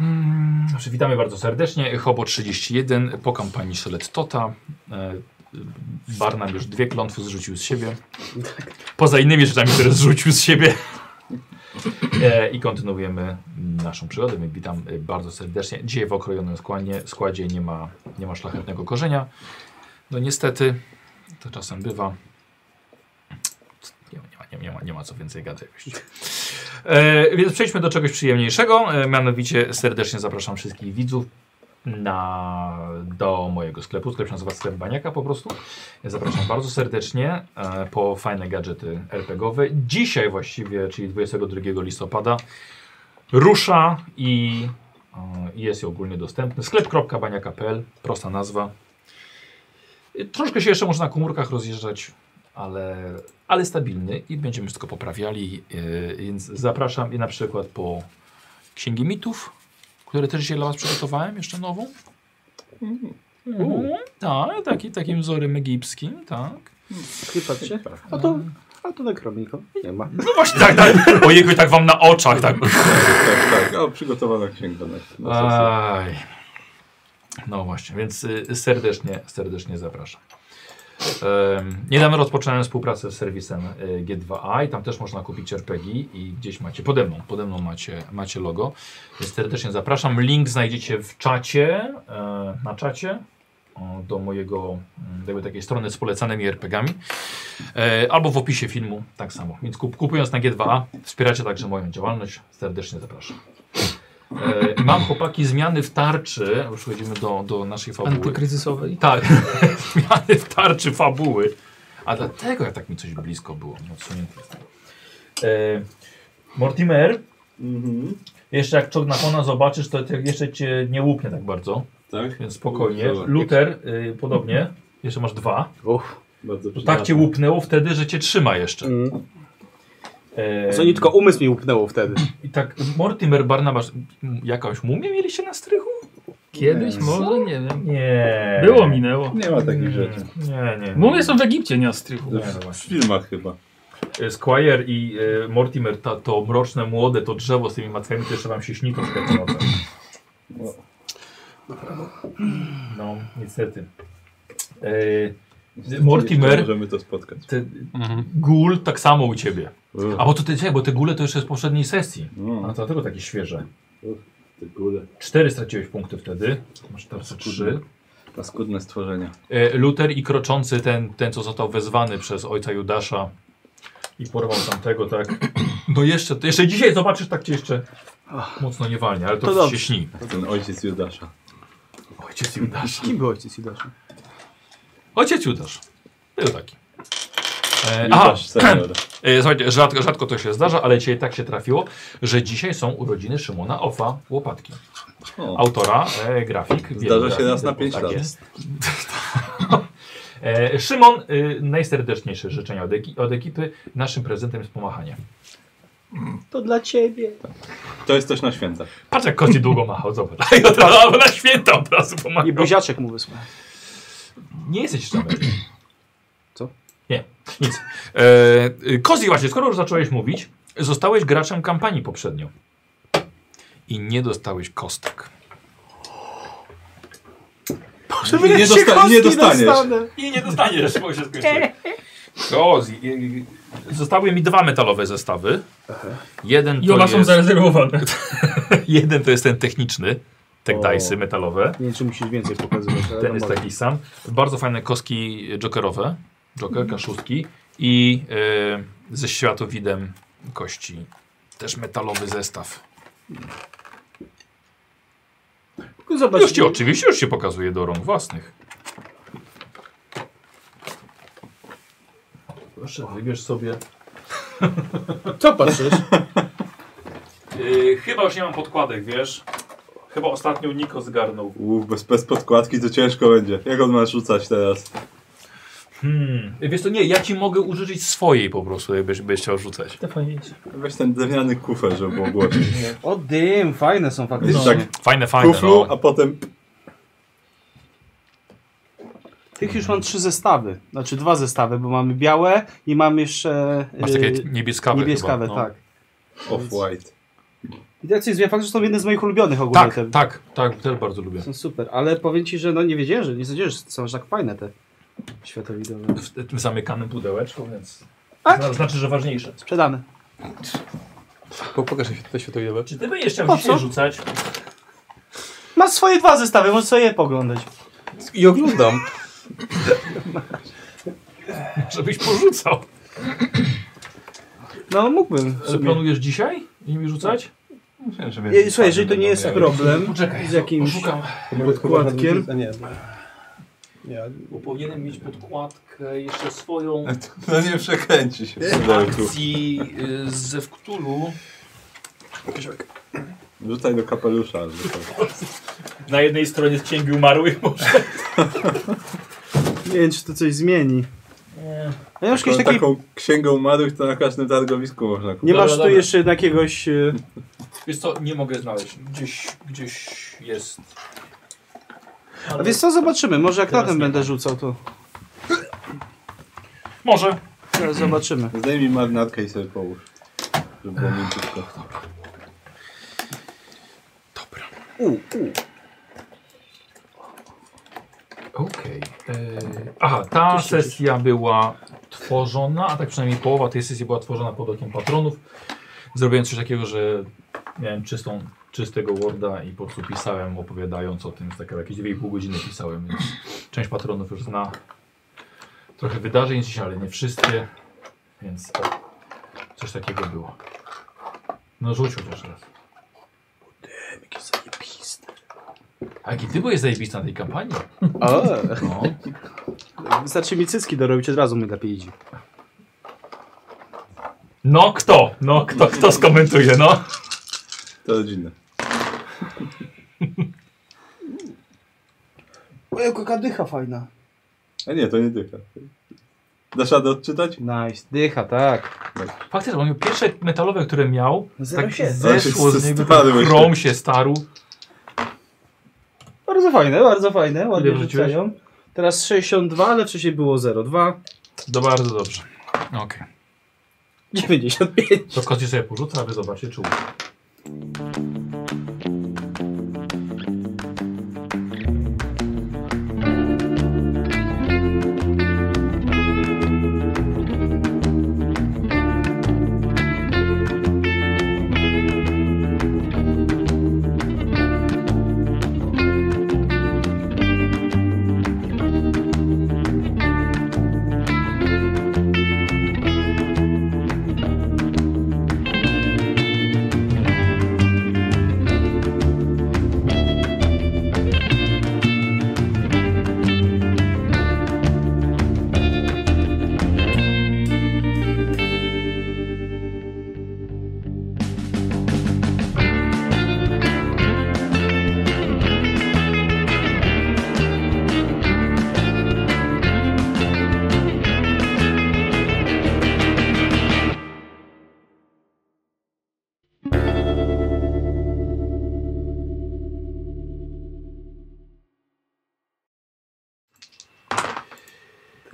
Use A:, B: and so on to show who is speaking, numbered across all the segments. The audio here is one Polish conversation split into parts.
A: Mm, Witamy bardzo serdecznie. Hobo 31 po kampanii Szelet Tota. E, Barnum już dwie klątwy zrzucił z siebie. Poza innymi rzeczami, które zrzucił z siebie. E, I kontynuujemy naszą przygodę. Więc Witam e, bardzo serdecznie. Dzisiaj w okrojonym składzie, składzie nie, ma, nie ma szlachetnego korzenia. No niestety, to czasem bywa. Nie ma, nie ma, nie ma, nie ma, nie ma co więcej gadać. właściwie. E, więc przejdźmy do czegoś przyjemniejszego. E, mianowicie serdecznie zapraszam wszystkich widzów na, do mojego sklepu. Sklep się nazywa Sklep Baniaka po prostu. Zapraszam bardzo serdecznie e, po fajne gadżety RPGowe. Dzisiaj właściwie, czyli 22 listopada rusza i e, jest i ogólnie dostępny. Sklep.baniaka.pl, prosta nazwa. E, Troszkę się jeszcze można na komórkach rozjeżdżać, ale, ale stabilny i będziemy wszystko poprawiali. e, Więc zapraszam i na przykład po Księgi Mitów, które też dzisiaj dla Was przygotowałem, jeszcze nową. Mm, tak, taki, takim wzorem egipskim, tak.
B: Nie patrzcie. A to, a to nekromiką. Nie ma.
A: No właśnie tak, tak. Ojejku, tak wam na oczach, tak.
C: Tak, tak. O, przygotowana księga na, na sesję.
A: Aj. No właśnie, więc y, serdecznie, serdecznie zapraszam. Em, niedawno rozpocząłem współpracę z serwisem y, G2A i tam też można kupić RPG i gdzieś macie, pode mną, pode mną macie, macie logo, więc serdecznie zapraszam. Link znajdziecie w czacie, e, na czacie o, do mojego, mm, jakby takiej strony z polecanymi RPGami, e, albo w opisie filmu, tak samo. Więc kup, kupując na G2A wspieracie także moją działalność, serdecznie zapraszam. E, mam chłopaki zmiany w tarczy, już przejdziemy do, do naszej fabuły.
D: Antykryzysowej.
A: Tak, zmiany w tarczy fabuły. A dlatego ja tak mi coś blisko było. No, odsunięty jestem. e, Mortimer,
C: Mhm.
A: jeszcze jak Czognachona zobaczysz, to te- jeszcze cię nie łupnie tak bardzo,
C: Tak?
A: więc spokojnie.
C: Dobra.
A: Luther y, podobnie, jeszcze masz dwa.
B: Uff.
C: Bardzo
A: To tak cię
C: przyjemne.
A: łupnęło wtedy, że cię trzyma jeszcze.
B: Mm.
A: E,
B: Co nie tylko umysł mi upnęło wtedy.
A: I tak Mortimer, Barnabasz, m, jakąś mumię mieliście na strychu?
D: Kiedyś
C: Nie.
D: może, nie wiem.
A: Nie.
D: Było, minęło.
C: Nie ma takich rzeczy.
A: Nie, nie.
D: Mówię, są w Egipcie, nie na strychu.
A: Nie, no
C: W
A: właśnie.
C: filmach chyba.
A: E, Squire i e, Mortimer, ta, to mroczne, młode, to drzewo z tymi matkami, to jeszcze wam się śni troszkę po nocach. No, niestety. E,
C: Jeszcze
A: Mortimer,
C: Możemy to spotkać.
A: te,
E: Mhm.
A: gul tak samo u ciebie. A bo to ty, czekaj, bo te gule to jeszcze z poprzedniej sesji. A
C: No,
A: to dlatego takie świeże.
C: te góle.
A: Cztery straciłeś punkty wtedy. Masz teraz trzy.
C: Paskudne stworzenia.
A: E, Luter i kroczący, ten, ten co został wezwany przez ojca Judasza i porwał tamtego, tak. No jeszcze, to jeszcze dzisiaj zobaczysz, tak cię jeszcze mocno nie walnie, ale to,
B: To
A: to się
B: dobrze.
A: śni.
C: Ten ojciec Judasza.
A: Ojciec Judasz.
B: Kim był ojciec Judasza?
A: Ojciec Judasz. Był taki. E, aha,
C: Judasz senior.
A: e, słuchajcie, rzadko, rzadko to się zdarza, ale dzisiaj tak się trafiło, że dzisiaj są urodziny Szymona Ofa Łopatki.
C: O.
A: Autora, e, grafik. wielu
C: się
A: grafik,
C: raz na
A: bo
C: pięć
A: tak
C: lat.
A: Jest. e, Szymon, y, najserdeczniejsze życzenia od, eki- od ekipy. Naszym prezentem jest pomachanie.
B: To dla ciebie.
C: To jest coś na święta.
A: Patrz jak Kosti długo machał, zobacz. I od razu, albo na święta od razu
B: I
A: pomachał.
B: buziaczek mu wysłał.
A: Nie jesteś jeszcze emerytem.
B: Co?
A: Nie, nic. E, Kozi właśnie, skoro już zacząłeś mówić, zostałeś graczem kampanii poprzednio. I nie dostałeś kostek.
C: Nie, dosta- nie dostaniesz.
A: I nie dostaniesz, bo się skończyło. Kozi. e, Zostały mi dwa metalowe zestawy. Jeden
D: I
A: to,
D: oba są
A: jest,
D: zarezerwowane.
A: jeden to jest ten techniczny. Tech
B: O.
A: dice'y metalowe.
B: Nie wiem, czy musisz więcej pokazywać, ale
A: Ten
B: no
A: jest
B: może.
A: taki sam. Bardzo fajne kostki jokerowe. Joker, kaszustki. I y, ze światowidem kości. Też metalowy zestaw.
B: Tylko Zobacz,
A: Już ci oczywiście już się pokazuje do rąk własnych. Proszę, wybierz sobie.
B: co patrzysz?
A: Yy, chyba już nie mam podkładek, wiesz? Chyba ostatnio Niko zgarnął.
C: Uff, bez, bez podkładki to ciężko będzie. Jak on ma rzucać teraz?
A: Hmm. Wiesz to nie, ja ci mogę użyczyć swojej po prostu, jakbyś byś chciał rzucać.
D: To fajniejsze.
C: Weź ten drewniany kufer, żeby było głośno.
B: O dym, fajne są
C: Wiesz,
B: faktycznie.
C: tak
A: Fajne, No. fajne.
C: kuflu,
A: no.
C: a potem...
B: Tych już mam trzy zestawy. Znaczy dwa zestawy, bo mamy białe i mam jeszcze...
A: Masz takie
B: yy,
A: niebieskawe.
B: niebieskawe,
A: chyba, no.
B: tak.
C: Off-white.
B: I tacy jest, ja fakt, że są jedne z moich ulubionych ogólnie
A: Tak,
B: te.
A: tak, tak, też bardzo lubię.
B: Są super, ale powiem ci, że no nie wiedziałem, że nie sądziłem, że są aż tak fajne te światowidowe.
A: W tym zamykanym pudełeczku, więc
B: A?
A: zna- znaczy, że ważniejsze.
B: Sprzedane.
F: Po, pokażę się te światowidowe.
A: Czy ty będziesz chciał
B: Po
A: dzisiaj
B: co?
A: rzucać?
B: Masz swoje dwa zestawy, możesz sobie je poglądać.
F: I oglądam.
A: Żebyś porzucał.
B: No mógłbym.
A: Czy planujesz dzisiaj nimi rzucać?
B: Je, słuchaj, jeżeli to nie jest problem
A: no, Poczekaj,
B: z jakimś
A: szukam.
B: podkładkiem,
F: A nie. Nie,
A: Bo powinienem mieć podkładkę jeszcze swoją
C: No nie przekręci się. w pudełku.
A: akcji y, ze wktulu.
C: Rzucaj do kapelusza. żeby to-
A: Na jednej stronie z księgi umarłych może.
B: nie wiem, czy to coś zmieni. A ja już
C: Taką,
B: kiedyś taki...
C: taką księgę umarłych to na każdym targowisku można kupić.
B: Nie
A: Dobra,
B: masz tu
A: dobra.
B: jeszcze jakiegoś... e,
A: Wiesz co, nie mogę znaleźć. Gdzieś, gdzieś jest.
B: A więc co, zobaczymy. Może jak na
A: Teraz
B: tym
A: nie
B: będę rzucał, to
A: Może.
B: teraz zobaczymy.
C: Zdejmij marynarkę i sobie połóż. Żeby było mięciutko.
A: Okej. y, Aha, ta sesja była tworzona, a tak przynajmniej połowa tej sesji była tworzona pod okiem patronów. Zrobiłem coś takiego, że miałem czystą, czystego Worda i po prostu pisałem opowiadając o tym, tak jakieś 2,5 godziny pisałem, więc część patronów już zna trochę wydarzeń dzisiaj, ale nie wszystkie, więc tak, coś takiego było. No rzuć chociaż raz. A jaki ty byłeś zajebisty na tej kampanii?
B: O,
A: No.
B: wystarczy mi cycki dorobić, od razu mi lepiej idzie.
A: No kto? No kto, kto skomentuje, no?
C: To rodzinne.
B: O, jaka dycha fajna.
C: A nie, to nie dycha. Dasz radę odczytać?
B: Nice, dycha, tak.
A: Fakt jest, on miał pierwsze metalowe, które miał,
B: No, zero
A: tak
B: siedem.
A: zeszło
C: Ale
A: z
C: się
A: niego,
C: starł
A: ten
C: jeszcze.
A: chrom się starł.
B: Bardzo fajne, bardzo fajne, ładnie
A: Ile wrzuciłeś?
B: wrzucają. Teraz 62, ale wcześniej było 02,
A: To bardzo dobrze. Okej.
B: 95.
A: To kości sobie porzucę, aby zobaczyć, czy uda.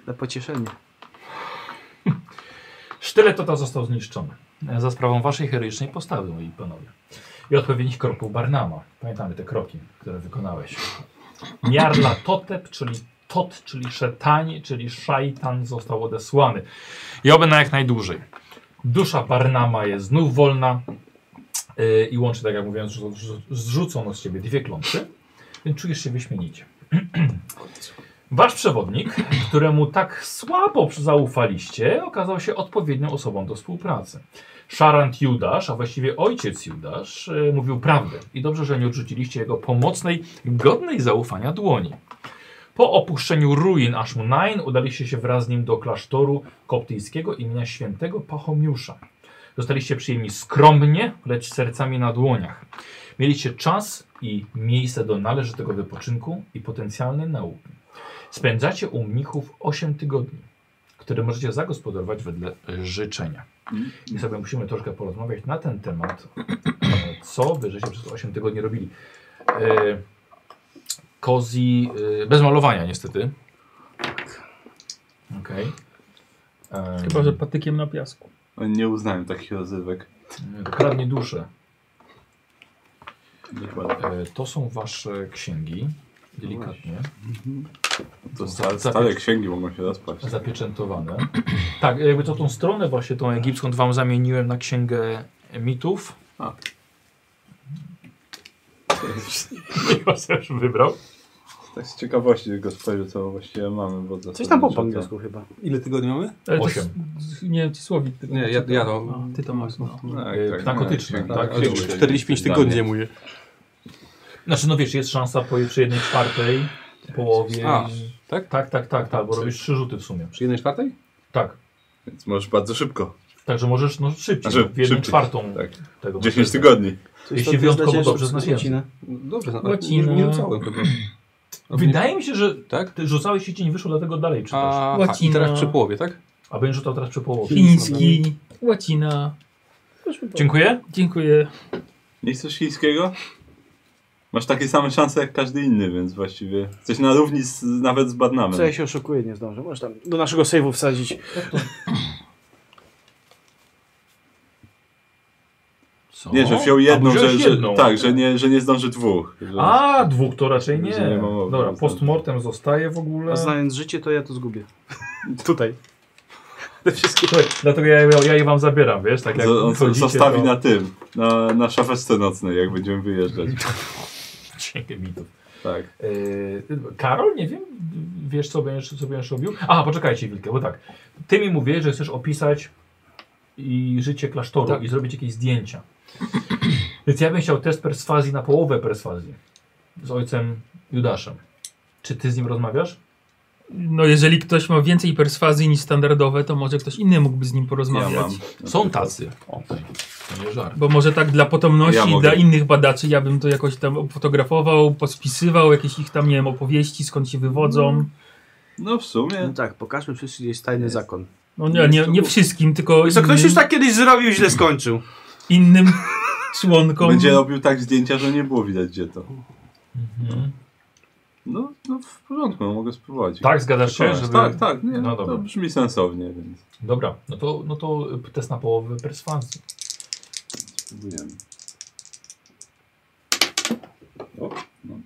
B: Na pocieszenie.
A: Sztyletota został zniszczony. E, Za sprawą waszej heroicznej postawy, moi panowie. I odpowiednich kropów Barnama. Pamiętamy te kroki, które wykonałeś. Miarla Totep, czyli Tot, czyli Szetań, czyli Szajtan został odesłany. I oby na jak najdłużej. Dusza Barnama jest znów wolna. E, I łączy, tak jak mówiłem, zrzu- zrzu- zrzucono z ciebie dwie klątwy. Więc czujesz się wyśmienicie. Wasz przewodnik, któremu tak słabo zaufaliście, okazał się odpowiednią osobą do współpracy. Szarant Judasz, a właściwie ojciec Judasz, e, mówił prawdę i dobrze, że nie odrzuciliście jego pomocnej, godnej zaufania dłoni. Po opuszczeniu ruin Ashmunain udaliście się wraz z nim do klasztoru koptyjskiego imienia świętego Pachomiusza. Zostaliście przyjemni skromnie, lecz z sercami na dłoniach. Mieliście czas i miejsce do należytego wypoczynku i potencjalnej nauki. Spędzacie u mnichów 8 tygodni, które możecie zagospodarować wedle e, życzenia. I sobie musimy troszkę porozmawiać na ten temat, e, co wy żeście przez 8 tygodni robili. E, Kozi, e, bez malowania niestety. Okej. Okay.
D: Chyba, że patykiem na piasku.
C: Oni nie uznają takich rozrywek.
A: Kradnie e, duszę.
C: Dokładnie.
A: E, to są wasze księgi. Delikatnie.
C: To
A: Za-
C: sta- stare
A: zapiecz-
C: księgi mogą się zaspać.
A: Zapieczętowane. Tak, jakby to tą stronę właśnie, tą egipską, wam zamieniłem na księgę mitów.
C: A.
A: Josef wybrał.
C: Tak z ciekawości tylko spojrzę, co właściwie mamy. Bo
B: Coś tam było po
C: zasadniczo
B: angielsku chyba.
G: Ile tygodni mamy?
E: Ale to
A: Osiem.
E: s- Nie, ci słowi.
G: Nie, ja- ja to-
E: A, Ty to masz. No.
C: to- Tak,
A: E,
C: tak,
A: ptakotyczne,
C: tak,
A: tak,
C: tak,
A: ale
C: księgi.
G: 45 tygodni ja mówię.
A: Znaczy, no wiesz, jest szansa po przy jednej czwartej połowie.
G: A, tak?
A: Tak, tak, tak, tak, bo robisz trzy rzuty w sumie.
G: Przy jednej czwartej?
A: Tak.
C: Więc możesz bardzo szybko.
A: Także możesz no, szybciej, w
C: Znaczy,
A: jedną
C: szybciej,
A: czwartą
C: Tak.
A: tego.
C: 10 tygodni.
B: Coś
A: Jeśli
B: tam jest
A: wyjątkowo
B: dla ciebie,
A: dobrze
B: żeby
A: znasz język.
B: przecinę.
G: No Dobrze, no, ale nie,
E: Łacina.
G: nie rzucałem chyba.
A: Wydaje mi się, że
G: Tak?
A: ty rzucałeś się ci nie wyszło, dlatego dalej czytasz.
G: A, aha, i
E: Łacina.
G: teraz przy połowie, tak?
A: A będziesz rzucał teraz przy połowie.
E: Chiński, łacina.
A: Dziękuję.
E: Dziękuję.
C: Nie chcesz chińskiego? Masz takie same szanse jak każdy inny, więc właściwie jesteś na równi z, nawet z Badnamem.
B: Co ja się oszukuję, nie zdążę. Możesz tam do naszego save'u wsadzić.
A: Co?
C: Nie, że wziął jedną,
A: A, bo
C: że,
A: wziąłeś
C: że,
A: jedną.
C: tak, że nie, że nie zdąży dwóch. Że...
A: A, dwóch to raczej nie.
C: Że nie ma mowy.
A: Dobra, postmortem zostaje w ogóle.
B: A znając życie, to ja to zgubię. Tutaj. Te wszystkie.
A: Słuchaj, Dlatego ja, ja je wam zabieram, wiesz, tak jak
C: Zo- on sobie
A: wchodzicie,
C: zostawi
A: to-
C: na tym, na, na szafeczce nocnej, jak będziemy wyjeżdżać.
A: Księgę mitów.
C: Tak.
A: Yy, Karol, nie wiem, wiesz co będziesz, co będziesz robił? A, poczekajcie chwilkę, bo tak. Ty mi mówisz, że chcesz opisać i życie klasztoru
E: Tak.
A: i zrobić jakieś zdjęcia. Więc ja bym chciał test perswazji na połowę perswazji z ojcem Judaszem. Czy ty z nim rozmawiasz?
E: No jeżeli ktoś ma więcej perswazji niż standardowe, to może ktoś inny mógłby z nim
C: Ja
E: porozmawiać.
C: mam.
A: Są tacy. To nie żart.
E: Bo może tak dla
C: Ja
E: potomności,
C: mogę.
E: dla innych badaczy, ja bym to jakoś tam fotografował, pospisywał jakieś ich tam, nie wiem, opowieści, skąd się
B: Mm.
E: wywodzą.
C: No w
B: No
C: sumie.
B: tak, pokażmy wszyscy gdzieś tajny zakon.
E: No nie, nie, nie wszystkim, tylko
B: Co ktoś już
E: innym,
B: tak kiedyś zrobił i źle skończył.
E: innym członkom.
C: Będzie robił tak zdjęcia, że nie było widać gdzie to.
A: Mhm.
C: No, no w porządku, no, mogę spróbować.
A: Tak, zgadzasz się?
C: tak,
A: Żeby...
C: tak, tak. Nie,
A: No
C: no
A: dobra.
C: to brzmi sensownie, więc
A: Dobra, no to, no to test na połowę perswazji.
C: spróbujemy. O, no.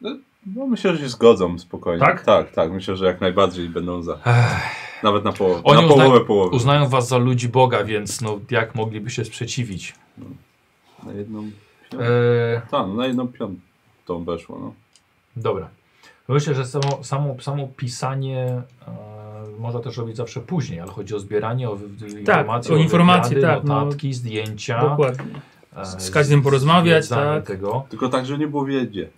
C: No, No myślę, że się zgodzą spokojnie.
A: Tak?
C: Tak, tak. Myślę, że jak najbardziej będą za. Nawet na połowę.
A: Oni
C: na połowę
A: uznają-
C: połowy.
A: Uznają was za ludzi Boga, więc no jak mogliby się sprzeciwić?
C: Na jedną piątą.
A: Eee,
C: Tak, na jedną piątą weszło, no.
A: dobra. Myślę, że samo, samo, samo pisanie e, można też robić zawsze później, ale chodzi o zbieranie o wy- informacje,
E: Tak, o
A: o
E: informacje,
A: wywiady,
E: tak, no.
A: notatki, zdjęcia.
C: Tak.
E: Dokładnie.
A: e,
E: Z- z każdym porozmawiać,
A: zwiedzanie
E: tak.
A: Tego.
C: Tylko tak, że nie było wiedzieć gdzie.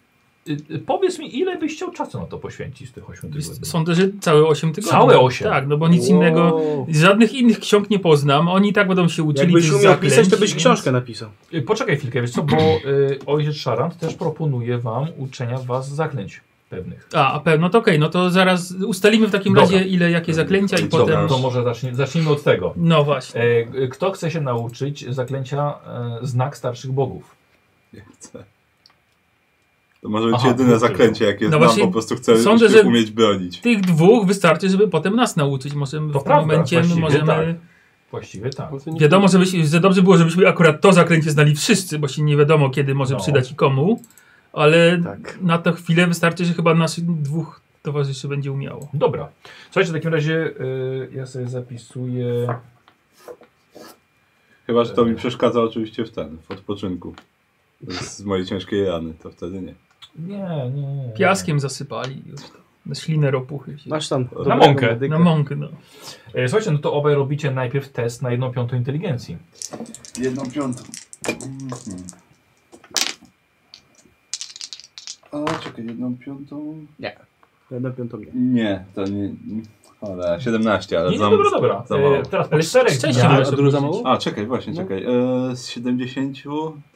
A: Y, y, powiedz mi, ile byś chciał czasu na to poświęcić z tych 8 tygodni?
E: Sądzę, że całe 8 tygodni.
A: Całe osiem?
E: Tak, no bo nic
B: Wow.
E: innego, żadnych innych ksiąg nie poznam. Oni i tak będą się uczyli
B: Jakbyś
E: tych
B: umiał pisać, to
E: zaklęć,
B: byś
E: więc-
B: książkę napisał.
A: Y, Poczekaj chwilkę, wiesz co, bo y, ojciec Szarant też proponuje wam uczenia was zaklęć pewnych.
E: A, a pewno, to okej, no to zaraz ustalimy w takim
A: Dobra.
E: razie ile, jakie zaklęcia i
C: Dobra.
E: potem...
A: To może zacznie, zacznijmy od tego.
E: No właśnie.
A: E, g- kto chce się nauczyć zaklęcia e, znak starszych bogów?
C: Nie chcę. To może być
A: Aha,
C: jedyne
A: no
C: zaklęcie, jakie
E: No
C: znam,
E: właśnie
C: po prostu chcę
E: sądzę,
C: się
E: że-
C: umieć bronić.
E: Tych dwóch wystarczy, żeby potem nas nauczyć. Możemy w
A: To
E: tym
A: prawda,
E: momencie
A: właściwie
E: możemy...
A: tak. Właściwie tak.
E: Wiadomo, żebyś, że dobrze było, żebyśmy akurat to zaklęcie znali wszyscy, bo się nie wiadomo, kiedy może
A: No.
E: przydać i komu. Ale
B: Tak.
E: na tę chwilę wystarczy, że chyba naszych dwóch towarzyszy będzie umiało.
A: Dobra. Słuchajcie, w takim razie e, ja sobie zapisuję.
C: Chyba, że to mi przeszkadza oczywiście w ten, w odpoczynku. Z mojej ciężkiej rany, to wtedy nie.
A: Nie, nie, nie.
E: Piaskiem zasypali już to. Na ślinę ropuchy. Się.
B: Masz tam.
C: Na
A: mąkę.
E: Na mąkę, no.
A: E, słuchajcie, no to obaj robicie najpierw test na jedną piątą inteligencji.
C: Jedną piątą. Mhm. A, czekaj, jedną piątą?
B: Na piątą mnie.
C: Nie, to nie... Ale 17, ale
A: Nie, nie,
C: za,
A: dobra, dobra.
C: za mało.
A: E, No. teraz po
E: Ale
A: czterech
E: szczęście
A: dniach.
E: możesz
G: A dużo za
E: obrócić.
G: mało?
C: A, czekaj, właśnie, czekaj. E, z 70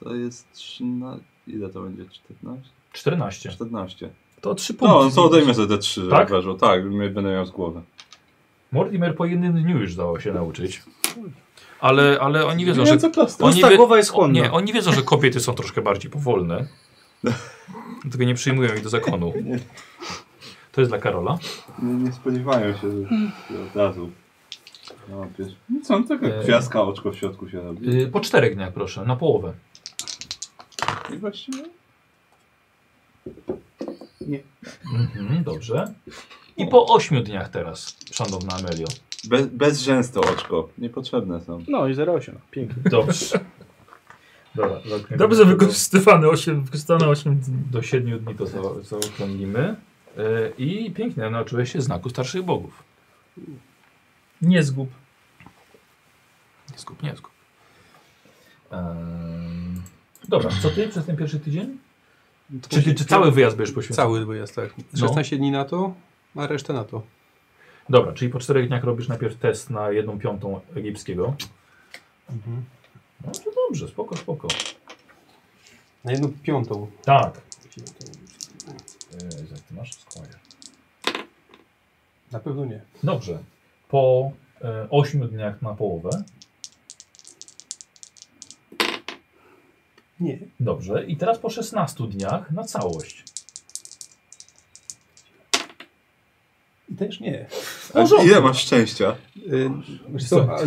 C: to jest 13... Ile to będzie? 14?
A: 14.
C: 14.
E: To trzy punkty.
C: No, no to odejmę sobie te trzy,
A: Tak?
C: tak? Tak, mnie- będę miał z głowy.
A: Mortimer po jednym dniu już dało się nauczyć. Ale, ale oni wiedzą, że.
C: co klasta.
A: Oni
B: Prosta
A: wie-
B: głowa jest
A: O,
B: chłonna.
A: nie, oni wiedzą, że kobiety są troszkę bardziej powolne. Dlatego nie przyjmują ich do zakonu. To jest dla Karola.
C: Nie, No, nie spodziewają się że
B: Hmm.
C: że od razu. No, wiesz. No co, no taka
A: E.
C: gwiazdka oczko w środku się robi.
A: Y, po czterech dniach proszę, na połowę.
C: I właściwie
A: Mhm, dobrze. I po ośmiu dniach teraz, szanowna Amelio.
C: bez, bez rzęs to oczko. Niepotrzebne są.
B: No i 08. Pięknie.
A: Dobrze. Dobra, zamkniemy
E: Dobrze
A: do-
E: wykorzystywane 8, wykorzystane 8 dni.
A: Do siedmiu dni to za- zaokrąglimy. E, I pięknie, nauczyłeś się znaku starszych bogów.
E: Nie zgub.
A: Nie skup, nie skup. Ehm, dobra, co ty przez ten pierwszy tydzień? Czy, ty, czy cały wyjazd będziesz poświęcony?
G: Cały wyjazd, tak. 16 dni na to, a resztę na to.
A: Dobra, czyli po czterech dniach robisz najpierw test na jedną piątą egipskiego. No to dobrze, spoko, spoko.
G: Na jedną piątą.
A: Tak. Yy, jak ty masz? Squire.
G: Na pewno nie.
A: Dobrze. Po e, 8 dniach na połowę.
G: Nie.
A: Dobrze. I teraz po 16 dniach na całość.
G: I też nie.
C: A ile masz szczęścia?
G: Y, wiesz co, a,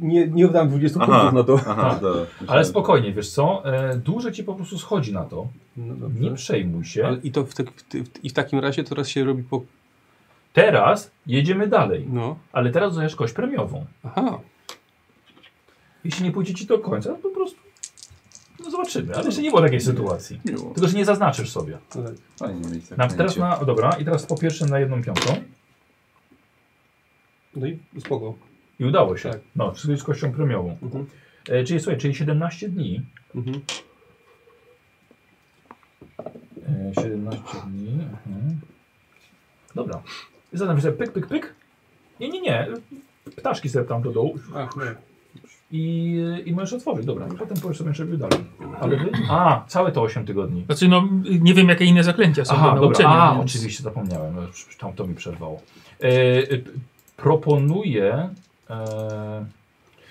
G: nie, nie oddam 20
C: Aha,
G: punktów na to.
C: aha,
A: Tak.
C: dobra.
A: Ale
C: Myślałem, że-
A: spokojnie, wiesz co? E, Dłużej ci po prostu schodzi na to.
G: No dobrze.
A: Nie przejmuj
G: Ale
A: się.
G: i, to w tak, w, ty- w, I w takim razie teraz się robi po...
A: Teraz jedziemy dalej.
G: No.
A: Ale teraz dostajesz kość premiową.
G: Aha.
A: Jeśli nie pójdzie ci do końca, to po prostu. No zobaczymy. Ale jeszcze nie było takiej sytuacji.
C: Miło.
A: Tylko, że nie zaznaczysz sobie.
G: No tak.
C: Fajnie mieć tak
A: Na, teraz na. Dobra, i teraz po pierwsze na jedną piątą.
G: No i spoko.
A: I udało się.
G: Tak.
A: No, wszystko jest kością premiową.
G: Mhm.
A: E, czyli słuchaj, czyli 17 dni.
G: Mhm.
A: E, 17 dni. Mhm. Dobra. Zadam sobie pyk, pyk, pyk. Nie, nie, nie. Ptaszki sobie tam do dołu
G: Ach, nie.
A: i, i możesz otworzyć. Dobra, i potem powiesz sobie, żeby dalej. Ale wy? A, całe to 8 tygodni.
E: Znaczy, no, nie wiem, jakie inne zaklęcia są no, do
A: Aha, dobra.
E: nauczenia.
A: A,
E: więc-
A: oczywiście zapomniałem. No, psz- psz, Tam to mi przerwało. E, e, p- proponuję e,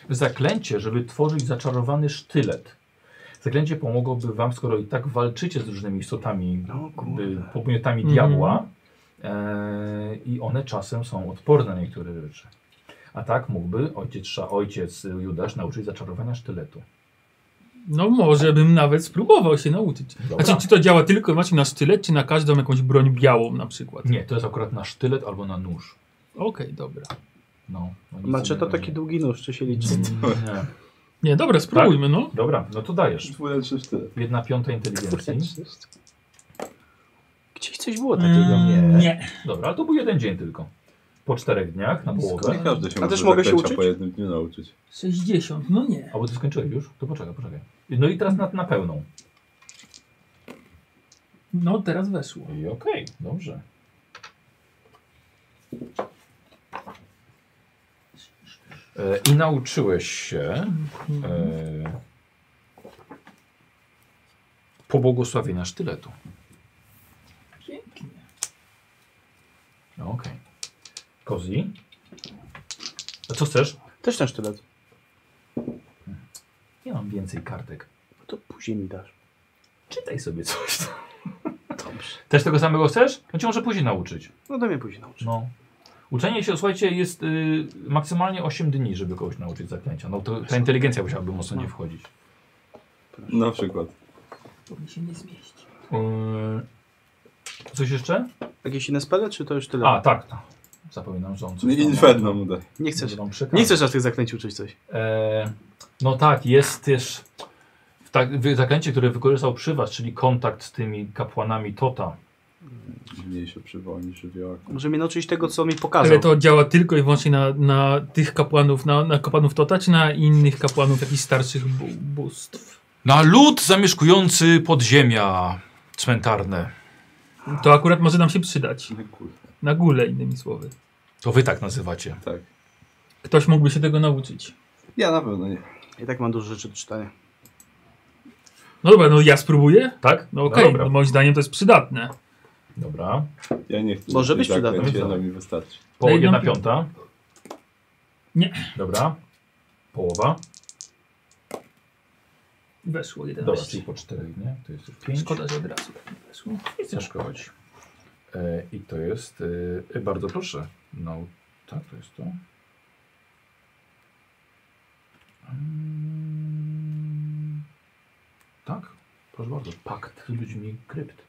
A: zaklęcie, żeby tworzyć zaczarowany sztylet. Zaklęcie pomogłoby wam, skoro i tak walczycie z różnymi istotami,
B: No
A: by- podmiotami
E: Mhm.
A: diabła e, i one czasem są odporne na niektóre rzeczy. A tak mógłby ojciec, Sza- ojciec Judasz nauczyć zaczarowania sztyletu.
E: No może bym nawet spróbował się nauczyć.
A: Dobra.
E: Znaczy, czy to działa tylko macie na stylet, czy na każdą jakąś broń białą na przykład?
A: Nie, to jest akurat na sztylet albo na nóż.
E: Okej, dobra.
A: No, no nic
B: Macie to
A: innego
B: taki
A: nie.
B: długi nóż, czy się liczy?
A: Nie.
E: Nie, dobra, spróbujmy, no.
A: Dobra, no to dajesz.
C: Dwuręczny sztylet.
A: Jedna piąta inteligencji.
B: Gdzieś coś było takiego.
E: Mm,
A: nie.
E: nie.
A: Dobra, ale to był jeden dzień tylko. Po czterech dniach na
C: Nie
A: połowę.
C: każdy się
B: A
C: może
B: też mogę się
C: zaklęcia
B: uczyć?
C: po jednym dniu nauczyć.
E: 60, no nie.
A: Albo ty skończyłeś już? To poczekaj, poczekaj. No i teraz na, na pełną.
E: No teraz weszło.
A: I okej, dobrze. E, I nauczyłeś się e, pobłogosławienia sztyletu.
E: Pięknie.
A: No, Okej. Kozi? A co chcesz?
B: Też ten sztylet.
A: Ja mam więcej kartek.
B: No To później mi dasz.
A: Czytaj sobie coś. Dobrze. Też tego samego chcesz? No cię może później nauczyć.
B: No to mnie później nauczy.
A: No. Uczenie się, słuchajcie, jest y, maksymalnie 8 dni, żeby kogoś nauczyć zaklęcia. No to ta inteligencja musiałaby mocno nie wchodzić.
C: Na przykład.
E: To mi się nie zmieści.
A: Yy, coś jeszcze?
B: Jakieś inne spele, czy to już tyle?
A: A, tak. No. Zapominam, że on coś tam-
C: Inferno mu daj.
B: nie chcesz.
A: Nam przekazał.
B: Nie chcesz aż tych zaklęć uczyć coś.
A: E, no tak, jest też w tak, w zaklęcie, które wykorzystał przy was, czyli kontakt z tymi kapłanami Tota.
C: Zimniejsze przywołanie żywiołaka.
B: Może mnie nauczyć tego, co mi
E: Ale
B: pokazał.
E: to działa tylko i wyłącznie na, na tych kapłanów, na, na kapłanów Tota, czy na innych kapłanów jakichś starszych bu- bóstw?
A: Na lud zamieszkujący podziemia cmentarne.
E: To akurat może nam się przydać.
C: No kurde,
E: Na górę, innymi słowy.
A: To wy tak nazywacie.
C: tak.
E: Ktoś mógłby się tego nauczyć.
C: Ja na pewno nie.
B: I tak mam dużo rzeczy do czytania.
E: No dobra, no ja spróbuję?
A: Tak?
E: No okej,
A: dobra.
E: no moim zdaniem to jest przydatne.
A: Dobra.
C: Ja nie chcę.
B: Może być
C: zaklęć,
B: przydatny.
C: Jedno mi wystarczy.
A: Po
E: No i
A: jedna
E: na pi-
A: piąta.
E: Nie.
A: Dobra. Połowa.
E: Weszło
A: Dobra,
E: 11.
A: czyli po czterech, nie? To jest już pięć.
E: Szkoda, że od razu tak nie weszło.
A: Nic nie szkodzi. E, I to jest, e, bardzo proszę, no, tak, to jest to. Mm, tak, Proszę bardzo, pakt z ludźmi krypt.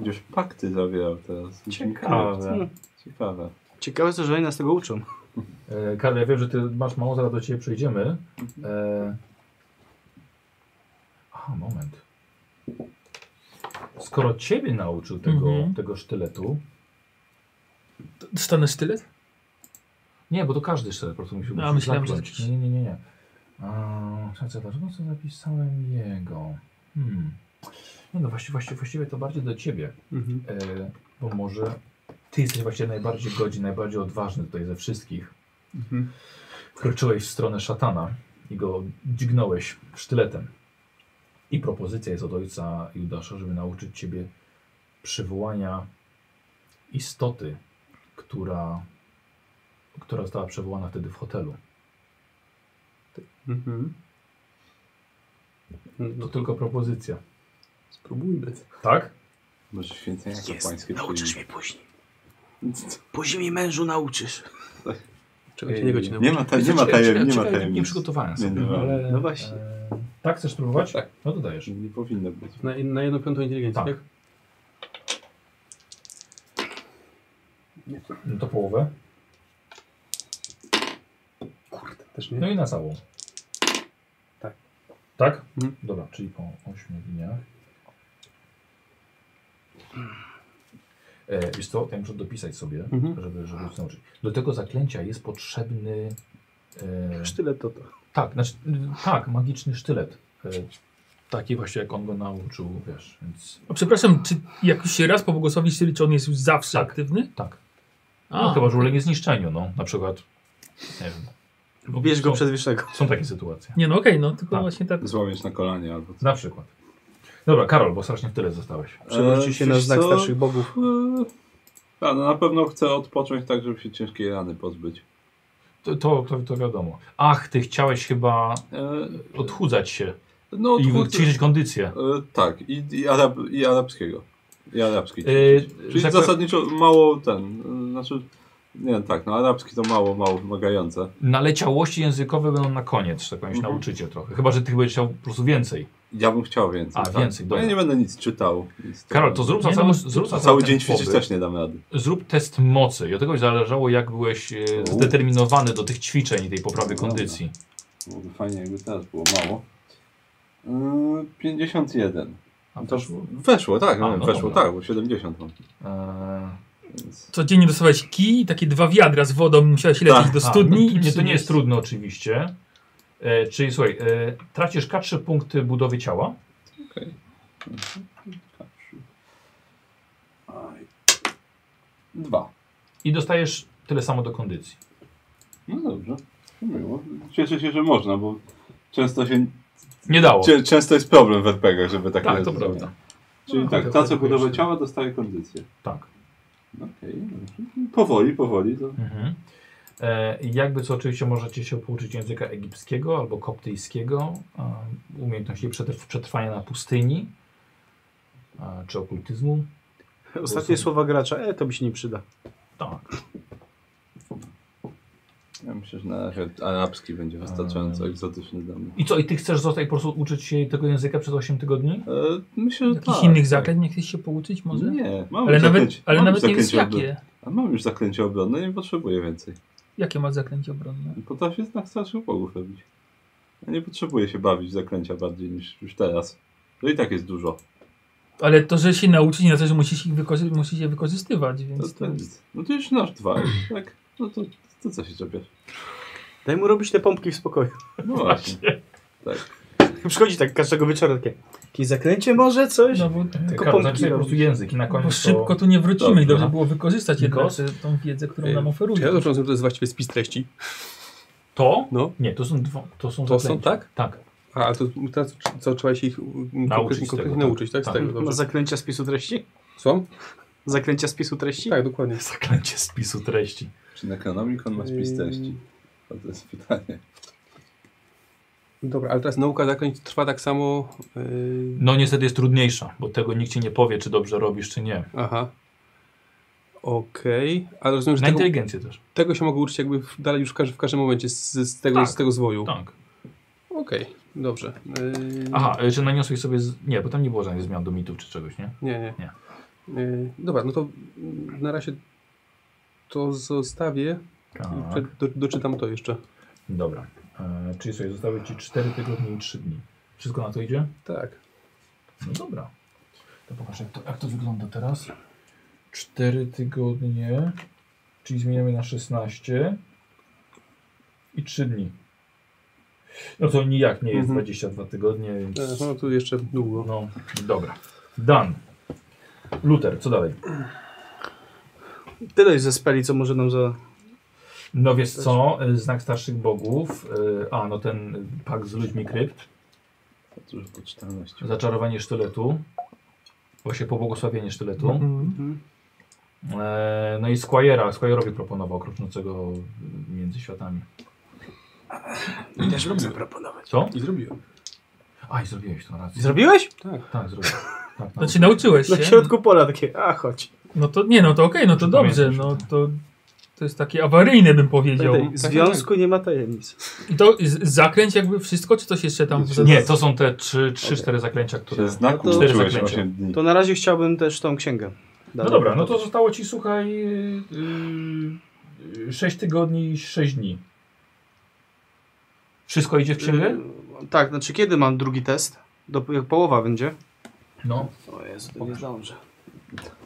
C: Gdzieś pakty zawierał teraz.
A: Ciekawe.
C: Ciekawe.
B: Ciekawe co, że oni nas tego uczą.
A: E, Karol, ja wiem, że ty masz mało, zaraz do ciebie przejdziemy. E... Aha, moment. Skoro ciebie nauczył tego,
E: Mhm.
A: tego sztyletu,
E: Dostanę sztylet?
A: Nie, bo to każdy sztylet po prostu musi
E: No,
A: musi
E: myślałem, że
A: zakląć.
E: jakiś-
A: Nie, nie, nie, nie. A, czekaj, dlaczego co zapisałem jego? Hmm. Nie no, właściwie, właściwie, właściwie to bardziej do ciebie.
B: Mhm.
A: E, bo może ty jesteś właściwie najbardziej godzin, najbardziej odważny tutaj ze wszystkich.
B: Mhm.
A: Kroczyłeś w stronę szatana i go dźgnąłeś sztyletem. I propozycja jest od ojca Judasza, żeby nauczyć ciebie przywołania istoty, która, która została przywołana wtedy w hotelu.
B: Mhm.
A: To tylko propozycja.
G: Spróbujmy.
A: Tak?
C: Może święcenia kapłańskie.
B: Nauczysz
C: przyjmie.
B: mnie później. Później mi mężu nauczysz.
G: Czego się niego ci
C: Nie
G: nauczy?
C: ma, ta, nie ma tajemnic. Nie ma
A: nie, nie
C: tajemnic.
A: przygotowałem
C: Nie,
A: sobie,
C: nie ma.
A: ale...
B: No właśnie.
A: E, tak, chcesz spróbować?
G: Tak.
A: No to dajesz.
C: Nie powinno być.
G: Na, na jedną piątą inteligencję,
A: Tak.
G: tak?
A: No to połowę.
G: Też
A: No
G: nie?
A: i na całą.
G: Tak.
A: Tak?
G: Mhm.
A: Dobra, czyli po 8 dniach. E, wiesz co, ja muszę dopisać sobie,
B: Mhm.
A: żeby, żeby się nauczyć. Do tego zaklęcia jest potrzebny... E,
B: Sztylet to to.
A: tak, znaczy, y, tak, magiczny sztylet. E, taki właśnie jak on go nauczył, wiesz, więc...
E: A przepraszam, czy jak już się raz pobłogosławi sztylet, czy on jest już zawsze
A: Tak.
E: aktywny?
A: Tak.
E: A,
A: No, chyba, że ulegnie zniszczeniu, no, na przykład. Nie wiem. Bo
B: Bierz go
A: są-
B: przedwiecznego.
A: Są takie sytuacje.
E: Nie no okej, no tylko
A: Tak.
E: właśnie tak.
C: Złamiesz na kolanie albo
A: Na przykład. Dobra, Karol, bo strasznie w tyle zostałeś.
B: Przewrócił się
C: E,
B: na
C: wiesz
B: znak
C: co?
B: starszych bogów.
C: Eee, A, no na pewno chcę odpocząć tak, żeby się ciężkiej rany pozbyć.
A: To, to, to, to wiadomo. Ach, ty chciałeś chyba
C: Eee,
A: odchudzać się
C: No,
A: i
C: odchód-
A: ćwiczyć kondycję.
C: eee, tak, i, i, arab, i arabskiego. I arabski.
A: Yy,
C: Czyli
A: że tak powiem,
C: zasadniczo mało ten, eee, znaczy, nie tak, no arabski to mało, mało wymagające.
A: naleciałości językowe będą na koniec, że tak powiem, się
C: Mhm.
A: nauczycie trochę. Chyba, że ty będziesz chciał po prostu więcej.
C: Ja bym chciał więcej.
A: A,
C: tak.
A: więcej,
C: Bo ja
A: dobra.
C: nie będę nic czytał. Nic
A: Karol, to zrób za
E: Nie
A: cały,
E: no,
A: zrób za
C: A cały dzień
A: ten
C: ćwiczyć
A: pobyt.
C: też nie dam rady.
A: Zrób test mocy i od tego zależało, jak byłeś e,
C: U.
A: zdeterminowany do tych ćwiczeń i tej poprawy
C: Dobra.
A: kondycji.
C: Byłoby fajnie, jakby teraz było mało. Eee, 51.
A: A
C: No To
A: też
C: weszło, tak,
A: A, no
C: no, weszło,
A: dobra.
C: tak, bo 70 mam.
A: Eee,
C: Więc...
E: Codziennie dostawałeś kij, i takie dwa wiadra z wodą, musiałeś lecieć
C: Tak,
E: do
A: a,
E: studni.
A: no, to,
E: i
A: nie, to nie
E: przynieść.
A: jest trudne oczywiście. E, czyli słuchaj, e, tracisz K3 punkty budowy ciała.
C: Aj. Dwa.
A: I dostajesz tyle samo do kondycji.
C: No dobrze. To Miło. Cieszę się, że można, bo często się.
A: Nie dało.
C: Cię, często jest problem w RPG, żeby takie
A: Tak,
C: rzeczy
A: to
C: zrobić.
A: prawda.
C: Czyli
A: No, to
C: tak, ta co
A: tylko
C: budowę
A: jeszcze.
C: ciała dostaje kondycję.
A: Tak.
C: Okej, dobrze. Powoli, powoli to.
A: Mhm. E, jakby co oczywiście możecie się pouczyć języka egipskiego albo koptyjskiego, e, umiejętności przetrw- przetrwania na pustyni, e, czy okultyzmu.
B: Ostatnie słowa gracza. E, to mi się nie przyda.
A: Tak.
C: Ja myślę, że na razie arabski będzie wystarczająco
A: Eee.
C: egzotyczny dla mnie.
A: I co, i ty chcesz zostać po prostu uczyć się tego języka przez 8 tygodni?
C: E, myślę, że
E: Jakichś
C: tak,
E: innych
C: tak.
E: zaklęć nie chcesz się pouczyć może?
C: Nie, mam
E: Ale
C: już
E: nawet,
C: zaklęcie-
E: ale
C: mam
E: nawet
C: już
E: nie wiesz
C: zaklęcie obronne.
E: jakie.
C: A Mam już zaklęcie obronne, nie potrzebuję więcej.
E: Jakie ma zaklęcie obronne?
C: Potrafię znak starszych bogów robić. Ja nie potrzebuję się bawić w zaklęcia bardziej niż już teraz. To i tak jest dużo.
E: Ale to, że się nauczyć, nie znaczy, że musisz, ich wykorzy musisz je wykorzystywać,
C: To,
E: więc
C: to
E: to...
C: nic. No to już nasz dwa, tak? No to, to co się czepiasz?
B: Daj mu robić te pompki w spokoju.
C: No właśnie. Tak.
B: Przychodzi tak każdego wieczora takie. Jakieś zaklęcie może coś?
E: No bo,
A: Ty,
B: Tylko
A: Karol,
B: pompki
A: zaczynaj po prostu
B: robić.
A: język i na
E: bo
A: koniec
E: No szybko tu nie wrócimy
C: Dobrze.
E: i dobrze było wykorzystać jednak
A: Nikos?
E: tę- tą wiedzę, którą
G: Ej,
E: nam
G: Czy
E: oferuje.
G: ja dobrze rozumiem, że to jest właściwie spis treści?
A: To?
G: No.
A: Nie, to są dwa, to są
G: To są,
A: zaklęcia.
G: tak?
A: Tak.
G: A, ale to teraz co- co trzeba się ich mm,
A: Nauczyć
G: konkretnie,
A: z
G: konkretnie
A: tego,
G: nauczyć, tak?
A: tak.
G: Z tego,
B: Ma
G: dobrze.
B: zaklęcia spisu treści?
G: Są?
B: Zaklęcia spisu treści?
G: Tak, dokładnie.
A: Zaklęcie spisu treści.
C: Czy Necronomicon ma spis treści? To jest pytanie.
G: Dobra, ale teraz nauka zaklęć trwa tak samo... Yy...
A: No niestety jest trudniejsza, bo tego nikt ci nie powie, czy dobrze robisz, czy nie.
G: Aha. Okej, ale rozumiem, że
A: Na
G: tego,
A: inteligencję też.
G: tego się mogę uczyć jakby w- dalej już w, każ- w każdym momencie z, z, tego,
A: Tak.
G: z tego zwoju.
A: Tak.
G: Okej. Dobrze. Yy,
A: Aha, y, czy naniosłeś sobie. Z... Nie, bo tam nie było żadnych zmian do mitów czy czegoś, nie?
G: Nie, nie.
A: Nie.
G: Yy, dobra, no to mm, na razie to zostawię.
A: Tak.
G: Prze- Do, doczytam to jeszcze.
A: Dobra. E, czyli sobie zostały ci 4 tygodnie i 3 dni. Wszystko na to idzie?
G: Tak.
A: No dobra. To pokażę, jak to, jak to wygląda teraz. 4 tygodnie, czyli zmieniamy na 16 i 3 dni. No to nijak nie jest
G: Mhm.
A: 22 tygodnie, więc...
G: E, No tu jeszcze długo.
A: No, dobra. Dan. Luther, co dalej?
B: Tyle jest ze speli, co może nam za...
A: No wiesz co, y, znak starszych bogów, y, a no ten y, pakt z ludźmi krypt,
C: Cóż, po czytelność.
A: zaczarowanie sztyletu, właśnie pobłogosławienie sztyletu.
E: Mhm.
A: E, No i Squire'a, Squire'owi proponował kroczącego między światami.
B: Też bym zaproponować.
A: Co?
G: I zrobiłem.
A: Aj, zrobiłeś to na rację.
B: Zrobiłeś?
A: Tak, zrobiłem. Tak, no.
E: Znaczy nauczyłeś
B: Na
E: się.
B: środku pola takie, a chodź.
E: No to nie, no to okej, no to
A: Pamiętam
E: dobrze,
A: się,
E: no
A: tak.
E: to, to jest takie awaryjne bym powiedział.
B: Pamiętaj, w związku nie ma tajemnic.
E: I to z- zakręć jakby wszystko, czy coś jeszcze tam?
A: Nie, to są te 3-4 zaklęcia, które...
C: Czy znaku
B: No to-
C: uczyłeś
A: zaklęcia.
C: 8 dni?
B: To na razie chciałbym też tą księgę.
A: No dobra, no to zostało ci, słuchaj, 6 tygodni i 6 dni. Wszystko idzie w księgę?
B: Y, Tak, znaczy kiedy mam drugi test? Do, jak połowa będzie?
A: No.
B: O Jezu, to nie zdążę.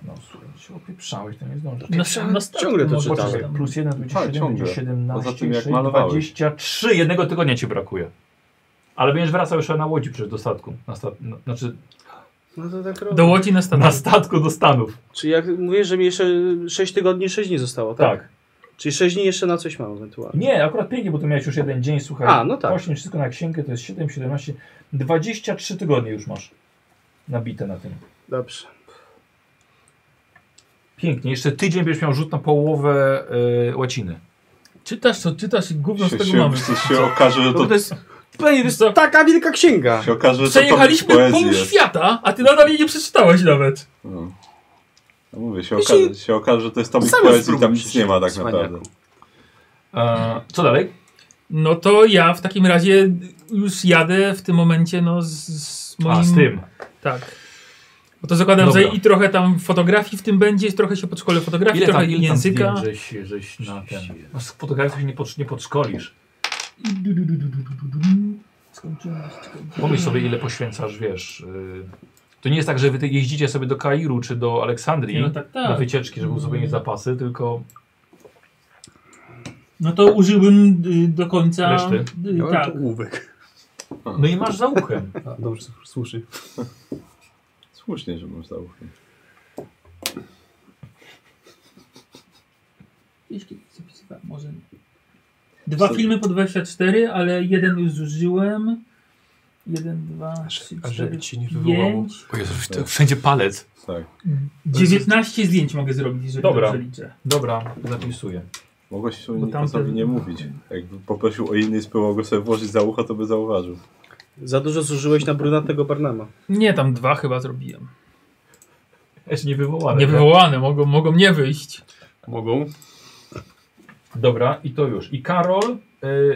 A: No, słuchaj, się opieprzałeś, to nie zdążysz.
E: Na, na
B: Ciągle to
E: może
B: czytałem.
E: tam-
A: Plus 1, będzie
C: Tak,
A: 7,
C: ciągle.
A: będzie 17,
C: Poza tym jak
A: 6,
C: malowałeś.
A: 23. Jednego tygodnia ci brakuje. Ale będziesz wracał jeszcze na łodzi przecież do statku. Na sta na, znaczy,
B: No to tak robię.
E: Do Łodzi na
A: na
E: stanowisku.
A: statku do Stanów.
B: Czyli jak mówisz, że mi jeszcze 6 tygodni, 6 dni zostało, tak?
A: Tak.
B: Czyli 6 dni jeszcze na coś mam ewentualnie.
A: Nie, akurat pięknie, bo tu miałeś już jeden dzień, słuchaj.
B: A, no tak.
A: Właśnie wszystko na księgę to jest 7, 17, 23 tygodnie już masz nabite na tym.
B: Dobrze.
A: Pięknie. Jeszcze tydzień będziesz miał rzut na połowę e, łaciny.
E: Czytasz co czytasz i gówno z
C: Się,
E: tego
C: się,
E: mamy.
C: się, się okaże, że
B: No bo
C: to,
B: to jest, Panie, to jest
E: Co?
B: taka wielka księga.
C: się okaże, że to powieść
E: Przejechaliśmy
C: poezji
E: pół
C: jest.
E: świata, a ty nadal jej nie przeczytałeś nawet.
C: No. No mówię, się
B: Jeśli-
C: okaże, się okaże, że to jest tomik
B: Sam
C: poezji,
B: spróbuj
C: tam nic nie
B: przeczytać,
C: ma tak
B: cwaniaku.
C: naprawdę.
A: E, co dalej?
E: No to ja w takim razie już jadę w tym momencie no z, z moim...
A: A, z tym.
E: Tak. Bo to zakładam, że
A: Dobra.
E: i trochę tam fotografii w tym będzie, trochę się pod szkole fotografii,
A: Ile
E: Tak, trochę
A: tam, ile tam
E: języka.
A: zdjęć żeś, żeś na ten... No, z fotografii się nie, pod, nie podszkolisz. Pomyśl sobie, ile poświęcasz, wiesz... y, To nie jest tak, że wy te- jeździcie sobie do Kairu czy do Aleksandrii
E: Nie, no tak, tak.
A: na wycieczki, żeby uzupełnić zapasy, tylko
E: No to użyłbym y, do końca...
A: Reszty?
E: y,
G: Miałem
E: tak.
G: to ołówek.
A: no i masz za uchem.
G: A, dobrze, słusznie.
C: Słusznie, że masz zaufanie.
E: Wiesz, kiedy zapisywałem, może. Dwa filmy po 24, ale jeden już zużyłem. Jeden, dwa, trzy,
G: A żeby
E: cztery,
G: ci nie wywołało.
E: pięć.
A: O Jezu, wszędzie palec.
C: Tak.
E: 19 zdjęć mogę zrobić, jeżeli
A: Dobra.
E: dobrze liczę.
A: Dobra, zapisuję.
C: Mogłeś się
E: Bo tamten-
C: nikomu nie mówić. Jakby poprosił o inny spół, mogę sobie włożyć za ucho, to by zauważył.
B: Za dużo zużyłeś na brunatnego Barnama.
E: Nie, tam dwa chyba zrobiłem.
A: Jeszcze nie wywołane. tak?
E: Niewywołane, mogą, mogą nie wyjść.
G: Mogą.
A: Dobra, i to już. I Karol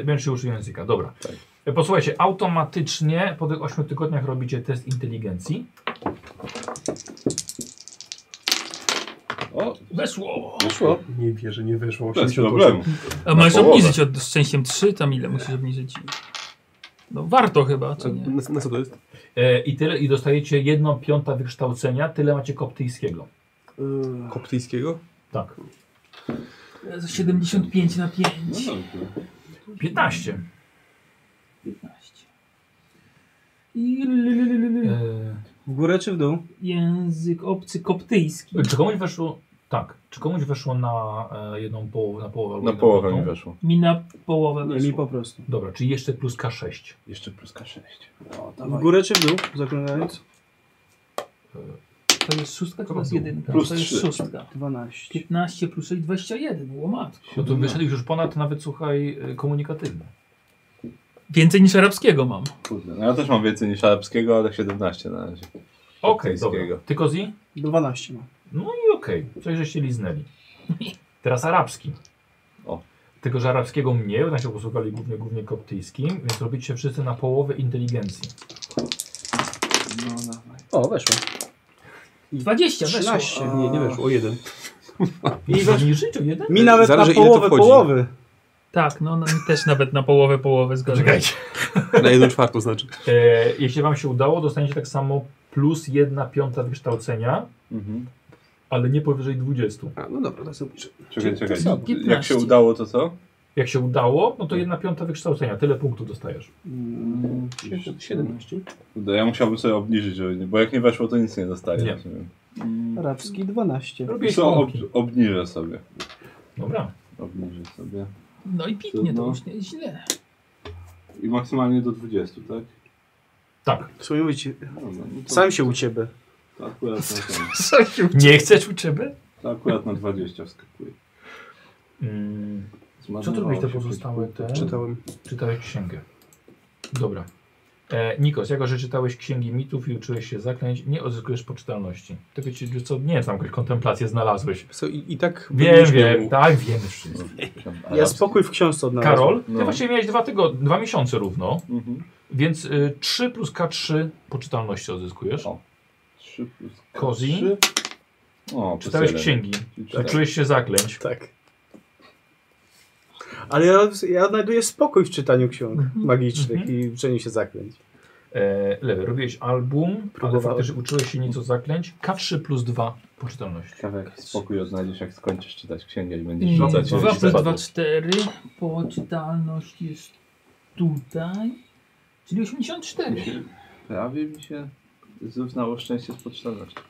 A: y, będziesz się uczył języka. Dobra.
C: Tak.
A: Y, Posłuchajcie, automatycznie po tych 8 tygodniach robicie test inteligencji.
C: O,
E: Weszło!
G: Wyszło. Nie wierzę, nie weszło.
C: bez
G: 88.
C: problemu.
E: A możesz
C: połowę.
E: obniżyć od z szczęściem 3, tam ile musisz obniżyć? No warto chyba,
G: Co,
E: czy nie?
G: na, na co to jest?
A: E, I tyle, i dostajecie 1 piąta wykształcenia, tyle macie koptyjskiego.
G: Koptyjskiego?
A: Tak.
E: Jezu, 75 na 5.
C: No dobrze.
A: 15.
E: 15. I li, li, li, li, li.
A: E,
B: W górę czy w dół?
E: Język obcy koptyjski.
A: czy komuś weszło. Tak. Czy komuś weszło na e, jedną połowę? Na połowę, albo
C: Na
A: jedną
C: połowę mi
A: piątą?
C: weszło.
E: Mi na połowę
B: Nie, mi po prostu.
A: Dobra, czyli jeszcze plus K6.
C: Jeszcze plus K6.
B: W górę czy w dół, zaglądając?
E: To jest szóstka, to jest jedynka.
C: Plus
E: to jest
C: trzy.
E: szóstka.
B: 12.
E: 15 plus 6, 21. Było matko.
A: No to wyszedłeś już ponad nawet, słuchaj, y, komunikatywne.
E: Więcej niż arabskiego mam.
C: Kurde, no ja też mam więcej niż arabskiego, ale 17 na razie.
A: Okej, dobra.
C: Koptyjskiego.
A: Ty Kozi?
B: 12 mam.
A: No i okej, coś żeście liznęli. Teraz arabski.
C: O.
A: Tylko, że arabskiego mniej, bo tam się posługali głównie, głównie koptyjskim, więc robicie wszyscy na połowę inteligencji.
C: No, dawaj.
G: O, weszło.
D: 20
B: 13.
D: weszło.
G: Nie, nie weszło, o jeden.
A: I zaniżyć o jeden?
B: Mi nawet
G: Zależy,
B: na
G: ile to
B: połowę
G: wchodzi.
B: połowy.
D: Tak, no, no mi też nawet na połowę, połowę zgadzam.
A: Czekajcie.
G: Na jedną czwartą znaczy.
A: E, jeśli wam się udało, dostaniecie tak samo plus jedna piąta wykształcenia,
C: Mhm.
A: ale nie powyżej 20.
G: A, no dobra, to sobie liczę.
C: Czekaj, czekaj.
D: są
C: Jak
D: 15.
C: się udało, to co?
A: Jak się udało, no to jedna piąta wykształcenia, tyle punktów dostajesz.
G: Mm, 17.
C: Kurde, Ja musiałbym sobie obniżyć, żeby nie- bo jak nie weszło, to nic nie dostaję.
A: Nie.
C: rozumiem.
B: Arabski 12.
A: Robisz
C: Co, ob,
A: punki.
C: obniżę sobie.
A: Dobra.
C: Obniżę sobie.
D: No i piknie, to
C: No.
D: już nie źle.
C: I maksymalnie do 20, tak?
A: Tak.
B: W sumie mówię ci,
C: No, no, no to,
B: sam się u ciebie.
C: to akurat, na, ten,
A: Nie chcesz uczyby?
C: to akurat na 20 wskakuje.
A: Mm, co tu
C: Zmarnowało
A: robisz te
C: się pięć
A: pozostałe te?
C: punktów.
G: Czytałem.
A: Czytałeś księgę. Dobra. E, Nikos, jako że czytałeś księgi mitów i uczyłeś się zaklęć, nie odzyskujesz poczytalności. Tylko ci, że co, nie wiem, tam jakąś kontemplację znalazłeś.
G: So, i, I tak...
A: Wiem,
G: bym
A: wiem,
G: miał-
A: tak, wiem wszystko.
B: Ja spokój w książce odnalazłem.
A: Karol, ty
C: No.
A: właśnie miałeś dwa, tygo, dwa miesiące równo,
C: Mhm.
A: więc y, 3 plus K3 poczytalności odzyskujesz.
C: O, 3 plus
A: Kozi?
C: 3. O, plus
A: Czytałeś
C: jeden.
A: księgi,
C: Tak.
A: uczyłeś się zaklęć.
B: Tak. Ale ja, ja odnajduję spokój w czytaniu ksiąg magicznych
A: Mhm.
B: i uczeniu się zaklęć.
A: E, lewy, robiłeś album, ale
B: Próbowałem.
A: faktycznie uczyłeś się nieco zaklęć. K3 plus 2 poczytalności.
C: Ciekawe, jaki spokój odnajdziesz, jak skończysz czytać księgę i będziesz
A: No,
D: Mm,
C: rzucać.
D: 2 plus
C: liczbę
D: 2,
C: punktów.
D: 4. Poczytalność jest tutaj. Czyli 84.
C: Prawie mi się zrównało szczęście z poczytalnością.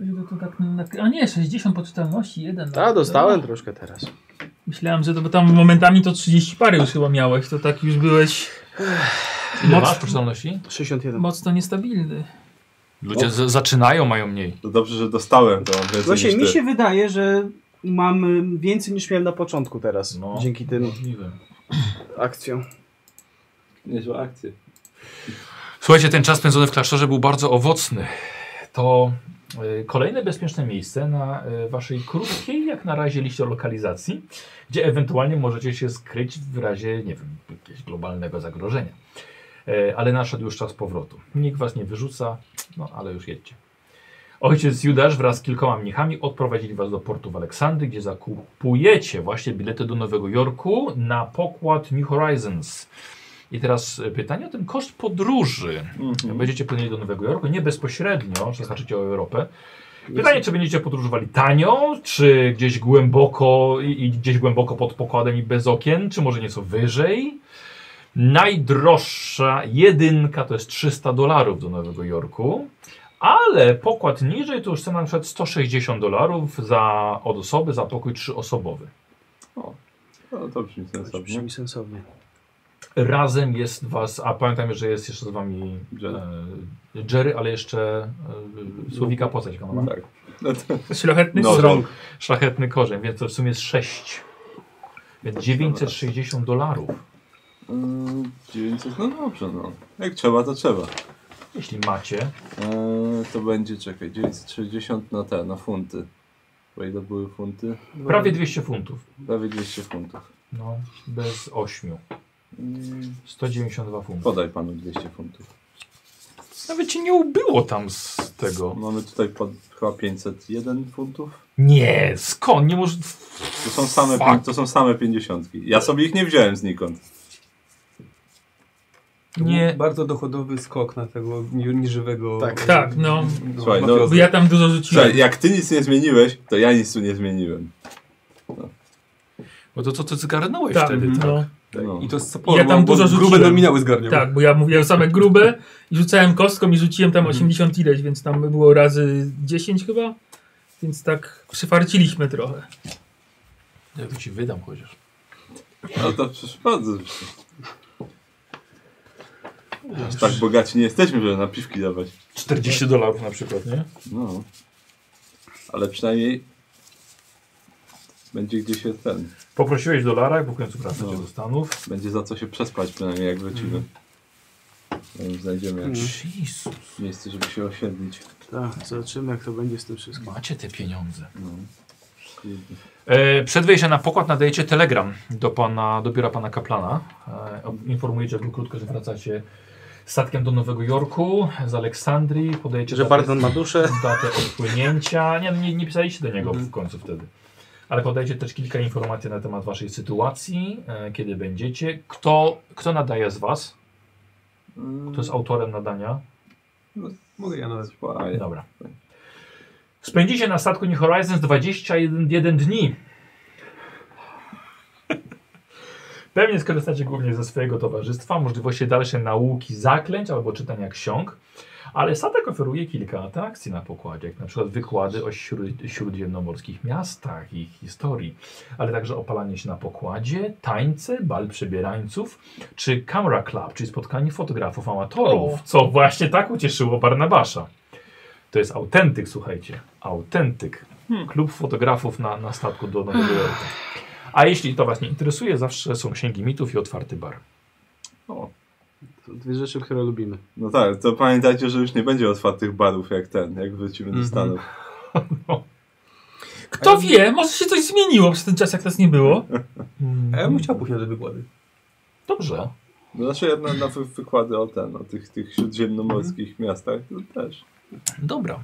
D: Żeby to tak na- A nie, 60 poczytalności, jeden.
B: Tak, dostałem troszkę teraz.
D: Myślałem, że to, bo tam momentami to 30 pary już chyba miałeś, to tak już byłeś
A: Ile
D: Moc-
A: masz poczytalności?
B: 61.
D: mocno niestabilny.
A: Ludzie z- zaczynają, mają mniej.
C: To dobrze, że dostałem to. więcej
B: Właśnie
C: niż
B: mi
C: ty.
B: No się wydaje, że mam y, więcej niż miałem na początku teraz.
A: No.
B: Dzięki tym
A: Możliwe.
B: akcjom.
C: Niezłe akcje.
A: Słuchajcie, ten czas spędzony w klasztorze był bardzo owocny. To y, kolejne bezpieczne miejsce na y, waszej krótkiej, jak na razie, liście lokalizacji, gdzie ewentualnie możecie się skryć w razie, nie wiem, jakiegoś globalnego zagrożenia. E, ale nadszedł już czas powrotu. Nikt was nie wyrzuca, no ale już jedźcie. Ojciec Judasz wraz z kilkoma mnichami odprowadzili was do portu w Aleksandrii, gdzie zakupujecie właśnie bilety do Nowego Jorku na pokład New Horizons. I teraz e, pytanie o ten koszt podróży.
C: Mhm.
A: Będziecie płynęli do Nowego Jorku, nie bezpośrednio, że znaczycie o Europę. Pytanie, czy będziecie podróżowali tanio, czy gdzieś głęboko i, i gdzieś głęboko pod pokładem i bez okien, czy może nieco wyżej. Najdroższa jedynka to jest 300 dolarów do Nowego Jorku, ale pokład niżej to już cena na przykład 160 dolarów za, od osoby za pokój trzyosobowy.
C: No to brzmi sensownie.
B: Brzmi sensownie.
A: Razem jest was, a pamiętam, że jest jeszcze z wami
C: Jerry.
A: e, Jerry ale jeszcze e, Słowika postać jaka ma.
C: Tak. No to,
D: Szlachetny
C: No,
D: no,
C: Wzrąg.
A: Szlachetny korzeń, więc to w sumie jest 6. Więc 960 dolarów.
C: yy, 900, no dobrze, no. Jak trzeba, to trzeba.
A: Jeśli macie,
C: Yy, to będzie, czekaj, 960 na te, na funty. Bo ile były funty?
A: prawie 200 funtów.
C: Prawie 200 funtów.
A: No, bez 8.
C: Mm,
A: 192 funtów.
C: Podaj panu 200 funtów.
A: Nawet ci nie ubyło tam z tego.
C: Mamy tutaj pod, chyba 501 funtów.
A: Nie, skąd? Nie może.
C: To są same,
A: Fuck.
C: pię- to są same 50. Ja sobie ich nie wziąłem znikąd.
G: To był
A: Nie.
G: Bardzo dochodowy skok na tego ni- nieżywego...
B: Tak.
D: Tak, no.
C: Słuchaj, no-
G: mafiozę.
D: Bo ja tam dużo rzuciłem.
C: Słuchaj, jak ty nic nie zmieniłeś, to ja nic tu nie zmieniłem.
A: Bo to co ty zgarnąłeś
D: tak,
A: wtedy, tak?
D: no.
C: No.
G: I to z Sapporo,
D: Ja tam
G: bo
D: dużo
G: grube
D: rzuciłem.
G: nominały zgarniał.
D: tak, bo ja mówiłem same grube i rzucałem kostką i rzuciłem
A: Mhm.
D: tam 80 ileś, więc tam było razy 10 chyba. Więc tak przyfarciliśmy trochę.
A: Ja to ci wydam chociaż.
C: No to przecież bardzo. Aż tak bogaci nie jesteśmy, żeby na piwki dawać.
A: 40 dolarów na przykład, nie?
C: No. Ale przynajmniej będzie gdzie się ten.
A: Poprosiłeś dolara, po końcu wracacie
C: No.
A: do Stanów.
C: Będzie za co się przespać przynajmniej jak wrócimy. Zanim Znajdziemy jakieś
A: Jezus,
C: miejsce, żeby się osiedlić.
B: Tak, zobaczymy jak to będzie z tym wszystkim.
A: macie te pieniądze.
C: No.
A: E, Przed wejściem na pokład nadajecie telegram do, pana, do biura pana kaplana. E, ob- Informujecie go krótko, że wracacie statkiem do Nowego Jorku z Aleksandrii. Podajecie
B: Że
A: datę-
B: Bardon ma duszę.
A: datę odpłynięcia. Nie, nie, nie pisaliście do niego w końcu wtedy. Ale podajcie też kilka informacji na temat waszej sytuacji, e, kiedy będziecie. Kto, kto nadaje z was? Kto jest autorem nadania?
G: Mogę ja nawet.
A: Dobra. Spędzicie na statku New Horizons 21 dni. Pewnie skorzystacie głównie ze swojego towarzystwa, możliwości dalszej nauki zaklęć albo czytania ksiąg, ale statek oferuje kilka atrakcji na pokładzie, jak na przykład wykłady o śród, śródziemnomorskich miastach i ich historii, ale także opalanie się na pokładzie, tańce, bal przebierańców, czy Camera Club, czyli spotkanie fotografów amatorów,
E: O.
A: co właśnie tak ucieszyło Barnabasza. To jest autentyk, słuchajcie. Autentyk.
E: Hmm.
A: Klub fotografów na, na statku do Nowego Jorku. A jeśli to Was nie interesuje, zawsze są księgi mitów i otwarty bar.
B: To dwie rzeczy, które lubimy.
C: No tak, to pamiętajcie, że już nie będzie otwartych barów jak ten, jak wrócimy do
B: Mhm.
C: Stanów.
E: Kto wie, może się coś zmieniło przez ten czas, jak nas nie było.
H: A ja bym chciał pójść na te wykłady.
A: Dobrze.
C: No znaczy ja na, na wy- wykłady o ten, o tych, tych śródziemnomorskich
E: Mhm.
C: miastach, to też.
A: Dobra.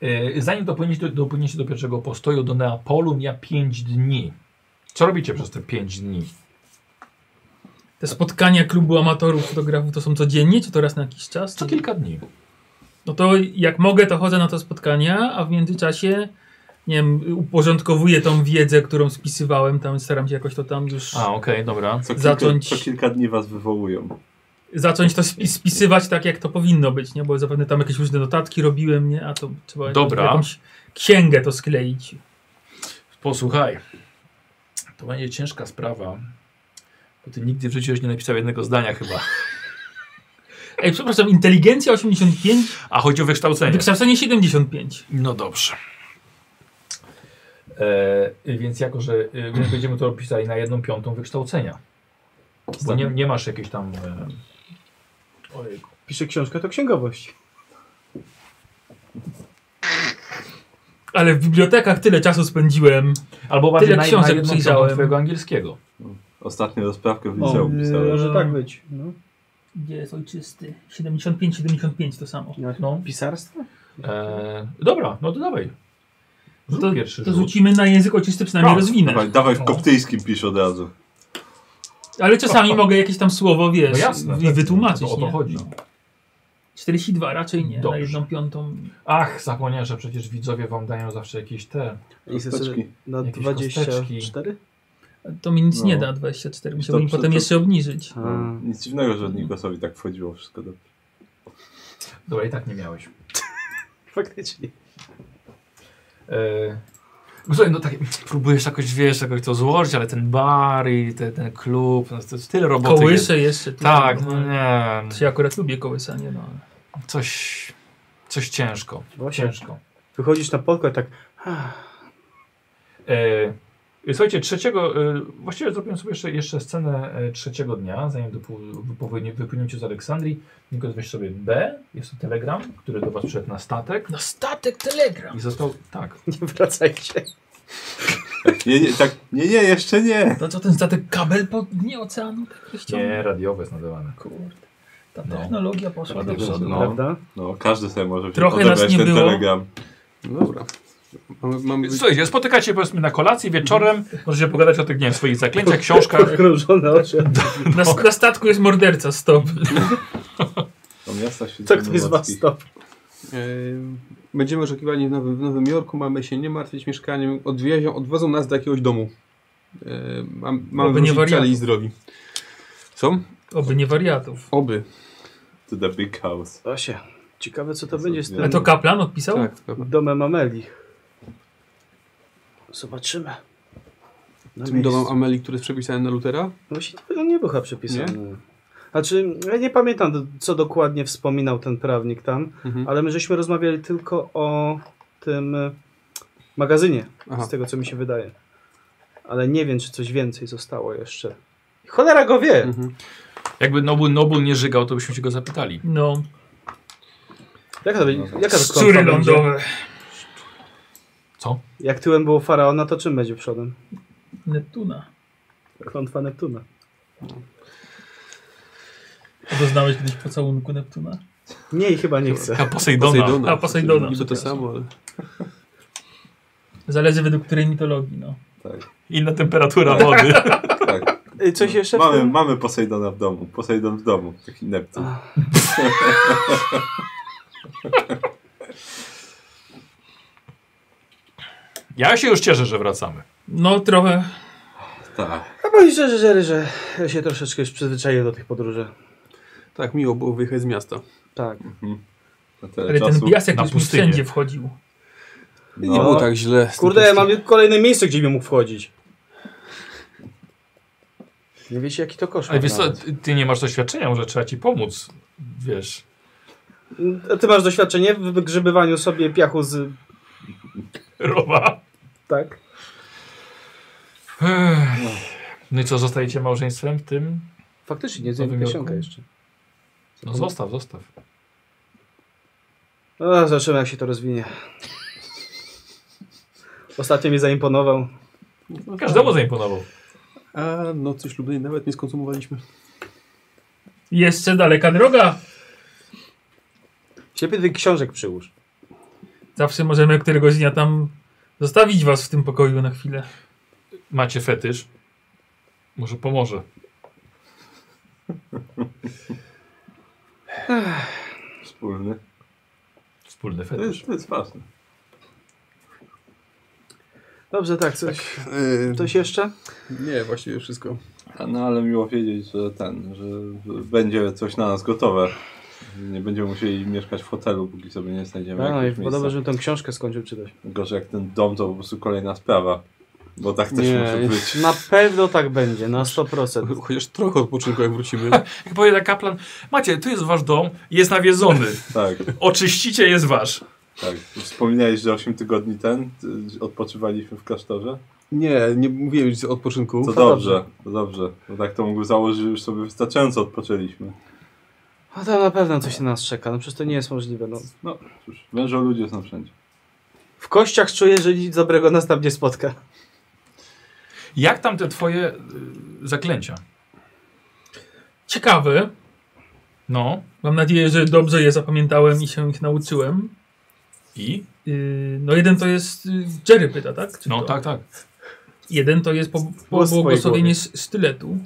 A: E, Zanim dopłyniecie do, dopłyniecie do pierwszego postoju do Neapolu, mija 5 dni. Co robicie przez te 5 dni?
E: Te spotkania klubu amatorów fotografów to są codziennie, czy to raz na jakiś czas?
A: Co kilka dni.
E: No to jak mogę, to chodzę na te spotkania, a w międzyczasie, nie wiem, uporządkowuję tą wiedzę, którą spisywałem, tam staram się jakoś to tam już
A: A, okej, dobra.
C: Co kilka,
E: Zacząć-
C: co kilka dni was wywołują.
E: zacząć to spi- spisywać tak, jak to powinno być, nie? Bo zapewne tam jakieś różne notatki robiłem, nie? A to trzeba
A: Dobra.
E: jakąś księgę to skleić.
A: Posłuchaj. To będzie ciężka sprawa. Bo ty nigdy w życiu już nie napisał jednego zdania chyba.
E: Ej, przepraszam, inteligencja 85,
A: A chodzi o wykształcenie.
E: wykształcenie 75.
A: No dobrze. E, więc jako, że e, więc będziemy to robić tutaj na jedną piątą wykształcenia.
E: Tak.
A: Bo nie, nie masz jakiejś tam. E, ojejku.
B: Pisze książkę, to księgowość.
E: Ale w bibliotekach tyle czasu spędziłem.
A: Albo bardziej na, na
E: książek
A: jedną piątą
E: przyjrzałem.
A: twojego angielskiego.
C: Ostatnią rozprawkę w
B: O,
C: liceum pisałem.
B: może tak być. No.
E: Gdzie jest ojczysty? 75, 75 to samo.
A: No.
B: Pisarstwo?
A: E, dobra, no to dawaj. Zrób
E: To,
A: pierwszy
E: to
A: rzut.
E: rzucimy na język ojczysty, przynajmniej
A: O,
E: rozwinę.
C: Dawaj, dawaj w koptyjskim pisz od razu.
E: Ale czasami mogę jakieś tam słowo, wiesz,
A: No jasne.
E: i wytłumaczyć,
A: To o to
E: nie? No.
A: chodzi.
E: 42 raczej nie,
A: Dobrze.
E: na jedną piątą.
A: Ach, zapomniałem, że przecież widzowie wam dają zawsze jakieś te.
B: I sobie
C: Kosteczki.
B: na
A: Jakieś
B: 24?
E: To mi nic
C: No.
E: nie da, 24. Musiałbym
C: To-
E: im
C: to-
E: potem
C: to-
E: jeszcze obniżyć.
B: A,
C: No, Nic dziwnego, że Nikosowi tak wchodziło wszystko do...
A: Dobra, i tak nie miałeś.
B: faktycznie.
A: E, no Słuchaj, no tak, próbujesz jakoś, wiesz, jakoś to złożyć, ale ten bar i te, ten klub, no, to jest tyle roboty. jest.
E: Kołysze jeszcze. tu,
A: Tak,
E: no.
A: no nie,
E: To ja akurat lubię kołysanie, no. ale-
A: coś, coś ciężko,
B: Właśnie.
A: ciężko.
B: Wychodzisz na podkład tak. ah,
A: E, słuchajcie, trzeciego, e, właściwie zrobiłem sobie jeszcze, jeszcze scenę e, trzeciego dnia, zanim dopu- wypłynie- wypłyniecie z Aleksandrii. Nikos weź sobie B, jest to telegram, który do was przyszedł na statek.
E: No statek Telegram.
A: I został, tak,
B: Nie wracajcie.
C: Tak, nie, nie, tak, nie, nie, jeszcze nie!
E: To co ten statek kabel po dnie oceanu? tak wyściągnął?
A: nie, radiowe jest nadawane.
E: Kurde. Ta
A: No.
E: technologia poszła do
C: Radiowe,
E: przodu.
C: no.
B: Prawda?
C: No, każdy sobie może
E: Trochę nas
C: odebrać
E: nie
C: ten
E: było.
C: telegram.
G: Dobra. Mamy, mamy...
A: Słuchajcie, spotykacie powiedzmy na kolacji, wieczorem, możecie pogadać o tych, nie wiem, swoich zaklęciach,
E: Tak.
A: książkach.
B: Krążone oczy.
E: Na, na statku jest morderca, stop.
C: To No, miasta
B: Co ktoś z was stop?
G: Em, Yy, Będziemy oczekiwani w Nowym, w Nowym Jorku, mamy się nie martwić mieszkaniem, odwiezią, odwodzą nas do jakiegoś domu. Em, Mam, mamy
E: nie
G: wrócić
E: wariatów.
G: cali i zdrowi. Co?
E: Oby nie wariatów.
G: Oby.
C: To the big house.
B: Osie, ciekawe co to będzie z
C: A
E: A
B: tym
E: to Kaplan odpisał?
G: Tak, to prawda.
B: domem Ameli. Zobaczymy. No Na
G: Tym
B: miejscu.
G: domem Ameli, który jest przepisany na Lutera?
B: Właśnie to pewno nie był chyba przepisany. Znaczy, ja nie pamiętam, do- co dokładnie wspominał ten prawnik tam,
G: Mhm.
B: ale my żeśmy rozmawiali tylko o tym y, magazynie,
G: Aha.
B: z tego co mi się wydaje. Ale nie wiem, czy coś więcej zostało jeszcze. Cholera go wie!
G: Mhm.
A: Jakby Nobul, Nobul nie żygał, to byśmy się go zapytali.
E: No.
G: No
B: Jaka to, będzie- jaka to
E: Szczury
B: klątwa będzie?
E: lądowe.
A: Co?
B: Jak tyłem było faraona, to czym będzie przodem?
E: Neptuna.
B: Klątwa Neptuna.
E: Doznałeś kiedyś pocałunku Neptuna?
B: Nie, i chyba nie chcę.
A: Ta Posejdona.
E: A, Posejdona,
G: Niby to
E: przepraszam.
G: samo, ale...
E: Zależy według której mitologii, no.
C: Tak,
A: Inna temperatura wody.
C: tak.
B: Y,
G: No.
B: Coś jeszcze? w
C: Mamy,
B: tym?
C: mamy Posejdona w domu. Posejdon w domu. Taki Neptun.
A: Ja się już cieszę, że wracamy.
E: No trochę.
C: Tak.
B: A powiem szczerze, że, że ja się troszeczkę już przyzwyczaiłem do tych podróży.
G: Tak, miło było wyjechać z miasta.
B: Tak.
C: Na tyle
E: Ale ten
C: czasu.
E: piasek
A: na
E: już mi
A: pustynię.
E: wszędzie wchodził.
G: Nie
C: No,
G: było tak źle. z tym
B: Kurde, ja
G: testem.
B: mam kolejne miejsce, gdzie bym mógł wchodzić. Nie wiecie, jaki to koszmar.
A: Ale wiesz co,
B: nawet.
A: ty- ty nie masz doświadczenia, może trzeba ci pomóc. Wiesz.
B: A Ty masz doświadczenie w wygrzebywaniu sobie piachu z...
A: Rowa.
B: Tak?
A: No i co, zostajecie małżeństwem w tym?
B: Faktycznie, nie
A: Nowym
B: zjemy
A: Jorku?
B: piasionka jeszcze.
A: No zostaw, zostaw.
B: No, zobaczymy, jak się to rozwinie. Ostatnio mi zaimponował.
A: Każdemu zaimponował.
G: A nocy ślubnej nawet nie skonsumowaliśmy.
E: Jeszcze daleka droga.
B: Ciebie tych książek przyłóż.
E: Zawsze możemy któregoś dnia tam zostawić was w tym pokoju na chwilę.
A: Macie fetysz. Może pomoże.
C: wspólny.
A: Wspólny
C: To
A: fetysz.
C: jest, to jest ważne.
B: Dobrze, tak, coś,
G: Yy,
B: coś jeszcze?
G: Nie, właściwie wszystko.
C: A No ale miło wiedzieć, że ten, że będzie coś na nas gotowe. Nie będziemy musieli mieszkać w hotelu, póki sobie nie znajdziemy
B: No, i
C: jakiegoś miejsca.
B: podobno, żebym tą książkę skończył czytać.
C: Gorzej jak ten dom to po prostu kolejna sprawa. Bo tak też
G: Nie,
C: może być.
B: Na pewno tak będzie, na 100%.
G: Chociaż trochę odpoczynku jak wrócimy.
A: Jak powiada kaplan, macie, tu jest wasz dom, jest nawiedzony.
C: Tak,
A: Oczyścicie, jest wasz.
C: tak. Wspominałeś, że 8 tygodni ten y, odpoczywaliśmy w klasztorze?
G: Nie, nie mówiłem nic o odpoczynku.
C: To
B: to
C: dobrze, to dobrze. No tak to mógł założyć, że już sobie wystarczająco odpoczęliśmy.
B: A to na pewno coś na nas czeka, no przecież to nie jest możliwe. No.
C: No cóż, wężo ludzie są wszędzie.
B: W kościach czuję, że nic dobrego nas tam nie spotka.
A: Jak tam te twoje y, zaklęcia?
E: Ciekawe.
A: No
E: Mam nadzieję, że dobrze je zapamiętałem i się ich nauczyłem.
A: i?
E: Yy, no jeden to jest yy, Jerry pyta, tak? Czy
A: No
E: to?
A: tak, tak.
E: Jeden to jest po, po
B: Głos w twojej
E: błogosławienie
B: głowie.
E: s- sztyletu.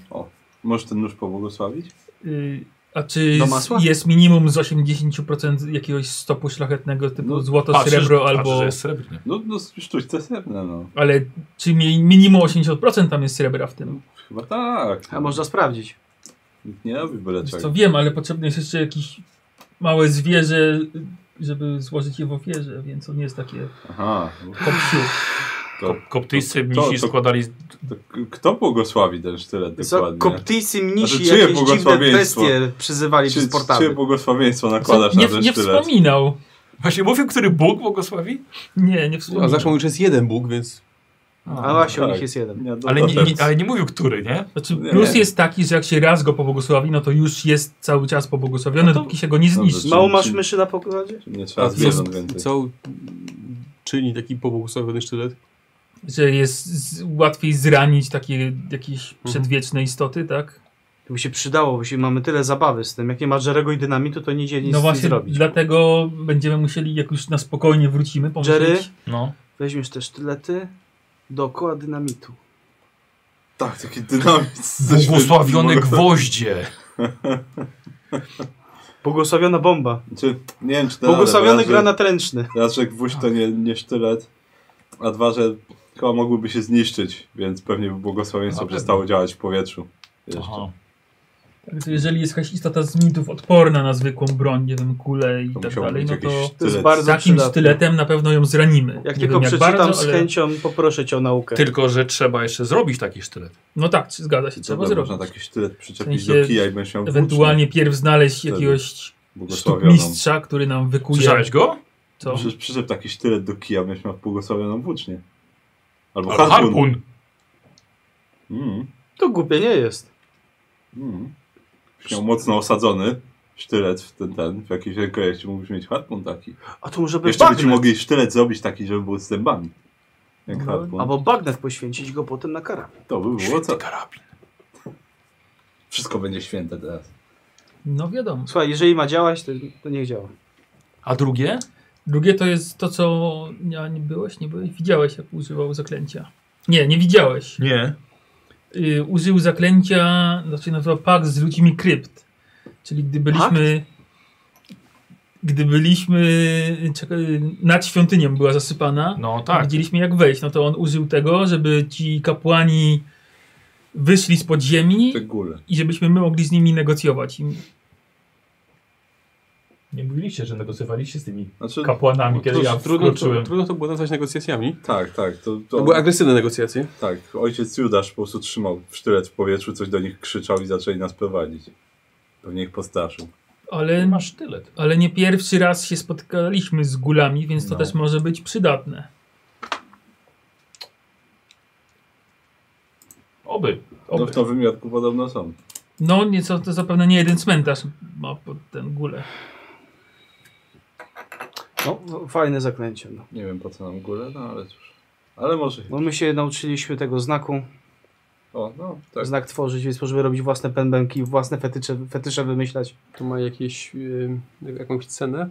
C: Możesz ten nóż pobłogosławić?
E: Yy, a czy
B: Do
E: z-
B: masła?
E: jest minimum z 80% jakiegoś stopu szlachetnego typu
C: No,
E: złoto,
A: Patrzysz-
E: srebro
A: patrzysz,
E: albo...
A: że jest srebrny.
C: No, no sztućce srebrne, no.
E: Ale czy mi- minimum 80% tam jest srebra w tym?
C: Chyba tak.
B: A można sprawdzić.
C: Nikt nie robi byle
E: Wiesz
C: czego.
E: Co wiem, ale potrzebne jest jeszcze jakieś małe zwierzę, y, żeby złożyć je w ofierze, więc on jest takie
C: Aha. no
E: popsiu.
C: To,
A: Ko- Koptyjscy
C: to- to-
A: mnisi
C: to-
A: składali...
C: to k- kto błogosławi ten sztylet
B: Co,
C: dokładnie?
B: koptyjcy mnisi
C: Znaczy, czyje
B: jakieś dziwne
C: błogosławieństwo?
B: bestie przyzywali
C: Czy,
B: przez portały.
C: czyje błogosławieństwo nakładasz
E: nie,
C: na ten
E: nie
C: sztylet?
E: wspominał.
A: Właśnie mówił, który Bóg błogosławi?
E: Nie, nie
G: A
E: wspominał.
G: zawsze już jest jeden Bóg, więc
B: A właśnie, u
C: tak.
B: nich jest jeden.
C: Nie, no
A: Ale
C: to
A: nie,
C: ten-
A: nie, ale nie mówił, który, nie?
E: Znaczy,
C: Nie.
E: plus jest taki, że jak się raz go pobłogosławi, no to już jest cały czas pobłogosławiony,
B: No to-
E: dopóki się go nie zniszczy.
C: Dobrze.
B: Mało masz myszy na pokładzie?
C: nie trzeba
G: A
C: zwierząt
G: co,
C: więcej.
G: co czyni taki pobłogosławiony sztylet?
E: Że jest z, łatwiej zranić takie jakieś przedwieczne istoty, tak?
B: To by się przydało, bo się mamy tyle zabawy z tym. Jak nie ma Jerego i dynamitu, to nie dzieje nic
E: No
B: z tym
E: właśnie,
B: zrobić.
E: dlatego będziemy musieli, jak już na spokojnie wrócimy, pomyśleć.
B: Jerry?
A: No.
B: Weźmiesz te sztylety dookoła dynamitu.
C: Tak, taki dynamit. ze
A: Błogosławione
C: świetnym-
A: gwoździe.
B: Błogosławiona bomba.
C: Czy, nie wiem, czy ten No,
B: Błogosławiony
C: ale
B: granat ręczny.
C: Raz, że gwóźdź to nie, nie sztylet, a dwa, że chyba mogłyby się zniszczyć, więc pewnie by błogosławieństwo
A: Na pewno.
C: przestało działać w powietrzu. Jeszcze.
A: Aha.
E: Także jeżeli jest jakaś istota z mitów odporna na zwykłą broń, nie wiem, kulę i
C: To
E: tak
C: musiałby
E: dalej,
C: być
E: no
C: jakiś
E: to
B: To jest
C: sztylet.
B: bardzo
E: takim
B: przydatne.
E: styletem na pewno ją zranimy.
B: Jak
E: nie
B: tylko
E: wiem, jak
B: przeczytam
E: bardzo,
B: z
E: ale-
B: chęcią, poproszę cię o naukę.
A: Tylko, że trzeba jeszcze zrobić taki sztylet.
E: No tak, czy- zgadza się,
C: To
E: trzeba
C: dobra,
E: zrobić.
C: Można tak taki sztylet przyczepić
E: W sensie
C: do kija i będziesz miał
E: Ewentualnie pierw znaleźć
C: Wtedy.
E: jakiegoś
C: błogosławioną.
E: mistrza, który nam wykuje.
A: Słyszałeś go?
E: Co?
C: Przecież przyczep taki sztylet do kija, będziesz miał błogosławioną włócznię. Albo
A: Albo
C: No, harpun. harpun.
A: harpun.
C: Mm,
B: To głupie nie jest.
C: mm. Byś Miał mocno osadzony sztylet w ten, ten w jakiejś rękojeści mógłbyś mieć harpun taki.
B: A to może by
C: Jeszcze by
B: bagnet.
C: ci mogli sztylet zrobić taki, żeby był z zębami. Jak harpun.
B: Albo bagnet poświęcić go potem na karę.
C: To by było
I: Świetny
C: No, co?
I: karabin.
C: Wszystko będzie święte teraz.
E: No wiadomo.
B: Słuchaj, jeżeli ma działać, to, to niech działa.
I: A drugie?
E: Drugie to jest to, co ja nie byłeś, nie byłeś. Widziałeś, jak używał zaklęcia. Nie, nie widziałeś.
I: Nie.
E: Y, użył zaklęcia, znaczy nazywa pakt z ludźmi krypt. Czyli gdy byliśmy. Gdy byliśmy. Czekaj, nad świątynią była zasypana.
I: No tak.
E: Widzieliśmy jak wejść. No to on użył tego, żeby ci kapłani wyszli z podziemi
C: Te góle.
E: i żebyśmy my mogli z nimi negocjować. I
A: Nie mówiliście, że negocjowaliście z tymi
C: Znaczy,
A: kapłanami, kiedy
G: Cóż,
A: ja
G: trudno, no, to,
A: wkroczyłem.
G: trudno to było nazwać negocjacjami.
C: tak, tak. To,
G: To
C: to,
G: były agresywne negocjacje.
C: tak, ojciec Judasz po prostu trzymał sztylet w powietrzu, coś do nich krzyczał i zaczęli nas prowadzić. Pewnie ich postraszył.
I: No
E: Ale,
A: Masz sztylet.
E: ale nie pierwszy raz się spotkaliśmy z gulami, więc to
C: No.
E: też może być przydatne.
A: Oby.
C: No
A: Oby.
C: w nowym Jorku podobno są.
E: No, nieco to zapewne nie jeden cmentarz ma pod ten gulę.
B: No, no, fajne zaklęcie. No.
C: Nie wiem po co nam góle, no ale cóż. Ale może.
B: no my się nauczyliśmy tego znaku,
C: O, no, tak.
B: znak tworzyć, więc możemy robić własne pębenki, własne fetycze, fetysze wymyślać.
G: To ma jakieś, yy, jakąś cenę.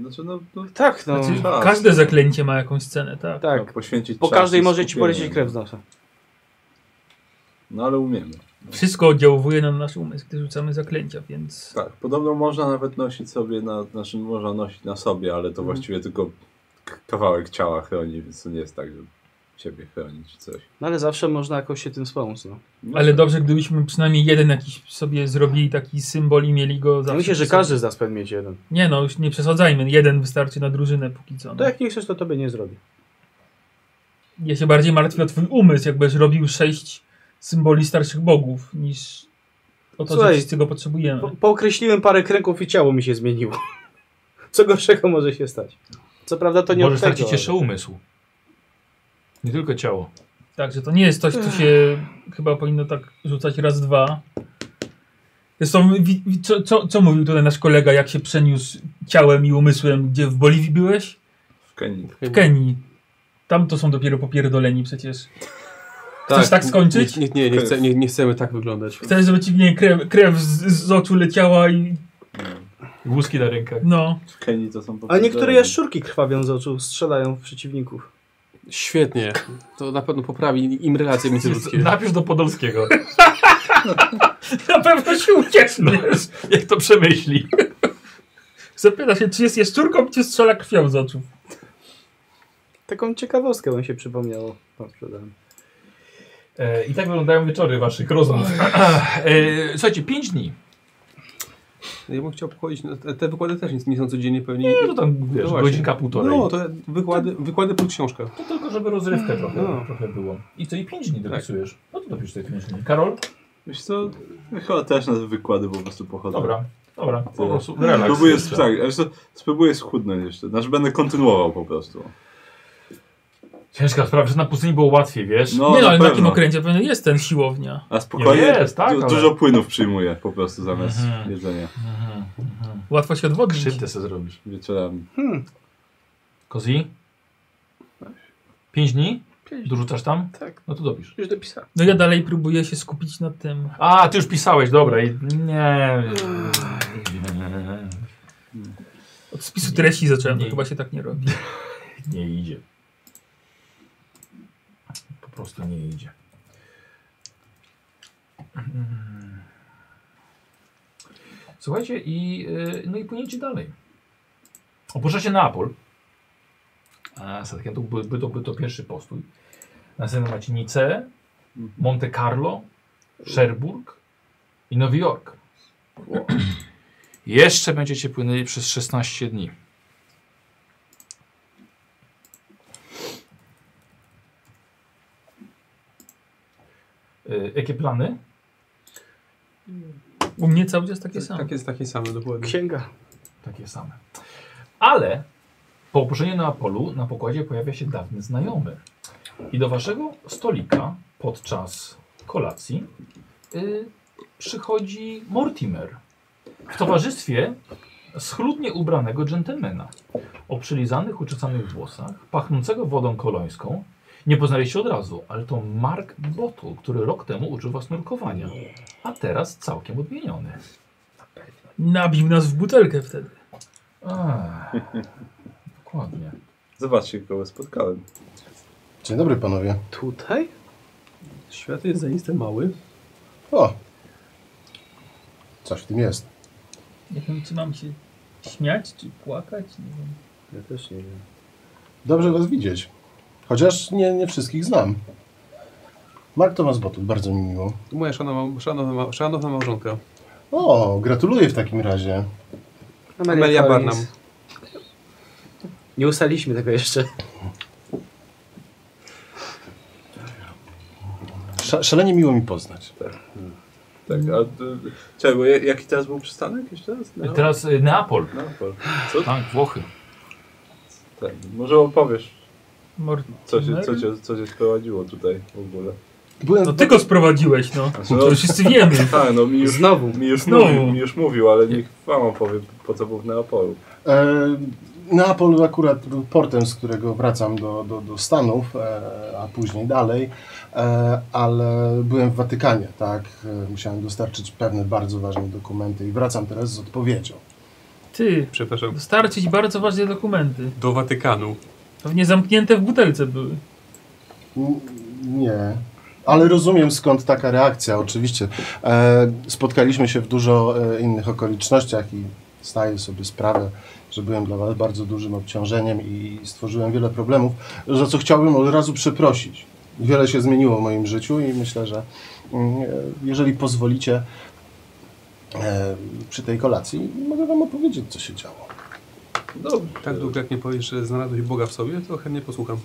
C: Znaczy, no, no
B: Tak, no.
C: Znaczy-
E: Czyli
C: tak.
E: Każde zaklęcie ma jakąś cenę, tak?
C: trzeba
B: Tak.
C: poświęcić
B: Po
C: czas
B: każdej
C: i
B: może ci
C: skupienie,
B: polecieć
C: no.
B: krew z nosa.
C: No ale umiemy.
E: Wszystko oddziałuje na nasz umysł, gdy rzucamy zaklęcia, więc
C: Tak, podobno można nawet nosić sobie na, znaczy można nosić na sobie, ale to
B: Mhm.
C: właściwie tylko k- kawałek ciała chroni, więc to nie jest tak, że siebie chroni czy coś.
B: No ale zawsze można jakoś się tym wspomóc. No.
C: No,
E: Ale dobrze, gdybyśmy przynajmniej jeden jakiś sobie zrobili taki symbol i mieli go
B: Ja
E: zawsze.
B: myślę, że
E: przy sobie.
B: każdy z nas powinien mieć jeden.
E: Nie no, już nie przesadzajmy. Jeden wystarczy na drużynę póki co.
B: To
E: No.
B: jak nie chcesz, to tobie nie zrobię.
E: Ja się bardziej martwię o twój umysł, jakbyś robił sześć symboli starszych bogów, niż o to,
B: Słuchaj,
E: że wszyscy go potrzebujemy.
B: Po, pookreśliłem parę kręgów i ciało mi się zmieniło. Co gorszego może się stać. Co prawda to nie
A: Możesz
B: od tego.
A: stracić jeszcze umysł. Nie tylko ciało.
E: Także to nie jest coś, co się chyba powinno tak rzucać raz, dwa. Zresztą, wi- wi- co, co, co mówił tutaj nasz kolega, jak się przeniósł ciałem i umysłem, gdzie w Boliwii byłeś?
C: w Kenii.
E: W Kenii. Tam to są dopiero popierdoleni przecież. Chcesz tak skończyć?
G: Nie, nie, nie, chce, nie, nie chcemy tak wyglądać.
E: Chcesz, żeby ci nie, krew, krew z, z oczu leciała i...
A: Głuski na rękach.
E: no.
C: W Kenii to są po
B: A
C: prostu-
B: niektóre jaszczurki krwawią z oczu, strzelają w przeciwników.
G: Świetnie. To na pewno poprawi im relacje międzyludzkie.
A: Napisz do Podolskiego.
E: Na pewno się ucieszmy.
A: Jak to przemyśli.
E: Zapyta się, czy jest jaszczurką, czy strzela krwią z oczu.
B: Taką ciekawostkę mi się przypomniało. O, sprzedałem.
A: E, I tak wyglądają wieczory waszych rozmów.
I: E, słuchajcie, 5 dni.
G: Ja bym chciał pochodzić. na- Te te wykłady też nie- nie są codziennie pewnie.
A: Nie, No to tam wiesz,
G: właśnie.
A: godzinka półtorej.
G: No, to wykłady, wykłady plus książka.
A: To tylko, żeby rozrywkę trochę,
B: No.
A: trochę było. I co, i 5 dni dopisujesz? No to dopisz te 5 dni. Karol?
C: Wiesz co, chyba też na te wykłady po prostu pochodzą.
A: Dobra, dobra. Po
C: Tyle.
A: prostu relaks.
C: Spróbuję,
A: jeszcze.
C: tak, wiesz co, spróbuję schudnąć jeszcze. Znaczy będę kontynuował po prostu.
A: Ciężka sprawa, że na pustyni było łatwiej, wiesz?
C: No,
E: nie no,
C: na
E: ale na
C: pewno.
E: tym okręcie pewnie jest ten siłownia.
C: A spokojnie,
A: Nie, jest, tak,
C: du-
A: ale-
C: dużo płynów przyjmuję po prostu zamiast
A: Mhm.
C: jedzenia
A: Mhm, mhm.
E: Łatwo się odwodnić.
A: Krzywdę sobie zrobisz.
C: wieczorami.
B: Hmm,
A: Kozi? 5 dni? Dorzucasz tam?
B: tak.
A: No to dopisz.
B: Już dopisałem.
E: No ja dalej próbuję się skupić na tym.
A: A, ty już pisałeś, dobra. I nie. nie,
E: Od spisu treści zacząłem, to
A: Nie.
E: chyba się tak nie robi.
A: Nie idzie. Po prostu nie idzie. Słuchajcie, i, y, no i płyniecie dalej. Opuszczacie Neapol. A, Satkiem, to by, by, to, by to pierwszy postój. Następnie macie Nicę, Monte Carlo, Cherbourg i Nowy Jork. Jeszcze będziecie płynęli przez 16 dni. Y, jakie plany?
E: U mnie cały czas takie samo.
G: Takie, takie same dokładnie.
B: Księga.
A: Takie same. Ale po opuszczeniu Neapolu na pokładzie pojawia się dawny znajomy. I do waszego stolika podczas kolacji y, przychodzi Mortimer w towarzystwie schludnie ubranego dżentelmena o przylizanych, uczesanych włosach, pachnącego wodą kolońską Nie poznaliście od razu, ale to Mark Bottle, który rok temu uczył was nurkowania, a teraz całkiem odmieniony.
E: Nabił nas w butelkę wtedy.
A: Ach, dokładnie.
C: Zobaczcie, kogo spotkałem.
J: Dzień dobry panowie.
B: Tutaj?
K: Świat jest zaiste mały.
J: O! Coś w tym jest.
E: Nie wiem, czy mam się śmiać, czy płakać. Nie wiem.
B: Ja też nie wiem.
J: Dobrze was widzieć. Chociaż nie, nie wszystkich znam. Mark Thomas Botut, bardzo mi miło.
G: To moja szanowna, szanowna, szanowna małżonka.
J: O, gratuluję w takim razie.
G: Amelia
B: Collins.
G: Barnum.
B: Nie ustaliśmy tego jeszcze.
K: No,
J: Sz szalenie miło mi poznać.
C: Tak, a d- czekaj, bo ja- jaki teraz był przystanek jeszcze raz? No,
A: Teraz y, Neapol.
C: Neapol. Co?
A: Tak, Włochy.
C: Tak, może opowiesz,
E: Mortimer?
C: co cię, co, cię, co cię sprowadziło tutaj w ogóle.
J: Byłem
E: No ty go sprowadziłeś, no.
C: co?
E: To już wszyscy wiemy.
C: Tak, no mi już,
B: Znowu.
C: mi już,
E: Znowu.
C: mówił, mi już mówił, ale niech wam opowie, po co był w Neapolu.
J: E, Neapol akurat był portem, z którego wracam do, do, do Stanów, e, a później dalej, e, ale byłem w Watykanie, tak? E, musiałem dostarczyć pewne bardzo ważne dokumenty i wracam teraz z odpowiedzią.
E: Ty,
G: Przepraszam.
E: dostarczyć bardzo ważne dokumenty.
G: Do Watykanu.
E: Pewnie zamknięte w butelce były.
J: N- Nie. Ale rozumiem skąd taka reakcja, oczywiście. E, spotkaliśmy się w dużo e, innych okolicznościach i zdaję sobie sprawę, że byłem dla Was bardzo dużym obciążeniem i stworzyłem wiele problemów, za co chciałbym od razu przeprosić. Wiele się zmieniło w moim życiu i myślę, że mm, e, jeżeli pozwolicie e, przy tej kolacji, mogę Wam opowiedzieć, co się działo.
C: Dobrze.
G: Tak długo jak nie powiesz, że znalazłeś Boga w sobie, to chętnie posłucham.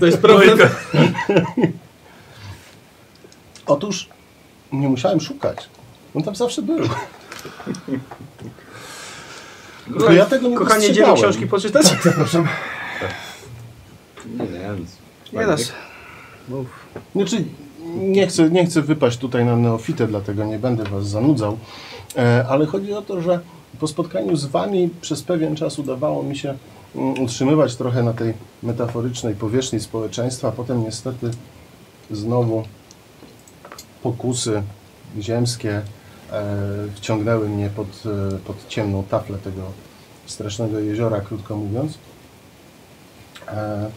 B: To jest problem.
J: Otóż nie musiałem szukać. On tam zawsze był. Tylko ja tego nie
B: No Kochanie, idziemy
J: dostrzegałem.
B: książki poczytać?
J: Przepraszam.
C: Nie, nie, nic.
B: Nie nas.
J: Znaczy, nie chcę, nie chcę wypaść tutaj na neofitę, dlatego nie będę was zanudzał, e, ale chodzi o to, że po spotkaniu z wami przez pewien czas udawało mi się mm, utrzymywać trochę na tej metaforycznej powierzchni społeczeństwa, a potem niestety znowu pokusy ziemskie e, wciągnęły mnie pod, e, pod ciemną taflę tego strasznego jeziora, krótko mówiąc. E,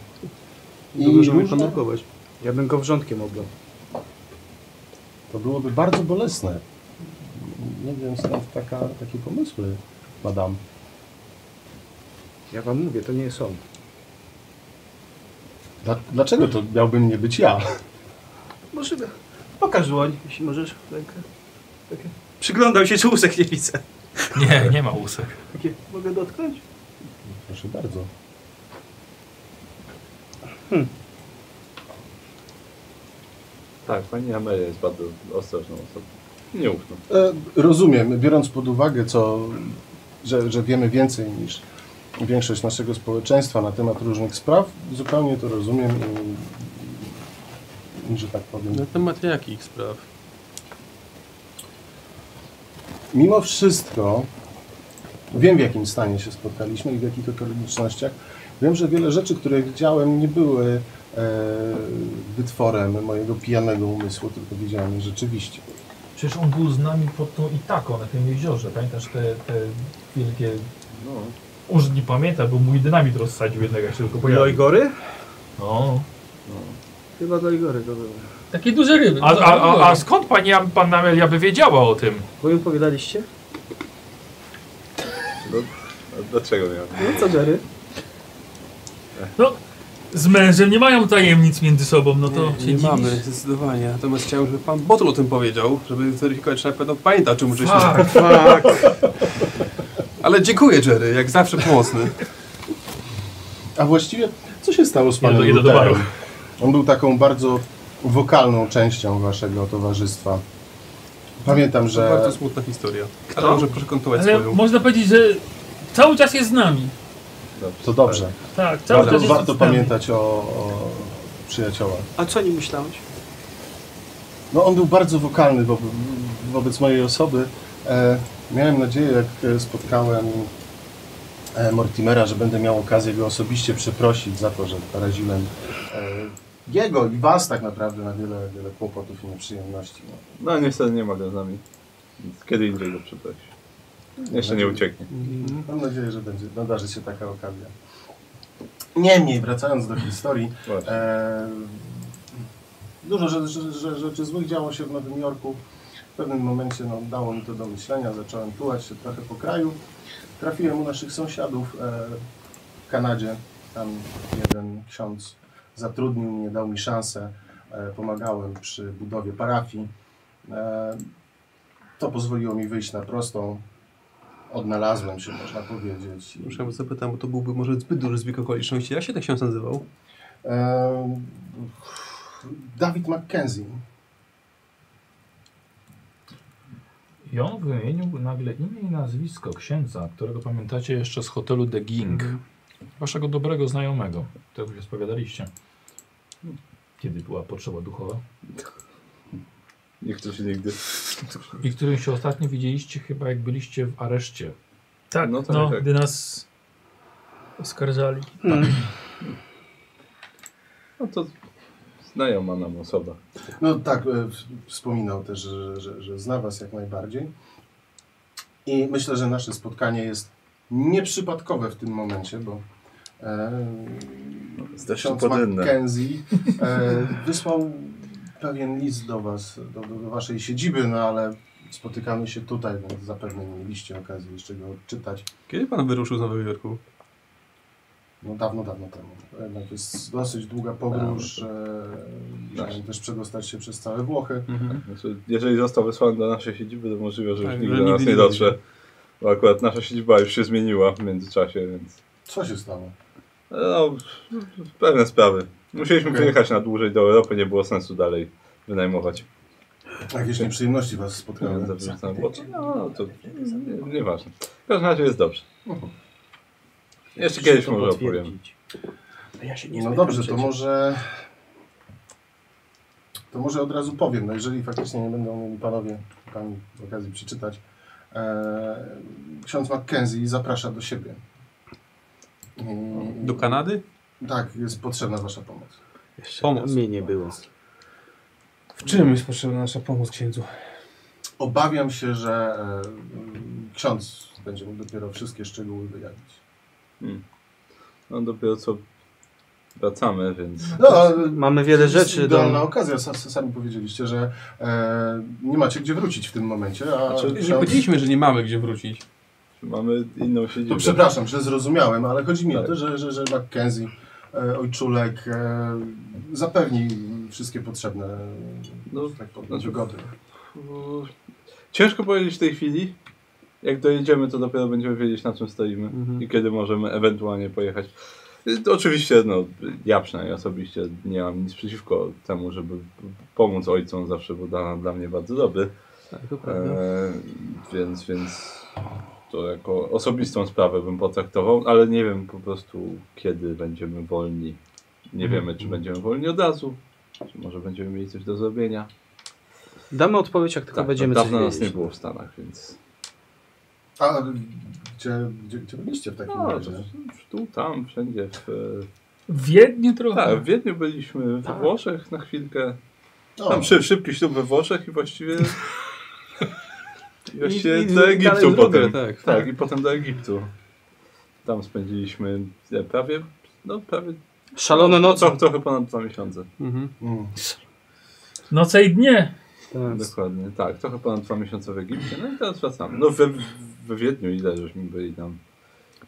J: i
G: Dobrze, że umiesz
J: różne-
G: pan nurkować.
B: Ja bym go wrzątkiem oblał.
J: To byłoby bardzo bolesne. Nie wiem skąd taka, takie pomysły, madam.
B: Ja wam mówię, to nie są.
J: Dla, dlaczego to miałbym nie być ja?
B: Może pokaż dłoń, jeśli możesz. Rękę. Takie. Przyglądam się, czy łusek nie widzę.
A: Nie, nie ma łusek.
B: Takie. Mogę dotknąć?
J: Proszę bardzo.
C: Tak, pani Amelia jest bardzo ostrożną osobą. Nie ufną.
J: E, rozumiem, biorąc pod uwagę, co, że, że wiemy więcej niż większość naszego społeczeństwa na temat różnych spraw, zupełnie to rozumiem i, i że tak powiem.
G: Na temat jakich spraw?
J: Mimo wszystko wiem, w jakim stanie się spotkaliśmy i w jakich okolicznościach. Wiem, że wiele rzeczy, które widziałem, nie były e, wytworem mojego pijanego umysłu, tylko widziałem je rzeczywiście.
A: Przecież on był z nami pod tą Itaką na tym jeziorze. Pamiętasz te, te wielkie...
C: No.
A: Już nie pamięta, bo mój dynamit rozsadził jednego, jak się tylko
B: Do
A: pojawił.
B: Igory?
A: No.
B: Chyba do Igory to było.
E: Takie duże ryby.
A: A, a, a, a skąd pani, Am- panna Amelia by wiedziała o tym?
B: Bo mi opowiadaliście?
C: No, a dlaczego miałem?
B: No co, Jerry?
E: Z mężem nie mają tajemnic między sobą, no to się
G: nie
E: dziwisz.
G: mamy, zdecydowanie. Natomiast chciałem, żeby pan Bottle o tym powiedział, żeby zweryfikować, na pewno pamięta, o czym żeśmy...
A: Tak.
G: Ale dziękuję, Jerry, jak zawsze pomocny.
J: A właściwie, co się stało z panem
A: do- nie do
J: Lutherem?
A: towaru.
J: On był taką bardzo wokalną częścią waszego towarzystwa. Pamiętam,
G: To bardzo
J: że
G: smutna historia. Ale może proszę kontynuować
E: Ale
G: swoją.
E: można powiedzieć, że cały czas jest z nami.
J: to dobrze.
E: Tak, cały
J: Warto,
E: czas jest
J: warto
E: z nami.
J: pamiętać o, o przyjaciołach.
B: A co nie myślałeś?
J: No on był bardzo wokalny wobec, wobec mojej osoby. E, miałem nadzieję, jak e, spotkałem e, Mortimera, że będę miał okazję go osobiście przeprosić za to, że naraziłem e, jego i was tak naprawdę na wiele, wiele kłopotów i nieprzyjemności. No.
C: No niestety nie mogę z nami. Więc Kiedy indziej go przeprosić. Jeszcze nie ucieknie.
J: Mam nadzieję, że będzie, nadarzy się taka okazja. Niemniej, wracając do historii,
C: Właśnie.
J: e, dużo rzeczy, rzeczy, rzeczy złych działo się w Nowym Jorku. W pewnym momencie no, dało mi to do myślenia, zacząłem tułać się trochę po kraju. Trafiłem u naszych sąsiadów e, w Kanadzie. Tam jeden ksiądz zatrudnił mnie, dał mi szansę. E, pomagałem przy budowie parafii. E, to pozwoliło mi wyjść na prostą. Odnalazłem się, można powiedzieć. I-
G: Muszę zapytam, bo to byłby może zbyt duży zbieg okoliczności. Jak się ten ksiądz nazywał?
J: Ehm, Dawid McKenzie.
E: I on wymienił nagle imię i nazwisko księdza, którego pamiętacie jeszcze z hotelu The Ging.
A: Mhm.
E: Waszego dobrego znajomego, którego się spowiadaliście. Kiedy była potrzeba duchowa.
C: Niektórzy nigdy.
E: I którym się ostatnio widzieliście chyba jak byliście w areszcie.
D: Tak,
C: No
D: no,
C: tak, tak.
D: gdy nas oskarżali.
C: No to znajoma nam osoba.
J: No tak, e, w- wspominał też, że, że, że zna was jak najbardziej. I myślę, że nasze spotkanie jest nieprzypadkowe w tym momencie, bo e,
C: Zresztą
J: ksiądz
C: podenne.
J: McKenzie e, wysłał pewien list do was, do, do, do waszej siedziby, no ale spotykamy się tutaj, więc zapewne nie mieliście okazji jeszcze go odczytać.
G: Kiedy pan wyruszył z Nowego Jorku?
J: No dawno, dawno temu. Jednak jest dosyć długa podróż. E, musiałem też przedostać się przez całe Włochy.
C: Znaczy, jeżeli został wysłany do naszej siedziby, to możliwe, że już
G: Tak,
C: nigdy
G: że
C: do nas
G: nigdy
C: nie
G: nie
C: dotrze.
G: będzie.
C: Bo akurat nasza siedziba już się zmieniła w międzyczasie, więc...
J: Co się stało?
C: No, pewne sprawy. Musieliśmy
J: Okej.
C: wyjechać na dłużej do Europy, nie było sensu dalej wynajmować.
J: Jakieś nieprzyjemności was
C: No,
J: spotkały.
C: dobrze, że tam było. No, to nie- nieważne. W każdym razie jest dobrze. Jeszcze kiedyś może opowiem.
J: No dobrze, to może... To może od razu powiem, no jeżeli faktycznie nie będą mieli panowie pani okazji przeczytać. E, ksiądz Mackenzie zaprasza do siebie. I-
G: Do Kanady?
J: Tak, jest potrzebna wasza pomoc.
G: Pomoc.
B: Mnie nie było.
F: W czym jest potrzebna nasza pomoc księdzu?
J: Obawiam się, że e, mm, ksiądz będzie mógł dopiero wszystkie szczegóły wyjawić.
C: No dopiero co wracamy, więc...
J: No, ale
B: Mamy wiele
J: To jest
B: rzeczy
J: Idealna
B: do...
J: okazja, Sa- sa- sami powiedzieliście, że e, nie macie gdzie wrócić w tym momencie, a
C: Znaczy,
G: Nie powiedzieliśmy, że nie mamy gdzie wrócić.
C: Mamy inną siedzibę.
J: to No przepraszam, że zrozumiałem, ale chodzi mi o
C: Tak.
J: to, że, że, że Mackenzie, e, ojczulek e, zapewni wszystkie potrzebne
C: No,
J: tak powiem,
C: znaczy-
J: wygody.
C: Ciężko powiedzieć w tej chwili. Jak dojedziemy, to dopiero będziemy wiedzieć, na czym stoimy
G: Mhm.
C: i kiedy możemy ewentualnie pojechać. Y, To oczywiście, no, ja przynajmniej osobiście nie mam nic przeciwko temu, żeby p- pomóc ojcom. Zawsze był dla, dla mnie bardzo dobry.
G: Tak, to prawda.
C: E, więc, więc to jako osobistą sprawę bym potraktował, ale nie wiem po prostu, kiedy będziemy wolni. Nie wiemy, czy będziemy wolni od razu, czy może będziemy mieli coś do zrobienia.
B: Damy odpowiedź, jak tylko
C: Tak,
B: będziemy coś
C: dawno nas
B: wiedzieć.
C: nie było w Stanach, więc...
J: A gdzie, gdzie, gdzie byliście w takim
C: No,
J: razie?
C: to tu, tam, wszędzie. W,
D: W Wiedniu trochę.
C: tak, w Wiedniu byliśmy, we Włoszech na chwilkę.
J: O,
C: Tam szy, szybki ślub we Włoszech i właściwie... I właściwie
G: I- i
C: do
G: dalej
C: Egiptu
G: w drogę,
C: potem.
G: Tak,
C: Tak, i potem do Egiptu. Tam spędziliśmy e, prawie, no prawie, no,
B: Szalone
C: co,
B: nocą.
C: trochę ponad dwa miesiące.
G: Mhm.
J: mm.
D: Noce i dnie.
B: Tak.
C: Dokładnie, tak, trochę ponad dwa miesiące w Egipcie, no i teraz wracamy. No we, we Wiedniu ile żeśmy byli tam?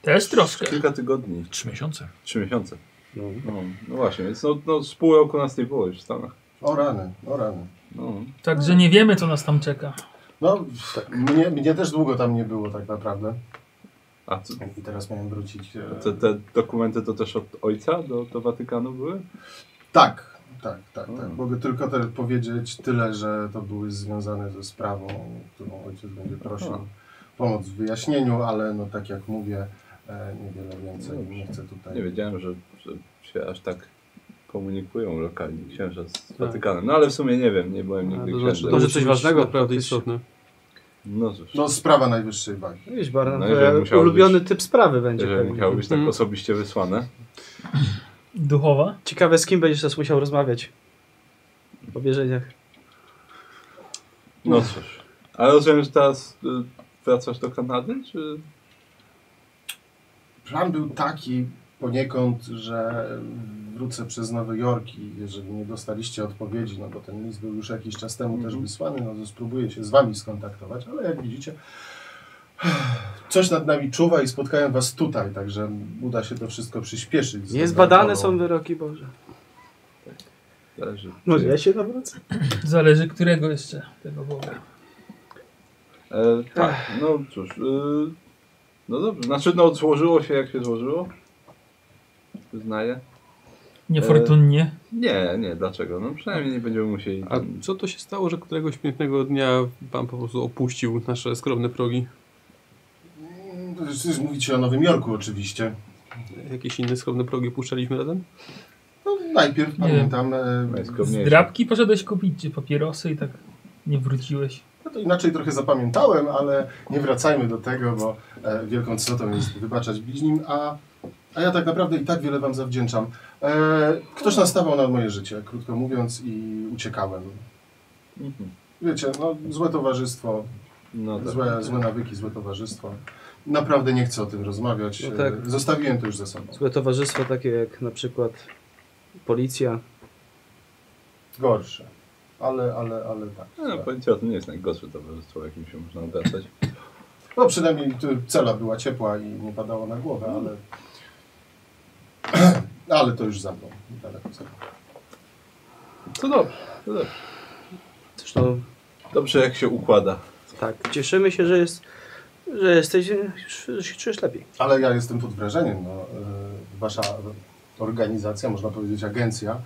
D: Też troszkę.
C: Kilka tygodni,
E: Trzy miesiące.
C: trzy miesiące.
B: No.
C: No, no właśnie, więc no, no z pół roku nas nie było już w Stanach.
J: o rany, o rany.
C: No,
D: Także nie wiemy, co nas tam czeka.
J: No,
C: Tak.
J: mnie, mnie też długo tam nie było tak naprawdę.
C: a co,
J: I teraz miałem wrócić. e,
C: te, te dokumenty to też od ojca do, do Watykanu były?
J: Tak, tak, tak, tak.
C: Mm.
J: Mogę tylko teraz powiedzieć tyle, że to były związane ze sprawą, którą ojciec będzie prosił
C: Aha.
J: pomoc w wyjaśnieniu, ale no tak jak mówię, e, niewiele więcej
C: Dobrze.
J: nie chcę tutaj.
C: Nie wiedziałem, że, że się aż tak komunikują lokalni księża z Watykanem. No ale w sumie nie wiem, nie byłem
G: A,
C: nigdy
G: to
C: księżem.
G: znaczy,
D: Może coś
G: musi być
D: ważnego?
G: Naprawdę istotne.
C: No cóż.
J: No sprawa najwyższej wagi.
B: Wiesz, Barna,
C: No,
B: twoja
C: jeżeli musiałbyś-
B: ulubiony typ sprawy będzie
C: Jeżeli
B: pewnie.
C: musiało być tak
G: Mhm.
C: osobiście wysłane.
D: Duchowa?
B: Ciekawe, z kim będziesz teraz musiał rozmawiać. O wierzeniach.
C: No cóż. Ale rozumiem, że teraz y, wracasz do Kanady, czy...
J: Plan był taki poniekąd, że wrócę przez Nowy Jork i jeżeli nie dostaliście odpowiedzi, no bo ten list był już jakiś czas temu też wysłany, no to spróbuję się z wami skontaktować, ale jak widzicie, coś nad nami czuwa i spotkają was tutaj, także uda się to wszystko przyspieszyć.
B: Niezbadane są wyroki Boże.
C: Zależy.
B: Może ja się nawrócę?
D: Zależy którego jeszcze tego Boga.
C: E, tak, no cóż. Y, no dobrze, znaczy no złożyło się jak się złożyło. Przyznaję.
D: Niefortunnie.
C: Nie, nie, dlaczego? No przynajmniej nie będziemy musieli...
G: A
C: tam-
G: co to się stało, że któregoś pięknego dnia pan po prostu opuścił nasze skromne progi?
J: No, Mówicie o Nowym Jorku oczywiście.
G: Jakieś inne skromne progi opuszczaliśmy razem?
J: No, najpierw
D: Nie.
J: pamiętam, e,
C: najskromniejsze.
D: Z drabki poszedłeś kupić czy papierosy i tak nie wróciłeś.
J: No to inaczej trochę zapamiętałem, ale nie wracajmy do tego, bo e, wielką cnotą jest wybaczać bliźnim, a, a ja tak naprawdę i tak wiele wam zawdzięczam. E, ktoś nastawał na moje życie, krótko mówiąc, i uciekałem.
C: Mhm.
J: Wiecie, no, złe towarzystwo,
C: No tak.
J: złe, złe nawyki, złe towarzystwo. Naprawdę nie chcę o tym rozmawiać.
B: No tak.
J: E, zostawiłem to już za sobą.
B: Złe towarzystwo takie jak na przykład policja.
J: Gorsze. Ale, ale, ale tak.
C: No, policja to nie jest najgorsze towarzystwo, jakim się można obracać.
J: No przynajmniej tu cela była ciepła i nie padało na głowę, ale... Ale to już za mną. Daleko za mną.
C: To dobrze, to dobrze.
B: Zresztą
C: Dobrze jak się układa.
B: tak, cieszymy się, że jest, że jesteś, już, że się czujesz lepiej.
J: Ale ja jestem pod wrażeniem. No, e, wasza organizacja, można powiedzieć agencja,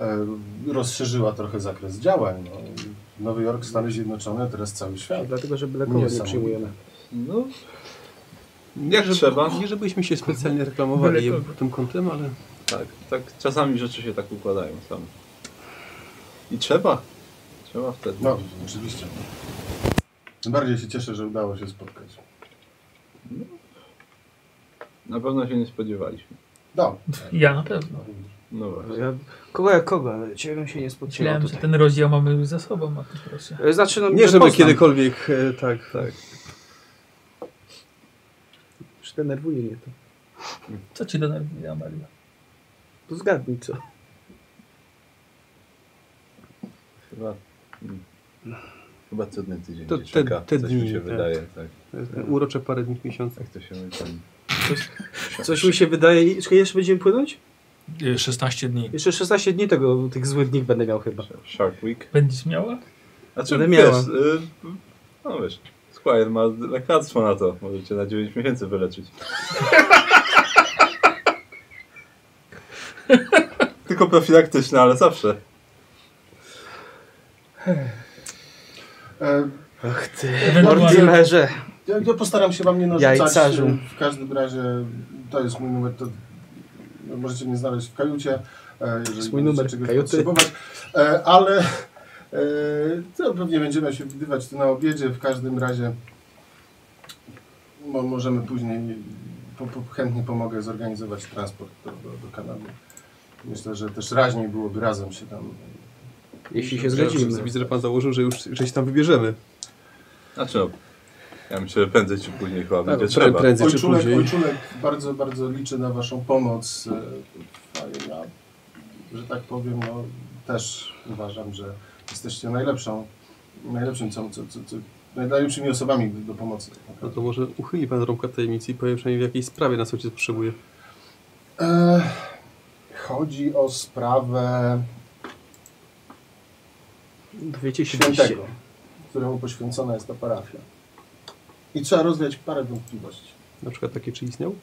J: e, rozszerzyła trochę zakres działań. No, Nowy Jork, Stany Zjednoczone, teraz cały
D: Tak.
J: świat.
B: Dlatego, że byle kogo nie
J: Niesamowite.
B: przyjmujemy.
C: No. Jak trzeba.
G: Nie, żebyśmy się specjalnie reklamowali
D: Byle kogo.
G: pod tym kątem, ale
C: Tak, tak. Czasami rzeczy się tak układają same. I trzeba. Trzeba wtedy.
J: No, oczywiście. Tym bardziej się cieszę, że udało się spotkać.
C: Na pewno się nie spodziewaliśmy.
J: No,
D: Ja na pewno.
C: No właśnie.
B: Ja, kogo jak kogo, ale ciebie bym się nie spodziewał
D: Myślałem, że
B: tutaj.
D: ten rozdział mamy już za sobą, a tu proszę.
B: E, Znaczy, no,
G: nie żeby
B: Poznań.
G: kiedykolwiek, e, tak, tak.
B: Już denerwuje mnie to.
D: Co ci denerwuje, Amalia?
B: To zgadnij co.
C: Chyba, mm. Chyba cudny tydzień.
G: To
C: mnie
G: te-
C: czeka.
G: te
C: Coś mi
G: dni,
C: się
G: tak.
C: wydaje, tak.
G: Urocze parę dni w miesiącu.
C: Jak to się mówi tam.
B: Coś mi się wydaje. i- Czekaj, jeszcze będziemy płynąć?
A: E,
E: Y, 16 dni.
B: Jeszcze 16 dni tego, tych złych dni będę miał chyba.
C: Shark Week.
D: Będziesz miała?
C: Znaczy,
B: Ale
C: wiesz,
B: miała.
C: y, no wiesz, Squire ma lekarstwo na to. Możecie na 9 miesięcy wyleczyć. Tylko profilaktyczne, ale zawsze.
J: e,
B: Ach ty.
D: Ewentualnie.
B: Mortimerze.
J: ja, ja postaram się wam nie narzucać.
B: Jajcarzu.
J: e, W każdym razie to jest mój numer, to no, możecie mnie znaleźć w kajucie. e, Jeżeli
B: Jest mój
J: będziecie
B: numer
J: czegoś
B: kajuty.
J: potrzebować. E, Ale e, to pewnie będziemy się widywać tu na obiedzie. W każdym razie mo- możemy później, po, po, chętnie pomogę zorganizować transport do, do, do Kanady. Myślę, że też raźniej byłoby razem się tam.
B: Tak, Jeśli się
G: Ja
B: zgodzimy.
G: już Widzę, że pan założył, że już że się tam wybierzemy.
C: Znaczy, no, ja myślę, że prędzej czy później chyba będzie
G: prę-
C: trzeba.
G: prędzej czy
J: Ojczulek,
G: później.
J: ojczulek bardzo, bardzo liczy na Waszą pomoc. e, a Ja, że tak powiem, no, też uważam, że jesteście najlepszą, najlepszym, co, co, co, co, najlepszymi osobami do, do pomocy. tak
G: No
J: naprawdę.
G: to może uchyli pan rąbka tajemnicy i powie przynajmniej w jakiej sprawie nas ojciec potrzebuje.
J: E, chodzi o sprawę
B: Dowiecie się
J: świętego,
B: dzisiaj.
J: któremu poświęcona jest ta parafia. I trzeba rozwiać parę wątpliwości.
G: Na przykład takie, czy istniał?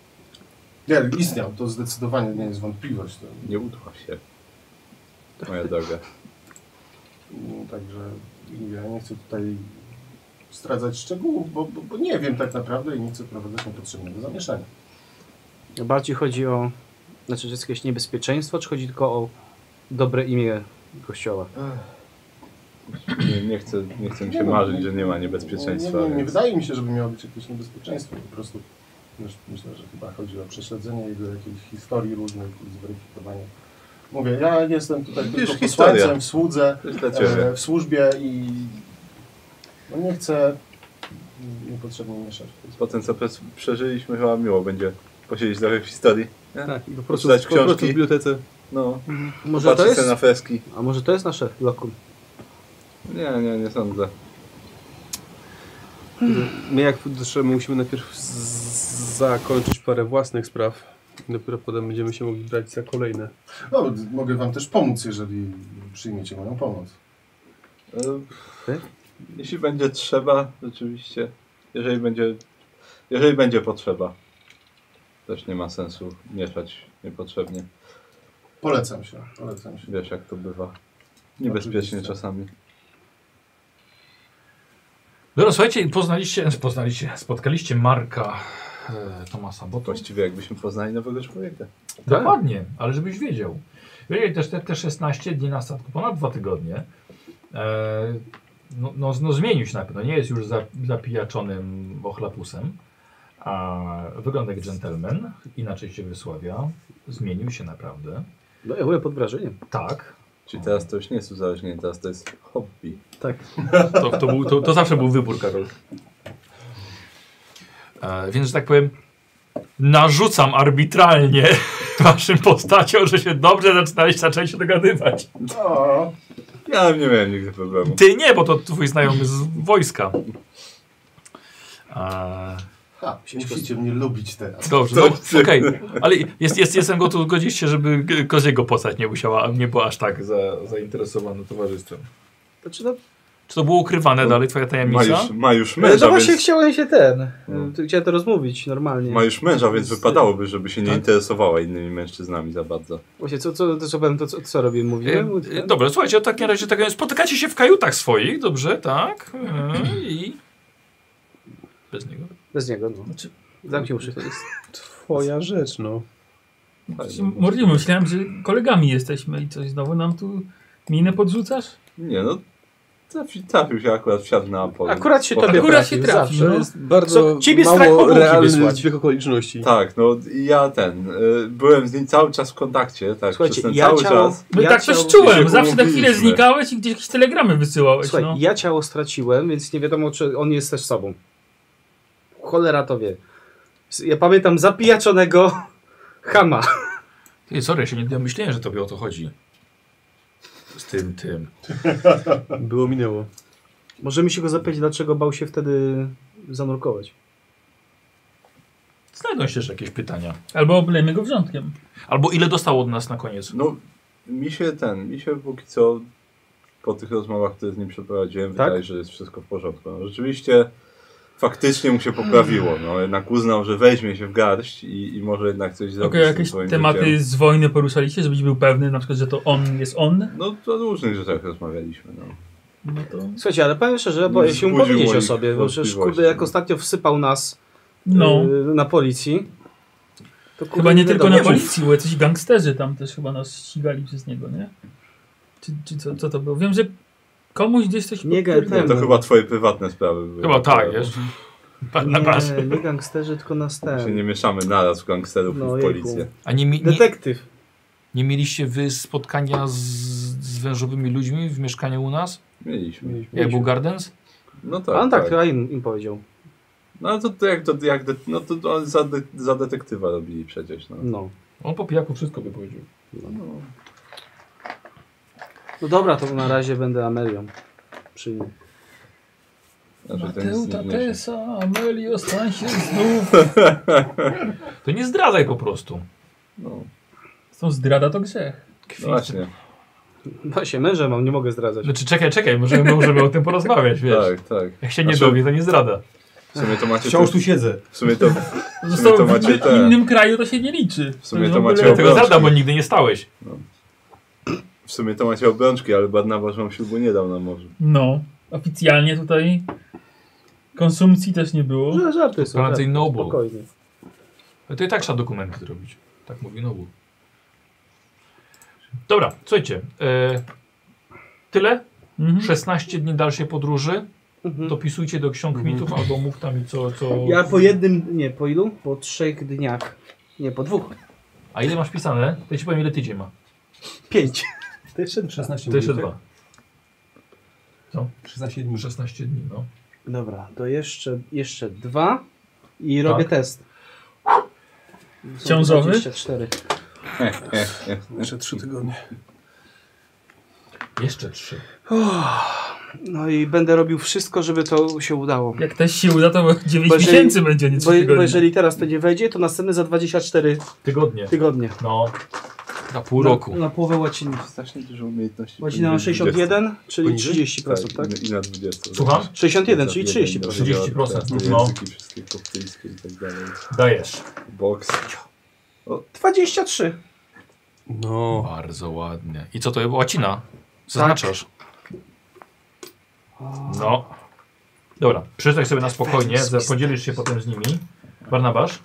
J: Nie, istniał, to zdecydowanie nie jest wątpliwość. To,
C: Nie udław się. Moja droga.
J: Mm, Także mm, ja nie chcę tutaj zdradzać szczegółów, bo, bo, bo nie wiem tak naprawdę i nie chcę prowadzić niepotrzebnego zamieszania.
B: Bardziej chodzi o. Znaczy, że jest jakieś niebezpieczeństwo, czy chodzi tylko o dobre imię kościoła?
C: Nie, nie, chcę, nie chcę mi się
J: Nie, no,
C: marzyć,
J: nie-
C: że nie ma
J: Nie,
C: niebezpieczeństwa.
J: nie, nie
C: więc-
J: wydaje mi się, żeby miało być jakieś niebezpieczeństwo. Po prostu już myślę, że chyba chodzi o prześledzenie jego jakiejś historii różnych i zweryfikowanie. Mówię, ja jestem tutaj
C: Wiesz,
J: tylko
C: historia.
J: posłańcem w słudze,
C: To jest dla ciebie.
J: e, w służbie i no nie chcę mm, niepotrzebnie mieszać. w tym.
C: Potem co pres- przeżyliśmy chyba miło będzie posiedzieć trochę w historii.
G: Tak, i po prostu,
C: Czytać
G: po prostu w
C: książki.
G: bibliotece.
C: No,
B: Może to
C: patrzeć
B: jest,
C: se na freski.
B: a może to jest nasze lokum?
C: Nie, nie, nie sądzę.
G: My jak dotrzemy, musimy najpierw z- zakończyć parę własnych spraw. Dopiero potem będziemy się mogli brać za kolejne.
J: No, d- mogę wam też pomóc, jeżeli przyjmiecie moją pomoc.
C: E, Jeśli będzie trzeba, rzeczywiście. Jeżeli będzie, jeżeli będzie potrzeba. Też nie ma sensu mieszać niepotrzebnie.
J: Polecam się, polecam się.
C: Wiesz jak to bywa. Niebezpiecznie
J: Oczywiście.
C: czasami.
A: Dobra, słuchajcie, poznaliście, poznaliście, spotkaliście Marka e, Tomasa Botoś.
C: Właściwie jakbyśmy poznali nowego człowieka.
E: Tak.
A: Dokładnie, ale żebyś wiedział. Wiedzieli też te, te 16 dni na statku, ponad dwa tygodnie. E, no, no, no zmienił się na pewno, nie jest już za- zapijaczonym ochlapusem. A wygląda jak dżentelmen, inaczej się wysławia. Zmienił się naprawdę.
B: No, ja byłem pod wrażeniem.
A: Tak.
C: Czyli teraz to już nie jest uzależnienie, teraz to jest hobby.
B: Tak.
A: To, to, był, to, to zawsze był wybór, Karol. E, więc, że tak powiem, narzucam arbitralnie waszym postaciom, że się dobrze zaczynaliście, zaczęli się dogadywać.
J: O,
C: Ja nie miałem nigdy problemu.
A: Ty nie, bo to twój znajomy z wojska. E,
J: ha, musicie mnie lubić teraz.
A: dobrze, no, okej. Ale jest, jest, jestem gotów, zgodzić się, żeby g- Koziego postać nie musiała, nie była aż tak za, zainteresowana towarzystwem.
B: Znaczy, no,
A: Czy to było ukrywane dalej, twoja
C: Ma
A: tajemnica?
C: już, ma już
B: no
C: męża,
B: właśnie
C: więc,
B: chciałem się ten,
C: No.
B: y, chciałem to rozmówić normalnie.
C: ma już męża, więc wypadałoby, żeby się nie
B: Tak?
C: interesowała innymi mężczyznami za bardzo.
B: Właśnie, co, co, to, co, powiem, to, co, co robię? Mówiłem?
C: Y,
A: E, e, Dobra, słuchajcie, w takim razie tak, spotykacie się w kajutach swoich, dobrze, tak? E, I. Bez niego.
B: Bez niego, no.
D: Znaczy-
B: Zamknij uszy.
G: Twoja rzecz, no.
C: Tak, no
D: Możliwe, Znaczy, myślałem, że kolegami jesteśmy i coś znowu nam tu minę podrzucasz?
C: Nie no, trafi, trafił się akurat w siat na Apollo.
B: Akurat się
C: Bo-
B: tobie
D: Akurat się
B: trafił,
D: trafił,
B: zawsze.
D: no.
G: To jest bardzo
B: Co, ciebie strach
G: mało
B: powłoki
G: realny
B: wysłać.
G: zbieg okoliczności.
C: Tak, no i ja ten, y, byłem z nim cały czas w kontakcie, tak,
B: Słuchajcie,
C: przez ten
B: ja
C: cały
B: ciało,
C: czas.
D: No
B: ja
D: tak
B: ciało,
D: coś czułem,
C: się
D: zawsze na chwilę
C: umówiliśmy.
D: znikałeś i gdzieś jakieś telegramy wysyłałeś,
B: Słuchaj,
D: no.
B: ja ciało straciłem, więc nie wiadomo, czy on jest też sobą. Cholera to wie. S- Ja pamiętam zapijaczonego chama.
A: Ty, sorry, ja się nie domyślałem, że tobie o to chodzi. Z tym, tym.
G: Było, minęło.
B: Możemy się go zapytać, dlaczego bał się wtedy zanurkować.
A: Znajdą się jeszcze jakieś pytania.
D: Albo oblejmy go wrzątkiem.
A: Albo ile dostał od nas na koniec?
C: No, mi się ten, mi się póki co po tych rozmowach, które z nim przeprowadziłem,
B: Tak?
C: wydaje, że jest wszystko w porządku. No, rzeczywiście, faktycznie mu się poprawiło, no, jednak uznał, że weźmie się w garść i, i może jednak coś
D: Okej,
C: zrobić z tym
D: jakieś
C: swoim
D: tematy
C: życiem.
D: z wojny poruszaliście, żebyś był pewny, na przykład, że to on jest on?
C: No, to o różnych rzeczach rozmawialiśmy, no.
D: No to...
B: Słuchajcie, ale powiem szczerze, bo
C: Nie
B: ja się
C: wzbudził
B: powiedzieć o
C: moich
B: sobie, bo przecież
C: wątpliwości.
B: kurde, jak ostatnio wsypał nas
D: No.
B: y, na policji. To, kurde,
D: Chyba nie tylko
B: wiadomo,
D: na policji, bo jacyś gangsterzy tam też chyba nas ścigali przez niego, nie? Czy, czy co, co to było? Wiem, że komuś gdzieś coś...
B: Nie,
D: podpierdol-
B: ten-
C: To chyba twoje prywatne sprawy były.
A: Chyba tak, jest. Pan na pas.
B: Nie, nie gangsterzy, tylko nas
C: My się nie
B: ten.
C: mieszamy naraz w gangsterów
B: No,
C: i w
B: jejku.
C: policję.
A: A nie,
C: No
A: mi-
C: tak-
A: nie,
B: Detektyw.
A: nie mieliście wy spotkania z, z wężowymi ludźmi w mieszkaniu u nas?
C: Mieliśmy.
A: Jak był Gardens?
C: No tak,
B: A on tak
C: tak.
B: chyba im, im powiedział.
C: No ale to, to jak to, jak de, no to, to za, de, za detektywa robili przecież, no.
B: No.
A: On po pijaku wszystko by powiedział.
B: No dobra, to na razie będę Amelią. Przy nim.
C: Znaczy, to nic
D: Mateusz,
C: nie wniesie.
D: Tatesa, Amelio, stań się znów.
A: To nie zdradzaj po prostu.
C: No,
D: Są zdrada to grzech.
C: no właśnie,
B: Właśnie, męża No mam, nie mogę zdradzać.
A: Znaczy, czekaj, czekaj, możemy, możemy o tym porozmawiać, wiesz.
C: tak, tak.
A: Jak się nie
C: Znaczy-
A: dowie, to nie zdrada.
C: W sumie to macie,
F: Wciąż
C: tu,
F: tu siedzę.
C: w sumie to,
D: Zresztą
C: to
D: w,
C: macie
D: w
C: te-
D: innym kraju to się nie liczy.
C: W sumie
D: jest
C: to
D: ogóle-
C: macie
A: Ja tego
C: Obrączki.
A: zada, bo nigdy nie stałeś.
C: w sumie to macie obrączki, ale Barnabasz wam ślubu nie dał na morzu.
D: No, oficjalnie tutaj konsumpcji też nie było.
B: No, żarty są.
A: Raczej
B: Żarty.
A: Noble.
B: Spokojnie.
A: Ale to i tak trzeba dokumenty zrobić. Tak mówi Nobu.
C: Hmm?
A: Dobra, słuchajcie. E, tyle
E: Mhm.
A: 16 dni dalszej podróży,
B: Mhm.
A: dopisujcie do ksiąg mitów albo mów tam i co, co...
B: Ja po jednym, nie, po ilu? Po trzech dniach. Nie, po dwóch.
A: A ile masz pisane? To ja ci powiem ile tydzień ma.
B: Pięć.
L: To jeszcze 16
A: To jeszcze
L: minut,
A: dwa.
L: tak? 16 dni.
A: 16 dni, no.
B: Dobra, to jeszcze, jeszcze dwa i robię test. Są
E: Ciążowy?
B: 24.
L: Jeszcze 3 tygodnie.
A: Jeszcze trzy.
B: No i będę robił wszystko, żeby to się udało.
E: Jak też się uda, to 9
B: Bo jeżeli-
E: miesięcy będzie, nie 3
B: Bo, bo
E: tygodnie.
B: jeżeli teraz to nie wejdzie, to następny za 24
A: Tygodnie.
B: tygodnie.
A: No. Na pół
B: Na, na połowę łaciny.
C: Strasznie dużo umiejętności.
B: Łacina mam 61, czyli
G: Poniżej?
B: 30%, tak?
C: I na 20.
A: Słucham?
B: 61, czyli 30%.
A: 30%, no.
C: No. Języki wszystkie koptyjskie i tak dalej.
A: Dajesz.
C: Boks.
B: 23.
G: No.
A: Bardzo ładnie. I co to była łacina? Zaznaczasz. No. Dobra, przeczytaj sobie na spokojnie, za- podzielisz się potem z nimi. Barnabasz?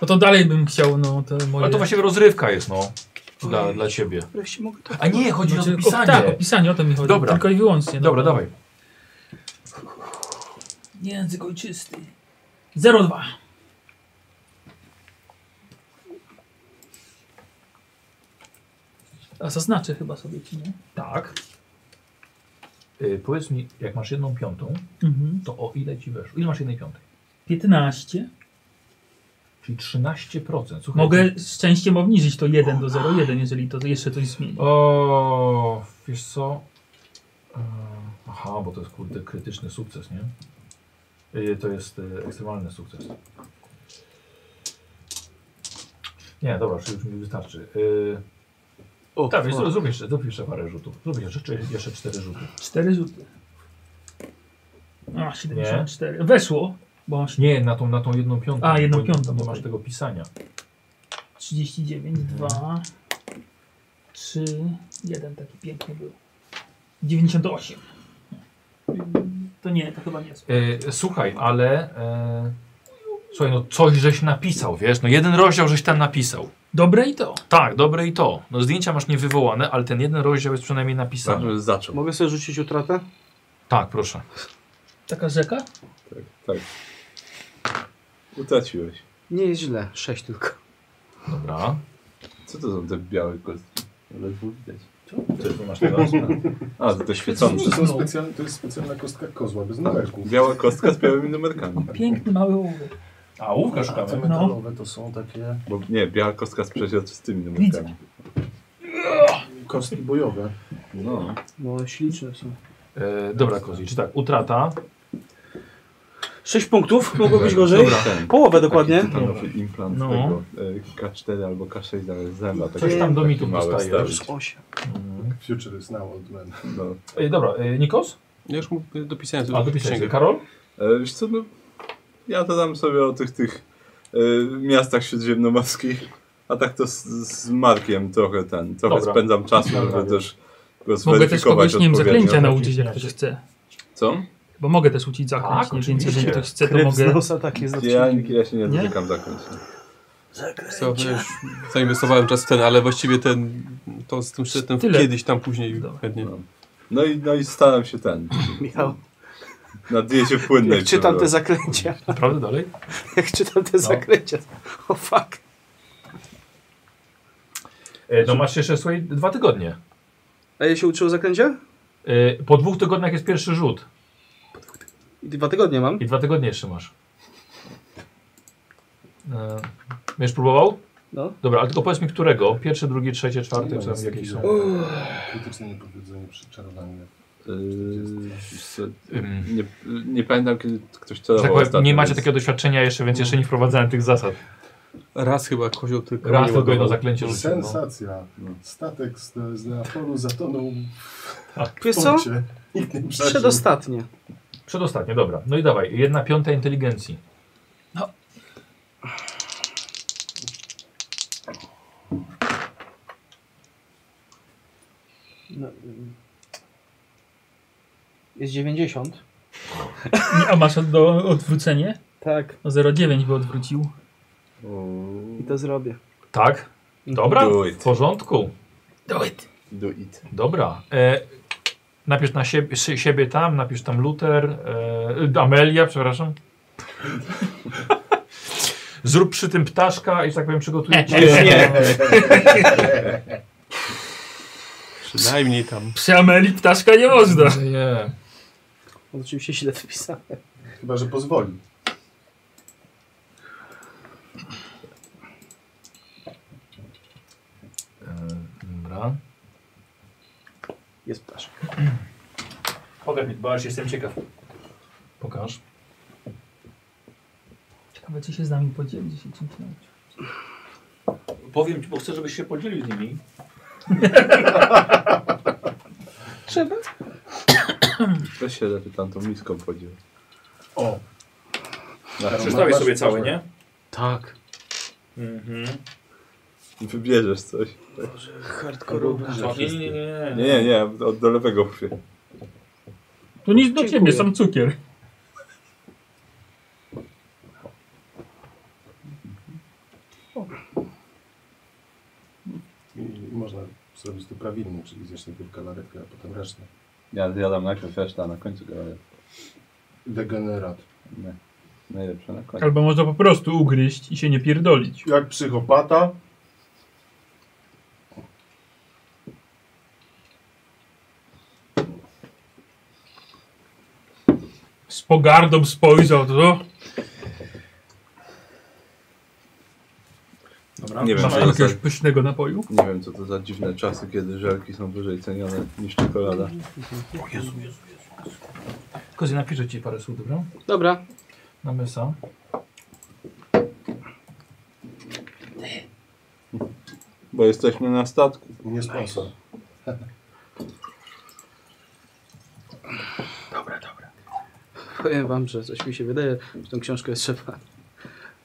E: No to dalej bym chciał, no, te moje...
A: Ale to właściwie rozrywka jest, no. Dla, dla ciebie.
B: Wreszcie mogę tak. to... no,
A: A nie, chodzi
E: Znaczy,
A: o pisanie.
E: O, tak, o pisanie, o to mi chodzi.
A: Dobra.
E: Tylko i wyłącznie. no.
A: Dobra, dawaj.
E: Język ojczysty. 02. A zaznaczę chyba sobie, czy nie?
A: Tak. Y, powiedz mi, jak masz jedną piątą,
E: Mhm.
A: to o ile ci weszło? Ile masz jednej piątej?
E: 15.
A: Czyli 13%. Słuchaj,
E: Mogę szczęściem obniżyć to 1 do 0,1, jeżeli to jeszcze coś zmieni.
A: O, wiesz co? E, Aha, bo to jest kurde krytyczny sukces, nie? Y, To jest y, ekstremalny sukces. Nie, dobra, już mi wystarczy. Y,
B: O,
A: tak, więc zrób zrób jeszcze, zrób jeszcze parę rzutów. Zrób jeszcze, jeszcze cztery rzuty.
E: 4 rzuty. A, 74. No, Weszło, bo masz
A: Nie, na tą, na tą jedną piątą.
E: A, jedną
A: bo nie-
E: piątą,
A: Nie masz
E: okej.
A: tego pisania.
E: 39, 2, 3, 1 taki piękny był. 98. To nie, to chyba nie jest.
A: Y, słuchaj, ale... y, słuchaj, no coś żeś napisał, wiesz? No jeden rozdział żeś tam napisał.
E: Dobre i to.
A: Tak, dobre i to. No zdjęcia masz niewywołane, ale ten jeden rozdział jest przynajmniej napisany.
C: Zaczął. Zaczął.
B: Mogę sobie rzucić utratę?
A: Tak, proszę.
E: Taka rzeka?
C: Tak, tak. Utraciłeś.
B: Nie jest źle, 6 tylko.
A: Dobra.
C: Co to są te białe kostki? Ledwo widać.
A: Ty nie masz teraz.
C: A, to te świecące.
J: To, są specjalne, to jest specjalna kostka kozła bez numerków.
C: Biała kostka z białymi numerkami.
E: Piękny mały ołówek.
A: A łówka
J: A te
A: szukamy. No.
J: metalowe to są takie
C: Bo nie, biała kostka z przeźroczystymi numerkami.
J: kostki bojowe.
C: No.
B: No, śliczne są.
A: E, dobra, Kozi, czy tak, utrata.
B: 6 punktów, mogło być gorzej.
C: Dobra. Ten,
B: Połowę
C: taki
B: dokładnie.
C: tytanowy implant
A: No.
C: tego e, K4 albo K6 zamiast zęba. tak
A: Coś tam do mitów dostaje.
C: dostajesz.
B: 8.
J: Future is now old man.
C: No.
A: E, dobra, e, Nikos?
G: Ja już mu dopisałem
A: A dopisałeś. Karol?
C: E, Wiesz co, no, ja to dam sobie o tych, tych e, miastach śródziemnomorskich, a tak to z, z Markiem trochę ten, trochę
A: Dobra.
C: spędzam czasu,
A: Dobra,
C: żeby
A: dobra.
C: też go
E: Mogę też kogoś,
C: zweryfikować
E: nie wiem,
C: odpowiednio.
E: zaklęcia nauczyć, jak ktoś chce.
C: Co?
E: Bo mogę też uczyć zaklęć,
A: Tak,
E: nie więcej,
A: oczywiście.
E: jeżeli ktoś chce, to
B: Krew z
E: mogę.
B: nosa tak jest
C: Ja,
B: zawsze.
C: ja się nie
E: Nie?
C: dotykam zakończenia.
G: Co, wiesz, zainwestowałem czas w ten, ale właściwie ten, to z tym szczytem
E: Tyle.
G: kiedyś tam później
E: Dobra.
G: chętnie.
C: No. No i, no i staram się ten,
B: Michał,
C: na diecie płynnej.
B: jak czytam te
C: przebywać.
B: zaklęcia.
A: Naprawdę dalej?
B: Jak czytam te zaklęcia. O fuck.
A: E, no masz jeszcze słuchaj, dwa tygodnie.
B: A ja się uczył zaklęcia?
A: E, po dwóch tygodniach jest pierwszy rzut.
B: I dwa tygodnie mam.
A: I dwa tygodnie jeszcze masz. E, będziesz próbował?
B: No.
A: Dobra, ale tylko powiedz mi którego. Pierwszy, drugi, trzeci, czwarty, co tam jakieś są.
J: Krytyczne niepowiedzenie przy czarowaniu.
C: Yy, wiesz co,
A: Ym,
C: nie, nie pamiętam, kiedy ktoś
A: że tak
C: celował
A: powiem, nie macie
C: więc-
A: takiego doświadczenia jeszcze, więc jeszcze nie wprowadzałem tych zasad.
G: Raz chyba kozioł tylko
A: Raz
G: nie
A: tylko jedno
G: ładował.
A: zaklęcie rzucę. No.
J: Sensacja. Statek z, z Neapolu zatonął
B: Wiesz
J: w
B: co?
J: porcie. Nikt nie przeżył.
B: Przedostatnie.
A: Przedostatnie, dobra. No i dawaj, jedna piąta inteligencji.
B: No, ym. Jest 90.
E: A masz od- do odwrócenie?
B: Tak,
E: O 0,9 by odwrócił.
B: i to zrobię.
A: Tak? Dobra,
C: Do
A: w
C: it.
A: porządku.
C: Do it.
A: Dobra. E, Napisz na siebie, si- siebie tam, napisz tam Luther, e, Amelia, przepraszam. Zrób przy tym ptaszka i że tak powiem przygotuję cię.
G: Przynajmniej tam.
E: Przy Amelii ptaszka nie można.
A: No, Nie. E,
B: On oczywiście źle wypisał.
J: Chyba, że pozwoli.
A: E, Dobra.
B: Jest ptaszek.
M: Pokaż mi, bo aż jestem ciekaw.
A: Pokaż.
E: Ciekawe, czy się z nami podzieli 10 minut.
M: Powiem ci, bo chcę, żebyś się podzielił z nimi.
E: Trzeba.
C: Weź się lepiej tamtą miską podziel.
J: O,
C: Na
M: Przeczytałeś sobie całe, nie?
B: Tak.
M: Mhm.
C: Wybierzesz coś.
B: Hardkorowe.
M: Co? Nie, nie, nie, nie.
C: Nie, nie, nie, od do lewego mówię.
E: To nic do
B: Dziękuję.
E: ciebie, sam cukier.
J: i, i można zrobić to prawidłnie, czyli zjesz najpierw galaretkę, a potem resztę.
C: Ja zjadam najpierw resztę, a na końcu galaretę.
J: Degenerat.
C: Nie. Najlepsze na końcu.
E: Albo można po prostu ugryźć i się nie pierdolić.
J: Jak psychopata.
E: Z pogardą spojrzał, to
M: Dobra.
C: Nie wiem,
E: masz
C: co to za,
E: jakiegoś pysznego napoju?
C: nie wiem, co to za dziwne czasy, kiedy żelki są wyżej cenione niż czekolada.
A: Kozie, napiszę ci parę słów, dobra?
B: Dobra.
A: Na mesa.
C: Bo jesteśmy na statku.
J: Nie sponsor.
B: Powiem wam, że coś mi się wydaje, że tą książkę trzeba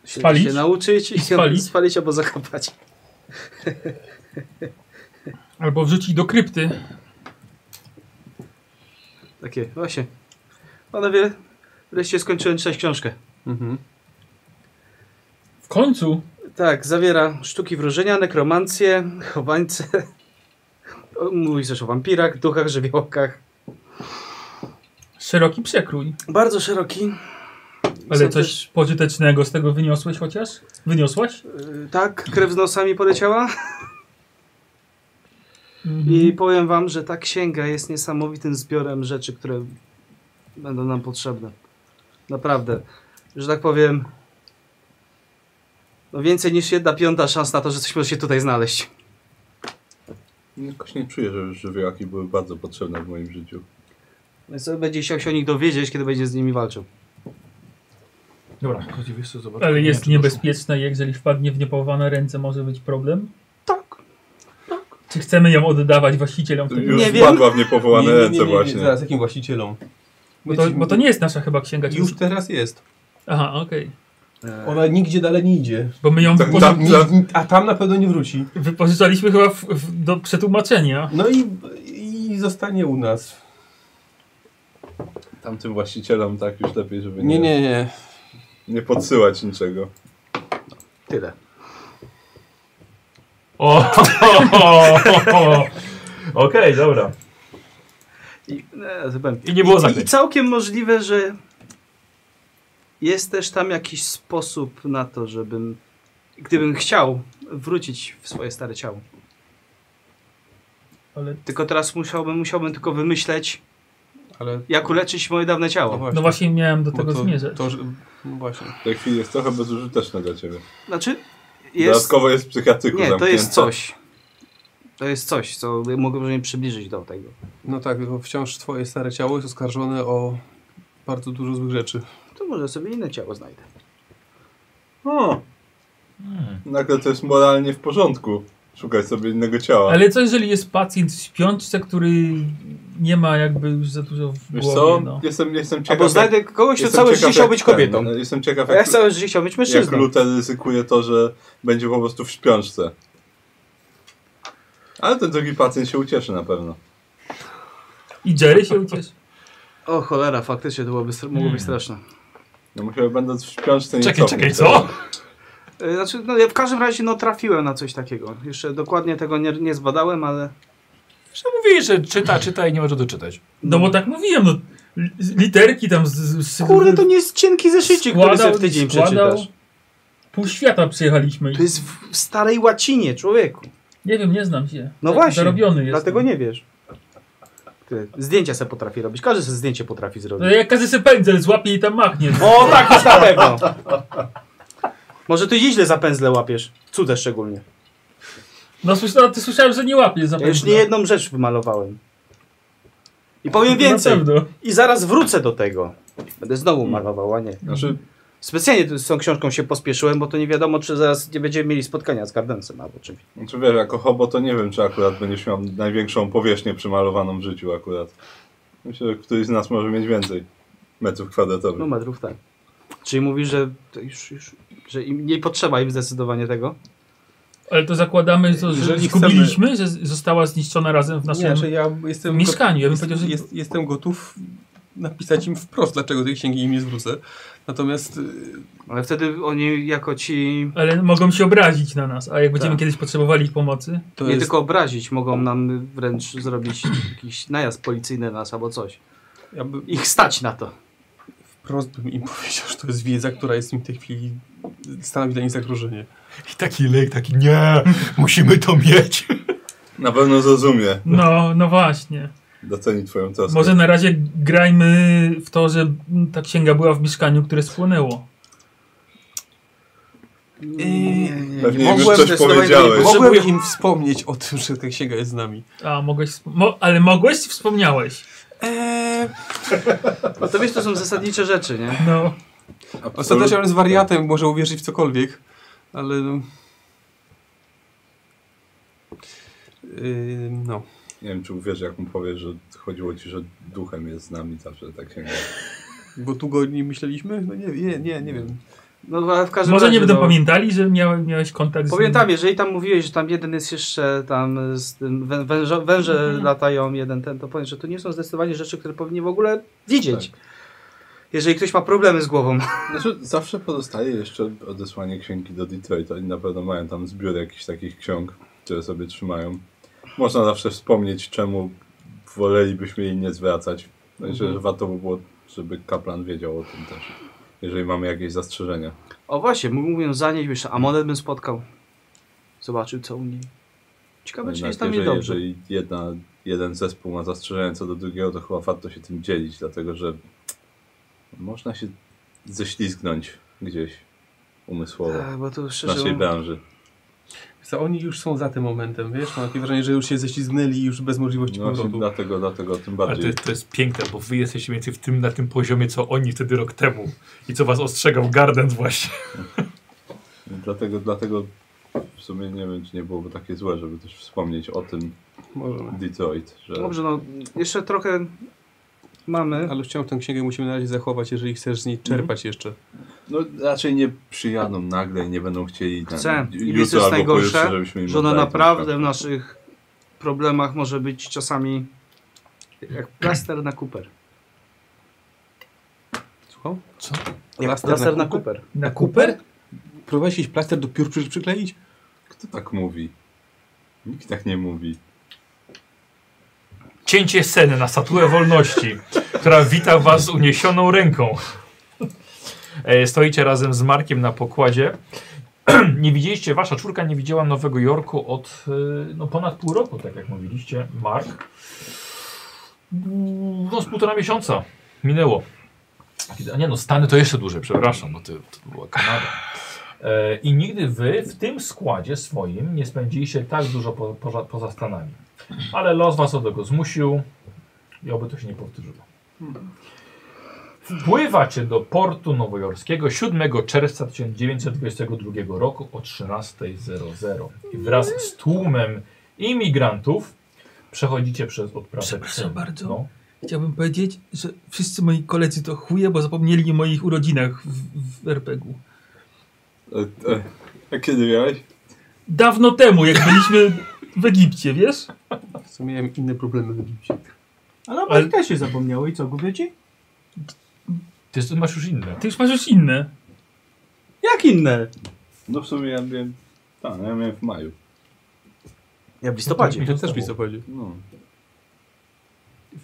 B: się,
E: Spalić?
B: się nauczyć i spalić,
E: spalić?
B: spalić albo zakopać.
E: Albo wrzucić do krypty.
B: Takie, właśnie. Panowie, wreszcie skończyłem czytać książkę.
G: Mhm.
E: W końcu
B: Tak, zawiera sztuki wróżenia, nekromancję, chowańce. O, Mówi też o wampirach, duchach, żywiołkach.
E: szeroki przekrój.
B: Bardzo szeroki.
E: Ale
B: Są
E: coś
B: też-
E: pożytecznego z tego wyniosłeś chociaż? Wyniosłaś?
B: Yy, Tak, krew z nosami poleciała.
E: Mhm.
B: I powiem wam, że ta księga jest niesamowitym zbiorem rzeczy, które będą nam potrzebne. Naprawdę. Że tak powiem. No więcej niż jedna piąta szans na to, że coś może się tutaj znaleźć.
C: Jakoś nie czuję, że żywiołaki były bardzo potrzebne w moim życiu.
B: Więc on będzie chciał się o nich dowiedzieć, kiedy będzie z nimi walczył.
A: Dobra, Kozie, wiesz co, zobacz.
E: Ale
A: Nie
E: jest
A: wiem, czy doszło.
E: niebezpieczna i jeżeli wpadnie w niepowołane ręce może być problem?
B: Tak.
E: Czy chcemy ją oddawać właścicielom?
C: To
E: wtedy?
C: Już
B: Nie wiem.
C: wpadła w niepowołane
G: Nie, nie, nie,
C: ręce
G: nie, nie,
C: właśnie.
G: Zaraz, jakim właścicielom?
E: Bo to, bo to nie jest nasza chyba księga. czy-
G: Już teraz jest.
E: Aha, okej.
G: E, Ona nigdzie dalej nie idzie.
E: Bo my ją
C: Tak,
E: wypoży-
C: tak.
G: Ni- ni- a tam na pewno nie wróci.
E: wypożyczaliśmy chyba w, w, do przetłumaczenia.
G: No i, i zostanie u nas.
C: Tamtym właścicielom tak już lepiej, żeby
G: Nie, nie, nie.
C: nie podsyłać niczego.
B: Tyle.
A: O! Okej, dobra.
B: I, e, zapowiem.
A: I nie było
B: I, I
A: zaklęć.
B: całkiem możliwe, że jest też tam jakiś sposób na to, żebym, gdybym chciał, wrócić w swoje stare ciało.
E: Ale
B: Tylko teraz musiałbym, musiałbym tylko wymyśleć,
G: Ale.
B: jak uleczyć moje dawne ciało.
E: no właśnie miałem do
G: bo
E: tego
G: to,
E: zmierzać.
G: To, że, no właśnie.
C: W tej chwili jest trochę bezużyteczne dla ciebie.
B: Znaczy, jest...
C: Dodatkowo jest w psychiatryku
B: Nie, to
C: zamknięte.
B: jest coś. To jest coś, co mogłoby mnie przybliżyć do tego.
G: No tak, bo wciąż twoje stare ciało jest oskarżone o bardzo dużo złych rzeczy.
B: To może sobie inne ciało znajdę.
C: O,
A: Hmm.
C: nagle to jest moralnie w porządku. Szukaj sobie innego ciała.
E: Ale co jeżeli jest pacjent w śpiączce, który nie ma jakby już za dużo w
C: Wiesz
E: głowie?
C: co?
E: No.
C: Jestem, jestem ciekaw.
B: Albo
C: jak-
B: znajdę kogoś, kto
C: jestem
B: całe
C: ciekaw,
B: życie chciał
C: jak
B: być
C: ten,
B: kobietą.
C: no, Jestem ciekaw,
B: A ja
C: jak,
B: całe życie chciał być
C: jak
B: mężczyzną.
C: Luther ryzykuje to, że będzie po prostu w śpiączce. Ale ten drugi pacjent się ucieszy na pewno.
E: I Jerry się ucieszy.
B: O cholera, faktycznie to byłoby, str- mogło być
D: Hmm.
B: straszne.
C: No musiał będąc w śpiączce nie
A: Czekaj,
C: cofnąć
A: czekaj,
C: tego.
A: co?
B: Y, Znaczy, no, ja w każdym razie no, trafiłem na coś takiego. Jeszcze dokładnie tego nie, nie zbadałem, ale
A: Że mówi, że czyta, czyta i nie może doczytać.
D: No bo tak mówiłem, no. li- Literki tam z... z, z
B: Kurde, to nie jest cienki zeszycik, który
D: składał
B: sobie w tydzień
D: i składał.
B: przeczytasz.
D: Pół świata przyjechaliśmy. i-
B: To jest w starej łacinie, człowieku.
D: Nie wiem, nie znam się.
B: No właśnie,
D: Zarobiony Tak jest. no.
B: Dlatego nie wiesz. Ty, zdjęcia se potrafi robić. Każdy se zdjęcie potrafi
D: No
B: zrobić.
D: jak każdy sobie pędzel złapie i tam machnie.
B: O tak, to na pewno. Może ty źle za pędzle łapiesz. Cudze szczególnie.
D: No słysza, ty słyszałem, że nie łapie za
B: Ja już
D: pędzla.
B: nie jedną rzecz wymalowałem. I powiem
D: Na
B: więcej.
D: pewno.
B: I zaraz wrócę do tego. Będę znowu malował, a nie.
C: Znaczy,
B: Specjalnie tu z tą książką się pospieszyłem, bo to nie wiadomo, czy zaraz nie będziemy mieli spotkania z Gardensem albo czymś.
C: znaczy wiesz, jako hobo to nie wiem, czy akurat będziesz miał największą powierzchnię przymalowaną w życiu akurat. Myślę, że któryś z nas może mieć więcej metrów kwadratowych.
B: No metrów tak. Czyli mówisz, że to już, już że im nie potrzeba im zdecydowanie tego?
D: Ale to zakładamy, to, że
G: Jeżeli
D: zgubiliśmy, że z- została zniszczona razem w
G: Nie,
D: naszym
G: że ja jestem
D: mieszkaniu. Ja bym
G: Jest,
D: powiedział, że
G: jest, jestem gotów napisać im wprost, dlaczego tej księgi im nie zwrócę. Natomiast y,
B: Ale wtedy oni jako ci
D: Ale mogą się obrazić na nas, a jak
B: Tak.
D: będziemy kiedyś potrzebowali ich pomocy,
G: to
B: nie
G: jest...
B: tylko obrazić, mogą nam wręcz zrobić jakiś najazd policyjny na nas albo coś.
G: Ja bym
B: Ich stać na to.
G: wprost bym im powiedział, że to jest wiedza, która jest im w tej chwili stanowi dla nich zagrożenie.
E: I taki lek, taki nie, musimy to mieć.
C: Na pewno zrozumie,
D: no, no właśnie.
C: doceni twoją troskę.
D: Może na razie grajmy w to, że ta księga była w mieszkaniu, które spłonęło.
C: Pewnie im już coś powiedziałeś.
G: Eee, Mogłem im wspomnieć o tym, że ta księga jest z nami.
D: A mogłeś, wsp- mo ale mogłeś, wspomniałeś.
G: Eee,
B: No to wiesz, to są zasadnicze rzeczy, nie?
D: No,
G: ostatecznie on jest wariatem, może uwierzyć w cokolwiek, ale no... Yy, no.
C: Nie wiem, czy uwierzy, jak mu powiesz, że chodziło ci, że duchem jest z nami zawsze tak się
G: Bo tu go nie myśleliśmy? No nie, nie, nie, nie wiem.
B: No ale w każdym
D: może
B: razie,
D: nie będą
B: no,
D: pamiętali, że miał, miałeś kontakt
B: Powiem
D: z... nim.
B: tam, jeżeli tam mówiłeś, że tam jeden jest jeszcze tam z tym wę- wężo, węże
C: Mhm.
B: latają, jeden ten, to powiem, że to nie są zdecydowanie rzeczy, które powinni w ogóle widzieć.
C: Tak.
B: Jeżeli ktoś ma problemy z głową.
C: Znaczy, zawsze pozostaje jeszcze odesłanie księgi do Detroit. Oni na pewno mają tam zbiór jakichś takich ksiąg, które sobie trzymają. Można zawsze wspomnieć, czemu wolelibyśmy jej nie zwracać. No i że
B: Mhm.
C: warto by było, żeby kaplan wiedział o tym też. Jeżeli mamy jakieś zastrzeżenia.
B: O właśnie, mógłbym zanieść jeszcze, a monet bym spotkał. Zobaczył co u niej. Ciekawe, czy
C: Jednak
B: jest tam
C: jeżeli,
B: niedobrze.
C: jeżeli jedna, jeden zespół ma zastrzeżenia co do drugiego, to chyba warto się tym dzielić, dlatego że można się ześlizgnąć gdzieś umysłowo
B: Tak, bo to
C: w naszej
B: szczerze.
C: branży.
G: Co, oni już są za tym momentem, wiesz? Mam takie wrażenie, że już się ześlizgnęli już bez możliwości
C: No, właśnie
G: powrotu.
C: dlatego, dlatego tym
E: Ale to,
C: bardziej.
E: jest- to jest piękne, bo wy jesteście mniej więcej w tym, na tym poziomie, co oni wtedy rok temu. I co was ostrzegał Garden właśnie.
C: Dlatego, dlatego w sumie nie wiem, czy nie byłoby takie złe, żeby też wspomnieć o tym
G: Możemy.
C: Detroit, że
B: Dobrze, no jeszcze trochę mamy.
G: Ale wciąż tę księgę musimy na razie zachować, jeżeli chcesz z niej czerpać jeszcze.
C: no, raczej nie przyjadą nagle i nie będą chcieli tam,
B: Chcę. I
C: jutro
B: wiesz, co jest
C: albo
B: najgorsze?
C: pojutrze, żebyśmy im
B: Że ona
C: oddali tą
B: naprawdę
C: szkołę.
B: w naszych problemach może być czasami jak plaster na kuper.
G: Słucham?
E: Co?
B: Jak
G: Plaster
B: plaster
G: na
B: na kuper.
D: Na Cooper?
G: Próbowałeś jakiś plaster do piór przy, przykleić?
C: Kto tak mówi? Nikt tak nie mówi.
E: Cięcie sceny na statuę wolności, która wita was z uniesioną ręką. E, Stoicie razem z Markiem na pokładzie. Nie widzieliście, wasza czwórka nie widziała Nowego Jorku od e, no, ponad pół roku, tak jak mówiliście. Mark. Mm, No z półtora miesiąca minęło. A nie no, Stany to jeszcze dłużej, przepraszam, bo to, to była Kanada. E, I nigdy wy w tym składzie swoim nie spędziliście tak dużo po, poza, poza Stanami. Ale los was do tego zmusił i oby to się nie powtórzyło. Wpływacie do portu nowojorskiego 7 czerwca 1922 roku o 13.00 i wraz z tłumem imigrantów przechodzicie przez odprawę.
D: Przepraszam
E: Księg.
D: bardzo.
E: No.
D: Chciałbym powiedzieć, że wszyscy moi koledzy to chuje, bo zapomnieli o moich urodzinach w, w RPG-u.
C: E, e, a kiedy miałeś?
D: Dawno temu, jak byliśmy w Egipcie, wiesz?
G: W sumie miałem inne problemy w Egipcie.
N: Ale
D: Ale-
N: Ale... też się zapomniało i co, gubię ci?
E: Ty jest- masz już inne.
D: Ty już masz już inne.
N: Jak inne?
C: No w sumie ja miałem, tak, ja miałem w maju.
B: Ja w listopadzie.
G: To też w listopadzie.
C: No.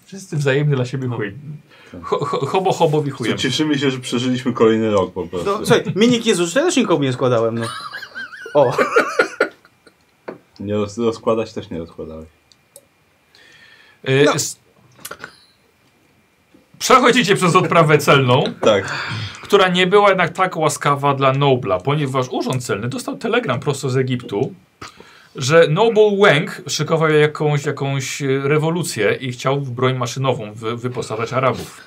A: Wszyscy wzajemnie dla siebie chuj. Ho, ho, hobo hobowi
C: Co,
A: chujem.
C: cieszymy się, że przeżyliśmy kolejny rok po prostu.
B: No, słuchaj, minik Jezus, ja też nikomu nie składałem, no. O,
C: Nie roz, rozkładać też nie rozkładałeś.
A: Y,
B: No.
A: s- Przechodzicie przez odprawę celną,
C: Tak.
A: która nie była jednak tak łaskawa dla Nobla, ponieważ urząd celny dostał telegram prosto z Egiptu, że Noble Wang szykował jakąś, jakąś y, rewolucję i chciał w broń maszynową wy, wyposażać Arabów.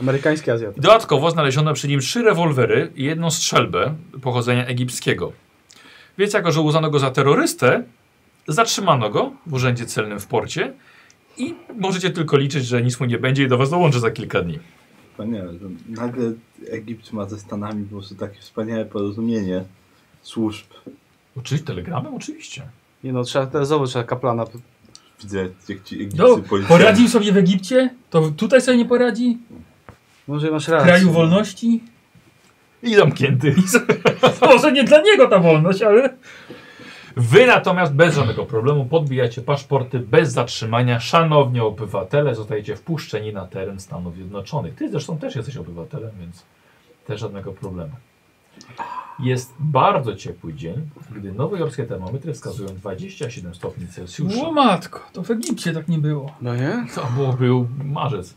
B: amerykański Azjat.
A: Dodatkowo znaleziono przy nim trzy rewolwery i jedną strzelbę pochodzenia egipskiego. Więc jako, że uznano go za terrorystę, zatrzymano go w urzędzie celnym w porcie i możecie tylko liczyć, że nic mu nie będzie i do was dołączy za kilka dni.
C: Wspaniale. że Nagle Egipt ma ze Stanami po prostu takie wspaniałe porozumienie służb.
A: Oczywiście, telegramem? Oczywiście.
B: Nie no, trzeba, teraz zobacz, trzeba kaplana. p-
C: Widzę, jak ci
D: No,
C: Egipcy policjanci.
D: poradził sobie w Egipcie? To tutaj sobie nie poradzi?
B: Może masz
E: Tak.
B: rację.
D: Kraju wolności?
A: I zamknięty.
D: Może nie dla niego ta wolność, ale...
A: Wy natomiast bez żadnego problemu podbijacie paszporty bez zatrzymania. Szanowni obywatele, zostajecie wpuszczeni na teren Stanów Zjednoczonych. Ty zresztą też jesteś obywatelem, więc też żadnego problemu. Jest bardzo ciepły dzień, gdy nowojorskie termometry wskazują 27 stopni Celsjusza.
D: O matko, to w Egipcie tak nie było.
B: No nie?
A: To był, był marzec.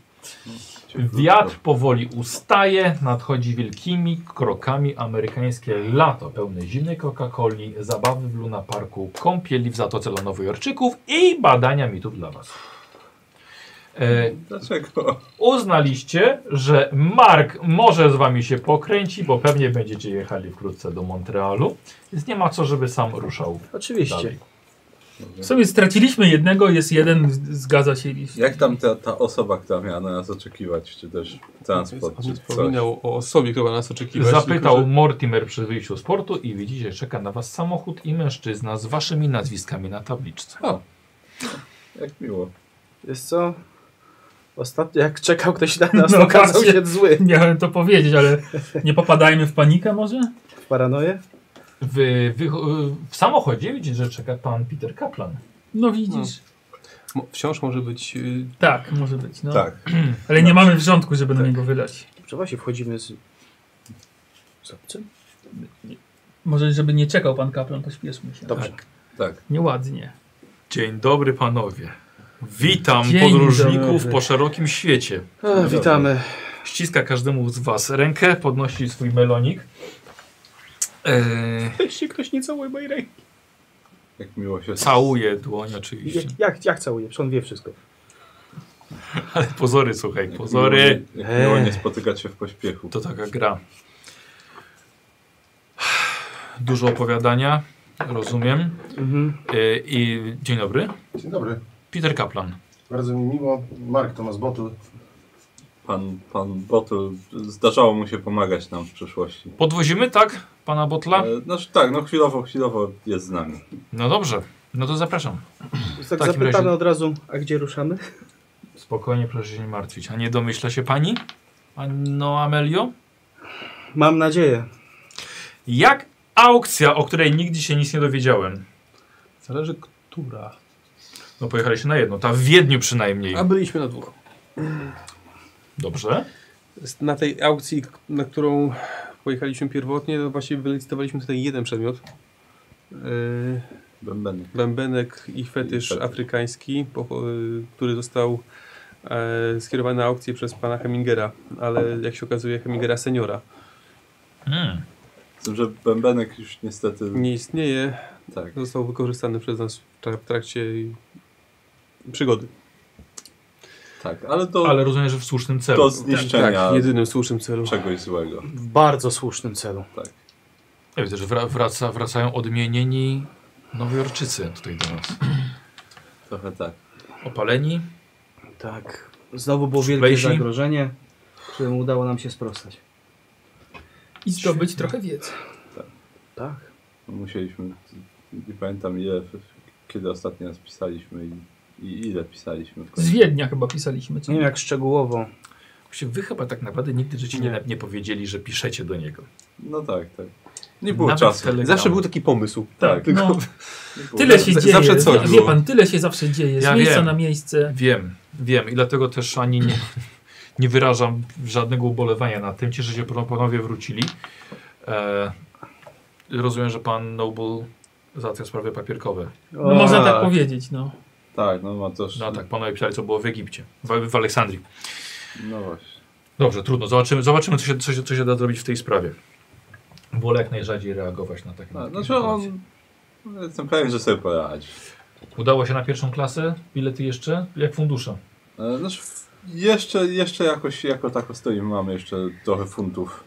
C: Mhm.
A: Wiatr powoli ustaje, nadchodzi wielkimi krokami amerykańskie lato, pełne zimnej Coca-Coli, zabawy w Luna Parku, kąpieli w Zatoce dla Nowojorczyków i badania mitów dla Was. E,
C: Dlaczego?
A: uznaliście, że Mark może z Wami się pokręci, bo pewnie będziecie jechali wkrótce do Montrealu, więc nie ma co, żeby sam ruszał
B: Oczywiście.
A: dalej.
D: W sumie straciliśmy jednego, jest jeden, z- zgadza się.
C: Jak tam ta, ta osoba, która miała na nas oczekiwać, czy też transport,
G: On
C: czy coś?
G: wspominał o osobie, która nas oczekiwać.
A: Zapytał
G: tylko,
A: Mortimer przy wyjściu z portu i widzicie, czeka na was samochód i mężczyzna z waszymi nazwiskami na tabliczce.
C: Jak miło.
B: Wiesz co? Ostatnio jak czekał ktoś na nas,
D: No
B: okazał
D: właśnie.
B: się zły.
D: Miałem to powiedzieć, ale nie popadajmy w panikę może?
B: W paranoję?
A: W, wy, w samochodzie widzicie, że czeka pan Peter Kaplan.
D: No widzisz.
G: że mo- Wciąż może być y,
D: Tak, może być, no.
C: Tak.
D: Ale nie mamy wrzątku, żeby na niego wylać.
B: Czy właśnie wchodzimy z... Z obcym?
D: Może żeby nie czekał pan kaplan, pośpieszmy się.
B: Dobrze.
A: Tak,
D: Nieładnie.
A: Dzień dobry panowie. Witam
D: Dzień
A: podróżników
D: dobry.
A: po szerokim świecie.
B: Ech, witamy.
A: Ściska każdemu z was rękę, podnosi swój melonik. Eee,
B: Jeśli ktoś nie całuje mojej ręki.
C: Jak miło się
A: całuje dłoń oczywiście.
B: Jak, jak, jak całuje? Przecież on wie wszystko.
A: Ale pozory, słuchaj,
C: jak
A: pozory.
C: Miło, jak miło nie
B: Eee.
C: spotykać się w pośpiechu.
A: To taka gra. Dużo opowiadania, rozumiem.
B: Mhm.
A: Y, I dzień dobry,
J: Dzień dobry.
A: Peter Kaplan.
J: Bardzo mi miło. Mark Tomasz Botul.
C: Pan, pan Botul, zdarzało mu się pomagać nam w przeszłości.
A: Podwozimy, tak, pana Botla?
C: E, Znaczy tak, no chwilowo, chwilowo jest z nami.
A: No dobrze, no to zapraszam.
B: Tak
A: takim
B: zapytamy
A: razie-
B: od razu, a gdzie ruszamy?
A: Spokojnie, proszę się nie martwić. A nie domyśla się pani? Panno Amelio?
B: Mam nadzieję.
A: Jak aukcja, o której nigdy się nic nie dowiedziałem?
G: Zależy która.
A: No pojechaliście na jedną, ta w Wiedniu przynajmniej.
G: A byliśmy na dwóch.
A: Dobrze.
G: Z- Na tej aukcji, k- na którą pojechaliśmy pierwotnie, to właśnie wylicytowaliśmy tutaj jeden przedmiot. Yy,
C: Bęben.
G: bębenek i fetysz
C: fetysz.
G: afrykański, pocho- y, który został e, skierowany na aukcję przez pana Hemingera, ale jak się okazuje Hemingera seniora.
A: Mm.
C: Z tym, że bębenek już niestety...
G: Nie istnieje,
C: Tak.
G: został wykorzystany przez nas w tra- w trakcie przygody.
C: Tak, ale to
A: Ale rozumiem, że w słusznym celu.
C: do zniszczenia
G: Tak, w jedynym słusznym celu.
C: czegoś złego.
B: W bardzo słusznym celu.
A: Ja widzę, że wra- wraca, wracają odmienieni Nowojorczycy tutaj do nas.
C: Trochę tak.
A: Opaleni.
B: Tak. Znowu było wielkie
A: Szplejsi?
B: zagrożenie, któremu udało nam się sprostać.
D: I zdobyć trochę wiedzy.
B: Tak.
C: Musieliśmy, nie pamiętam ile, kiedy ostatni raz pisaliśmy i, i ile pisaliśmy w
D: Z
C: końcu.
D: Wiednia chyba pisaliśmy. Co? No.
B: Nie wiem jak szczegółowo.
A: Właściwie Wy chyba tak naprawdę nigdy życie nie. Nie, powiedzieli, że piszecie do niego.
C: No tak, tak. Nie było
E: Nawet
C: czasu.
E: Telegram.
G: Zawsze był taki pomysł.
D: Tak,
G: tylko
D: no,
C: Nie było
D: tyle
C: czasu.
D: się
C: Z-
D: dzieje.
C: Zawsze coś
D: wie
C: było.
D: pan, tyle się zawsze dzieje. Z
E: Ja
D: miejsca
E: wiem.
D: na miejsce.
E: Wiem, wiem i dlatego też ani nie, nie wyrażam żadnego ubolewania nad tym. Cieszę się, że pan- panowie wrócili. E, rozumiem, że pan Noble załatwia sprawy papierkowe.
D: No, można tak
C: tak.
D: powiedzieć, no.
C: Tak, no ma też.
E: No tak, panowie pisali, co było w Egipcie, w, w Aleksandrii.
C: No właśnie.
E: Dobrze, trudno, zobaczymy, zobaczymy co, się, co, się, co się da zrobić w tej sprawie. Wolę jak najrzadziej reagować na
D: No,
E: takie, na
C: Tak,
E: takie
C: Znaczy
E: sytuacje.
C: on. no, Jestem pewien, że sobie poradzi.
E: Udało się na pierwszą klasę? Bilety jeszcze? Jak fundusze?
C: E, Znaczy, w- jeszcze, jeszcze jakoś jako tako stoimy, mamy jeszcze trochę funtów.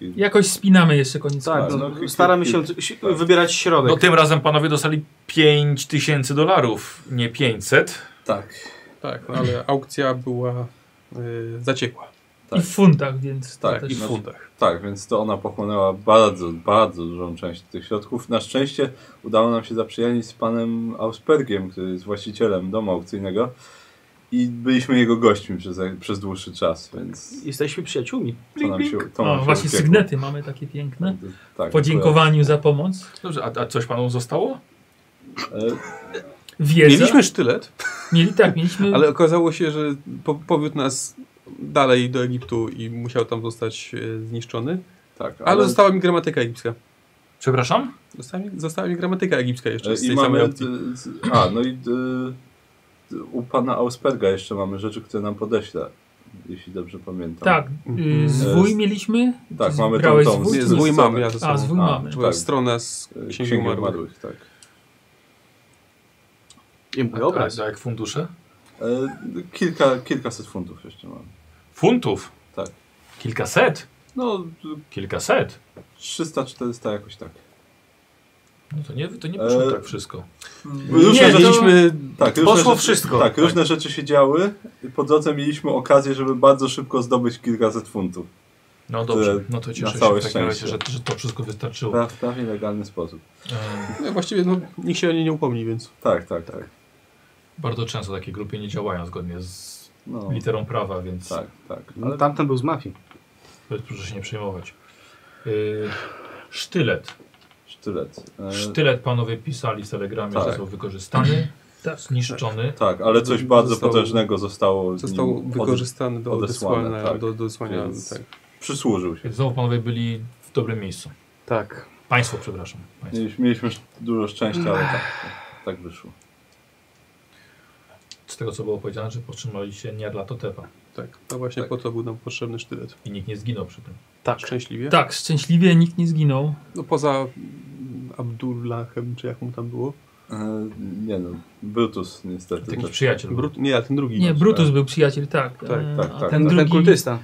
D: Jakoś spinamy jeszcze koniec.
B: Tak,
C: Tak,
B: no,
C: no,
B: staramy się si- wybierać
E: No
B: środek.
E: tym razem panowie dostali 5 tysięcy dolarów, nie 500.
C: Tak.
G: Tak, no, ale aukcja była y, zaciekła.
D: I w funtach, więc to
C: Tak,
D: też.
C: i w
G: W funtach.
C: Tak, więc to ona pochłonęła bardzo, bardzo dużą część tych środków. Na szczęście udało nam się zaprzyjaźnić z panem Auspergiem, który jest właścicielem domu aukcyjnego i byliśmy jego gośćmi przez, przez dłuższy czas, więc
B: Jesteśmy przyjaciółmi.
C: to nam się, to nam
D: No,
C: się
D: właśnie
C: uciekło.
D: sygnety mamy takie piękne.
C: Tak,
D: W podziękowaniu za pomoc.
E: Dobrze, a, a coś panu zostało?
C: akurat. E,
D: Wiedza.
G: Mieliśmy sztylet,
D: Mieli tak, mieliśmy.
G: ale okazało się, że po, powiódł nas dalej do Egiptu i musiał tam zostać y, zniszczony.
C: tak,
G: Ale została mi gramatyka egipska.
E: Przepraszam?
G: Została mi, została mi gramatyka egipska jeszcze z
C: I
G: tej
C: mamy.
G: samej
C: e,
G: aukcji.
C: z- A, no i e, u pana Ausperga jeszcze mamy rzeczy, które nam podeśle, jeśli dobrze pamiętam.
D: Tak, y,
G: Mhm.
D: zwój
C: E,
D: mieliśmy.
C: tak,
D: Czy
C: mamy tą-
D: brałeś
C: tą-
D: zwój?
G: Nie,
D: czy
G: zwój
C: nie?
G: mamy, ja ze
D: A,
G: sobą.
D: zwój
C: A,
D: mamy.
G: Była
C: tak.
G: strona z
C: E,
G: Księgi Umarłych.
C: tak.
B: I mój
E: A,
B: obraz.
E: a jak fundusze?
C: E, kilka, kilkaset funtów jeszcze mam.
E: Funtów?
C: Tak.
E: Kilkaset?
C: No,
E: Kilkaset?
C: 300-400 jakoś tak.
E: No to nie, to nie poszło
C: E,
E: tak wszystko.
C: Różne rzeczy-
G: Mieliśmy
C: tak,
B: Poszło
C: różne rzeczy-
B: wszystko.
C: Tak, różne rzeczy się działy. Po drodze mieliśmy okazję, żeby bardzo szybko zdobyć kilkaset funtów.
E: No dobrze,
C: które
E: no to cieszę się
C: e, na
E: w
C: całe
E: takim razie, że,
C: szczęście.
E: że to wszystko wystarczyło.
C: Pra- W prawie legalny sposób.
E: E,
G: No, właściwie no, nikt się o niej nie upomni, więc.
C: Tak, tak, tak.
E: bardzo często takie grupy nie działają zgodnie z
C: No,
E: literą prawa, więc
C: tak, tak.
B: No, tamten był z mafii.
E: proszę się nie przejmować. E, sztylet.
C: Sztylet. E,
E: Sztylet panowie pisali w telegramie,
C: Tak.
E: że został wykorzystany,
D: Tak.
E: zniszczony.
C: tak, ale coś bardzo
G: Został-
C: potężnego zostało. z
G: Został
C: nim od-
G: wykorzystany do
C: odesłane,
G: odesłania.
C: Mm, tak.
G: Do, do odesłania
C: Więc-
G: tak.
C: Przysłużył się.
E: Więc znowu panowie byli w dobrym miejscu.
G: tak.
E: Państwo, przepraszam. Państwo.
C: Mieliśmy, mieliśmy sz- dużo szczęścia, ale tak, tak, tak wyszło.
E: Z tego co było powiedziane, że powstrzymaliście Niarlatotepa
G: tak. No właśnie
C: Tak.
G: po to był nam potrzebny sztylet.
E: i nikt nie zginął przy tym.
G: Tak. Szczęśliwie.
D: Tak, szczęśliwie nikt nie zginął.
G: No poza mm, Abdullahem, czy jak mu tam było.
C: E, nie no, Brutus niestety.
E: Taki
C: też.
E: przyjaciel.
G: Brut... Nie, a ten drugi.
D: Nie, Brutus był przyjaciel, tak.
G: Tak,
D: E,
C: tak,
D: a
C: tak.
D: Ten
B: No,
D: drugi.
B: Ten kultysta.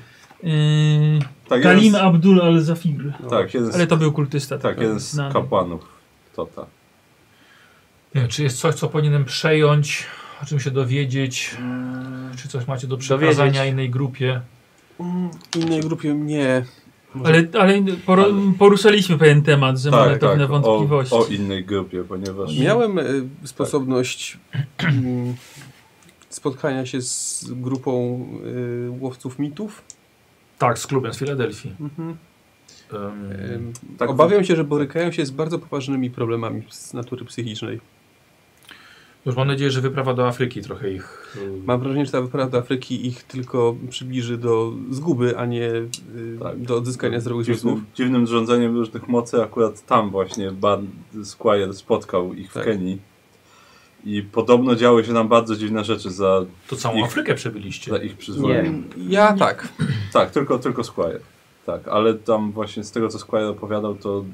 D: y,
C: tak, jeden
D: Kalim
C: z,
D: Abdul al-Zafir.
C: tak, jeden z,
D: Ale to był kultysta.
C: tak, jeden z
D: znany.
C: kapłanów. Tota.
E: Nie wiem, czy jest coś, co powinienem przejąć, o czym się dowiedzieć?
D: Mm.
E: Czy coś macie do przekazania innej grupie?
G: Mm, Innej grupie nie.
D: Ale, ale poru- poruszaliśmy pewien temat, że mamy pewne wątpliwości.
C: Tak, o, o innej grupie, ponieważ
G: Miałem e,
C: Tak.
G: sposobność mm, spotkania się z grupą e, łowców mitów.
E: Tak, z klubem z Filadelfii. Ym,
G: Em,
C: Tak,
G: Obawiam się, że borykają się z bardzo poważnymi problemami z natury psychicznej.
E: już mam nadzieję, że wyprawa do Afryki trochę ich. ym,
G: Mam wrażenie, że ta wyprawa do Afryki ich tylko przybliży do zguby, a nie y,
C: Tak.
G: do odzyskania zdrowych zmysłów.
C: dziwnym, dziwnym rządzeniem różnych mocy akurat tam właśnie Ban Squire spotkał ich w
G: Tak.
C: Kenii. I podobno działy się nam bardzo dziwne rzeczy za,
E: To całą
C: ich-
E: Afrykę przebyliście.
C: za ich przyzwoleniem.
G: Ja tak.
C: Tak, tylko, tylko Squire. Tak, ale tam właśnie z tego co Squire opowiadał, to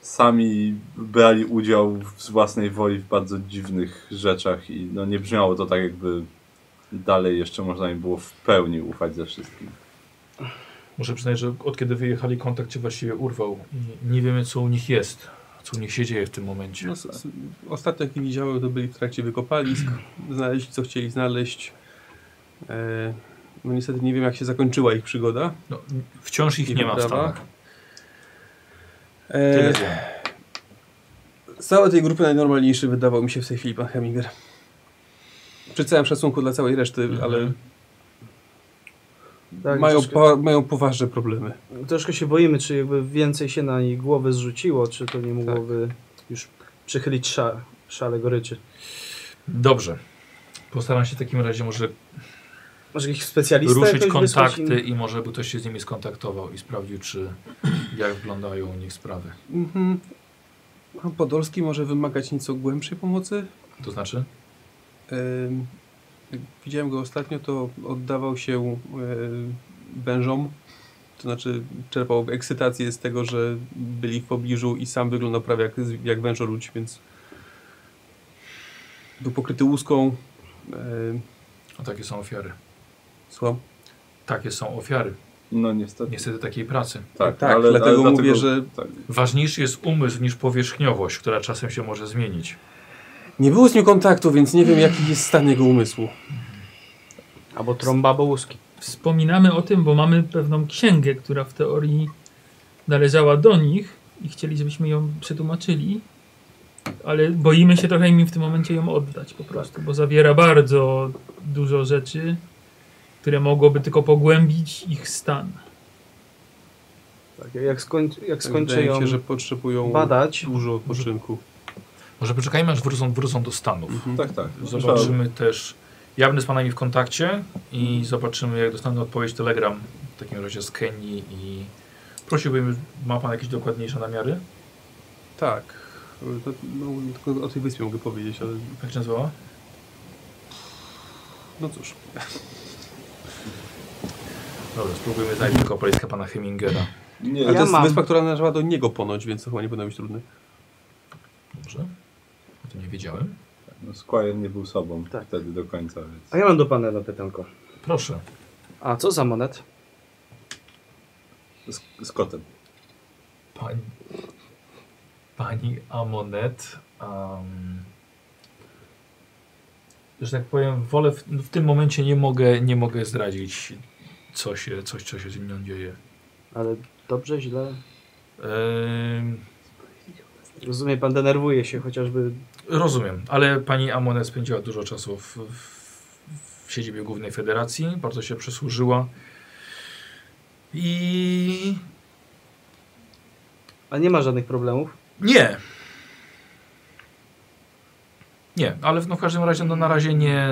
C: sami brali udział w- z własnej woli w bardzo dziwnych rzeczach i no nie brzmiało to tak jakby dalej jeszcze można im było w pełni ufać ze wszystkim.
E: Muszę przyznać, że od kiedy wyjechali, kontakt się właściwie urwał. I nie wiemy, co u nich jest, co u nich się dzieje w tym momencie.
G: No, s- s- ostatnio jak ich widziałem, to byli w trakcie wykopalisk. Znaleźli co chcieli znaleźć. E, no niestety nie wiem jak się zakończyła ich przygoda.
E: No, wciąż ich
G: i
E: nie ma w
G: wyprawa.
E: Stanach.
G: E,
E: Tyle wiem.
G: z całej tej grupy najnormalniejszy wydawał mi się w tej chwili pan Heminger. Przy całym szacunku dla całej reszty,
E: Mhm.
G: ale
B: Mhm. Tak,
G: mają,
B: troszkę,
G: po, mają poważne problemy.
B: troszkę się boimy, czy jakby więcej się na ich głowę zrzuciło, czy to nie mogłoby już przychylić sza, szale goryczy.
A: Dobrze. Postaram się w takim razie może
B: Może jakiś specjalista
A: ruszyć
B: jakoś wysłać im?
A: kontakty i może by ktoś się z nimi skontaktował i sprawdził, czy jak wyglądają u nich sprawy.
G: Mhm. A Podolski może wymagać nieco głębszej pomocy.
A: To znaczy?
G: Em, jak widziałem go ostatnio, to oddawał się em, wężom. To znaczy czerpał ekscytację z tego, że byli w pobliżu i sam wyglądał prawie jak, jak wężoludź, więc był pokryty łuską. Em,
A: No, takie są ofiary.
G: Słucham?
A: Takie są ofiary.
C: No niestety.
A: Niestety takiej pracy.
C: Tak,
G: Tak,
C: ale,
G: dlatego
C: ale
G: mówię, że
C: Tak.
A: Ważniejszy jest umysł niż powierzchniowość, która czasem się może zmienić.
G: nie było z nim kontaktu, więc nie wiem jaki jest stan jego umysłu.
B: Albo trąba bołuski.
D: Wspominamy o tym, bo mamy pewną księgę, która w teorii należała do nich i chcieli, żebyśmy ją przetłumaczyli, ale boimy się trochę im w tym momencie ją oddać po prostu, bo zawiera bardzo dużo rzeczy, które mogłoby tylko pogłębić ich stan.
B: Tak, jak, skoń, jak skończę
G: Wydaje mi
B: ją
G: się, że potrzebują
B: badać,
G: dużo odpoczynku.
A: Może poczekajmy, aż wrócą, wrócą do Stanów.
C: tak, tak.
G: Mhm.
A: Zobaczymy też. Ja będę z panami w kontakcie i zobaczymy, jak dostanę odpowiedź telegram w takim razie z Kenii i prosiłbym, ma pan jakieś dokładniejsze namiary?
G: Tak. To, no, tylko o tej wyspie mogę powiedzieć, ale
A: Jak się nazywała?
G: no cóż.
A: Dobra, spróbujmy znaleźć tylko opolejska pana Hemingera.
C: Nie,
G: Ale
B: Ja
G: to jest
B: mam.
G: wyspa, która należała do niego ponoć, więc to chyba nie powinno być trudne.
A: Dobrze. O tym nie wiedziałem.
C: no, Squire nie był sobą
B: Tak.
C: wtedy do końca, więc...
B: A ja mam do panela pytanko.
A: Proszę.
B: A co za monet?
C: Z, z kotem.
A: Pani, pani Amonet. Um, że tak powiem, wolę w, w tym momencie nie mogę, nie mogę zdradzić, co się, coś, co się z nią dzieje.
B: Ale dobrze, źle.
A: Em,
B: Rozumie pan, denerwuje się chociażby.
A: Rozumiem, ale pani Amonet spędziła dużo czasu w, w, w siedzibie głównej federacji, bardzo się przysłużyła i
B: A nie ma żadnych problemów.
A: nie. Nie, ale w- no w każdym razie no na razie nie,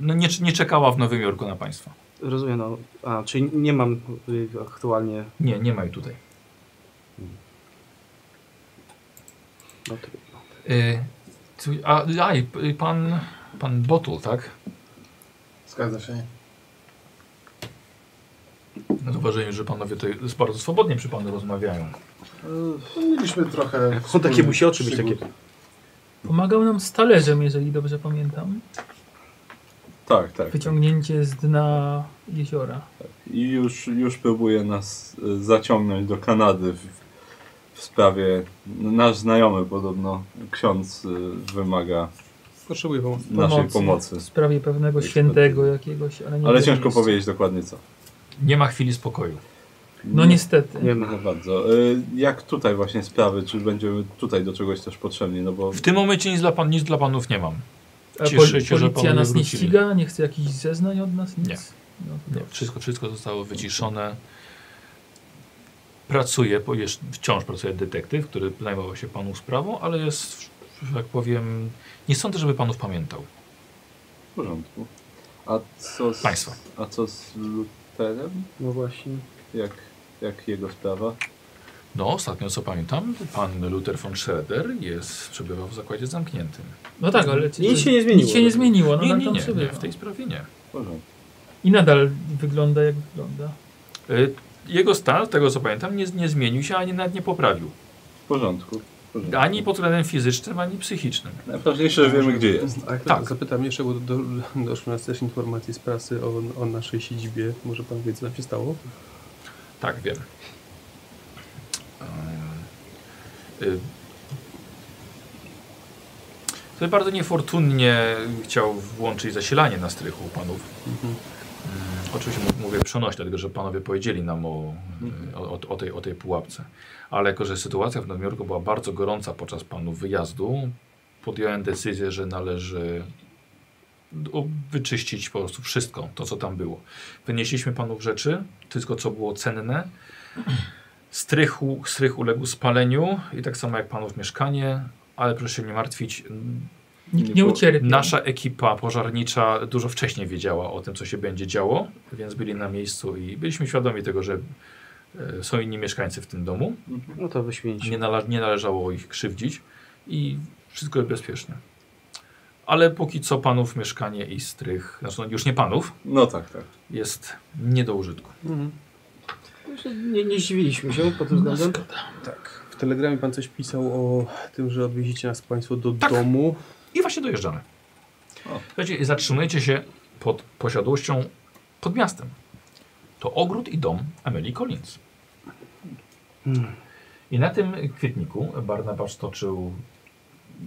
A: no nie, nie czekała w Nowym Jorku na państwa.
B: Rozumiem, no. A, czyli nie mam y, aktualnie.
A: Nie, nie ma jej tutaj.
B: No, to-
A: Y, tu- a, a i p- pan, pan Bottle, tak?
J: Zgadza się.
A: No zauważyłem, że panowie tutaj bardzo swobodnie przy panu rozmawiają.
J: No, Mieliśmy trochę.
B: On takie
J: wspólnych
B: musi oczy mieć
J: przygód.
B: takie.
D: Pomagał nam z talerzem, jeżeli dobrze pamiętam.
C: Tak, tak.
D: Wyciągnięcie z dna jeziora.
C: I już, już próbuje nas y, zaciągnąć do Kanady w, w sprawie... no, Nasz znajomy podobno, ksiądz, y, wymaga
G: Potrzebuję pomocy.
C: naszej pomocy.
D: W sprawie pewnego
C: Ekspertyzy.
D: świętego jakiegoś, ale nie
C: Ale
D: wiem,
C: ciężko
D: jest.
C: powiedzieć dokładnie co.
A: Nie ma chwili spokoju.
D: No niestety.
B: Nie
C: No
B: ma.
C: bardzo. Y, Jak tutaj właśnie sprawy, czy będziemy tutaj do czegoś też potrzebni, no bo
A: W tym momencie nic dla, pan, nic dla panów nie mam.
D: A pol-
A: Cieszę się, że
D: E, policja
A: panowie
D: nas nie
A: wrócili.
D: ściga, nie chce jakichś zeznań od nas, nic.
A: Nie.
D: No,
A: Nie,
D: to dobrze.
A: wszystko, wszystko zostało wyciszone. Pracuje, bo jeszcze wciąż pracuje detektyw, który zajmował się panu sprawą, ale jest, że tak powiem, nie sądzę, żeby panów pamiętał.
C: w porządku. A co z,
A: Państwo.
C: A co z Luterem?
B: No właśnie.
C: Jak, jak jego sprawa?
A: No, ostatnio co pamiętam, pan Luther von Schroeder jest, przebywał w zakładzie zamkniętym.
D: no tak, ale czy
B: Nic
D: to-
B: się nie zmieniło.
D: Nic się nie zmieniło,
A: Nie,
D: nadal
A: nie,
D: tam
A: nie, nie,
D: przebywa.
A: w tej sprawie nie.
C: W porządku.
D: I nadal wygląda jak wygląda.
A: Y, Jego stan, z tego co pamiętam, nie, nie zmienił się, ani nawet nie poprawił.
C: W porządku. W porządku.
A: Ani pod względem fizycznym, ani psychicznym.
C: Najważniejsze, że wiemy gdzie jest.
G: A jak
A: Tak.
G: Zapytam jeszcze, bo do, doszły nas też informacje z prasy o, o naszej siedzibie. Może pan wie, co nam się stało?
A: Tak, wiem. Ym, y, Ktoś bardzo niefortunnie chciał włączyć zasilanie na strychu u panów. Ym, Oczywiście m- mówię przenośnie, dlatego że panowie powiedzieli nam o, y, o, o, tej, o tej pułapce. Ale jako, że sytuacja w Nowym Jorku była bardzo gorąca podczas panów wyjazdu, podjąłem decyzję, że należy o- wyczyścić po prostu wszystko to, co tam było. Wynieśliśmy panów rzeczy, tylko co było cenne. Strych, u, strych uległ spaleniu i tak samo jak panów mieszkanie, ale proszę się nie martwić,
D: Nikt nie ucierpi.
A: Nasza ekipa pożarnicza dużo wcześniej wiedziała o tym, co się będzie działo, więc byli na miejscu i byliśmy świadomi tego, że e, są inni mieszkańcy w tym domu.
B: No to wyśmienicie.
A: Nie, nala nie należało ich krzywdzić i wszystko jest bezpieczne. Ale póki co panów mieszkanie i strych, znaczy no już nie panów,
C: No tak, tak.
A: jest nie do użytku.
G: Mhm.
B: Nie, nie zdziwiliśmy się pod tym względem.
G: Tak. W telegramie pan coś pisał o tym, że odwiedzicie nas państwo do domu.
A: I właśnie dojeżdżamy.
C: O.
A: Słuchajcie, zatrzymujecie się pod posiadłością, pod miastem. To ogród i dom Amelii Collins. I na tym kwietniku Barnabasz toczył,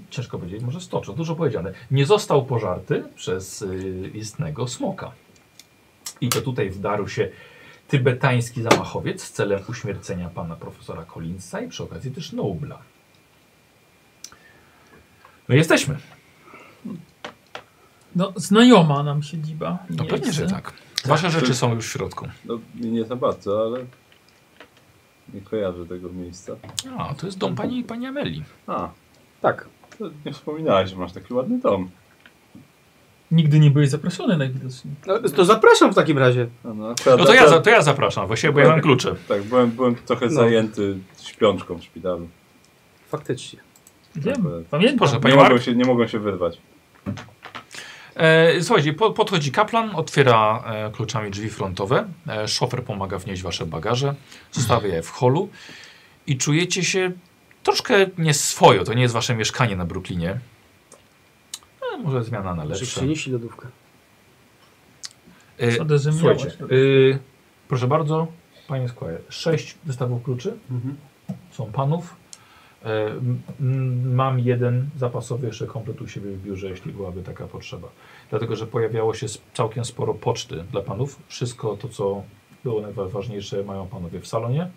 A: ciężko powiedzieć, może stoczył, dużo powiedziane. Nie został pożarty przez y, istnego smoka. I to tutaj wdarł się tybetański zamachowiec z celem uśmiercenia pana profesora Collinsa i przy okazji też Nobla. No i jesteśmy.
D: No, znajoma nam siedziba.
A: No
D: Nie
A: pewnie,
D: chcę.
A: że tak. Wasze
C: To
A: rzeczy
C: jest-
A: są już w środku.
C: No nie za bardzo, ale nie kojarzę tego miejsca.
A: A, to jest dom pani i pani Ameli.
B: No
C: A,
B: Tak.
C: to nie wspominałaś, że masz taki ładny dom.
D: Nigdy nie byłeś zaproszony najwidoczniej.
B: No, to zapraszam w takim razie.
C: A no,
A: No
C: akurat-
B: tak.
A: to ja, za- to ja zapraszam, właściwie, bo ja mam klucze.
C: Tak, byłem, byłem trochę
B: No.
C: zajęty śpiączką w szpitalu.
B: Faktycznie.
A: Tak.
D: Wiem, pamiętam.
A: Proszę,
C: Nie
A: pani Mark.
C: mogłem, się, nie mogłem się wyrwać.
A: E, słuchajcie, po, podchodzi kaplan, otwiera e, kluczami drzwi frontowe. E, szofer pomaga wnieść wasze bagaże. Zostawia je w holu. I czujecie się troszkę nieswojo. To nie jest wasze mieszkanie na Brooklynie. E, może zmiana na
B: Że
A: lepsze.
B: przynieśli lodówkę.
A: E,
D: Szkoda, że
A: Słuchajcie,
D: miałeś.
A: y, proszę bardzo, panie Squire, sześć zestawów kluczy są panów. Y, m- m- mam jeden zapasowy jeszcze komplet u siebie w biurze, jeśli byłaby taka potrzeba. Dlatego, że pojawiało się s- całkiem sporo poczty dla panów. Wszystko to, co było najważniejsze, mają panowie w salonie,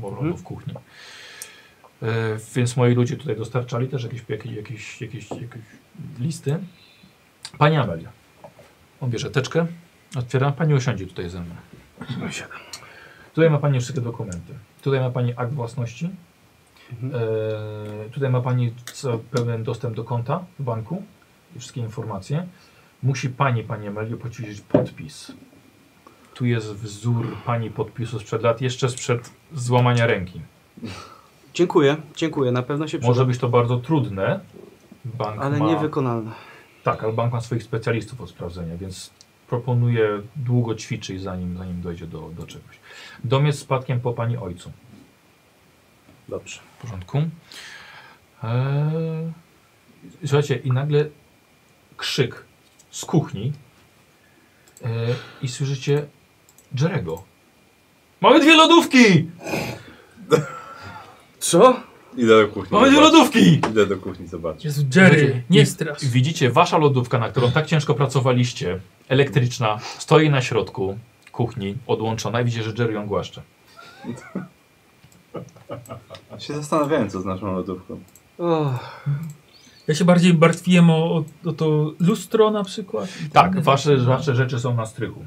A: może w kuchni. Y, więc moi ludzie tutaj dostarczali też jakieś, jakieś, jakieś, jakieś, jakieś listy. Pani Amelia, on bierze teczkę. Otwieram. Pani usiądzie tutaj ze mną. Tutaj ma Pani wszystkie dokumenty. Tutaj ma Pani akt własności. Eee, tutaj ma Pani co, pełen dostęp do konta w banku i wszystkie informacje. Musi Pani, Pani Amelio, poćwiczyć podpis. Tu jest wzór Pani podpisu sprzed lat, jeszcze sprzed złamania ręki.
B: Dziękuję, dziękuję. Na pewno się
A: Może
B: przyda.
A: być to bardzo trudne. Bank
B: Ale
A: ma...
B: niewykonalne.
A: Tak, ale bank ma swoich specjalistów od sprawdzenia, więc proponuję długo ćwiczyć, zanim, zanim dojdzie do, do czegoś. Dom jest spadkiem po pani ojcu.
B: Dobrze.
A: W porządku. Eee, słuchajcie, i nagle krzyk z kuchni eee, i słyszycie Jerego. Mamy dwie lodówki!
B: Co?
C: Idę do kuchni.
A: Mamy dwie
C: zobaczyć.
A: lodówki!
C: Idę do kuchni zobaczyć.
D: Jezu, Jerry,
A: Słuchajcie, i-
D: nie strasz.
A: i Widzicie, wasza lodówka, na którą tak ciężko pracowaliście, elektryczna, stoi na środku kuchni, odłączona i widzicie, że Jerry ją głaszcze.
C: Się zastanawiałem, co z naszą lodówką.
B: Och,
D: Ja się bardziej martwiłem o, o, o to lustro na przykład. i
A: Tak,
D: inne
A: wasze,
D: rzeczy.
A: wasze rzeczy są na strychu.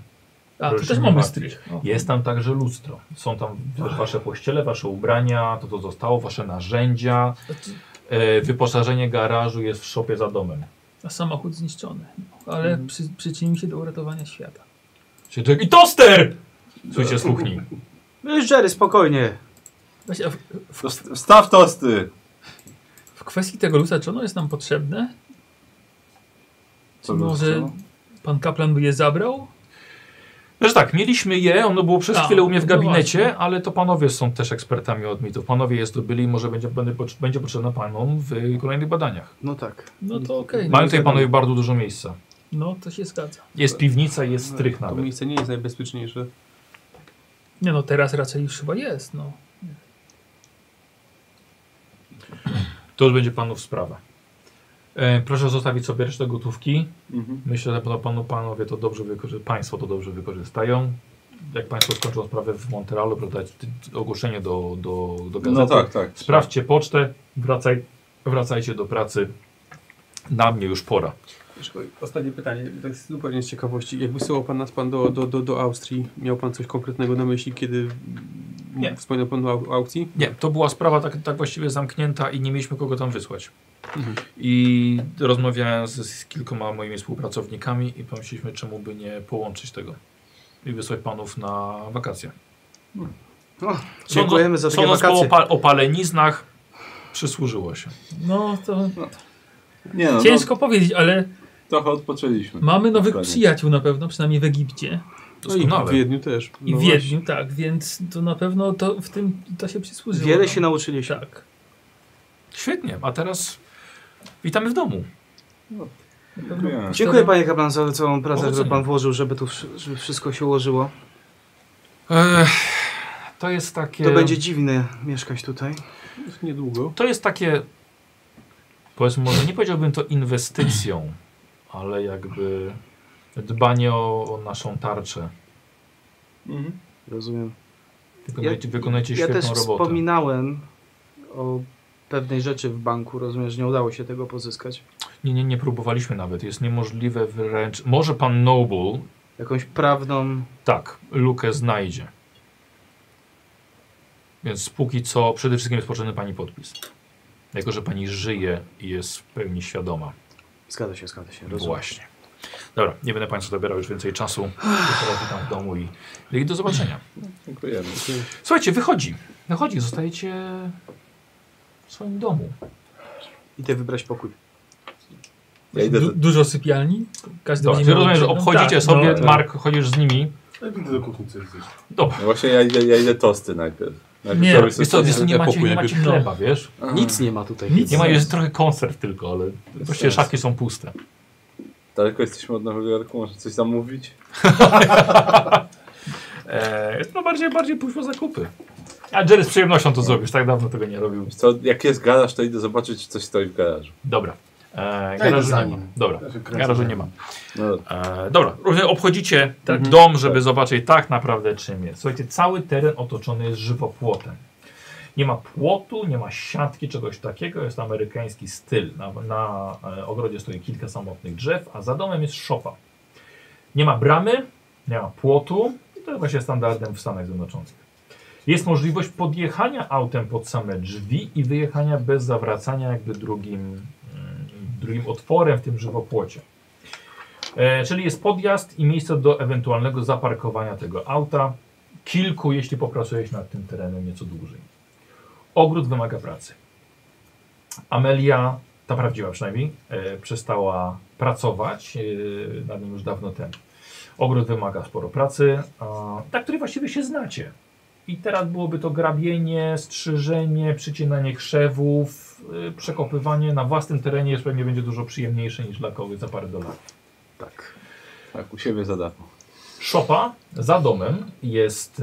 D: A, to
A: proszę
D: też
A: nie
D: mamy
A: martwić.
D: strych. O.
A: Jest tam także lustro. Są tam też wasze pościele, wasze ubrania, to co zostało, wasze narzędzia.
D: Znaczy,
A: E, wyposażenie garażu jest w szopie za domem.
D: A samochód zniszczony. Ale przy, przyczynił się do uratowania świata.
A: Się to- I toster! Słuchajcie z kuchni.
B: No Już Jerry, spokojnie.
D: Właśnie, a w,
C: To st- Wstaw tosty!
D: w kwestii tego lustra, czy ono jest nam potrzebne? Czy
C: Co
D: może
C: lustro?
D: pan kaplan by je zabrał?
A: Znaczy tak, mieliśmy je, ono było przez
D: A,
A: chwilę u mnie w
D: no
A: gabinecie,
D: właśnie.
A: ale to panowie są też ekspertami od mitów. Panowie je zdobyli i może będzie, będę, pot- będzie potrzebne panom w kolejnych badaniach.
B: No tak.
D: No to okej.
A: Mają
D: no,
A: tutaj panowie bardzo dużo miejsca.
D: no to się zgadza.
A: Jest piwnica, jest
C: No,
A: strych
G: To
A: nawet.
G: miejsce nie jest najbezpieczniejsze.
D: Nie no, teraz raczej już chyba jest, no.
A: To już będzie panów sprawa. E, proszę zostawić sobie resztę gotówki.
C: Mhm.
A: Myślę, że panu- panu, panowie to dobrze wykorzy- państwo to dobrze wykorzystają. Jak państwo skończą sprawę w Montrealu, podać ty- ty- ogłoszenie do, do, do gazety.
C: No tak, tak.
A: Sprawdźcie pocztę, wracaj, wracajcie do pracy. Na mnie już pora.
G: Jeszcze Ostatnie pytanie, tak zupełnie z ciekawości. Jak wysyłał Pan nas Pan do, do, do, do Austrii, miał Pan coś konkretnego na myśli, kiedy mm,
A: Nie.
G: wspominał Pan o au- aukcji?
A: Nie, to była sprawa tak, tak właściwie zamknięta i nie mieliśmy kogo tam wysłać.
B: Mhm.
A: I rozmawiałem z, z kilkoma moimi współpracownikami i pomyśleliśmy, czemu by nie połączyć tego i wysłać panów na wakacje.
B: O, dziękujemy za takie
A: sądząc
B: wakacje.
A: po no- opa opaleniznach przysłużyło się.
D: No to
C: Nie no,
D: ciężko powiedzieć, ale
C: no trochę odpoczęliśmy.
D: mamy nowych
C: Dokładnie.
D: przyjaciół na pewno, przynajmniej w Egipcie
G: No i w
A: Doskonale.
G: Wiedniu też.
D: i
G: No
D: w
G: właśnie.
D: Wiedniu, tak, więc to na pewno to w tym to się przysłużyło.
B: Wiele
D: nam.
B: się nauczyliśmy.
D: Tak.
A: Świetnie, a teraz witamy w domu.
C: Dziękuję.
B: Dziękuję Panie Kaplan za całą pracę, którą
A: Powodzenia.
B: Pan włożył, żeby tu wsz- żeby wszystko się ułożyło.
A: Ech, to jest takie...
B: To będzie dziwne mieszkać tutaj.
G: Niedługo.
A: To jest takie, powiedzmy, może nie powiedziałbym to inwestycją, ale jakby dbanie o, o naszą tarczę.
C: Mhm.
B: Rozumiem.
A: Wykonajcie, wykonajcie
B: Ja
A: świetną
B: też
A: robotę.
B: wspominałem o pewnej rzeczy w banku. Rozumiem, że nie udało się tego pozyskać.
A: Nie, nie, nie próbowaliśmy nawet. Jest niemożliwe wręcz. Może pan Noble,
B: Jakąś prawną...
A: tak, lukę znajdzie. Więc póki co, przede wszystkim jest potrzebny pani podpis. Jako, że pani żyje i jest w pełni świadoma.
B: Zgadza się, zgadza się. Rozumiem.
A: Właśnie. Dobra, nie będę państwu zabierał już więcej czasu. Teraz witam w domu i, i do zobaczenia.
C: Dziękujemy.
A: Słuchajcie, wychodzi. Wychodzi, zostajecie w swoim domu.
B: Idę wybrać pokój.
C: Ja idę do...
D: Du dużo sypialni. Każdy
A: Dobra,
D: będzie
A: ty
D: miał
A: rozumiesz, że
D: jedną.
A: obchodzicie
D: tak,
A: sobie,
D: No,
A: Mark, chodzisz z nimi.
J: Ja idę No do kuchni coś zjeść.
A: Dobra,
C: No właśnie ja idę, ja idę tosty najpierw. najpierw
D: Nie,
C: zrobię sobie
A: wiesz co, wiesz, co, nie
G: ja
A: macie, nie
G: pokój jakby-
A: macie chleba, wiesz?
B: Nic nie ma tutaj.
D: Nic
A: Nie ma, jest trochę konserw tylko, ale właściwie
C: sens.
A: szafki są puste.
C: Daleko jesteśmy od Nowego Jorku, może coś zamówić?
A: Eee, no bardziej, bardziej pójść po zakupy. A Jerry z przyjemnością to zrobisz, tak dawno tego nie robił.
C: Wiesz Co, jak jest garaż, to idę zobaczyć, czy coś stoi w garażu.
A: Dobra, eee,
J: Ja idę
A: garażu
J: za
A: nie ma.
J: nim.
A: Dobra,
J: Ja się kręcę.
A: garażu nie ma.
C: No,
A: E, dobra, równie obchodzicie Mhm. dom, żeby zobaczyć tak naprawdę czym jest. Słuchajcie, cały teren otoczony jest żywopłotem. Nie ma płotu, nie ma siatki, czegoś takiego. Jest amerykański styl. Na, na e, ogrodzie stoi kilka samotnych drzew, a za domem jest szopa. Nie ma bramy, nie ma płotu. I to jest właśnie standardem w Stanach Zjednoczonych. Jest możliwość podjechania autem pod same drzwi i wyjechania bez zawracania jakby drugim, mm, drugim otworem w tym żywopłocie. E, czyli jest podjazd i miejsce do ewentualnego zaparkowania tego auta. Kilku, jeśli popracujesz nad tym terenem nieco dłużej. Ogród wymaga pracy. Amelia, ta prawdziwa przynajmniej, e, przestała pracować e, nad nim już dawno temu. Ogród wymaga sporo pracy, a, na której właściwie się znacie. I teraz byłoby to grabienie, strzyżenie, przycinanie krzewów, e, przekopywanie na własnym terenie jest pewnie będzie dużo przyjemniejsze niż dla kogoś za parę dolarów.
C: tak, u siebie za dawno.
A: Szopa za domem jest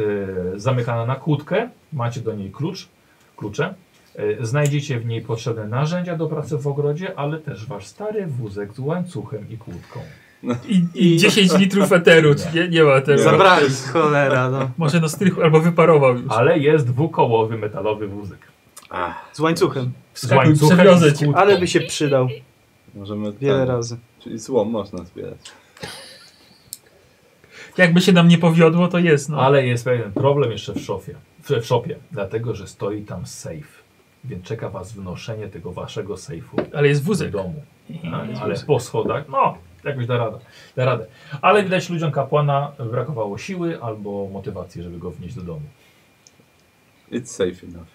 A: e, zamykana na kłódkę. Macie do niej klucz, klucze. E, znajdziecie w niej potrzebne narzędzia do pracy w ogrodzie, ale też wasz stary wózek z łańcuchem i kłódką.
D: I, I 10 litrów eteru, czy nie, nie ma tego.
B: Zabrali, cholera, no.
D: Może na strych albo wyparował już.
A: Ale jest dwukołowy metalowy wózek.
B: Z łańcuchem.
A: Z
D: Skakuj,
A: łańcuchem
D: przewiozę
A: i z
D: cię.
A: kłódką.
B: Ale by się przydał
C: Możemy
B: wiele
C: ten-
B: razy.
C: Czyli złom można zbierać.
D: Jakby się nam nie powiodło, to jest. No.
A: Ale jest pewien problem jeszcze w szopie, w, w szopie dlatego że stoi tam safe. Więc czeka was wnoszenie tego waszego sejfu
D: Ale jest
A: do
D: wózek.
A: domu. Mhm. Ale po schodach, no, jakoś da radę, da radę. Ale widać ludziom kapłana brakowało siły albo motywacji, żeby go wnieść do domu.
C: It's safe enough.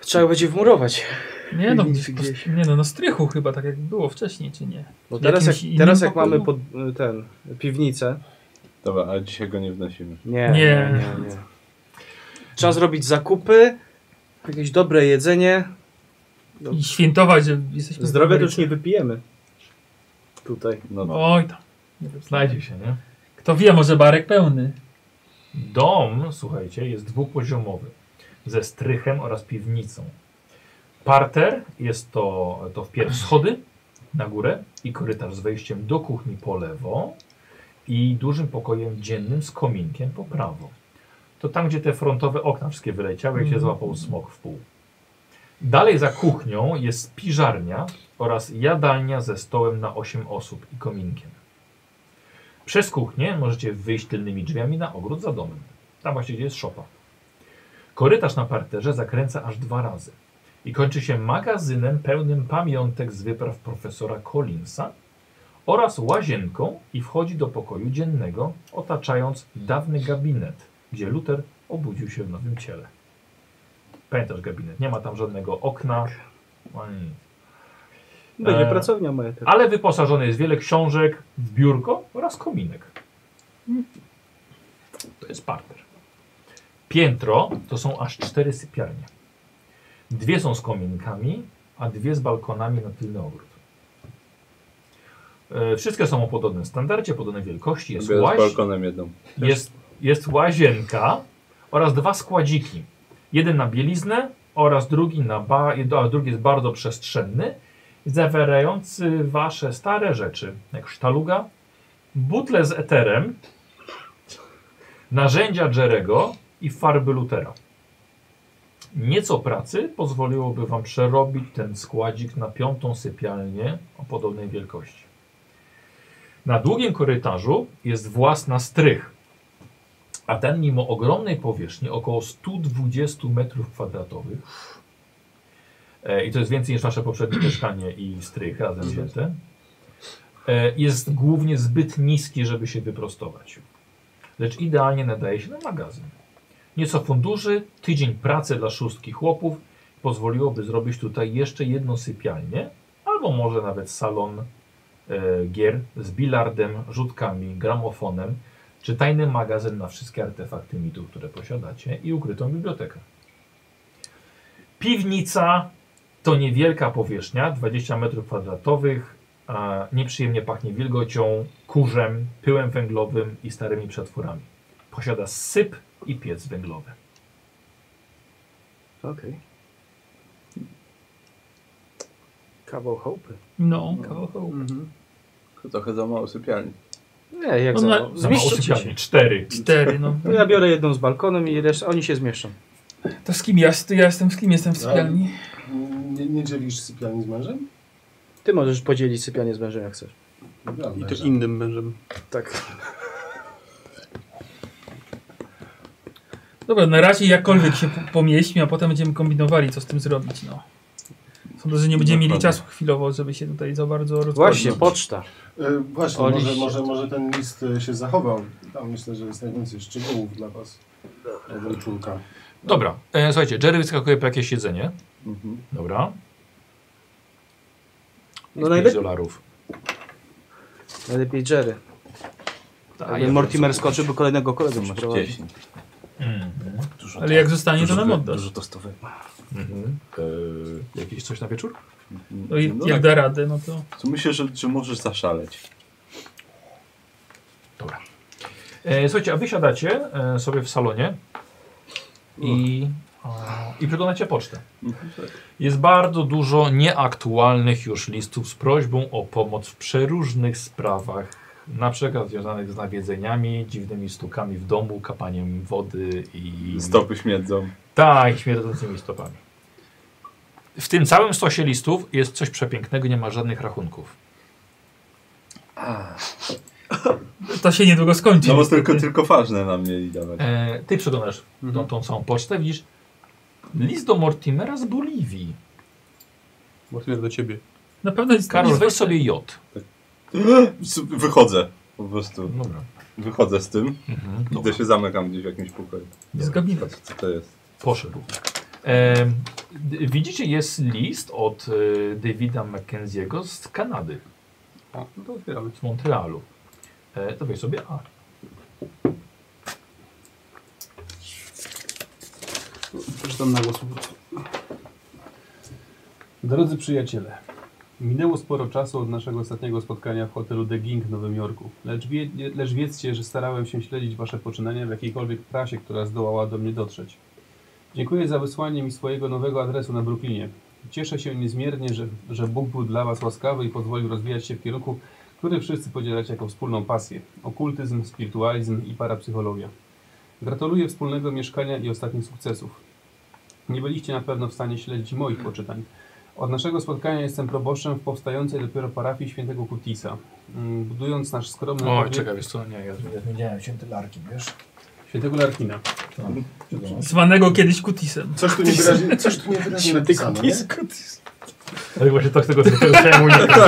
B: Trzeba będzie wmurować.
D: Nie no,
B: Gdzieś,
D: po-
B: gdzieś.
D: nie no, na strychu chyba, tak jak było wcześniej, czy nie?
B: Bo
D: W
B: No teraz jak,
D: jakimś innym
B: teraz jak
D: pokoju?
B: mamy pod, ten, piwnicę.
C: Dobra, ale dzisiaj go nie wnosimy.
B: Nie,
D: Nie.
B: nie, nie. Trzeba zrobić zakupy, jakieś dobre jedzenie.
D: I świętować, że jesteśmy... w
B: Zdrowia to
D: Ameryce.
B: już nie wypijemy. Tutaj.
C: No,
D: Oj tam.
A: Znajdzie się, nie?
D: Kto wie, może barek pełny.
A: Dom, słuchajcie, jest dwupoziomowy. Ze strychem oraz piwnicą. Parter jest to, to wpierw schody na górę i korytarz z wejściem do kuchni po lewo i dużym pokojem dziennym z kominkiem po prawo. To tam, gdzie te frontowe okna wszystkie wyleciały, jak się
D: Mhm.
A: złapał smok w pół. Dalej za kuchnią jest piżarnia oraz jadalnia ze stołem na 8 osób i kominkiem. Przez kuchnię możecie wyjść tylnymi drzwiami na ogród za domem. Tam właśnie gdzie jest szopa. Korytarz na parterze zakręca aż dwa razy i kończy się magazynem pełnym pamiątek z wypraw profesora Collinsa oraz łazienką i wchodzi do pokoju dziennego, otaczając dawny gabinet, gdzie Luther obudził się w nowym ciele. Pamiętasz gabinet, nie ma tam żadnego okna. ani nic.
B: Będzie
A: E,
B: pracownia moja teraz.
A: Ale wyposażony jest w wiele książek, w biurko oraz kominek. To jest parter. Piętro to są aż cztery sypialnie. Dwie są z kominkami, a dwie z balkonami na tylny ogród. E, Wszystkie są o podobnym standardzie, podobnej wielkości. Jest,
C: Zrobię z
A: łaź,
C: balkonem jedną.
A: jest, jest łazienka oraz dwa składziki. Jeden na bieliznę oraz drugi na ba, a drugi jest bardzo przestrzenny, zawierający wasze stare rzeczy, jak sztaluga, butle z eterem, narzędzia Jerego i farby Lutera. Nieco pracy pozwoliłoby wam przerobić ten składzik na piątą sypialnię o podobnej wielkości. Na długim korytarzu jest własna strych, a ten mimo ogromnej powierzchni, około 120 metrów kwadratowych, e, i to jest więcej niż nasze poprzednie mieszkanie i strych razem wzięte, e, jest głównie zbyt niski, żeby się wyprostować. Lecz idealnie nadaje się na magazyn. Nieco funduszy, tydzień pracy dla szóstki chłopów pozwoliłoby zrobić tutaj jeszcze jedną sypialnię, albo może nawet salon e, gier z bilardem, rzutkami, gramofonem, czy tajny magazyn na wszystkie artefakty mitów, które posiadacie i ukrytą bibliotekę. Piwnica to niewielka powierzchnia, 20 m2, a nieprzyjemnie pachnie wilgocią, kurzem, pyłem węglowym i starymi przetworami. Posiada syp i piec węglowy.
B: Okej. Kawał chałupy.
D: No, kawał.
G: Mhm.
C: To trochę za mało sypialni.
B: Nie, jak
D: No,
B: za
D: na-
B: mało.
A: Za mało
B: Zmieścicie
A: sypialni,
B: się.
A: cztery.
D: Cztery, no.
B: No Ja biorę jedną z balkonem i resztę, oni się zmieszczą.
D: To z kim ja, z- ja jestem, z kim jestem w
C: No.
D: sypialni?
J: Nie, nie dzielisz sypialni z mężem?
B: Ty możesz podzielić sypianie z mężem jak chcesz.
G: I to innym mężem.
B: Tak.
D: Dobra, na razie jakkolwiek się po- pomieśćmy, a potem będziemy kombinowali, co z tym zrobić, no. Sądzę, że nie będziemy mieli
C: Dokładnie.
D: czasu chwilowo, żeby się tutaj za bardzo rozwodzić.
B: Właśnie, poczta.
J: E, właśnie,
B: O,
J: może,
B: liście.
J: może, może ten list e, się zachował. Tam myślę, że jest najwięcej szczegółów dla was. Od czulka.
A: Dobra, e, słuchajcie, Jerry wyskakuje po jakieś jedzenie.
C: Mhm.
A: Dobra,
B: No
A: 5
B: najlepiej,
A: dolarów.
B: najlepiej Jerry.
A: Tak,
B: Ten Mortimer skoczy, bo kolejnego kolegę masz. zobacz.
C: 10.
A: Mhm.
D: Ale jak zostanie, to nam oddasz.
A: Mhm. E, jakieś coś na wieczór?
D: No i
C: No
D: jak
C: tak.
D: da radę, no to...
C: To myślę, że, że możesz zaszaleć.
A: Dobra. E, słuchajcie, a wy siadacie e, sobie w salonie i, o, i przeglądacie pocztę. Jest bardzo dużo nieaktualnych już listów z prośbą o pomoc w przeróżnych sprawach, na przykład związanych z nawiedzeniami, dziwnymi stukami w domu, kapaniem wody i...
C: Stopy śmierdzą.
A: Tak, śmierdzącymi stopami. W tym całym stosie listów jest coś przepięknego, nie ma żadnych rachunków.
D: To się niedługo skończy.
C: No bo
D: niestety.
C: tylko, tylko ważne nam mieli dawać.
A: E, ty przeglądasz
D: Mhm.
A: tą, tą całą pocztę, widzisz list do Mortimera z Boliwii.
G: Mortimer do ciebie.
D: Na pewno jest
A: Karol,
D: jest-
A: weź sobie J.
C: S- Wychodzę. Po prostu
A: Dobra.
C: wychodzę z tym.
A: Mhm, dobra.
C: Idę się zamykam gdzieś w jakimś pokoju.
D: Z gabinetu.
C: Co to jest?
A: Poszedł. E, d- widzicie, jest list od e, Davida Mackenzie'ego z Kanady,
G: O, no to otwieramy.
A: z Montrealu. E, to weź sobie A.
G: Przeczytam na głos po prostu.
O: Drodzy przyjaciele,
G: Minęło sporo czasu od naszego ostatniego spotkania w hotelu The Ging w Nowym Jorku, lecz, wie, lecz wiedzcie, że starałem się śledzić Wasze poczynania w jakiejkolwiek prasie, która zdołała do mnie dotrzeć. Dziękuję za wysłanie mi swojego nowego adresu na Brooklynie. Cieszę się niezmiernie, że, że Bóg był dla Was łaskawy i pozwolił rozwijać się w kierunku, który wszyscy podzielacie jako wspólną pasję – okultyzm, spirytualizm i parapsychologia. Gratuluję wspólnego mieszkania i ostatnich sukcesów. Nie byliście na pewno w stanie śledzić moich poczytań. Od naszego spotkania jestem proboszczem w powstającej dopiero parafii świętego Kutisa. Mm, Budując nasz skromny
A: Oj,
G: obiekt-
A: czekaj, wiesz co, nie, ja
E: Zmieniałem się tym larkiem, wiesz?
G: świętego Larkina.
D: Zwanego kiedyś Kutisem.
J: Coś tu niewyraźnie, coś tu niewyraźnie napisane, nie?
E: No
A: Ale właśnie tak tego tego chciałem uniknąć.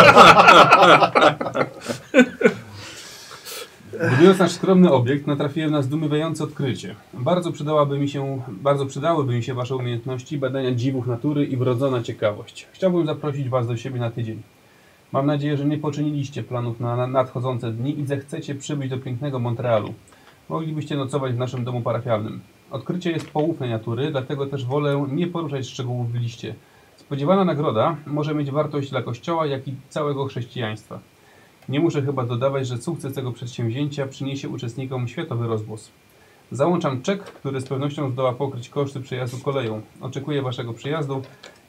G: Budując nasz skromny obiekt, natrafiłem na zdumiewające odkrycie. Bardzo, przydałaby mi się, bardzo przydałyby mi się Wasze umiejętności badania dziwów natury i wrodzona ciekawość. Chciałbym zaprosić Was do siebie na tydzień. Mam nadzieję, że nie poczyniliście planów na na nadchodzące dni i zechcecie przybyć do pięknego Montrealu. Moglibyście nocować w naszym domu parafialnym. Odkrycie jest poufnej natury, dlatego też wolę nie poruszać szczegółów w liście. Spodziewana nagroda może mieć wartość dla Kościoła, jak i całego chrześcijaństwa. Nie muszę chyba dodawać, że sukces tego przedsięwzięcia przyniesie uczestnikom światowy rozgłos. Załączam czek, który z pewnością zdoła pokryć koszty przejazdu koleją. Oczekuję Waszego przyjazdu.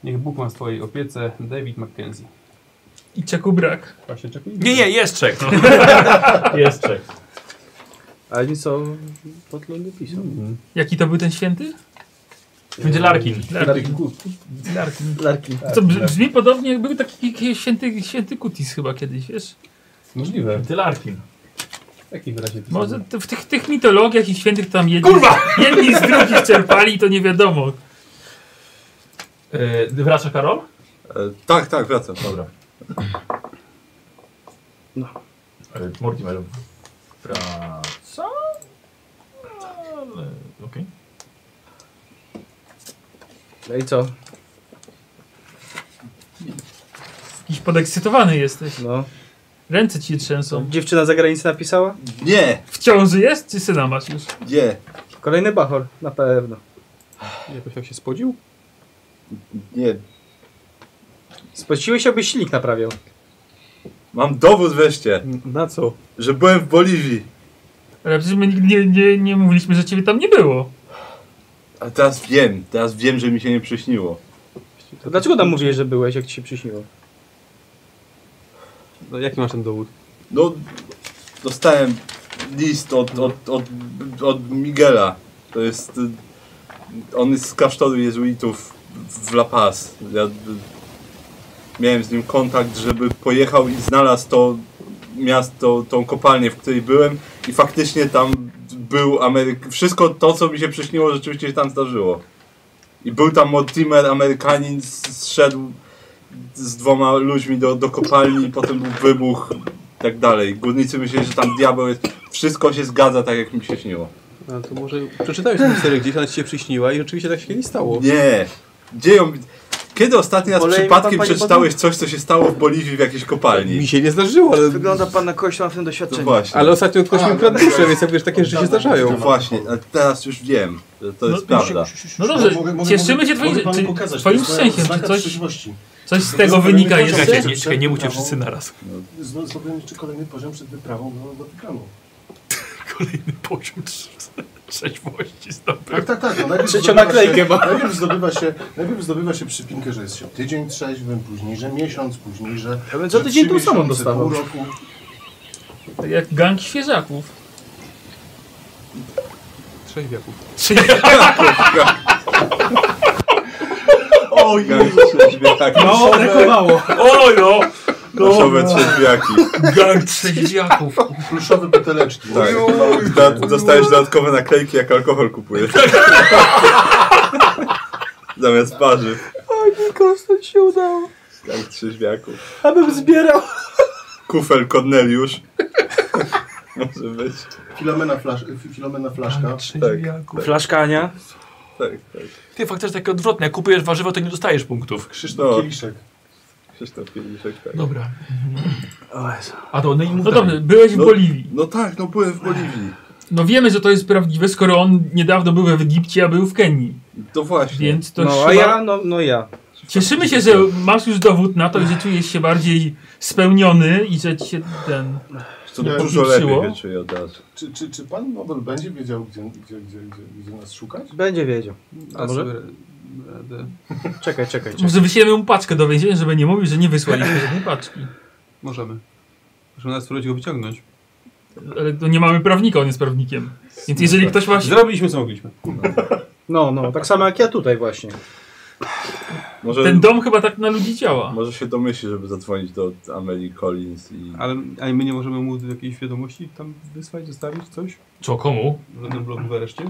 G: Niech Bóg ma w swojej opiece David McKenzie.
D: I czeku brak.
G: Właśnie czeku
A: Nie, nie, jest czek. No. Jest czek.
B: Ale nic o Potlundy pisał.
D: Jaki to był ten święty?
A: Będzie Larkin.
D: Larkin. Larkin.
B: Larki.
D: To brz- brzmi podobnie jak był taki jakiś święty, święty Kutis chyba kiedyś, wiesz?
G: Możliwe.
A: Ty Larkin.
G: W takim razie to
D: Może to No, w tych, tych mitologiach i świętych tam jedni, jedni z drugich czerpali, to nie wiadomo.
A: Yy, wraca Karol?
C: E, tak, tak, wracam.
A: Dobra.
B: No.
E: E,
A: Yy, Mortimer wraca? Ale, okej.
B: No i co?
D: Jakiś podekscytowany jesteś.
B: No.
D: Ręce ci trzęsą.
B: Dziewczyna za granicę napisała?
C: Nie,
D: W ciąży jest czy syna masz już?
C: nie,
B: Kolejny bachor, na pewno.
G: Jakoś jak się spodził?
C: nie.
B: Spociłeś się, abyś silnik naprawiał.
C: Mam dowód wreszcie,
B: Na co?
C: że byłem w Boliwii.
D: Ale przecież my nigdy nie, nie, nie mówiliśmy, że ciebie tam nie było.
C: A teraz wiem, teraz wiem, że mi się nie przyśniło.
B: To dlaczego tam mówiłeś, że byłeś, jak ci się przyśniło?
G: No, jaki masz ten dowód?
C: No, dostałem list od, od, od, od Miguela. To jest... y, On jest z klasztoru jezuitów w La Paz. Ja y, miałem z nim kontakt, żeby pojechał i znalazł to miasto, tą kopalnię, w której byłem i faktycznie tam był Ameryk... Wszystko to, co mi się przyśniło, rzeczywiście się tam zdarzyło. I był tam Mortimer, Amerykanin, s- zszedł z dwoma ludźmi do, do kopalni, potem był wybuch, i tak dalej. Górnicy myśleli, że tam diabeł jest. Wszystko się zgadza tak, jak mi się śniło.
G: No, to może przeczytałeś tę historię gdzieś, ona ci się przyśniła i rzeczywiście tak się kiedyś stało.
C: Nie! Gdzie ją... Kiedy ostatni raz
B: Olej mi pan,
C: przypadkiem
B: panie
C: przeczytałeś coś, co się stało w Boliwii w jakiejś
G: Mi
C: kopalni?
G: się nie zdarzyło, ale,
B: Wygląda pan na kogoś, ma w tym
C: To
B: doświadczenie.
C: właśnie.
G: ale ostatnio ktoś mi ukradł duszę, więc jak wiesz, takie rzeczy się
C: To
G: zdarzają.
C: właśnie. A teraz już wiem, że to jest prawda.
D: No dobrze,
J: Mogę- mogę-
D: cieszymy
J: mogę-
D: się twoim,
J: mogę panu
D: czy,
J: pokazać, to
D: twoim
J: jest
D: szczęściem. Czy
J: znak
D: coś,
J: trzeźwości.
D: coś z tego
J: Zrobimy
D: wynika
J: koniec.
D: jeszcze?
A: Czekajcie, nie, czekaj, nie mówcie wszyscy naraz.
J: Zno- Zdobyłem jeszcze kolejny poziom przed wyprawą do Watykanu.
A: Kolejny poziom trze- trzeźwości zdobył.
J: Tak, tak, tak. No najpierw,
B: Trzecią
J: zdobywa
B: naklejkę
J: się,
B: ma.
J: najpierw, zdobywa się, najpierw zdobywa się przypinkę, że jest się tydzień trzeźwym, później, że miesiąc, później, że...
B: Ja bym co
J: że
B: tydzień
J: trzy
B: tą samą
J: miesiące,
B: dostawał.
J: pół roku.
D: Tak Jak gang świeżaków.
G: Trzech wieków.
C: O, trzeźwiaki. No,
N: Brakowało.
A: Oj no!
C: Nosowe trzeźwiaki.
A: Gang trzeźwiaków.
J: Pluszowe buteleczki.
C: Tak. Do- Dostajesz dodatkowe naklejki, jak alkohol kupujesz. Zamiast parzy.
B: Kostek się udało.
C: Jak trzeźwiaków.
B: Abym zbierał.
C: Kufel Corneliusz. Może być.
J: Filomena, flasz, fi- Filomena Flaszka.
A: Trzeźwiaków.
B: Flaszkania.
C: Tak, tak.
A: Ty fakt też takie odwrotne, jak kupujesz warzywa, to nie dostajesz punktów.
J: Krzysztof
C: No.
J: Kieliszek.
C: Krzysztof Pieliszek, tak.
A: Dobra.
B: O Jezu.
A: A to no i mów
D: No
A: dalej.
D: dobrze, byłeś w
C: No.
D: Boliwii.
C: No tak, no byłem w Boliwii.
D: No wiemy, że to jest prawdziwe, skoro on niedawno był w Egipcie, a był w Kenii.
C: To właśnie.
D: Więc to
B: No
D: trzeba...
B: a ja, no, no ja.
D: Cieszymy się, że masz już dowód na to i że czujesz się bardziej spełniony i że ci się ten...
C: To
J: Nie,
C: dużo
D: nie
C: lepiej
D: przyło.
C: wyczuje od razu.
J: Czy, czy, czy pan Nobel będzie wiedział, gdzie, gdzie, gdzie, gdzie, gdzie nas szukać?
B: Będzie wiedział.
G: A
B: może?
G: sobie radę.
B: Czekaj, czekaj, czekaj.
D: Może wyślemy mu paczkę do więzienia, żeby nie mówił, że nie wysłaliśmy żadnej paczki.
G: Możemy. Możemy nas spróbować go wyciągnąć.
D: Ale to nie mamy prawnika, on jest prawnikiem. Więc jeżeli ktoś ma...
G: Zrobiliśmy co mogliśmy.
B: No, no, tak samo jak ja tutaj właśnie.
C: Może,
D: Ten dom chyba tak na ludzi działa.
C: może się domyśli, żeby zadzwonić do Amelii Collins i...
G: Ale, ale my nie możemy mu jakiejś wiadomości tam wysłać, zostawić coś?
E: Co, komu?
G: Że ten blok w areszcie?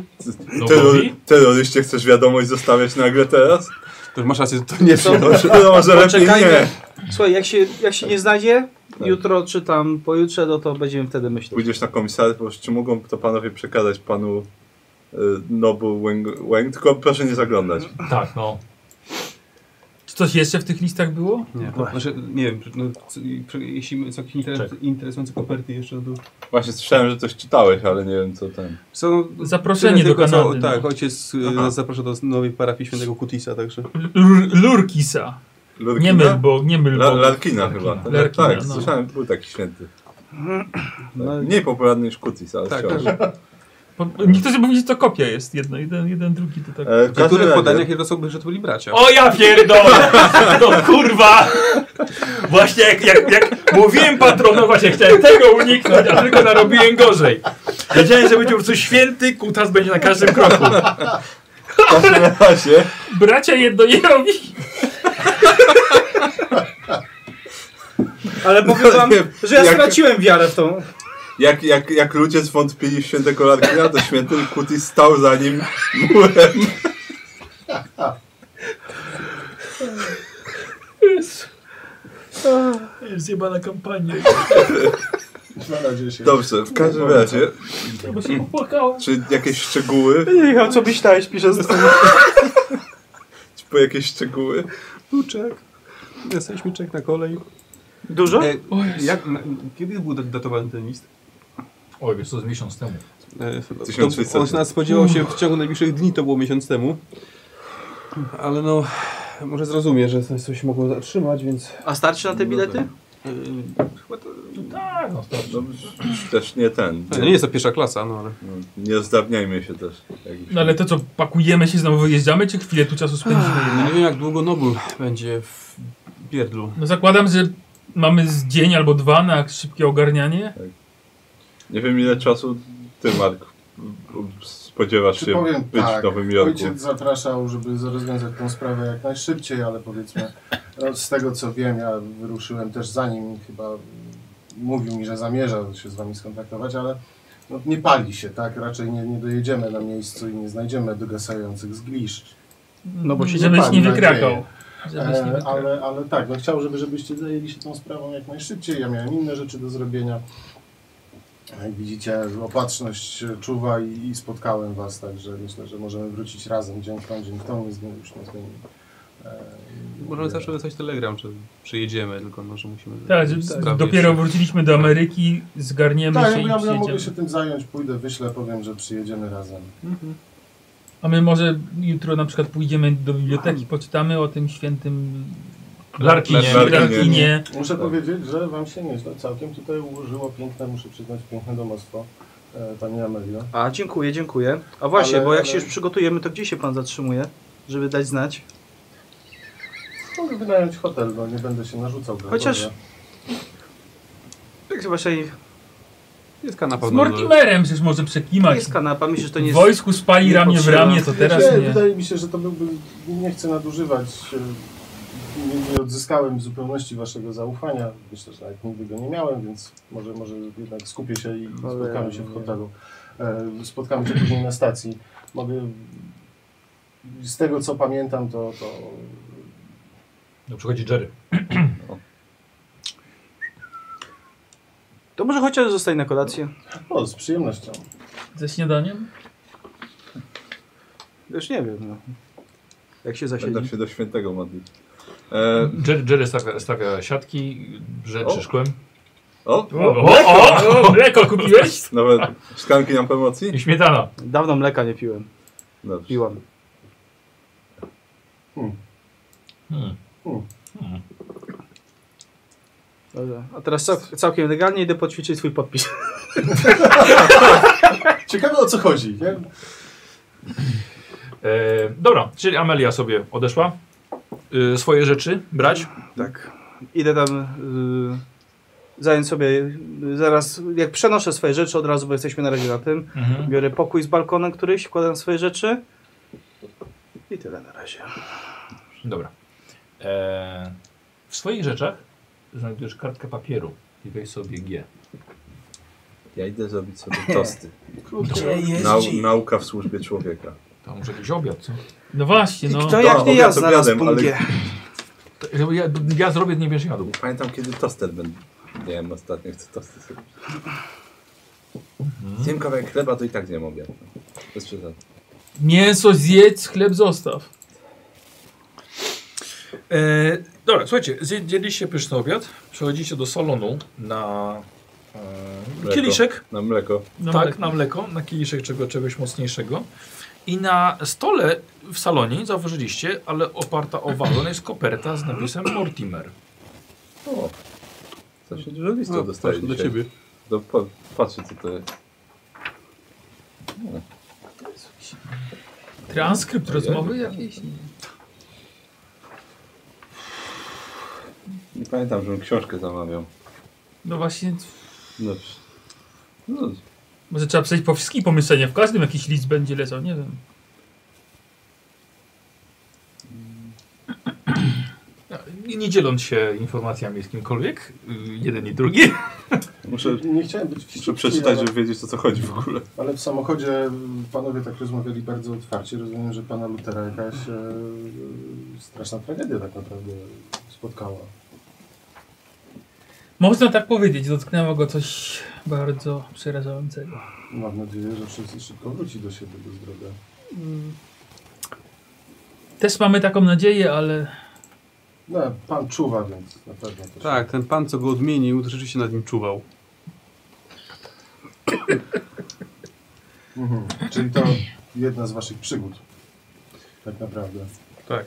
E: No,
C: Terror,
E: Bobby?
C: terroryście chcesz wiadomość zostawiać nagle teraz?
G: To masz rację, to nie
B: Co?
C: Może, no, może lepiej
B: Poczekajmy.
C: nie.
B: Słuchaj, jak się, jak się nie znajdzie jutro czy tam pojutrze, no to będziemy wtedy myśleć.
C: Pójdziesz na komisariat, powiesz, czy mogą to panowie przekazać panu y, Nobu Weng, Weng, tylko proszę nie zaglądać.
E: Tak, no.
D: Czy coś jeszcze w tych listach było?
G: Nie, to, znaczy, nie wiem, czy- no, co- i- przy- jeśli my- są jakieś interes, interesujące koperty jeszcze do...
C: Właśnie słyszałem, że coś czytałeś, ale nie wiem co ten.
G: Są
D: Zaproszenie
G: tyle
D: do
G: tylko,
D: Kanady.
G: Co,
D: no.
G: tak, ojciec y, nas zaprasza do nowej parafii świętego Kutisa, także...
D: L- Lur- Lurkisa. Nie myl Bóg, nie myl
C: La,
D: Bóg.
C: Larkina chyba.
E: Larkina.
D: Larkina,
C: tak,
D: no.
C: słyszałem, był taki święty. Tak. Mniej popularny niż Kutis, ale
G: No Tak,
C: wciąż. E,
G: tak.
D: Po- Nie chcę sobie powiedzieć, to kopia jest. Jedno, jeden, jeden drugi to tak.
C: E, w
G: W niektórych
C: każdym
G: podaniach
C: razie,
G: jest osoby, że to byli bracia.
E: O ja pierdolę! No kurwa! Właśnie jak, jak, jak mówiłem patronować, ja chciałem tego uniknąć, a tylko narobiłem gorzej. Wiedziałem, że będzie po prostu święty, kutas będzie na każdym kroku.
C: w każdym razie
D: Bracia jedno nie robi.
B: Ale powiem wam,
C: nie wiem,
B: że ja
C: jak-
B: straciłem wiarę w tą.
C: jak, jak, jak ludzie zwątpili w świętego Larkina, to święty Kutis stał za nim murem.
E: Zjebana kampania.
J: Na razie się.
C: Dobrze, w każdym razie,
D: Ja bo się popłakałem.
C: czy jakieś szczegóły?
N: Michał, co myślałeś, pisze z
C: Czy po jakieś szczegóły?
G: Był czek. Jesteśmy czek na kolej.
B: Dużo?
G: E, jak, na, kiedy był dat- datowany ten list?
E: Oj, wiesz co, z miesiąc temu.
G: E,
C: 1600.
G: to- On nas spodziewał się w ciągu najbliższych dni, to było miesiąc temu. Ale no, może zrozumie, że coś, coś mogło zatrzymać, więc...
B: A starczy
C: No
B: na te
C: tak.
B: bilety?
G: E, chyba to...
E: Tak, no to
C: No, też nie ten.
G: Nie jest to pierwsza klasa, no ale...
C: No, Nie zdawniajmy się też. Jakby się-
D: No ale to co, pakujemy się, znowu wyjeżdżamy, czy chwilę tu czasu spędzimy jednak?
G: No nie wiem jak długo Nobul będzie w pierdlu.
D: No zakładam, że mamy z dzień albo dwa na szybkie ogarnianie.
C: Nie wiem ile czasu ty, Mark, spodziewasz
J: Czy
C: się
J: powiem
C: być
J: tak,
C: w Nowym Jorku.
J: Ojciec zapraszał, żeby rozwiązać tą sprawę jak najszybciej, ale powiedzmy, no, z tego co wiem, ja wyruszyłem też zanim chyba mm, mówił mi, że zamierza się z wami skontaktować, ale no, nie pali się, tak? Raczej nie, nie dojedziemy na miejscu i nie znajdziemy dogasających zgliszcz.
B: No bo się nie
D: Żebyś
J: pali,
D: nie
J: mam
D: wykrakał.
J: nadzieję.
D: Żebyś nie
J: E,
D: wykrakał.
J: ale, ale tak, no, chciał, żeby, żebyście zajęli się tą sprawą jak najszybciej. Ja miałem inne rzeczy do zrobienia. E, Jak widzicie, opatrzność e, czuwa i, i spotkałem was, także myślę, że możemy wrócić razem. Dzień w tą, dzień w tą, nic nie- już nie zmieni. E,
G: Możemy zawsze wysłać telegram, czy przyjedziemy, tylko może musimy...
D: Tak, że
G: sprawdzić.
D: dopiero wróciliśmy do Ameryki, zgarniemy
J: Tak,
D: się
J: ja,
D: i
J: ja mogę się
D: przyjedziemy.
J: tym zająć, pójdę, wyślę, powiem, że przyjedziemy razem.
D: A my może jutro na przykład pójdziemy do biblioteki, poczytamy o tym świętym
E: Larkinie.
C: Larkinie.
D: Larkinie.
J: Muszę powiedzieć, że wam się nieźle całkiem tutaj ułożyło piękne, muszę przyznać, piękne domostwo, e, pani Amelio.
B: A, dziękuję, dziękuję. A właśnie,
J: Ale-
B: bo jak
J: ale-
B: się już przygotujemy, to gdzie się pan zatrzymuje? Żeby dać znać.
J: Mogę wynająć hotel, bo nie będę się narzucał. do
B: Chociaż-
J: tego.
B: Jak zobaczę,
G: Jest kanapa
D: Z
G: w Nowym
D: Mortimerem przecież może przekimać.
B: jest kanapa, myślę, że to nie
D: W
B: jest...
D: wojsku spali
B: nie
D: ramię w
B: potrzeba.
D: ramię, to teraz
J: nie,
D: nie.
J: Wydaje mi się, że to byłby. Nie chcę nadużywać. e, Nie, nie odzyskałem w zupełności waszego zaufania. Myślę, że nawet nigdy go nie miałem, więc może, może jednak skupię się i
B: Cholera,
J: spotkamy się w
B: nie.
J: hotelu. E, Spotkamy się później na stacji. Mogę. Z tego co pamiętam, to. to
E: No przychodzi Jerry.
B: To może chociaż zostań na kolację.
J: o, no, z przyjemnością.
D: Ze śniadaniem?
B: Już nie wiem, no. Jak się
C: Będę
B: zasiedzi.
C: się do świętego modlić. E,
E: Jerry, Jerry stawia, stawia siatki, rzeczy
C: O.
E: szkłem.
C: o,
E: O, o, o, mleko kupiłeś?
C: nawet szklanki na promocji?
E: I śmietana.
B: Dawno mleka nie piłem.
C: Dobrze.
B: Piłam.
E: Hmm.
B: Dobra. A teraz cał całkiem legalnie idę poćwiczyć swój podpis.
J: Ciekawe o co chodzi. Nie?
E: E, dobra, czyli Amelia sobie odeszła. E, swoje rzeczy brać.
B: Tak. Idę tam y, zająć sobie, y, zaraz jak przenoszę
A: Mhm.
B: swoje rzeczy od razu, bo jesteśmy na razie na tym, biorę pokój z balkonem któryś, wkładam swoje rzeczy I tyle na razie.
A: Dobra. E, w swoich rzeczach znajdujesz kartkę papieru i weź sobie G.
C: Ja idę zrobić sobie tosty.
N: Kurczę,
C: Nau,
N: jeździ.
C: nauka w służbie człowieka.
A: To może jakiś obiad, co?
D: No właśnie, no.
B: Kto jak nie
C: obiad
B: ja znalazł
C: obiadem, ale-
B: pungie.
A: To Ja, ja zrobię, nie będziesz jadł.
C: Pamiętam kiedy toster będę. Miałem ostatnio, chcę tosty sobie. Zjem kawałek chleba, to i tak nie mogę. Bez przesady.
D: Mięso zjedz, chleb zostaw.
A: E, dobra, słuchajcie, zjedliście pyszny obiad, przechodzicie do salonu na e,
C: Mleko.
A: kieliszek,
C: Na mleko.
D: No,
A: tak,
D: ale-
A: na mleko, na kieliszek czego, czegoś mocniejszego. I na stole w salonie zauważyliście, ale oparta o walon jest koperta z napisem Mortimer.
C: O. Co się dużo listów
G: No,
C: dostaje
G: proszę, do
C: dzisiaj.
G: ciebie.
C: Do, po, patrzę co to jest.
D: Transkrypt
A: No
D: rozmowy jakiejś?
C: Nie pamiętam, żebym książkę zamawiał.
D: No właśnie,
C: No, psz- no,
D: może trzeba przejść po wszystkich pomieszczeniach. W każdym jakiś list będzie leciał, nie wiem.
A: Nie, nie dzieląc się informacjami z kimkolwiek, y, jeden i drugi.
C: muszę,
J: Nie chciałem być
C: muszę
J: wściekły,
C: przeczytać,
J: ale,
C: żeby wiedzieć o co chodzi w ogóle.
J: ale w samochodzie panowie tak rozmawiali bardzo otwarcie. Rozumiem, że pana Lutera jakaś e, straszna tragedia tak naprawdę spotkała.
D: Można tak powiedzieć, dotknęło go coś bardzo przerażającego.
J: Mam nadzieję, że wszyscy szybko wróci do siebie, do zdrowia.
D: Też mamy taką nadzieję, ale
J: No, pan czuwa, więc na pewno też.
G: Tak, ten pan, co go odmienił, to rzeczywiście nad nim czuwał.
J: Mhm. Czyli to jedna z waszych przygód. Tak naprawdę.
G: Tak.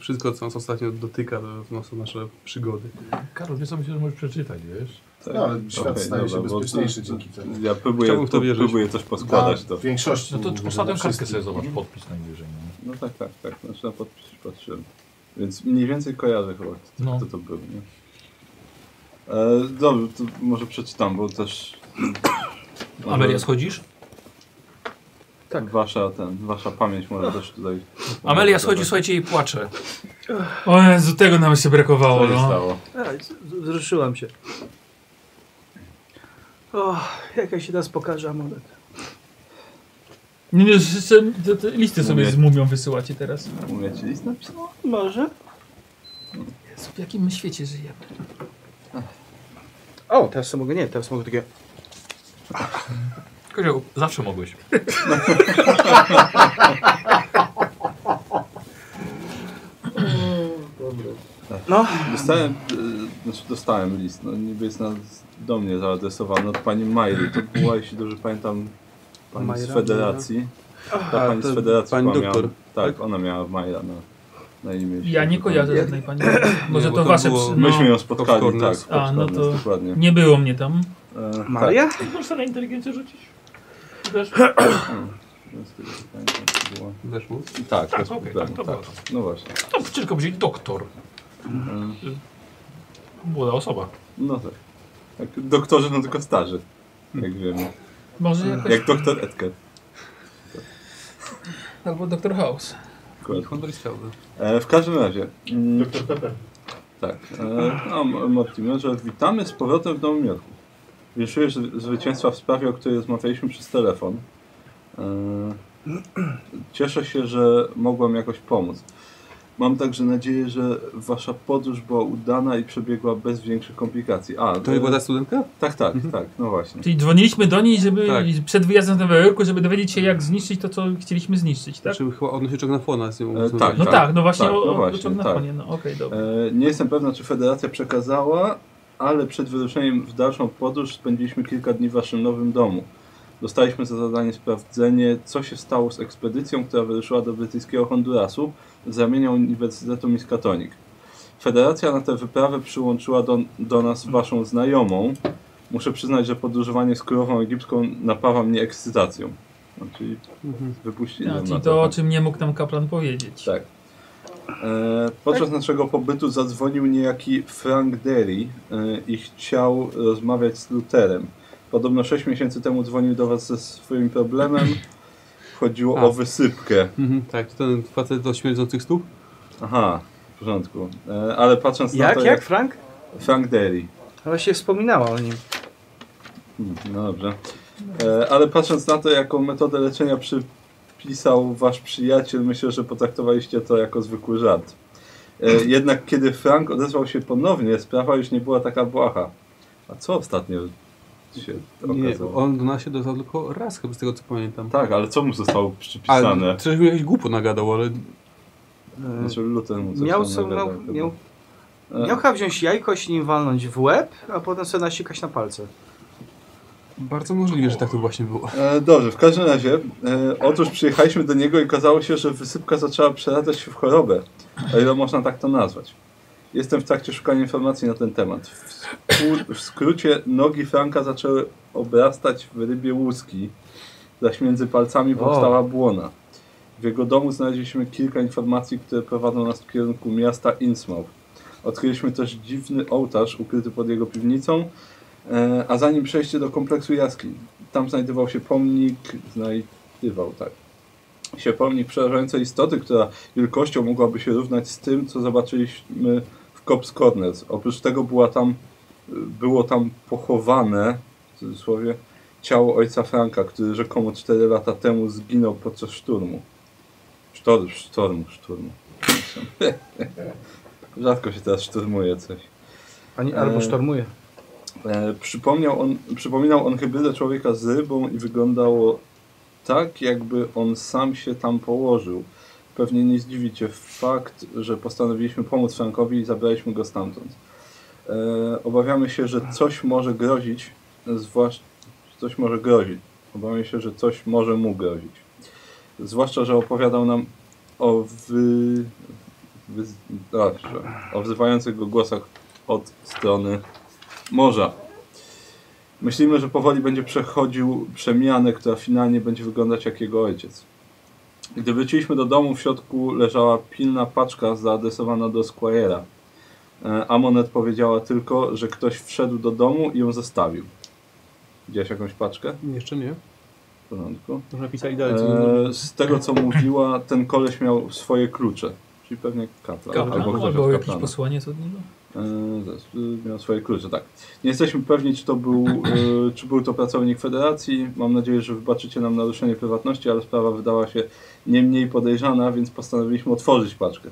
G: Wszystko, co nas ostatnio dotyka, to, to są nasze przygody.
A: Karol, wiesz co myślę, że możesz przeczytać, wiesz?
C: Tak.
J: No, ale świat
C: Okej,
J: staje się
C: dobra, bo-
J: bezpieczniejszy dzięki temu. Tak,
C: Ja próbuję,
G: Chciałbym w to
C: to
G: wierzyć.
C: próbuję coś poskładać
J: Dla
C: to.
J: Większości.
A: No to
J: mówię,
A: ostatnią
J: dla
A: kartkę
J: wszystkich. Mhm.
A: sobie zobacz, podpis najwyżej. No.
C: No tak, tak, tak. Znaczy na podpis patrzyłem. Więc mniej więcej kojarzę chyba, kto,
A: No.
C: kto to był, nie? E, dobrze, to może przeczytam, bo też... może
A: Amelia, schodzisz?
D: Tak.
C: Wasza, ten, wasza pamięć może też tutaj...
A: Amelia schodzi, słuchajcie, i płacze.
D: o Jezu, tego nam jeszcze brakowało,
C: Co się
D: no.
C: stało?
B: A, z- z- Wzruszyłam się. O, jakaś się nas pokaże amulet.
D: Nie, nie, jeszcze te, te listy sobie
C: Mówię.
D: z mumią wysyłacie teraz.
C: Mówię ci list napisał?
B: Może?
D: Jezu, w jakim my świecie żyjemy?
B: O, teraz sobie mogę, nie, teraz mogę takie...
C: Tak,
A: Kozioł, zawsze mogłeś.
B: No,
C: Dostałem, e, znaczy dostałem list, no niby jest na, do mnie zaadresowany od pani Majry. To była, jeśli dobrze pamiętam, pani z
G: Majra,
C: federacji. Ta
G: A,
C: pani z
G: to
C: federacji.
G: pani
C: chyba
G: doktor.
C: Miała, tak, ona miała Majra na, na imię. jeśli
D: Ja nie
C: dobrze
D: kojarzę
C: pamiętam.
D: żadnej pani.
G: Nie,
D: Może
G: bo
D: to
G: to
D: wasze...
G: było-
D: przy-
C: Myśmy
D: No,
C: ją spotkali,
G: Popcorn
C: tak.
G: nas.
D: A, no
C: popcorn nas,
D: to-
C: Dokładnie.
D: nie było mnie tam.
C: E, tak,
B: Maria?
E: Możesz na inteligencję rzucić? Też?
A: Tak,
C: z tego co pamiętam, to było-
G: Weszło.
C: Tak,
E: Tak,
C: bez
E: okej,
C: problemu,
E: tak, to było
C: No właśnie.
A: To tylko będzie doktor.
E: Mhm.
C: E,
A: Młoda osoba.
C: No tak. tak. Doktorzy, no tylko starzy. Jak wiemy.
D: Może jakoś...
C: Jak doktor Edgar.
D: Albo Dr. House.
C: Dokładnie.
G: Kondor chciałby.
C: E, w każdym razie. Mm,
J: Doktor Pepper.
C: Tak. E, no, M- Mortimerze, witamy z powrotem w Nowym Jorku. Wierzyłeś zwycięstwa w sprawie, o której rozmawialiśmy przez telefon. E, cieszę się, że mogłam jakoś pomóc. Mam także nadzieję, że wasza podróż była udana i przebiegła bez większych komplikacji. A,
G: To nie była ta studentka?
C: Tak, tak, tak, no właśnie.
D: Czyli dzwoniliśmy do niej, żeby
G: Tak.
D: przed wyjazdem do Nowego Jorku, żeby dowiedzieć się, jak zniszczyć to, co chcieliśmy zniszczyć, tak?
G: Znaczy, chyba odnosi Czognafona z nią.
C: E, tak.
D: No tak, no właśnie
C: tak,
D: o,
C: no
D: o
C: właśnie,
D: właśnie, na
C: tak.
D: fonie. No okej, dobra.
C: E, Nie jestem pewna, czy federacja przekazała, ale przed wyruszeniem w dalszą podróż spędziliśmy kilka dni w waszym nowym domu. Dostaliśmy za zadanie sprawdzenie, co się stało z ekspedycją, która wyruszyła do brytyjskiego Hondurasu z ramienia Uniwersytetu Miskatonik. Federacja na tę wyprawę przyłączyła do, do nas waszą znajomą. Muszę przyznać, że podróżowanie z królową egipską napawa mnie ekscytacją. No, czyli wypuścili
D: No,
C: nam na
D: czyli to, o
C: trochę.
D: czym nie mógł nam kaplan powiedzieć.
C: Tak. E, podczas naszego pobytu zadzwonił niejaki Frank Derry e, i chciał rozmawiać z Luterem. Podobno 6 miesięcy temu dzwonił do was ze swoim problemem. chodziło
G: A.
C: o wysypkę.
G: Mhm, tak, to ten facet do śmierdzących stóp?
C: Aha, w porządku. E, ale patrząc na
B: Jak,
C: to,
B: jak, Frank?
C: Frank Daly.
B: Ale się wspominała o nim.
C: Hmm, No dobrze. E, ale patrząc na to, jaką metodę leczenia przypisał wasz przyjaciel, myślę, że potraktowaliście to jako zwykły żart. E, jednak kiedy Frank odezwał się ponownie, sprawa już nie była taka błaha. A co ostatnio się
G: Nie,
C: okazało?
G: on do nas się dodał tylko raz chyba z tego co pamiętam.
C: Tak, ale co mu zostało
G: ale
C: przypisane?
G: coś mi jakieś głupo nagadał, ale
B: E,
C: Znaczy Luther mu coś
B: Miał,
C: tam
B: co, miał,
C: nagadał
B: miał,
C: chyba. E,
B: miał chyba wziąć jajko, się nim walnąć w łeb, a potem sobie nasikać na palce.
G: bardzo możliwe, że tak to właśnie było.
C: E, dobrze, w każdym razie, e, otóż przyjechaliśmy do niego i okazało się, że wysypka zaczęła przeradzać się w chorobę, o ile można tak to nazwać. Jestem w trakcie szukania informacji na ten temat. W, sku- w skrócie, nogi Franka zaczęły obrastać w rybie łuski, zaś między palcami powstała błona. W jego domu znaleźliśmy kilka informacji, które prowadzą nas w kierunku miasta Innsmouth. Odkryliśmy też dziwny ołtarz ukryty pod jego piwnicą, e, a zanim przejście do kompleksu jaskiń. Tam znajdował się pomnik, znajdywał, tak, się pomnik przerażającej istoty, która wielkością mogłaby się równać z tym, co zobaczyliśmy w Cops Corners. Oprócz tego była tam, było tam pochowane, w cudzysłowie, ciało ojca Franka, który rzekomo 4 lata temu zginął podczas szturmu. Sztor, sztormu, szturmu. Rzadko się teraz szturmuje coś.
B: Ani,
C: E,
B: albo sztormuje.
C: E, przypomniał on, przypominał on hybrydę człowieka z rybą i wyglądało tak, jakby on sam się tam położył. Pewnie nie zdziwicie fakt, że postanowiliśmy pomóc Frankowi i zabraliśmy go stamtąd. E, obawiamy się, że coś może grozić, zwłaszcza coś może grozić. Obawiamy się, że coś może mu grozić. Zwłaszcza, że opowiadał nam o wy... Wy... A, przepraszam. o wzywających go głosach od strony morza. Myślimy, że powoli będzie przechodził przemianę, która finalnie będzie wyglądać jak jego ojciec. Gdy wróciliśmy do domu, w środku leżała pilna paczka zaadresowana do Squire'a. E, Amonet powiedziała tylko, że ktoś wszedł do domu i ją zostawił. Widziałeś jakąś paczkę?
G: Jeszcze nie.
C: W porządku.
G: Może napisali dalej. co nie
C: E, z tego co mówiła, ten koleś miał swoje klucze. Czyli pewnie kapla.
D: Kaplan
C: ktoś
D: albo,
C: od
D: jakieś
C: kaplana.
D: posłanie od niego.
C: E, zaraz, e, Miał swoje klucze, tak. Nie jesteśmy pewni, czy to był, e, czy był to pracownik federacji. Mam nadzieję, że wybaczycie nam naruszenie prywatności, ale sprawa wydała się nie mniej podejrzana, więc postanowiliśmy otworzyć paczkę.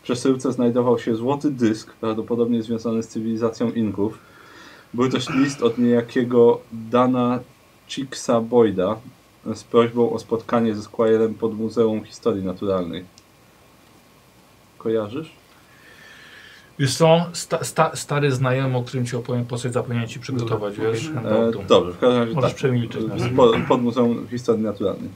C: W przesyłce znajdował się złoty dysk, prawdopodobnie związany z cywilizacją Inków. Był też list od niejakiego Dana Chicksa Boyda z prośbą o spotkanie ze Squirem pod Muzeum Historii Naturalnej. Kojarzysz?
A: Wiesz co, sta, sta, stary znajomy, o którym ci opowiem, po sobie zapomniałem ci przygotować, wiesz?
C: E,
A: handout.
C: dobrze, w każdym razie
A: No, Możesz
C: tak.
A: przemilczeć no. na razie.
C: Pod, pod Muzeum Historii Naturalnej.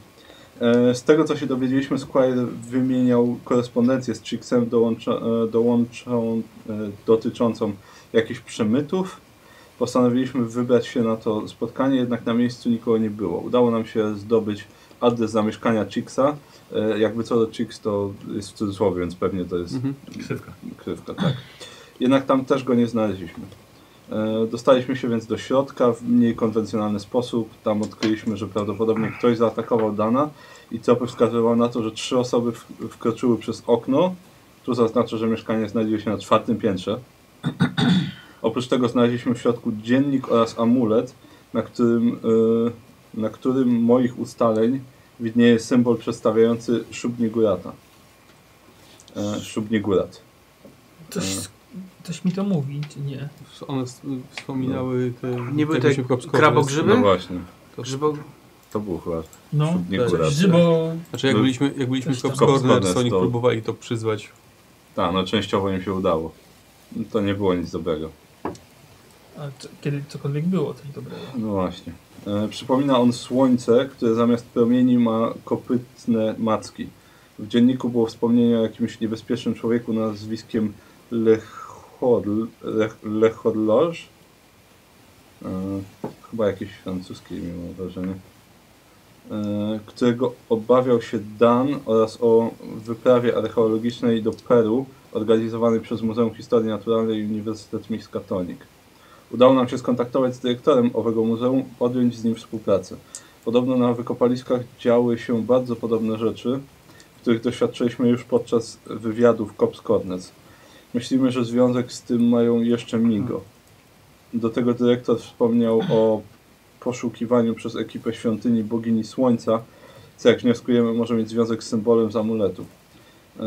C: E, z tego co się dowiedzieliśmy, Squire wymieniał korespondencję z Chicksem dołącza, e, dołączą, e, dotyczącą jakichś przemytów. Postanowiliśmy wybrać się na to spotkanie, jednak na miejscu nikogo nie było. Udało nam się zdobyć adres zamieszkania Chicksa. E, jakby co do Chicks to jest w cudzysłowie, więc pewnie to jest
G: Mhm.
A: Ksywka.
C: krywka, tak. Jednak tam też go nie znaleźliśmy. E, Dostaliśmy się więc do środka w mniej konwencjonalny sposób. Tam odkryliśmy, że prawdopodobnie ktoś zaatakował Dana i tropy wskazywały na to, że trzy osoby w- wkroczyły przez okno. Tu zaznaczę, że mieszkanie znajduje się na czwartym piętrze. Oprócz tego znaleźliśmy w środku dziennik oraz amulet, na którym, e, na którym moich ustaleń widnieje symbol przedstawiający Szubnigurata. E, Szubnigurat. E.
D: Coś, coś mi to mówi, czy nie?
G: było. One ws- wspominały te...
B: Nie były
G: tego
B: te
G: się w Cops Corners-
B: krabogrzyby?
C: No właśnie,
B: Grzybo...
C: to był chyba
D: No,
C: Szubnigurat.
D: grzybo...
G: Znaczy jak
C: No.
G: byliśmy, jak byliśmy w
D: Coś tam.
G: Cops
C: Cops
G: Corners,
C: Corners
G: to oni
C: to-
G: próbowali to przyzwać.
C: Tak, no częściowo im się udało. To nie było nic dobrego.
D: A co, kiedy cokolwiek było, to nie dobrego.
C: No właśnie. E, przypomina on słońce, które zamiast promieni ma kopytne macki. W dzienniku było wspomnienie o jakimś niebezpiecznym człowieku nazwiskiem Lechorl- Lech- Lechorloż. E, chyba jakieś francuskie imię, mam wrażenie. E, którego obawiał się Dan oraz o wyprawie archeologicznej do Peru organizowanej przez Muzeum Historii Naturalnej i Uniwersytet Miskatonic. Udało nam się skontaktować z dyrektorem owego muzeum, podjąć z nim współpracę. Podobno na wykopaliskach działy się bardzo podobne rzeczy, których doświadczyliśmy już podczas wywiadów Cops Corners. Myślimy, że związek z tym mają jeszcze Migo. Do tego dyrektor wspomniał o poszukiwaniu przez ekipę świątyni bogini Słońca, co jak wnioskujemy może mieć związek z symbolem z amuletu. Yy,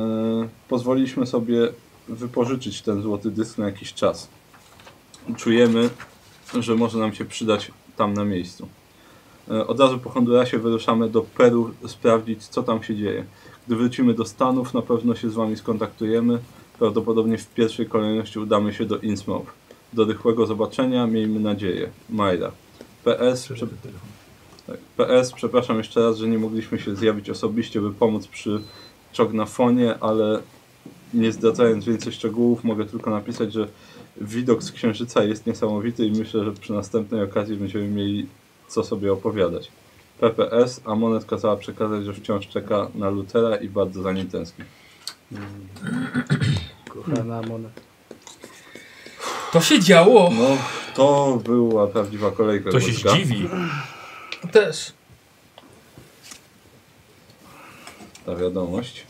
C: pozwoliliśmy sobie wypożyczyć ten złoty dysk na jakiś czas. Czujemy, że może nam się przydać tam na miejscu. E, Od razu po Hondurasie wyruszamy do Peru sprawdzić, co tam się dzieje. Gdy wrócimy do Stanów, na pewno się z Wami skontaktujemy. Prawdopodobnie w pierwszej kolejności udamy się do Innsmouth. Do rychłego zobaczenia, miejmy nadzieję. Majda. PS, prze... tak, PS, przepraszam jeszcze raz, że nie mogliśmy się zjawić osobiście, by pomóc przy czognafonie, ale nie zdradzając więcej szczegółów, mogę tylko napisać, że widok z księżyca jest niesamowity i myślę, że przy następnej okazji będziemy mieli co sobie opowiadać. PPS, a Monet kazała przekazać, że wciąż czeka na Lutera i bardzo za nim tęskni.
B: Kochana monet.
D: To się działo.
C: No, to była prawdziwa kolejka.
E: To się
C: ludzka.
E: zdziwi.
D: Też.
C: Ta wiadomość.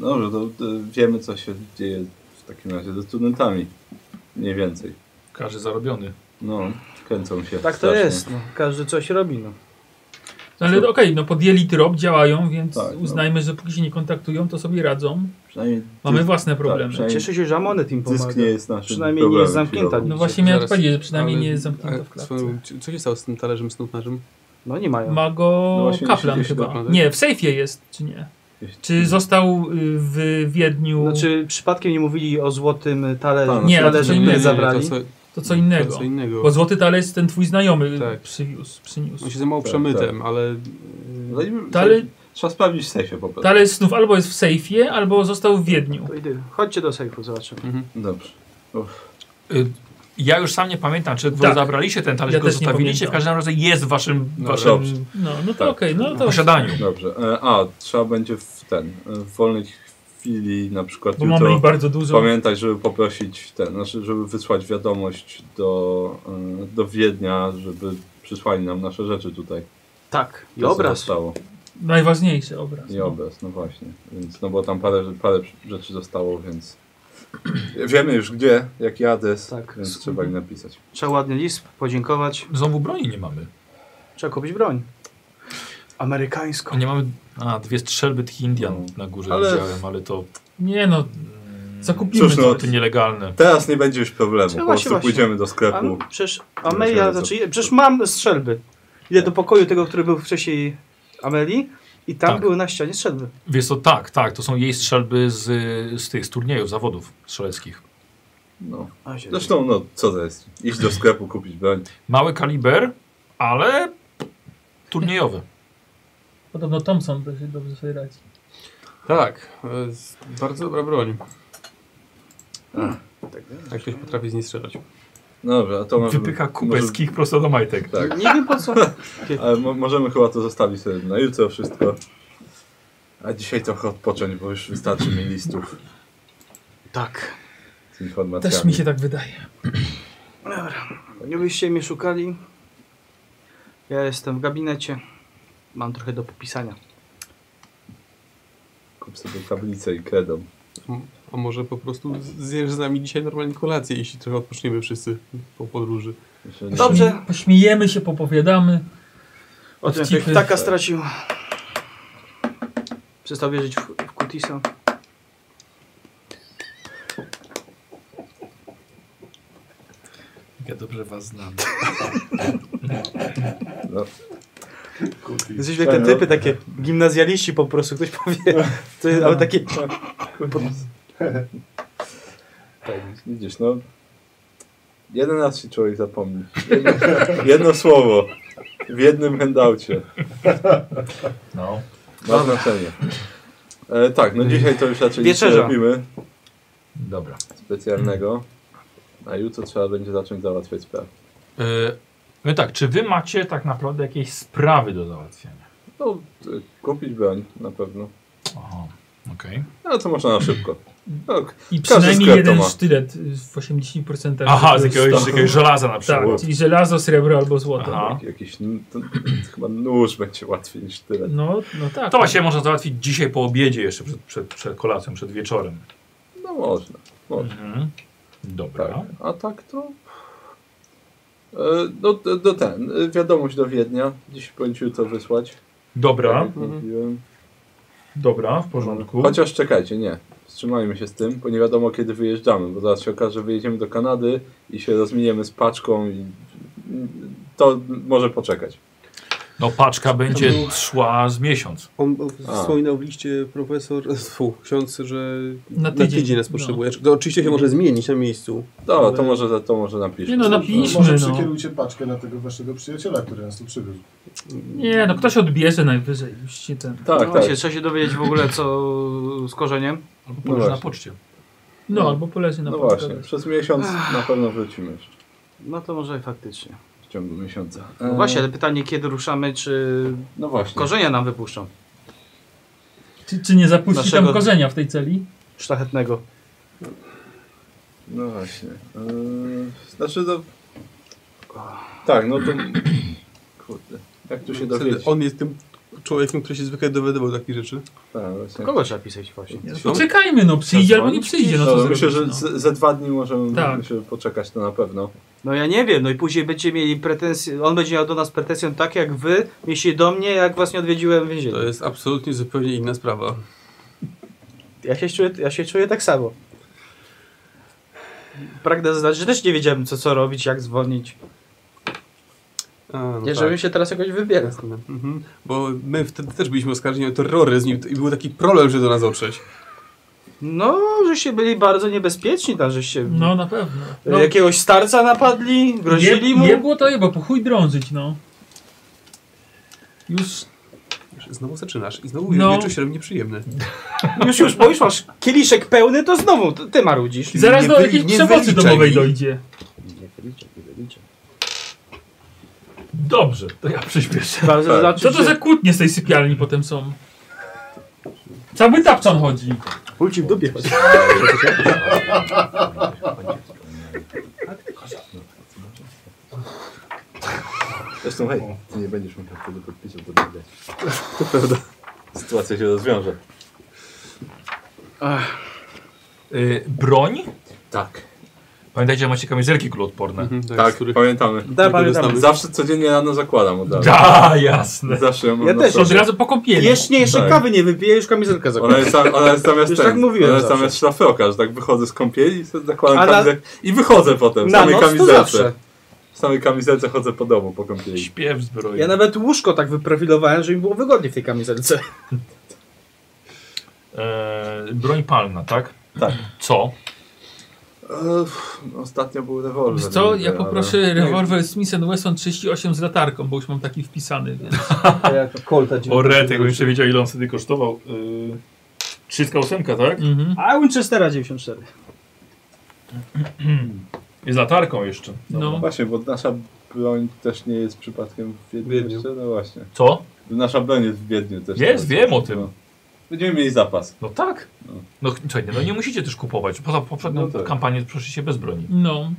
C: Dobrze, to y, wiemy co się dzieje w takim razie ze studentami. Mniej więcej.
E: Każdy zarobiony.
C: No, kręcą się.
B: Tak to
C: strasznie.
B: jest. No. Każdy coś robi. No.
D: No ale okej, no podjęli trop, działają, więc
C: Tak, no.
D: uznajmy, że póki się nie kontaktują, to sobie radzą.
C: Przynajmniej
D: Mamy
C: dysk,
D: własne problemy.
C: przynajmniej
B: Cieszę się, że monet im pomaga.
C: dysk nie jest naszym
B: Przynajmniej nie
C: problemem
B: jest zamknięta.
C: chwilowym.
D: no właśnie miałem
G: Zaraz,
D: powiedzieć, że przynajmniej
G: ale-
D: nie jest zamknięta
G: ale
D: w klatce.
G: swoją- c- Co się stało z tym talerzem snutnarzym?
B: No nie mają.
D: Ma go
C: No właśnie,
D: kaplan
C: jeśli-
D: chyba.
G: jeśli-
D: Nie, w sejfie jest, czy nie?
C: Jeśli-
D: Czy został y, w Wiedniu,
B: Znaczy przypadkiem nie mówili o złotym talerzu,
C: Nie,
D: to co
B: talerze,
D: innego.
B: który zabrali.
G: To co,
D: to co innego.
G: to co innego.
D: Bo złoty talerz ten twój znajomy
G: Tak.
D: przywiózł, przyniósł.
G: On się zajmował
C: Tak,
G: przemytem, ale...
C: Zanim-
D: Tale-
C: zanim- Trzeba sprawdzić w sejfie po prostu.
D: Talerz snów albo jest w sejfie, albo został w Wiedniu.
B: To idę. Chodźcie do sejfu, zobaczymy.
C: Dobrze.
E: Ja już sam nie pamiętam, czy wy
D: Tak.
E: zabraliście ten talerz,
D: Ja
E: go
D: też nie
E: zostawiliście. W
D: pamiętam.
E: każdym razie jest w waszym,
G: No,
C: dobrze.
E: waszym
D: No, no to
C: Tak.
D: okej, no to
E: posiadaniu.
C: Dobrze. E, A, trzeba będzie w ten, e, w wolnej chwili na przykład
D: bo mamy ich
C: jutro
D: bardzo dużo.
C: pamiętać, żeby poprosić ten, znaczy żeby wysłać wiadomość do, e, do Wiednia, żeby przysłali nam nasze rzeczy tutaj.
B: Tak, i
C: To, co
B: obraz.
C: Zostało.
D: Najważniejszy obraz.
C: I
D: no.
C: obraz, no właśnie. Więc, no bo tam parę, parę rzeczy zostało, więc wiemy już gdzie, jaki adres,
B: Tak.
C: więc trzeba im napisać.
B: Trzeba ładny list, podziękować,
E: Znowu broni nie mamy.
B: trzeba kupić broń. Amerykańską.
E: A nie mamy. A, dwie strzelby tych Indian na górze
C: No. Ale-
E: widziałem, ale to.
D: Nie no, zakupimy
C: Cóż, no,
D: coś.
E: To nielegalne.
C: Teraz nie będzie już problemu,
B: Trzeba
C: po prostu
B: się właśnie-
C: pójdziemy do
B: A,
C: sklepu.
B: przecież
C: Myślę,
B: Amelia,
C: że to-
B: znaczy, je- przecież mam strzelby. Idę do pokoju tego, który był wcześniej Ameli i tam
E: Tak.
B: były na ścianie strzelby.
E: Wiesz to tak, tak, to są jej strzelby z, z tych z turniejów, zawodów strzeleckich.
C: No.
B: A, się-
C: Zresztą, no co to jest? Iść do sklepu, kupić broń.
E: Mały kaliber, ale turniejowy.
D: Podobno Thompson też dobrze sobie radzi.
G: Tak, to jest bardzo dobra broń.
C: tak
G: Jak ktoś potrafi z niej strzelać.
C: Dobra, a to może...
E: Wypycha kupę
C: może-
E: z kich prosto do majtek.
C: Tak.
B: Nie wiem po co.
C: Ale mo możemy chyba to zostawić sobie na jutro wszystko. A dzisiaj trochę odpocząć, bo już wystarczy mi listów
B: Tak.
C: z informacjami.
D: Też mi się tak wydaje.
B: Nie byście mnie szukali. Ja jestem w gabinecie. Mam trochę do popisania.
C: Kup sobie tablicę i kredą.
G: A może po prostu zjesz z nami dzisiaj normalnie kolację, jeśli trochę odpoczniemy wszyscy po podróży.
C: Jeżeli-
B: Dobrze.
D: Pośmiejemy się, popowiadamy.
B: O tym, jak
D: Odcipy.
B: ptaka stracił. Przestał wierzyć w, w Kutisa.
E: Ja dobrze was znam.
C: No,
B: Jesteśmy jak te typy, takie gimnazjaliści po prostu. Ktoś powie, to jest, ale takie...
C: tak, widzisz, no. Jeden raz się człowiek zapomni. Jedno, jedno słowo. W jednym handoucie.
E: No.
C: Ma znaczenie. E, tak, no dzisiaj to już raczej nic nie
B: Wieczerza.
C: robimy
E: Dobra.
C: specjalnego. A jutro trzeba będzie zacząć załatwiać sprawy.
E: Y, no tak, czy wy macie tak naprawdę jakieś sprawy do załatwienia?
C: No, y, kupić broń na pewno.
E: Aha, okej.
C: Ale to można na szybko. Tak. Każdy
D: I przynajmniej
C: sklep to
D: jeden
C: ma.
D: sztylet w 80%.
A: Aha, z jakiegoś, z
D: stoku.
A: jakiegoś żelaza na
D: Tak,
A: przykład.
D: czyli żelazo, srebro albo złoto.
A: Aha.
C: Jakiś, n- to, chyba nóż będzie łatwiej niż tyle.
D: No, no tak.
A: To się można załatwić dzisiaj po obiedzie, jeszcze przed, przed, przed kolacją, przed wieczorem.
C: No można, można.
A: Mhm. Dobra.
C: Tak. A tak to. E, No, do, do ten. e, Wiadomość do Wiednia. Dziś bądź jutro wysłać. Tak
A: Dobra,
C: jak mówiłem.
A: dobra, w porządku.
C: Chociaż czekajcie, nie. Wstrzymajmy się z tym, bo nie wiadomo kiedy wyjeżdżamy, bo zaraz się okaże, że wyjedziemy do Kanady i się rozminiemy z paczką i to może poczekać.
A: No paczka będzie
G: był-
A: szła z miesiąc.
G: On
C: A.
G: wspominał w liście profesor, fu, ksiądz, że na tydzień,
D: tydzień.
G: nas
D: No.
G: potrzebuje. To oczywiście się może zmienić na miejscu.
C: Dobra, to
G: Ale-
C: może, to może napiszmy.
D: Nie no, napisz.
J: Może
D: no.
J: przekierujcie paczkę na tego waszego przyjaciela, który nas tu przywiózł.
D: Nie, no ktoś odbierze najwyżej. Już się ten...
C: Tak,
B: no
C: tak.
B: właśnie, trzeba się dowiedzieć w ogóle co z korzeniem.
A: Albo
C: No
A: położysz na
C: właśnie.
A: poczcie.
D: No, albo poleży na
C: No
D: podkładce.
C: właśnie, przez miesiąc na pewno wrócimy jeszcze
B: No to może faktycznie.
C: w ciągu miesiąca.
B: No
C: E,
B: właśnie, ale pytanie kiedy ruszamy, czy
C: No właśnie.
B: korzenia nam wypuszczą?
D: Czy, czy nie zapuści
B: Naszego-
D: tam korzenia w tej celi?
B: Szlachetnego.
C: No właśnie. E, Znaczy to... Tak, no to... Kurde. Jak tu się dowiedzieć?
G: On jest tym człowiekiem, który się zwykle dowiadywał takich rzeczy.
C: Tak, właśnie.
B: Kogo trzeba pisać właśnie?
D: Poczekajmy, no przyjdzie albo nie przyjdzie. No,
C: No,
D: co
C: no, myślę, że
D: zrobić, no.
C: z- za dwa dni możemy
D: Tak.
C: myślę, poczekać to na pewno.
B: No ja nie wiem, no i później będziecie mieli pretensje, on będzie miał do nas pretensję tak jak wy, jeśli do mnie, jak was nie odwiedziłem w więzieniu.
G: To jest absolutnie zupełnie inna sprawa.
B: Ja się, czuję, ja się czuję tak samo. Pragnę zaznaczyć, że też nie wiedziałem co co robić, jak dzwonić.
G: A, no
B: Nie, żebym się teraz jakoś wybierał.
G: Mhm. Bo my wtedy też byliśmy oskarżeni o terroryzm i był taki problem, że do nas otrzeć.
B: No, żeście byli bardzo niebezpieczni tam, żeście
D: no na pewno.
B: e,
D: No,
B: jakiegoś starca napadli, grozili
D: nie,
B: mu.
D: nie było to jebo, po chuj drążyć, no. Już
G: Wiesz, Znowu zaczynasz i znowu
D: No.
G: no. wieczór się robi nieprzyjemny.
B: Już, już, bo już masz kieliszek pełny, to znowu ty- ty marudzisz.
D: zaraz
G: nie
D: do
G: wyli-
D: jakiejś
G: nie
D: przemocy
G: wyliczaj
D: domowej
G: mi.
D: dojdzie.
E: Dobrze, to ja przyspieszę.
B: Trzeba zaznaczyć,
D: Tak. Co to
B: że-
D: za kłótnie z tej sypialni potem są? Cały tapczan chodzi.
N: Pójdź w dupie.
C: Zresztą hej, ty nie będziesz mógł wtedy podpisać, to będzie. To prawda. Sytuacja się rozwiąże.
A: Y, broń?
C: Tak.
A: Pamiętajcie, że macie kamizelki kuloodporne.
D: Mhm.
C: Tak, pamiętamy.
B: Da, pamiętam.
G: Dostamy.
C: Zawsze codziennie rano zakładam od razu.
A: Da, jasne.
C: Zawsze ją mam
B: Ja
C: na
B: też.
C: sobie.
D: Od razu po kąpieli.
B: Jeszcze, jeszcze
C: Tak.
B: kawy nie wypiję, już kamizelkę
C: Ona
B: zakładam.
C: jest, tam, ona jest zamiast
B: Już
C: ten,
B: tak mówiłem
C: ona jest
B: zawsze.
C: zamiast szlafroka, że tak wychodzę z kąpieli i sobie zakładam
B: A na-
C: kamizelkę i wychodzę potem w
B: Na
C: samej
B: noc to zawsze.
C: kamizelce. W samej kamizelce chodzę po domu po kąpieli.
A: Śpiew zbrojny.
B: Ja nawet łóżko tak wyprofilowałem, żeby mi było wygodnie w tej kamizelce.
A: E, broń palna, tak?
C: Tak.
A: Co?
C: E, pff, no, Ostatnio był rewolwer.
D: Wiesz co, ja
C: ale-
D: poproszę rewolwer Smith Wesson 38 z latarką, bo już mam taki wpisany, więc...
F: A ja to kolta
A: O rety, jakbym jeszcze wiedział ile on wtedy kosztował. Yy, 308, tak?
D: Mhm.
N: A Winchestera 94.
A: I z latarką jeszcze.
D: No.
C: Właśnie, bo nasza broń też nie jest przypadkiem w Wiedniu.
G: Wiedniu.
C: Jeszcze? No właśnie.
A: Co?
C: Nasza broń jest w Wiedniu też.
A: Jest, wiem o tym.
C: No. Będziemy mieli zapas.
A: No tak.
C: No.
A: No, ch- czekaj, no nie musicie też kupować. Poza poprzednią
C: No tak.
A: kampanię przeszliście bez broni.
D: No,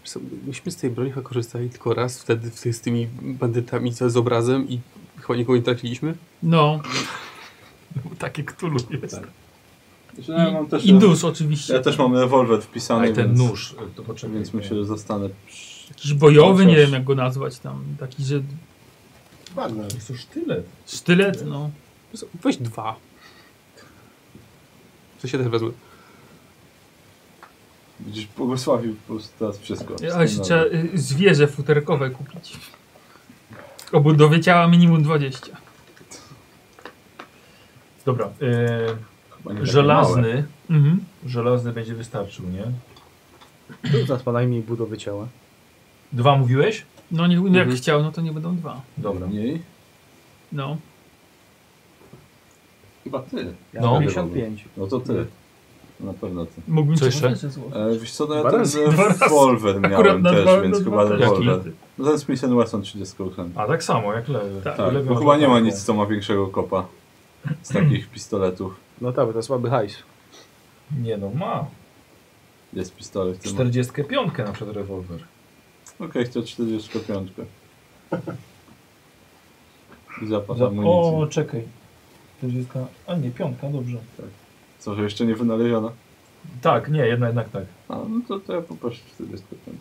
G: Wiesz co, Myśmy z tej broni chyba korzystali tylko raz wtedy w tych- z tymi bandytami co z obrazem i chyba nikogo nie trafiliśmy.
D: no.
A: Takie Cthulhu jest.
C: Znaczy, no, ja mam też,
D: I dus oczywiście.
C: ja też mam rewolwer
A: A
C: wpisany,
A: i ten
C: więc,
A: nóż, y, to poczekaj.
C: więc myślę, że zostanę przy...
D: Jakiś bojowy, nie
C: Chociaż-
D: wiem jak go nazwać tam. Taki, że
J: Wagner.
A: Jest to sztylet.
D: sztylet, no.
G: Wiesz co, Weź dwa. To się też wezmę.
C: Będziesz błogosławił po prostu teraz wszystko.
D: Ale jeszcze trzeba y, zwierzę futerkowe kupić. O budowie ciała minimum 20.
A: Dobra. y,
C: Chyba
E: e,
C: nie takie małe.
A: żelazny.
D: Mhm.
A: Żelazny będzie wystarczył, nie?
B: Tu nas ma najmniej budowy ciała.
A: Dwa mówiłeś?
D: No niech, jak
G: Mhm.
D: chciał, no to nie będą dwa.
A: Dobra.
C: Mniej?
D: No.
C: Chyba ty.
B: Ja
A: No.
B: mam 55.
C: No to ty. Na pewno ty.
D: Mógłbym
A: Co
D: ci
A: jeszcze?
D: pożyczyć złożyć.
C: E, wiesz co, no
D: Dwa
C: ja ten
D: razy, dwa razy.
C: rewolwer miałem
D: na
C: też,
D: dwa-
C: więc
D: na
C: chyba
D: dwa też.
C: rewolwer.
A: Jaki?
C: No ten Smith Wesson 38.
A: A tak samo, jak lewy.
D: Tak.
C: Tak,
A: Lewy
C: bo
A: ma
C: chyba nie ma
A: taką.
C: nic, co ma większego kopa z takich pistoletów.
B: No tak, bo to słaby hajs.
E: Nie no, ma.
C: Jest pistolet. ty ma-
E: 45 na przykład rewolwer.
C: Okej, to 45. I zapas
E: Za, o,
C: amunicji.
E: czekaj. 40, a nie, piątka, dobrze.
C: Co, że jeszcze nie wynaleziono?
E: Tak, nie, jedna jednak tak.
C: A, no to, to ja poproszę 45.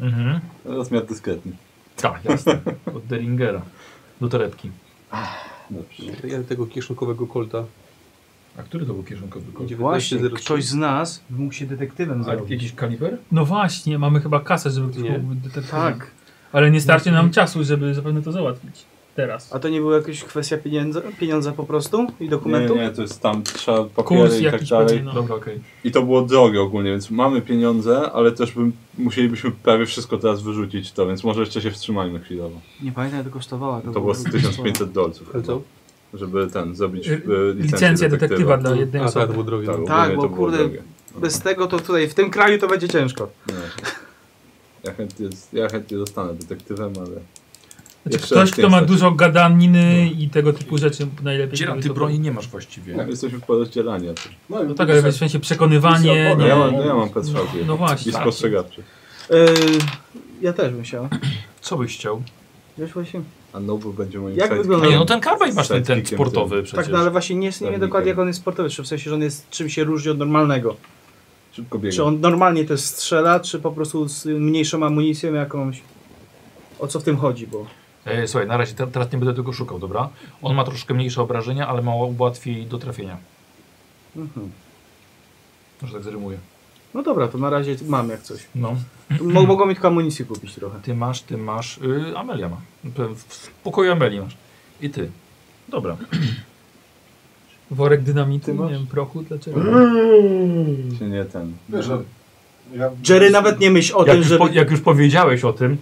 E: Mhm.
C: Rozmiar dyskretny.
E: Tak, jasne. Od Deringera. Do torebki.
C: Dobrze.
G: Ja tego kieszonkowego kolta.
E: A który to był kieszonkowy kolor?
G: 19
B: Właśnie,
G: 03.
B: ktoś z nas mógł się detektywem
E: A
B: zrobić.
E: jakiś kaliber?
D: No właśnie, mamy chyba kasę, żeby ktoś
G: Nie.
D: mógł detektyw.
B: Tak.
D: Ale nie starczy nam czasu, żeby zapewne to załatwić. Teraz.
B: A to nie była jakaś kwestia pieniądza, pieniądza po prostu i
C: Nie,
B: dokumentu?
C: nie, to jest tam, trzeba
D: Kurs
C: papiery i tak
D: jakiś
C: dalej.
D: będzie, no.
E: Dobra, okej.
C: I to było drogie ogólnie, więc mamy pieniądze, ale też bym, musielibyśmy prawie wszystko teraz wyrzucić to, więc może jeszcze się wstrzymajmy chwilowo.
B: Nie pamiętam, ile to kosztowało.
C: To było
D: No,
C: z 1500 dolców.
G: Ale co?
C: Żeby ten, zrobić
D: Y,
C: e, licencję
D: Licencja detektywa dla
G: A,
D: jednej
G: tak,
D: osoby.
G: było drogie.
C: Tak, ogólnie
B: Tak,
C: to
B: bo
C: było
B: kurde-
C: drogie.
B: Bez tego to tutaj, w tym kraju to będzie ciężko.
C: No. Ja chętnie, ja chętnie zostanę detektywem, ale
D: Znaczy,
C: Jeszcze
D: ktoś,
C: raz
D: kto ma
C: jestem.
D: dużo gadaniny i tego typu rzeczy, najlepiej.
E: Dzieram,
D: żeby
E: ty
D: to
E: broni nie masz właściwie.
C: jak jesteśmy porozdzielani. o tym.
J: No, i
D: No tak, ale w sensie przekonywanie.
J: No
C: No
D: Nie,
C: ja mam, no ja mam PSVG
D: no właśnie.
C: i spostrzegawczy.
B: Yy, ja też bym chciał.
E: Co byś chciał?
B: Wiesz właśnie, tak,
C: A Nobu będzie moim
B: Jak
C: sidekickiem.
B: wygląda-
E: Nie, no ten karbaj masz ten, ten
C: Sidekickiem,
E: sportowy
B: tak,
E: przecież.
B: no, ale właśnie nie, nie wiem dokładnie jak on jest sportowy, czy w sensie, że on jest czym się różni od normalnego.
C: Szybko biega.
B: Czy on normalnie też strzela, czy po prostu z mniejszą amunicją jakąś? O co w tym chodzi, bo...
E: E, słuchaj, na razie te, teraz nie będę tego szukał, dobra? On ma troszkę mniejsze obrażenia, ale ma ł- łatwiej do trafienia.
B: Mhm.
E: Może tak zrymuję.
B: No dobra, to na razie mam jak coś.
E: No.
B: Mo- mogą mi tylko amunicję kupić trochę.
E: Ty masz, ty masz. Y, Amelia ma. Pe- W pokoju Ameli masz. I ty. Dobra.
D: Worek dynamitu,
J: Ty masz?
D: nie wiem, prochu, dlaczego?
J: Mm.
C: Czy nie ten.
J: Wiesz, że ja...
B: Jerry nawet nie myśl o
E: jak,
B: tym,
E: już
B: Tak, żeby...
E: po, jak już powiedziałeś o tym.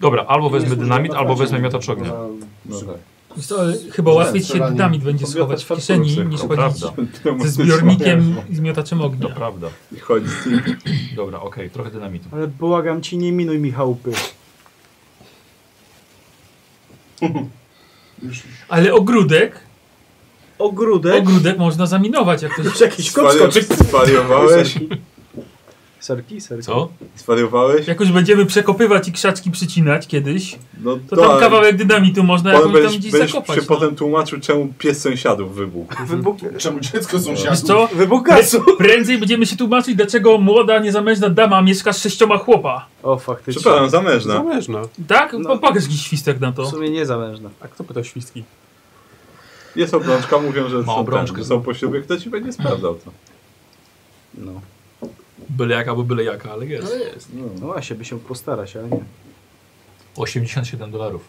E: Dobra, albo wezmę
J: Jest
E: dynamit,
J: używana
E: albo
J: tarcza,
E: wezmę miotacz ognia.
J: można-
C: No tak.
D: Wiesz co, ale Chyba łatwiej ci się
J: strzelanie.
D: dynamit będzie schować w
C: Podmiotacz
D: kieszeni
C: fartuszek,
D: niż
E: to
D: chodzić
E: prawda.
D: ze
C: Pneumatyczny.
D: zbiornikiem i z miotaczem
E: To
D: ognia.
E: prawda.
C: I chodzi z nim.
E: Dobra, okej, trochę dynamitu.
B: Ale błagam ci, nie minuj mi chałupy.
D: Ale ogródek,
B: Ogródek?
D: ogródek można zaminować, jak ktoś
B: Czy jakiś kot skoczy?
C: Zwari- Zwariowałeś?
B: Serki, serki.
E: Co?
C: Zwariowałeś?
D: Jak już będziemy przekopywać i krzaczki przycinać kiedyś,
C: No
D: to tam
C: tak.
D: kawałek dynamitu można
C: Potem
D: jakąś tam
C: będziesz,
D: gdzieś
C: będziesz
D: zakopać.
C: się
D: no.
C: potem tłumaczył, czemu pies sąsiadów wybuchł.
B: Wybuch,
J: Czemu dziecko
D: Wiesz
J: sąsiadów?
D: co?
B: wybuch gazu.
D: Prędzej będziemy się tłumaczyć, dlaczego młoda, niezamężna dama mieszka z sześcioma chłopa.
B: O, faktycznie.
C: Przepraszam, zamężna.
G: Zamężna.
D: Tak?
B: No.
D: No. Pokaż jakiś świstek na
B: W
D: to.
B: sumie niezamężna.
G: A kto pyta świstki?
C: Jest obrączka, mówią, że są,
E: obrączkę.
C: ten, że są po ślubie. Kto ci będzie sprawdzał to?
B: No.
E: Byle jaka, bo byle jaka, ale jest.
B: No właśnie, by się postarać, ale nie.
E: 87 dolarów.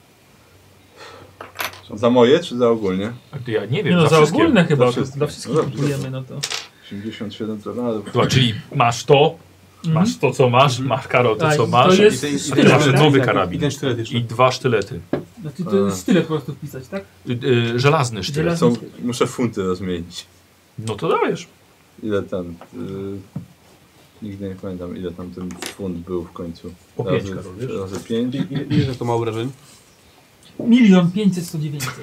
C: Za moje czy za ogólnie?
E: A ty ja nie
D: Nie
E: wiem,
D: no,
E: za,
D: za
E: wszystkie.
D: ogólne chyba.
C: wszystkie.
D: Dla wszystkich
C: No dobrze,
D: kupujemy, no to.
C: 87 dolarów.
E: Dobra, czyli masz to, masz to co masz, masz karotę
D: Tak,
E: co
D: to
E: masz
D: jest-
E: i ty masz nowy karabin.
G: I ten sztylet jeszcze.
E: I dwa sztylety.
D: Znaczy
C: to
D: style po prostu wpisać, tak?
E: Y, y, żelazny sztylet.
D: Żelazny.
C: Są, muszę funty rozmienić.
E: No to dajesz.
C: Ile ten... y, nigdy nie pamiętam, ile tam ten funt był w końcu.
E: Po pięć,
C: razy,
E: Karol, wiesz?
C: razy pięć.
G: Ile to ma obrażeń?
D: Milion pięćset sto dziewięćset.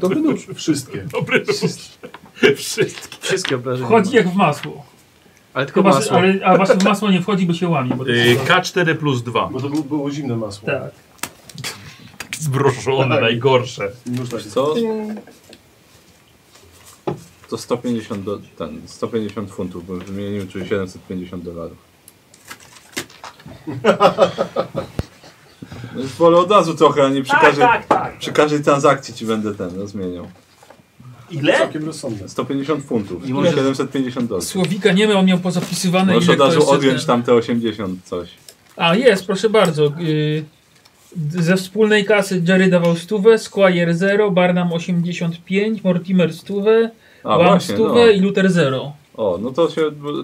J: Dobry nóż. Wszystkie.
E: Dobry Wszystkie.
B: Wszystkie obrażenia.
D: Wchodzi
B: ma.
D: jak w masło.
B: Ale tylko
D: Tylko masz,
B: masło.
D: ale, a właśnie w masło nie wchodzi, bo się łamie. Bo to
E: Y,
D: jest
E: K4 plus 2.
J: Bo to było, było zimne masło.
D: tak.
E: Zbroszone,
J: Tak.
E: najgorsze.
J: Nóż tak.
C: Co? To 150, do, ten, 150 funtów bym wymienił, czyli 750 dolarów. No już Wolę od razu trochę, a nie przy każdej,
D: tak.
C: przy każdej transakcji ci będę ten rozmieniał.
D: Ile?
J: Całkiem rozsądne.
C: 150 funtów,
B: I może-
C: 750 dolarów.
D: Słowika nie miał, miał pozapisywane
C: Możesz
D: ile
C: od
D: kto
C: razu
D: jeszcze
C: odjąć
D: ten-
C: tam te 80 coś.
D: A jest, proszę bardzo. Yy, ze wspólnej kasy Jerry dawał stówę, Squire 0, Barnum 85, Mortimer stówę,
C: A
D: Wam
C: właśnie, no.
D: stówę i Luther 0.
C: O, no to się,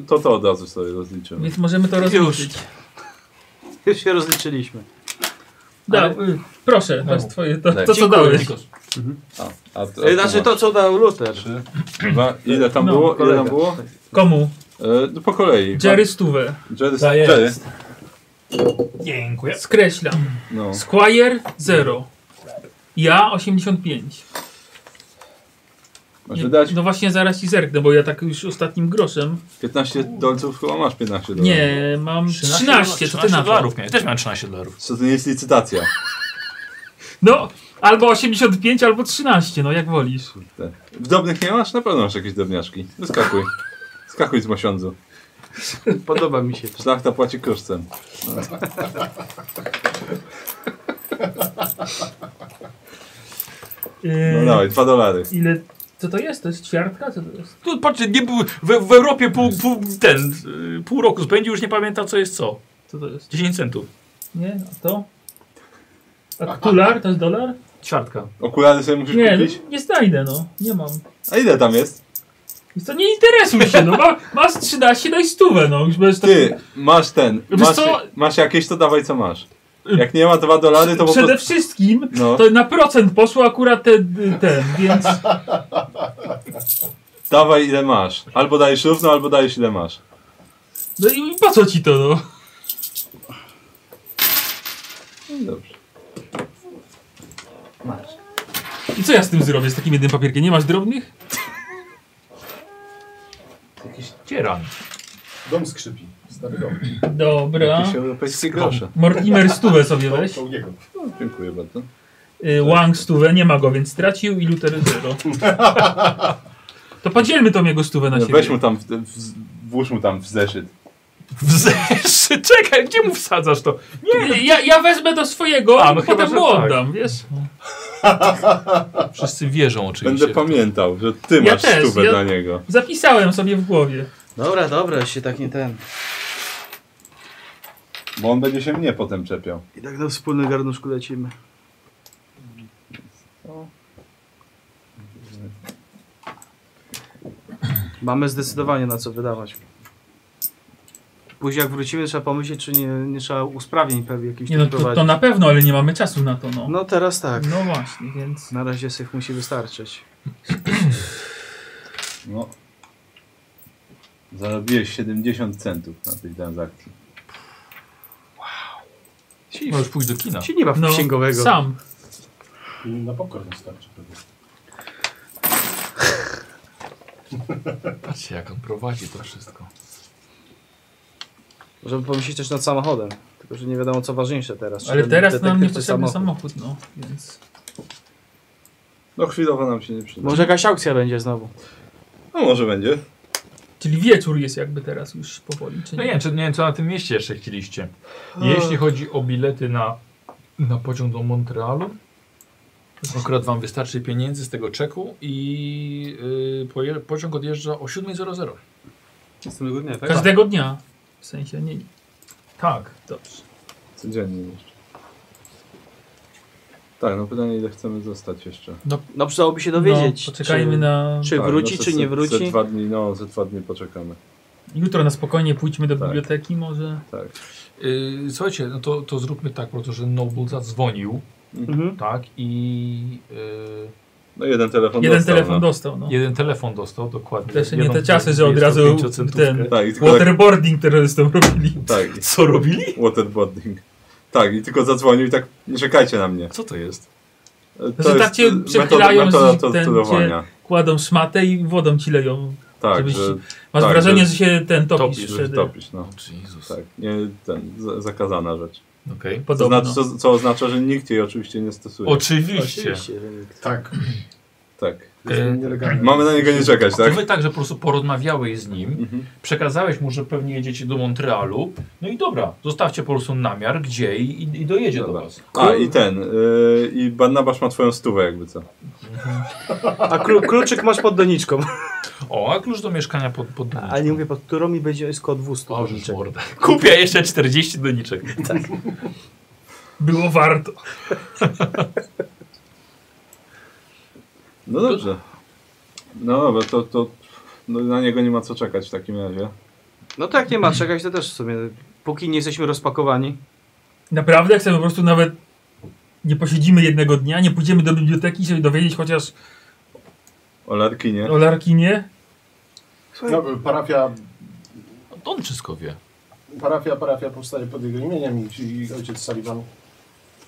C: to, to od razu sobie rozliczymy.
D: Więc możemy to rozliczyć.
B: Już się rozliczyliśmy.
D: Da,
B: Ale-
D: y, proszę, to jest twoje, to, to co
B: Dziękuję,
D: dałeś.
B: Nikos.
C: A, a, a
B: Ej, Znaczy to, co dał Luther.
C: Dwa- Ile tam
D: No,
C: było? Ile
B: kolega.
C: tam było?
D: Komu?
C: E, no po kolei.
D: Jerry stówę.
C: Jerry,
E: To jest.
C: Jerry.
E: Dziękuję.
D: Skreślam.
C: No.
D: Squire 0. Ja 85.
C: Masz wydać
D: No właśnie zaraz i zerknę, bo ja tak już ostatnim groszem.
C: 15 dolców, chyba masz 15 dolców.
D: Nie, mam 13, co ty na to?
A: dolarów miałem. Też miałem 13 dolarów.
C: Co to nie jest licytacja.
D: No, albo 85, albo 13, no jak wolisz.
C: Te. W drobnych nie masz? Na pewno masz jakieś drobniaczki. Wyskakuj. Skakuj z mosiądzu.
B: Podoba mi się to.
C: Szlachta płaci kosztem. No
D: Yy,
C: No dawaj, 2 dolary.
D: Ile, co to jest? To jest ćwiartka? Co to jest?
A: Tu No patrzcie, nie był, w, w Europie pół, pół, ten, y, pół roku spędził, już nie pamięta co jest co.
D: Co to jest?
A: 10 centów.
D: Nie, a to? A dolar? To jest dolar?
A: Ćwiartka.
C: Okulary sobie musisz
D: Nie,
C: kupić?
D: no, nie znajdę, no. Nie mam.
C: A ile tam jest?
D: Więc to nie interesuj się, no. Ma, masz 13, daj stówę, no. Już będziesz tak...
C: Ty, masz ten.
D: Wiesz
C: Masz,
D: co? Mm.
C: masz jakieś, to dawaj co masz. Jak nie ma 2 dolary, to po
D: Przede
C: prostu...
D: wszystkim
C: No.
D: to na procent poszło akurat te, ten, więc
C: Dawaj ile masz. Albo dajesz równo, albo dajesz ile masz.
D: no i po co ci to no?
C: No dobrze.
D: I co ja z tym zrobię, z takim jednym papierkiem? Nie masz drobnych?
A: Dzieran.
J: Dom skrzypi. Stary dom.
D: Dobra.
C: Jakieś europejskie grosze.
D: Mortimer stówę sobie weź.
J: To u niego.
C: No, Dziękuję bardzo.
D: Y, Wang stówę, nie ma go, więc stracił i Luther zero. To podzielmy tą jego stówę na
C: No,
D: siebie.
C: weź mu tam, w, w, włóż mu tam w zeszyt.
A: W zeszyt. Czekaj, gdzie mu wsadzasz to?
D: Nie, ja, ja wezmę do swojego,
A: A,
D: a
A: no chyba,
D: potem
A: że
D: mu
A: tak.
D: oddam, wiesz?
A: Wszyscy wierzą
C: Będę
A: oczywiście.
C: pamiętał, że ty
D: Ja
C: masz
D: też,
C: stówę
D: ja-
C: dla niego.
D: Zapisałem sobie w głowie.
B: Dobra, dobra, już się tak nie ten.
C: Bo on będzie się mnie potem czepiał.
B: I tak na wspólny garnuszku lecimy. Mamy zdecydowanie na co wydawać. Później jak wrócimy trzeba pomyśleć, czy nie, nie trzeba usprawnień pewnie jakichś
D: Nie no, to,
B: doprowadzić.
D: to na pewno, ale nie mamy czasu na to, no.
B: No teraz tak.
D: No właśnie, więc...
B: Na razie sych musi wystarczyć.
C: No. Zarobiłeś 70 centów na tej transakcji.
A: Ci- Możesz pójść do kina.
B: Ci nie ma
D: No,
B: księgowego.
D: sam.
J: Na popcorn starczy pewnie.
A: Patrzcie jak on prowadzi to wszystko.
B: Możemy pomyśleć też nad samochodem. Tylko, że nie wiadomo co ważniejsze teraz. czy
D: Ale
B: ten
D: teraz
B: detektyw,
D: nam nie
B: czy
D: potrzebny samochód, no, więc...
C: No chwilowo nam się nie przyda.
B: Może jakaś aukcja będzie znowu.
C: No może będzie.
D: Czyli wieczór jest jakby teraz już powoli, czy
A: No
D: nie?
A: nie wiem, czy, nie wiem co na tym mieście jeszcze chcieliście. Jeśli chodzi o bilety na, na pociąg do Montrealu, akurat wam wystarczy pieniędzy z tego czeku i yy, poje- pociąg odjeżdża o 7.00.
G: Następnego dnia, tak?
D: Każdego dnia. W sensie, nie...
A: Tak.
D: Dobrze.
C: Codziennie jeszcze. Tak, no pytanie ile chcemy zostać jeszcze.
B: No przydałoby się dowiedzieć.
D: No, poczekajmy
B: czy,
D: na...
B: Czy
C: tak,
B: wróci,
C: no,
B: czy
C: ze-
B: nie
C: Ze
B: wróci.
C: dwa dni, no ze dwa dni poczekamy.
D: Jutro na spokojnie pójdźmy do
C: Tak.
D: biblioteki może.
C: Tak.
A: Yy, słuchajcie, no to, to zróbmy tak, po to, że Noble zadzwonił,
B: Mhm.
A: tak, i yy,
C: No jeden telefon
D: Jeden
C: dostał,
D: telefon
C: no.
D: dostał, no.
A: jeden telefon dostał, dokładnie.
D: Też nie
A: Jedną
D: te czasy, że od
A: 25
D: razu
A: centówkę.
D: ten-
C: Tak, i tylko tak,
D: Waterboarding terrorystom robili.
C: tak,
A: Co robili?
C: waterboarding. Tak, i tylko zadzwonił i tak, nie czekajcie na mnie.
A: Co to jest?
C: To
D: Że tak cię przechylają,
C: metoda
D: że ten cię-
C: torturowania.
D: Kładą szmatę i wodą ci leją.
C: Tak,
D: żebyś-
C: że,
D: Masz
C: Tak,
D: wrażenie,
C: że-
D: że się ten topisz,
A: topisz,
C: że
D: wtedy.
C: topisz, no.
A: Jezus.
C: Tak, nie, ten, za- zakazana rzecz.
A: Okej.
C: To
D: Podobno.
C: znaczy, co, co oznacza, że nikt jej oczywiście nie stosuje.
A: Oczywiście.
B: Oczywiście, że nikt.
J: Tak.
C: tak.
J: To jest
A: E,
J: nielegalne.
C: Mamy na niego nie czekać,
A: Tak?
C: tak?
A: Wy tak, że po prostu porozmawiałeś z nim,
C: Mhm.
A: przekazałeś mu, że pewnie jedziecie do Montrealu, no i dobra, zostawcie po prostu namiar, gdzie i, i- i dojedzie
C: Dobra.
A: do was.
C: A i ten, y, i Barnabasz ma twoją stówę jakby co.
B: A klu, kluczyk masz pod doniczką.
A: O, a klucz do mieszkania pod, pod doniczką.
B: A nie mówię, pod którą mi będzie jest koło 200
A: O, żeż
B: doniczek.
A: mordę. Kupię jeszcze 40 doniczek.
D: Było warto.
C: No dobrze. No dobra, to, to no, na niego nie ma co czekać w takim razie.
B: No tak, nie ma czekać, to też w sumie. Póki nie jesteśmy rozpakowani.
D: Naprawdę chcemy po prostu nawet nie posiedzimy jednego dnia, nie pójdziemy do biblioteki, żeby dowiedzieć chociaż
C: O Larkinie.
D: o Larkinie.
J: No, parafia,
A: To on wszystko wie.
J: parafia, parafia powstaje pod jego imieniem i, i ojciec Sullivan.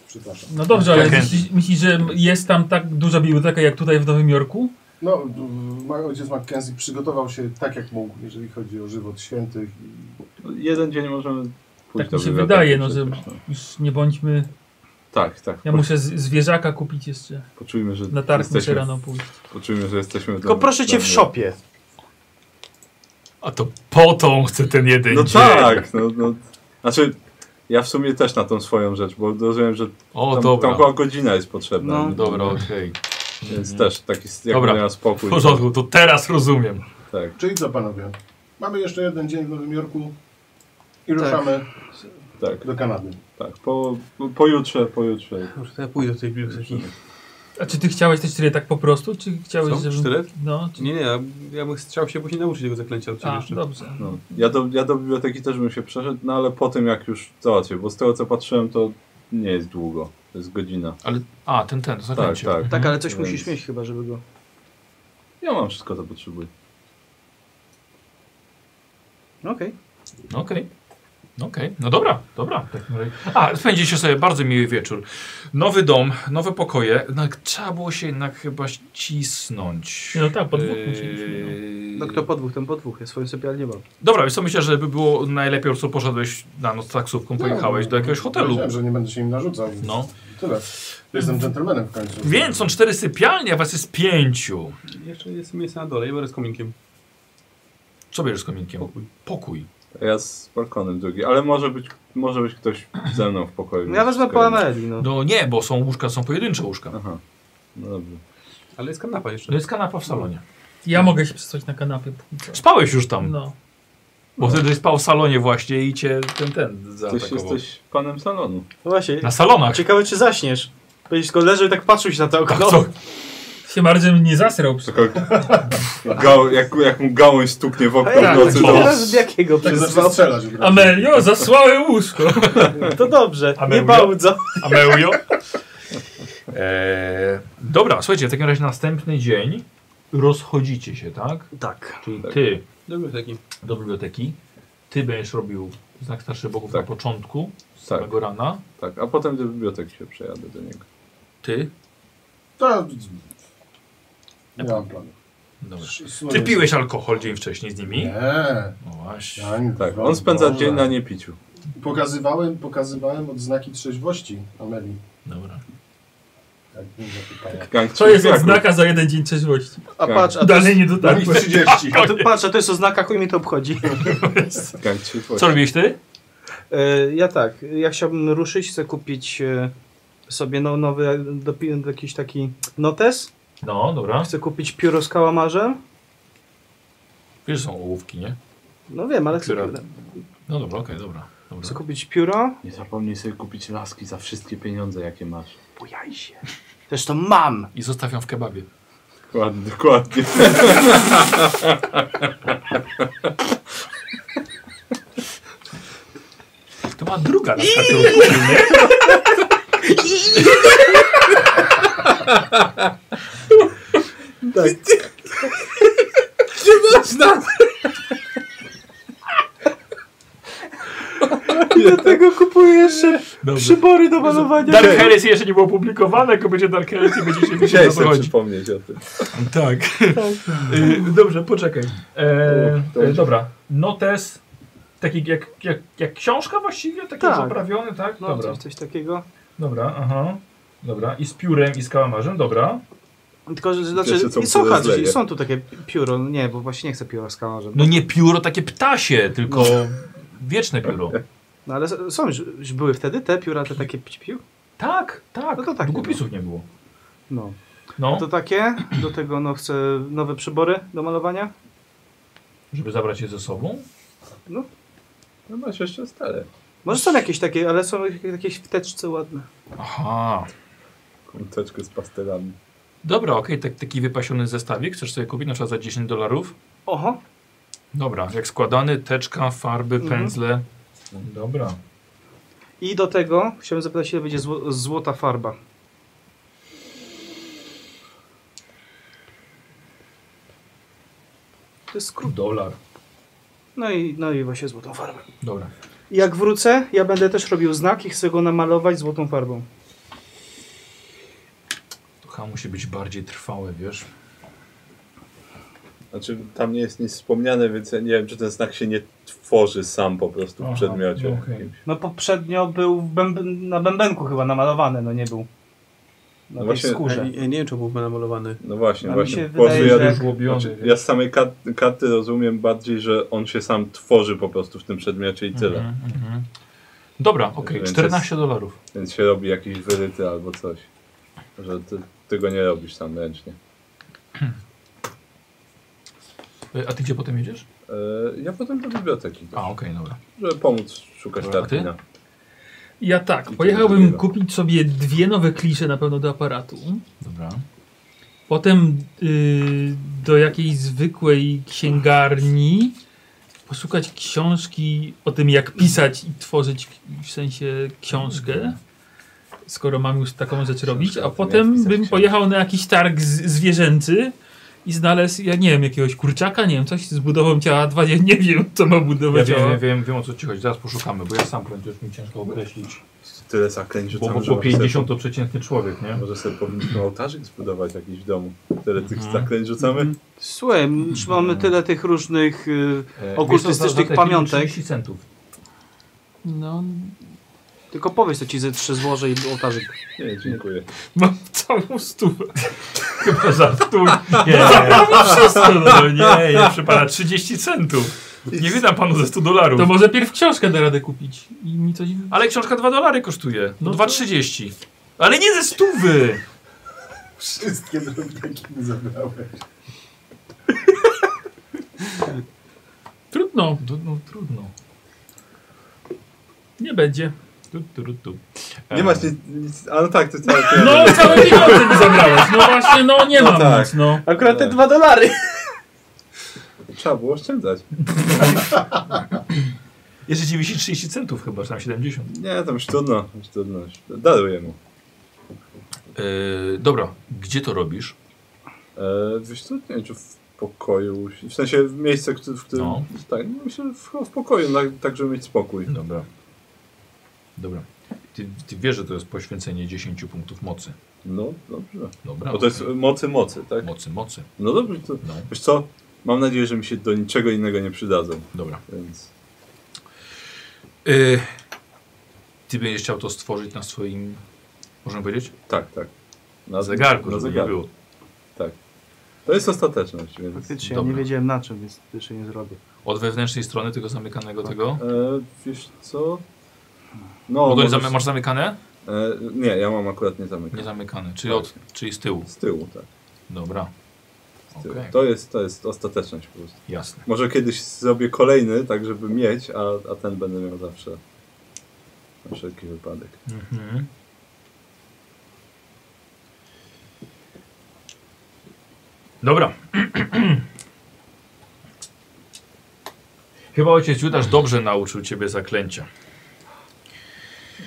J: Przepraszam.
D: No dobrze, ale
A: Tak.
D: myślisz, myślisz, że jest tam tak duża biblioteka jak tutaj w Nowym Jorku?
J: No, w- ma- ojciec Mackenzie przygotował się tak jak mógł, jeżeli chodzi o żywot świętych. i-
C: Jeden dzień możemy pójść
D: Tak
C: do
D: mi się
C: biblioteki
D: wydaje, no, że-
C: przecież, no.
D: Już nie bądźmy...
C: Tak, tak.
D: Ja muszę z, zwierzaka kupić jeszcze.
C: Poczujmy, że
D: Na targ muszę
C: jesteśmy,
D: rano pójść.
C: Poczujmy, że jesteśmy...
B: Tylko proszę cię w shopie.
A: A to po tą chcę ten jeden
C: No
A: dzień.
C: tak, no, no. Znaczy, ja w sumie też na tą swoją rzecz, bo rozumiem, że
A: O,
C: tam,
A: dobra.
C: tam chyba godzina jest potrzebna.
B: No.
C: więc-
A: Dobra, okej.
C: Więc też taki jak
A: Dobra.
C: miała spokój.
A: W porządku, to teraz rozumiem.
C: Tak.
J: Czyli co panowie? Mamy jeszcze jeden dzień w Nowym Jorku i
B: Tak.
J: ruszamy
C: Tak,
J: do Kanady.
A: No,
C: tak. Po, pojutrze, pojutrze.
G: Może to ja pójdę do tej biblioteki.
D: A czy ty chciałeś te cztery tak po prostu, czy chciałeś,
G: Co?
D: żebym...
G: Cztery?
D: No, czy...
G: Nie, nie, ja, ja bym chciał się później nauczyć tego zaklęcia od ciebie
D: A,
G: jeszcze.
D: dobrze.
C: No. Ja, do, ja do biblioteki też bym się przeszedł, no ale po tym jak już załatwię, bo z tego co patrzyłem to nie jest długo. To jest godzina.
A: Ale, a, ten, ten, to
C: Tak,
A: zaklęcie.
C: tak.
B: Tak, ale coś
C: Więc-
B: musisz mieć chyba, żeby go...
C: Ja mam wszystko co potrzebuję.
B: No Okej.
A: Okej. Okej, no dobra, dobra. w takim razie. A, spędziliście sobie bardzo miły wieczór. Nowy dom, nowe pokoje. Jednak trzeba było się jednak chyba cisnąć.
D: Nie, No tak, po dwóch
A: Eee,
D: musieliśmy.
B: No kto po dwóch, ten po dwóch. Ja swoją sypialnię mam.
A: Dobra, więc to myślę, że by było najlepiej, po prostu poszedłeś na noc taksówką, pojechałeś do jakiegoś hotelu.
J: Powiedziałem, że nie będę się im narzucał. więc
A: No.
J: Tyle. Jestem dżentelmenem w
D: no.
J: końcu.
A: Więc są cztery sypialnie, a was jest pięciu.
G: Jeszcze jest miejsce na dole, ja biorę z kominkiem.
A: Co bierzesz z kominkiem?
G: Pokój.
A: Pokój.
C: A Ja z balkonem drugi, ale może być, może być ktoś ze mną w pokoju.
B: No ja wezmę
C: Tylko
B: po
C: jeden.
B: Ameli, no.
A: No nie, bo są łóżka, są pojedyncze łóżka.
C: Aha. No dobrze.
G: Ale jest kanapa jeszcze.
A: To jest kanapa w salonie.
D: Ja mogę się przestać na kanapie póki co.
A: Spałeś już tam,
D: No.
A: bo wtedy spał w salonie właśnie i cię ten, ten
C: Jesteś,
A: zaatakował.
C: jesteś panem salonu.
B: No właśnie.
A: Na salonach.
B: Ciekawe, czy zaśniesz. Będziesz tylko leżał i tak patrzył się na to
A: Tak,
B: okno.
A: co?
D: Się bardzo mnie zasrał. przy-
C: Tylko gał, jak, jak mu gałąź stuknie w okno
B: Hej,
C: w nocy, to...
B: teraz z jakiego
J: Tak
B: przyzwał?
J: zaczął strzelać. od razu.
D: Amelio, zasłałem łóżko.
B: To dobrze,
A: A
B: nie
A: Mełwio?
B: bardzo.
A: Amelio. Eee, dobra, słuchajcie, w takim razie następny dzień rozchodzicie się, tak?
B: Tak.
A: Czyli
C: Tak.
A: ty
G: Do biblioteki.
A: do biblioteki, ty będziesz robił znak starszych bogów
C: Tak.
A: na początku, z
C: Tak.
A: samego rana,
C: Tak, a potem do biblioteki się przejadę do niego.
A: ty.
J: To... Nie mam planu.
A: Dobra.
J: Słuchaj,
A: Ty piłeś alkohol dzień wcześniej z nimi?
J: Nie.
A: No właśnie.
J: Ja nie
C: Tak,
J: piłem,
C: on spędza
J: Boże.
C: dzień na niepiciu.
J: Pokazywałem, pokazywałem odznaki trzeźwości Ameli.
A: Dobra.
J: Tak, bym zapytała.
C: Gang
D: Co jest
C: trzeźwiaków.
D: odznaka za jeden dzień trzeźwości?
B: A
A: Tak.
B: patrz, a to,
D: Dalej nie dotarłem.
J: Nich 30.
B: a to, patrz, a to jest oznaka, chuj mi to obchodzi.
C: Gang trzeźwości.
A: Co robisz ty?
B: E, ja tak, ja chciałbym ruszyć, chcę kupić e, sobie no, nowy, dopi- jakiś taki notes.
A: No, dobra.
B: Chcę kupić pióro z kalamarzem.
A: Wiesz, że są ołówki, nie?
B: No wiem, ale chcę,
A: Pióra. No dobra, okej, dobra. dobra.
B: chcę kupić pióro.
C: Nie zapomnij sobie kupić laski za wszystkie pieniądze, jakie masz.
B: Bujaj się. Zresztą mam.
A: I zostawiam w kebabie.
C: Dokładnie, dokładnie.
A: To ma druga laska, którą kupił, nie?
B: I do tego kupuję jeszcze
A: Dobrze.
B: przybory do malowania.
A: Dark Heresy jeszcze nie było publikowane, jak będzie Dark Heresy, będziecie wiedzieć,
C: Dzisiaj
A: o co
C: chcę
A: chodzi.
C: przypomnieć o tym.
A: Tak. Y, Dobrze, poczekaj. E,
C: to
A: e,
C: będzie-
A: dobra. Notes. Taki jak, jak, jak książka właściwie, taki
B: Tak.
A: zaprawiony, tak?
B: No,
A: Dobra.
B: coś, coś takiego.
A: Dobra, aha. Dobra. I z piórem, i z kalamarzem, dobra.
B: Tylko, że znaczy,
C: się co
B: i są,
C: tyle
B: chacz,
C: zleje.
B: są tu takie pióro, no nie, bo właśnie nie chcę pióra z kamarzem.
A: No nie pióro takie ptasie, tylko wieczne pióro.
B: No ale s- są już, już były wtedy te pióra, te takie pić pił?
A: Tak, tak.
B: No to tak.
A: Długopisów nie było.
B: No.
A: No,
B: To takie, do tego no chcę nowe przybory do malowania.
A: żeby zabrać je ze sobą.
C: No masz jeszcze stare.
B: Może są jakieś takie, ale są jakieś w teczce ładne.
A: Aha.
C: Kurteczkę z pastelami.
A: Dobra, okej, tak, taki wypasiony zestawik. Chcesz sobie kupić na przykład za 10 dolarów?
B: Oho,
A: Dobra, jak składany, teczka, farby,
B: Mhm.
A: pędzle. Dobra.
B: i do tego chciałem zapytać, ile będzie zło, złota farba. To jest skrót.
A: Dolar.
B: No i, no i właśnie złotą farbę.
A: Dobra.
B: Jak wrócę, ja będę też robił znak i chcę go namalować złotą farbą.
A: To chyba musi być bardziej trwałe, wiesz?
C: Znaczy, tam nie jest nic wspomniane, więc ja nie wiem, czy ten znak się nie tworzy sam po prostu w
A: Aha,
C: przedmiocie.
A: okej.
C: jakimś.
B: No poprzednio był w bęben- na bębenku chyba namalowany, no nie był. Na
C: No
B: tej
C: właśnie,
G: Ja,
B: skórze.
G: nie- ja nie wiem, czy był namalowany.
C: No właśnie,
B: A mi
C: właśnie.
B: się
C: Po prostu
B: wydaje,
C: ja,
B: że-
C: roz-
A: Zgłobiony,
C: znaczy,
A: wiesz.
C: ja z samej kat, karty rozumiem bardziej, że on się sam tworzy po prostu w tym przedmiocie i tyle.
A: Mhm, mhm. Dobra, okej,
C: Więc
A: 14 dolarów.
C: Więc się robi jakiś wyryty albo coś. Że ty, ty go nie robisz tam ręcznie.
A: Y, A ty gdzie potem jedziesz?
C: E, ja potem do biblioteki,
A: A, okej, dobra.
C: żeby pomóc szukać
A: Dobra, a ty?
C: Tartina.
D: Ja tak,
C: I to
D: pojechałbym
C: jest
D: kupić sobie dwie nowe klisze na pewno do aparatu.
A: Dobra.
D: Potem y, do jakiejś zwykłej księgarni poszukać książki o tym, jak pisać i tworzyć k- w sensie książkę, skoro mam już taką rzecz robić.
C: o
D: A
C: tym, jak
D: potem
C: pisać
D: bym
C: książkę.
D: pojechał na jakiś targ z, zwierzęcy i znalazł, ja nie wiem, jakiegoś kurczaka, nie wiem, coś z budową ciała 2, nie, nie wiem, co ma
A: Ja
D: budować
A: wiem,
D: ciała.
A: wiem, wiem, wiem o co ci chodzi, zaraz poszukamy, bo ja sam powiem, to już mi ciężko określić.
C: Tyle zaklęć, że
A: Bo, bo,
C: może
A: bo 50 to przeciętny człowiek, nie?
C: Sobie, może sobie powinniśmy ołtarzyk zbudować jakiś w domu. Tyle tych
A: Mhm.
C: zaklęć rzucamy.
B: Słuchaj, m- czy mamy tyle tych różnych... y,
A: E,
B: Okultystycznych
A: wiesz co, za- za te
B: pamiątek.
A: 30 centów.
D: No,
B: Tylko powiedz, co ci ze trzy złoże i ołtarzyk.
C: Nie, dziękuję.
D: mam całą stówę. No,
A: Chyba żartuj. Nie,
D: Mam wszystko, no.
A: no nie, nie, przypada 30 centów. Nie wydam panu ze 100 dolarów.
D: To może pierw książkę da radę kupić i mi coś...
A: Ale książka 2 dolary kosztuje. No
D: No to-
A: 2,30. Ale nie ze stówy!
J: Wszystkie drobniaki mi zabrałeś.
D: Trudno,
A: No, no trudno.
D: nie będzie.
A: Tu, tu, tu, tu.
C: Nie
A: E,
C: masz nic, nic. A no tak, to całe tyle.
D: No, całe pieniądze mi zabrałeś. No właśnie, no nie
C: No
D: mam
C: tak.
D: nic, no.
B: Akurat te dwa dolary.
A: No.
C: Trzeba było oszczędzać.
A: Jeszcze 90, 30 centów chyba, czy tam 70.
C: Nie, tam już trudno, już trudno. już- Daruję mu.
A: E, dobra, gdzie to robisz?
C: E, wiesz co, nie wiem, czy w pokoju, w sensie w miejsce, któ- w którym...
A: No.
C: Tak, no myślę, w, chyba w pokoju, na, tak żeby mieć spokój.
A: Dobra. Dobra. Ty, ty wiesz, że to jest poświęcenie 10 punktów mocy.
C: No, dobrze.
A: Dobra.
C: Bo to jest
A: okej.
C: mocy, mocy, tak?
A: Mocy, mocy.
C: No dobrze, to...
A: No,
C: Wiesz co, mam nadzieję, że mi się do niczego innego nie przydadzą,
A: dobra.
C: więc...
A: E, ty będziesz chciał to stworzyć na swoim, możemy powiedzieć?
C: Tak, tak. Na
A: Zegarku,
C: na
A: żeby nie
C: zegarku.
A: było.
C: To jest ostateczność, więc...
B: Faktycznie, ja
A: Dobra.
B: nie wiedziałem na czym, więc to jeszcze nie zrobię.
A: Od wewnętrznej strony tego zamykanego tego?
C: E, wiesz co?
A: Bo
C: No,
A: to jest
C: możesz-
A: zamy- masz zamykane?
C: e, Nie, ja mam akurat nie zamykam.
A: Nie zamykane, czyli, od, czyli z tyłu.
C: Z tyłu, tak.
A: Dobra,
C: Z tyłu.
A: Okej.
C: To, jest, to jest ostateczność po prostu.
A: jasne.
C: Może kiedyś zrobię kolejny, tak żeby mieć, a, a ten będę miał zawsze. Na wszelki wypadek.
A: Mhm. Dobra. Chyba ojciec Judasz dobrze nauczył ciebie zaklęcia.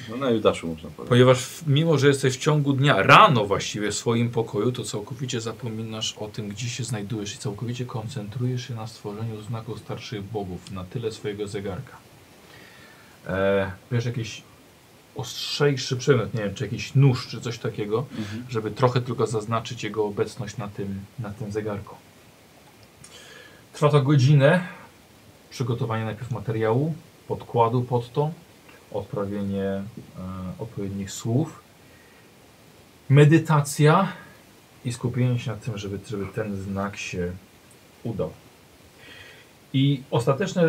C: No na Judaszu można powiedzieć.
A: Ponieważ w- mimo, że jesteś w ciągu dnia, rano właściwie w swoim pokoju, to całkowicie zapominasz o tym, gdzie się znajdujesz i całkowicie koncentrujesz się na stworzeniu znaku starszych bogów na tyle swojego zegarka. E, wiesz, jakiś ostrzejszy przedmiot, nie wiem, czy jakiś nóż, czy coś takiego, żeby trochę tylko zaznaczyć jego obecność na tym, na tym zegarku. Trwa to godzinę. Przygotowanie najpierw materiału, podkładu pod to, odprawienie e, odpowiednich słów, medytacja i skupienie się na tym, żeby, żeby ten znak się udał. I ostateczne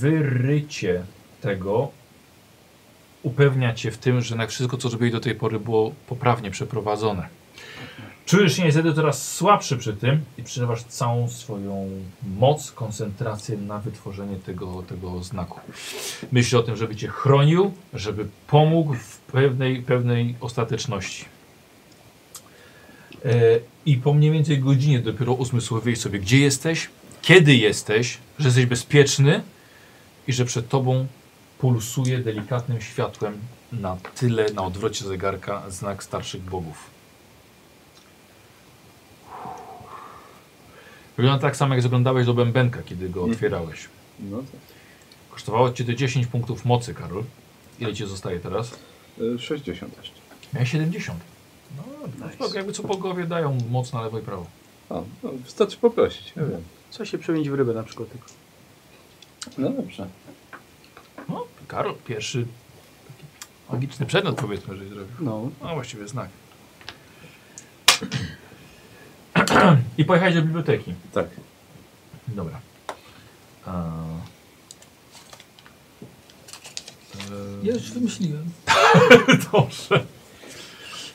A: wyrycie tego upewnia cię w tym, że na wszystko, co zrobiłeś do tej pory, było poprawnie przeprowadzone. Czujesz się niestety coraz słabszy przy tym i przeżywasz całą swoją moc, koncentrację na wytworzenie tego, tego znaku. Myśl o tym, żeby cię chronił, żeby pomógł w pewnej, pewnej ostateczności. E, I po mniej więcej godzinie dopiero usmysłowiłeś sobie, gdzie jesteś, kiedy jesteś, że jesteś bezpieczny i że przed tobą pulsuje delikatnym światłem na tyle, na odwrocie zegarka, znak starszych bogów. Wygląda tak samo, jak zaglądałeś do bębenka, kiedy go otwierałeś.
C: No tak.
A: Kosztowało cię to 10 punktów mocy, Karol. Ile ci zostaje teraz?
C: E, 60 jeszcze.
A: Miałeś 70. No, no spoko, jakby co po głowie dają moc na lewo i prawo.
C: A, no, wystarczy poprosić, nie wiem.
B: Co się przemienić w rybę na przykład tylko.
C: No dobrze.
A: No, Karol, pierwszy taki magiczny przedmiot powiedzmy, że zrobił.
B: No.
A: No, właściwie znak. I pojechać do biblioteki.
C: Tak.
A: Dobra. A... Eee,
D: Ja już wymyśliłem.
A: Dobrze.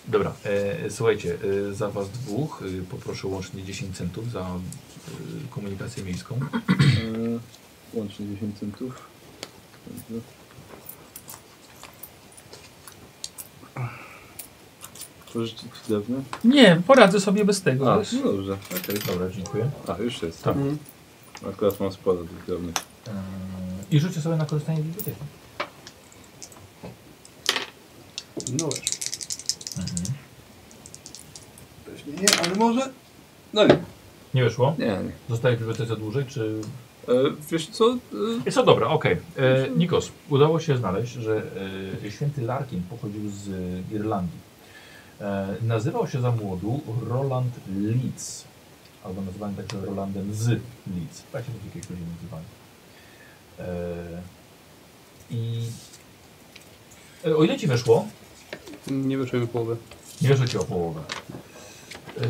A: Dobra, e, słuchajcie, e, za was dwóch e, poproszę łącznie 10 centów za e, komunikację miejską.
C: E, łącznie 10 centów. Dobrze. Pożyczyć chlebne?
D: Nie, poradzę sobie bez tego.
C: A,
D: wiesz?
C: no dobrze. okej.
A: Dobra, dziękuję.
C: A, już jest.
A: Tak.
G: Mhm.
C: Akurat mam sporo tych drobnych.
A: E, I rzućcie sobie na korzystanie z biblioteki.
F: No
G: Pewnie nie, ale może.
C: No nie,
A: Nie wyszło?
C: nie, nie.
A: Zostaje w bibliotece dłużej, czy...
C: E, wiesz co? E,
A: Jest to dobra, okej. E, Nikos, udało się znaleźć, że e, święty Larkin pochodził z Irlandii. E, nazywał się za młodu Roland Leeds, albo nazywany także Rolandem z Leeds. Tak się to kiedyś ludzie nazywali. E, I... E, o ile ci weszło?
G: Nie wyszło mi połowę.
A: Nie weszło ci o połowę. Yy,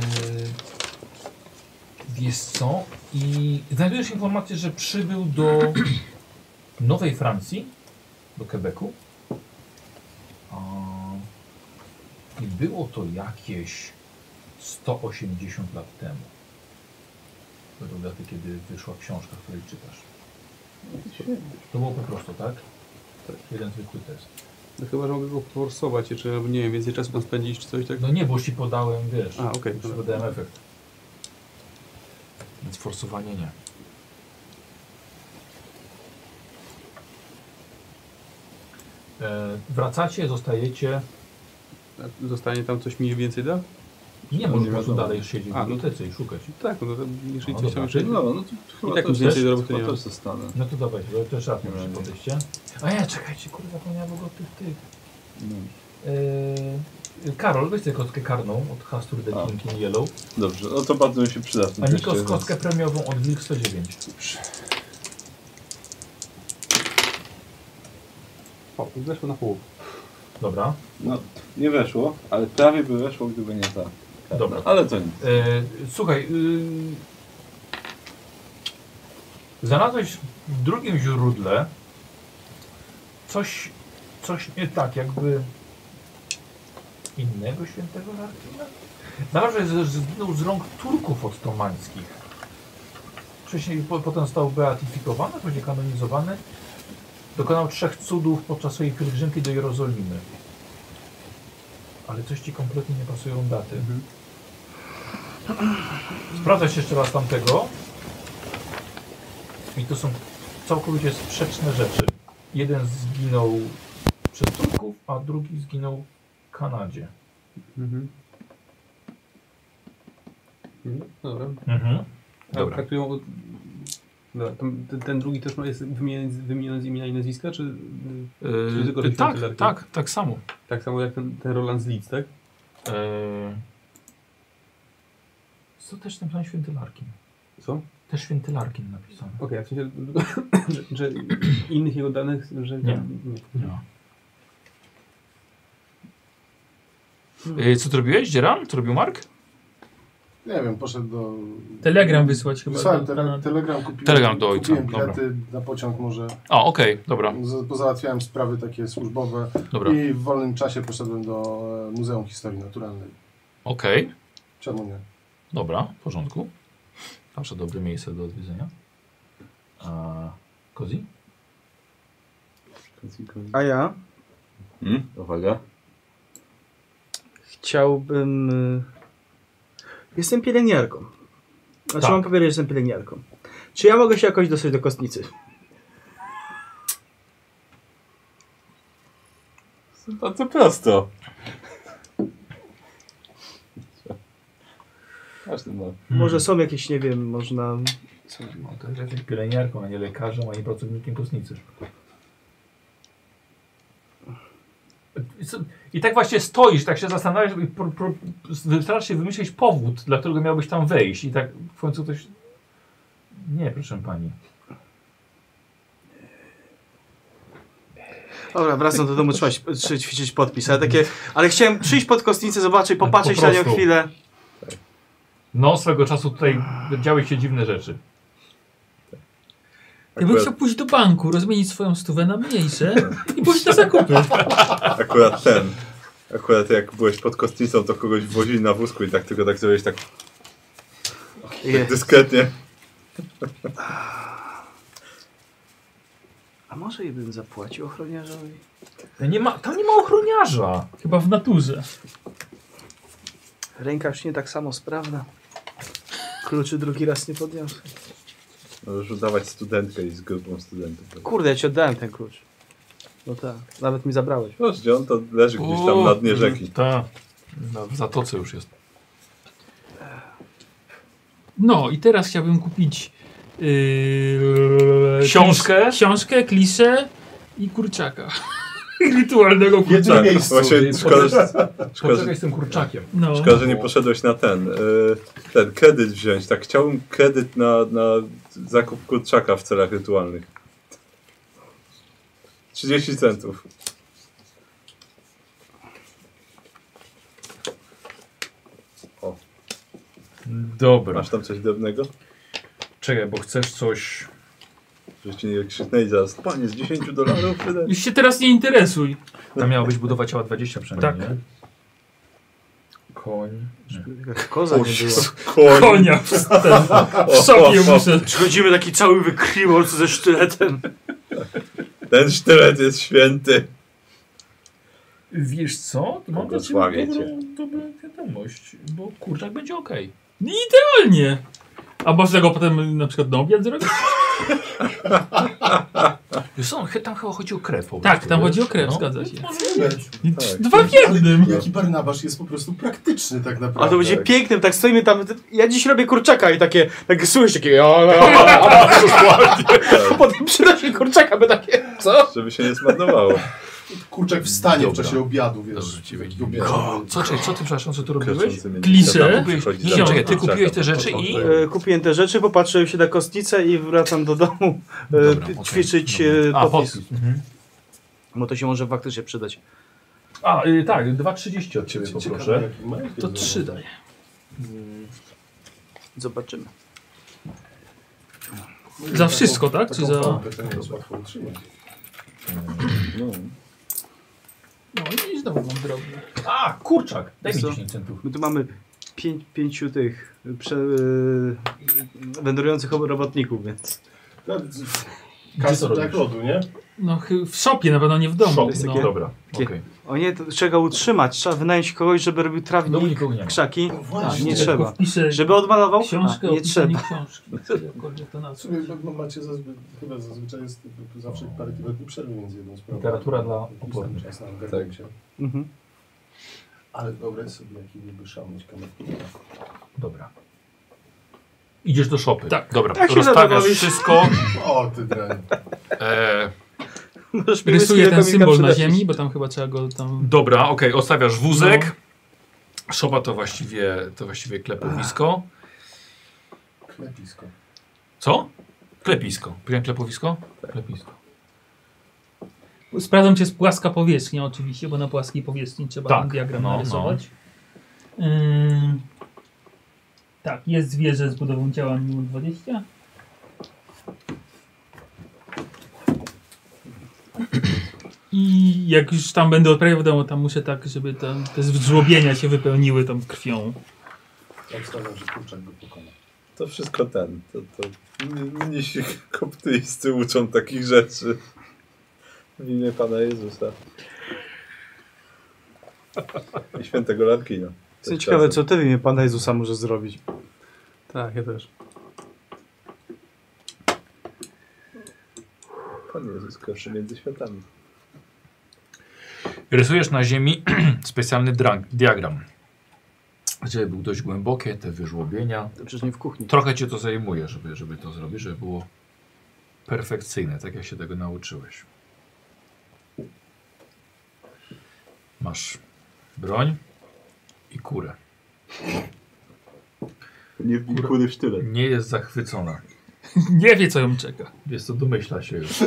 A: wiesz co? I znajdujesz informację, że przybył do Nowej Francji, do Quebecu. A, I było to jakieś 180 lat temu. Według daty, kiedy wyszła książka, której czytasz. To było po prostu, tak? Jeden zwykły test.
G: No chyba, że mogę go forsować jeszcze, albo nie wiem, więcej czasu tam spędzić czy coś tak.
A: No nie, bo już ci podałem, wiesz.
G: A, okej.
A: Już podałem efekt. Więc forsowanie nie. E, wracacie, zostajecie.
G: A Zostanie tam coś mi więcej da?
A: Nie
C: No,
A: możesz
C: nie
A: po prostu
C: wiadomo.
A: dalej siedzieć w
G: A, no.
A: bibliotece i szukać.
G: Tak, no to jeżeli
A: No
G: coś
A: dobra,
G: tam jeszcze.
C: no, no to chyba
G: I tak
C: to
G: już więcej
C: też-
G: roboty
C: chyba
G: nie
C: też
G: ma.
C: zostanę.
A: No to dawaj, bo to jeszcze raz
C: Nie,
A: musisz
C: nie.
A: podejście. A ja czekajcie, kurde, zapomniałem w ogóle o tych tych.
C: No.
A: E, Karol, weź sobie kostkę karną od Hastur The
C: A.
A: King in Yellow.
C: Dobrze, no to bardzo mi się przyda w tym
A: A
C: teście,
A: Nikos
C: więc-
A: kostkę premiową od Wilk 109.
G: O, weszło na połowę.
A: Dobra.
C: No, nie weszło, ale prawie by weszło, gdyby nie ta. karta.
A: Dobra.
C: Ale to nic.
A: E, słuchaj, y, znalazłeś w drugim źródle coś, coś nie tak, jakby innego świętego Martina? Znalazłeś, że zginął z rąk Turków ottomańskich. Wcześniej po, potem został beatyfikowany, później kanonizowany. Dokonał trzech cudów podczas swojej pielgrzymki do Jerozolimy. Ale coś ci kompletnie nie pasują daty. Sprawdzać jeszcze raz tamtego. I to są całkowicie sprzeczne rzeczy. Jeden zginął przez Turków, a drugi zginął w Kanadzie.
G: Mhm. Mhm, Dobra.
A: Mhm.
G: A
A: Dobra.
G: Traktują od... Dobra, tam, ten, ten drugi też ma- jest wymieniony, z- wymieniony z imienia i nazwiska, czy y, Czyli tylko ten
A: tak,
G: święty
A: tak, tak samo.
G: tak samo jak ten, ten Roland z Leeds, tak?
A: Yy, co też napisane Święty Larkin?
G: Co? Okej,
A: Też Święty Larkin napisane.
G: a w sensie, że, że innych jego danych, że...
A: Nie.
G: nie.
A: No. Yy, co to robiłeś, Dzieran? Co robił Mark?
J: Nie wiem, poszedł do...
D: Telegram wysłać chyba.
J: Wysłałem
D: do
J: tele,
D: pana-
J: telegram, kupiłem,
A: Telegram do ojca,
J: kupiłem bilety na pociąg może.
A: A, okej, dobra,
J: Z, pozałatwiałem sprawy takie służbowe
A: dobra.
J: i w wolnym czasie poszedłem do e, Muzeum Historii Naturalnej.
A: Okej.
J: Czemu nie?
A: Dobra, w porządku. Zawsze dobre miejsce do odwiedzenia. A Kozi?
B: A ja
C: Hmm? Uwaga.
B: chciałbym... y, Jestem pielęgniarką. Znaczy
A: Tak.
B: mam powiedzieć, że jestem pielęgniarką. Czy ja mogę się jakoś dostać do kostnicy?
C: Bardzo prosto. Każdy ma.
B: Może są jakieś, nie wiem, można...
A: Co? No, to jest jakaś pielęgniarką, a nie lekarzem, ani pracownikiem kostnicy. Co- I tak właśnie stoisz, tak się zastanawiasz, i pr- pr- starasz się wymyślić powód, dla którego miałbyś tam wejść. I tak w końcu ktoś... Nie, proszę pani.
B: Dobra, wracam do domu, trzeba ś- trzeba ćwiczyć podpis. Ale, takie, ale chciałem przyjść pod kostnicę, zobaczyć, popatrzeć
A: Po
B: na nią
A: prostu.
B: chwilę.
A: No, swego czasu tutaj działy się dziwne rzeczy.
D: Ja bym chciał pójść do banku, rozmienić swoją stówę na mniejsze i pójść na zakupy.
C: Akurat ten. Akurat jak byłeś pod kostnicą, to kogoś wozili na wózku i tak tylko tak zrobiłeś tak
B: Je.
C: dyskretnie.
B: A może i bym zapłacił ochroniarzowi?
A: Nie ma, tam nie ma ochroniarza.
D: Chyba w naturze.
B: Ręka już nie tak samo sprawna. Kluczy drugi raz nie podniosłem.
C: Możesz udawać studentkę i z grupą studentów.
B: Kurde, ja ci oddałem ten klucz. No tak, nawet mi zabrałeś.
C: Proszę, gdzie on to leży gdzieś tam na dnie rzeki.
A: Ta, no, w zatoce już jest.
D: No i teraz chciałbym kupić yy,
A: Książkę?
D: książkę, kliszę i kurczaka. Rytualnego
F: W jednym
D: kurczaka.
F: miejscu.
C: Tak, właśnie szkoda, że, szkoda, że,
A: Poczekaj z tym kurczakiem.
D: No.
C: szkoda, że nie poszedłeś na ten, y, ten kredyt wziąć. Tak, chciałbym kredyt na, na zakup kurczaka w celach rytualnych. 30 centów.
A: Dobra.
C: Masz tam coś drobnego?
A: Czekaj, bo chcesz coś...
C: Że ci nie krzyknęli zaraz, panie, z 10 dolarów wydać.
D: Już się teraz nie interesuj.
A: Tam miała być budowa ciała 20 przynajmniej,
D: Tak.
A: nie? Koń.
B: Jak koza nie była.
C: Koń.
D: Konia w, ten, w sobie muszę.
B: Przychodzimy taki cały wykrywolc ze sztyletem.
C: Ten sztylet jest święty.
A: Wiesz co? To mam dla ciebie
C: Błogosławię
A: dobrą, dobrą wiadomość, bo kurczak będzie okej.
D: Idealnie. A można go potem na przykład na obiad zrobić?
A: Wiesz co, on chy- tam chyba chodzi o krew po
D: Tak,
A: prostu,
D: tam
A: wiesz?
D: chodzi o krew,
A: No.
D: zgadza się.
C: Tak.
D: Dwa w jednym.
J: Jaki Barnabasz jest po prostu praktyczny tak naprawdę.
B: A to będzie pięknym, tak stoimy tam. Ja dziś robię kurczaka i takie, tak słyszę takie. O, o, o, o, Potem przynosi kurczaka, by takie. Co?
C: Tak, Żeby się nie zmarnowało.
J: Kurczak wstanie
A: Dobra.
J: w czasie obiadu, wiesz.
A: Dobrze, ci wyjdzie.
J: Lubię.
A: Co, czekaj, co ty, przepraszam, co tu robiłeś?
D: Klisze?
A: Kupiłeś,
C: Przychodzi
A: nie,
D: za-
A: czekaj, ty
D: za-
A: kupiłeś te rzeczy i...
B: E, Kupiłem te rzeczy, popatrzyłem się na kostnicę i wracam do domu e,
A: Dobra,
B: p-
A: okej,
B: ćwiczyć e,
A: dobra. A,
B: podpis.
A: podpis. Mhm.
B: Bo to się może faktycznie przydać.
A: A, y, tak, 2,30 od ciebie poproszę.
J: Jaki maj
D: To trzy daje.
B: Zobaczymy.
D: Za wszystko, tak? Czy za...
J: Taką pompę, to nie jest łatwo utrzymać.
C: No.
D: No i znowu mam drobne.
A: A, kurczak! Daj mi
B: Co?
A: 10 centów.
B: My tu mamy pięć, pięciu tych prze, e, wędrujących robotników, więc.
J: Tak,
A: to
J: Kasa dla
A: robisz?
J: klodu, nie?
D: No chy- w szopie na pewno, nie w domu.
B: jest takie-
D: No.
A: Dobra,
B: Kie-
A: okej.
B: O nie, to trzeba go utrzymać. Trzeba wynająć kogoś, żeby robił
A: No,
B: trawnik,
A: nikogo nie ma.
B: krzaki. Tak,
J: Właśnie.
B: nie
D: Tak, Tylko
B: trzeba.
D: Wpiszę
B: Żeby odmalował?
D: książkę
B: A,
D: o
B: nie
D: pisaniu
B: trzeba.
D: książki. Jakkolwiek to
J: W
D: nazwę.
J: sumie no, macie zazwy- chyba zazwyczaj jest tu zawsze parę tygodni przerwy między jedną sprawą.
A: Literatura dla
J: Jakiś tam
A: opornych.
J: czas na
B: Tak.
J: ogarnięcie.
B: Mhm.
J: Ale wyobraź sobie, jaki byłby szamnić kamerki.
A: Dobra. Idziesz do szopy.
D: Tak.
A: Dobra,
B: Tak się
A: rozstawiasz
B: zadowolisz.
A: wszystko.
J: O, ty drań.
A: E,
B: Możesz mi
D: Rysuję
B: whisky
D: ten
B: do komika
D: symbol na
B: przydać.
D: ziemi, bo tam chyba trzeba go tam...
A: dobra, okej, odstawiasz wózek.
B: No.
A: Szopa to właściwie, to właściwie klepowisko.
J: Klepisko.
A: Co? Klepisko. Powiedziałem klepowisko? Klepisko.
D: Sprawdzam, czy jest płaska powierzchnia oczywiście, bo na płaskiej powierzchni trzeba
A: Tak,
D: ten diagram
A: no,
D: narysować. Ym, tak, jest zwierzę z budową ciała minimum 20. I jak już tam będę odprawiał, wiadomo, tam muszę tak, żeby tam te zżłobienia się wypełniły tą krwią.
J: Obstawiam, że kurczak go pokona.
C: To wszystko ten. To, to mnisi koptyjscy uczą takich rzeczy. W imię Pana Jezusa. I świętego Larkina.
B: Jestem ciekawe, co ty w imię Pana Jezusa może zrobić.
G: Tak, ja też.
C: Pan Jezus koszy między światami.
A: Rysujesz na ziemi specjalny drag- diagram. Gdzie był dość głębokie, te wyżłobienia.
B: To przecież nie w kuchni.
A: Trochę cię to zajmuje, żeby, żeby to zrobić, żeby było perfekcyjne, tak jak się tego nauczyłeś. Masz broń i kurę.
C: Nie wbij kury w sztylet.
A: Nie jest zachwycona.
D: Nie wie, co ją czeka.
A: Jest to domyśla się już.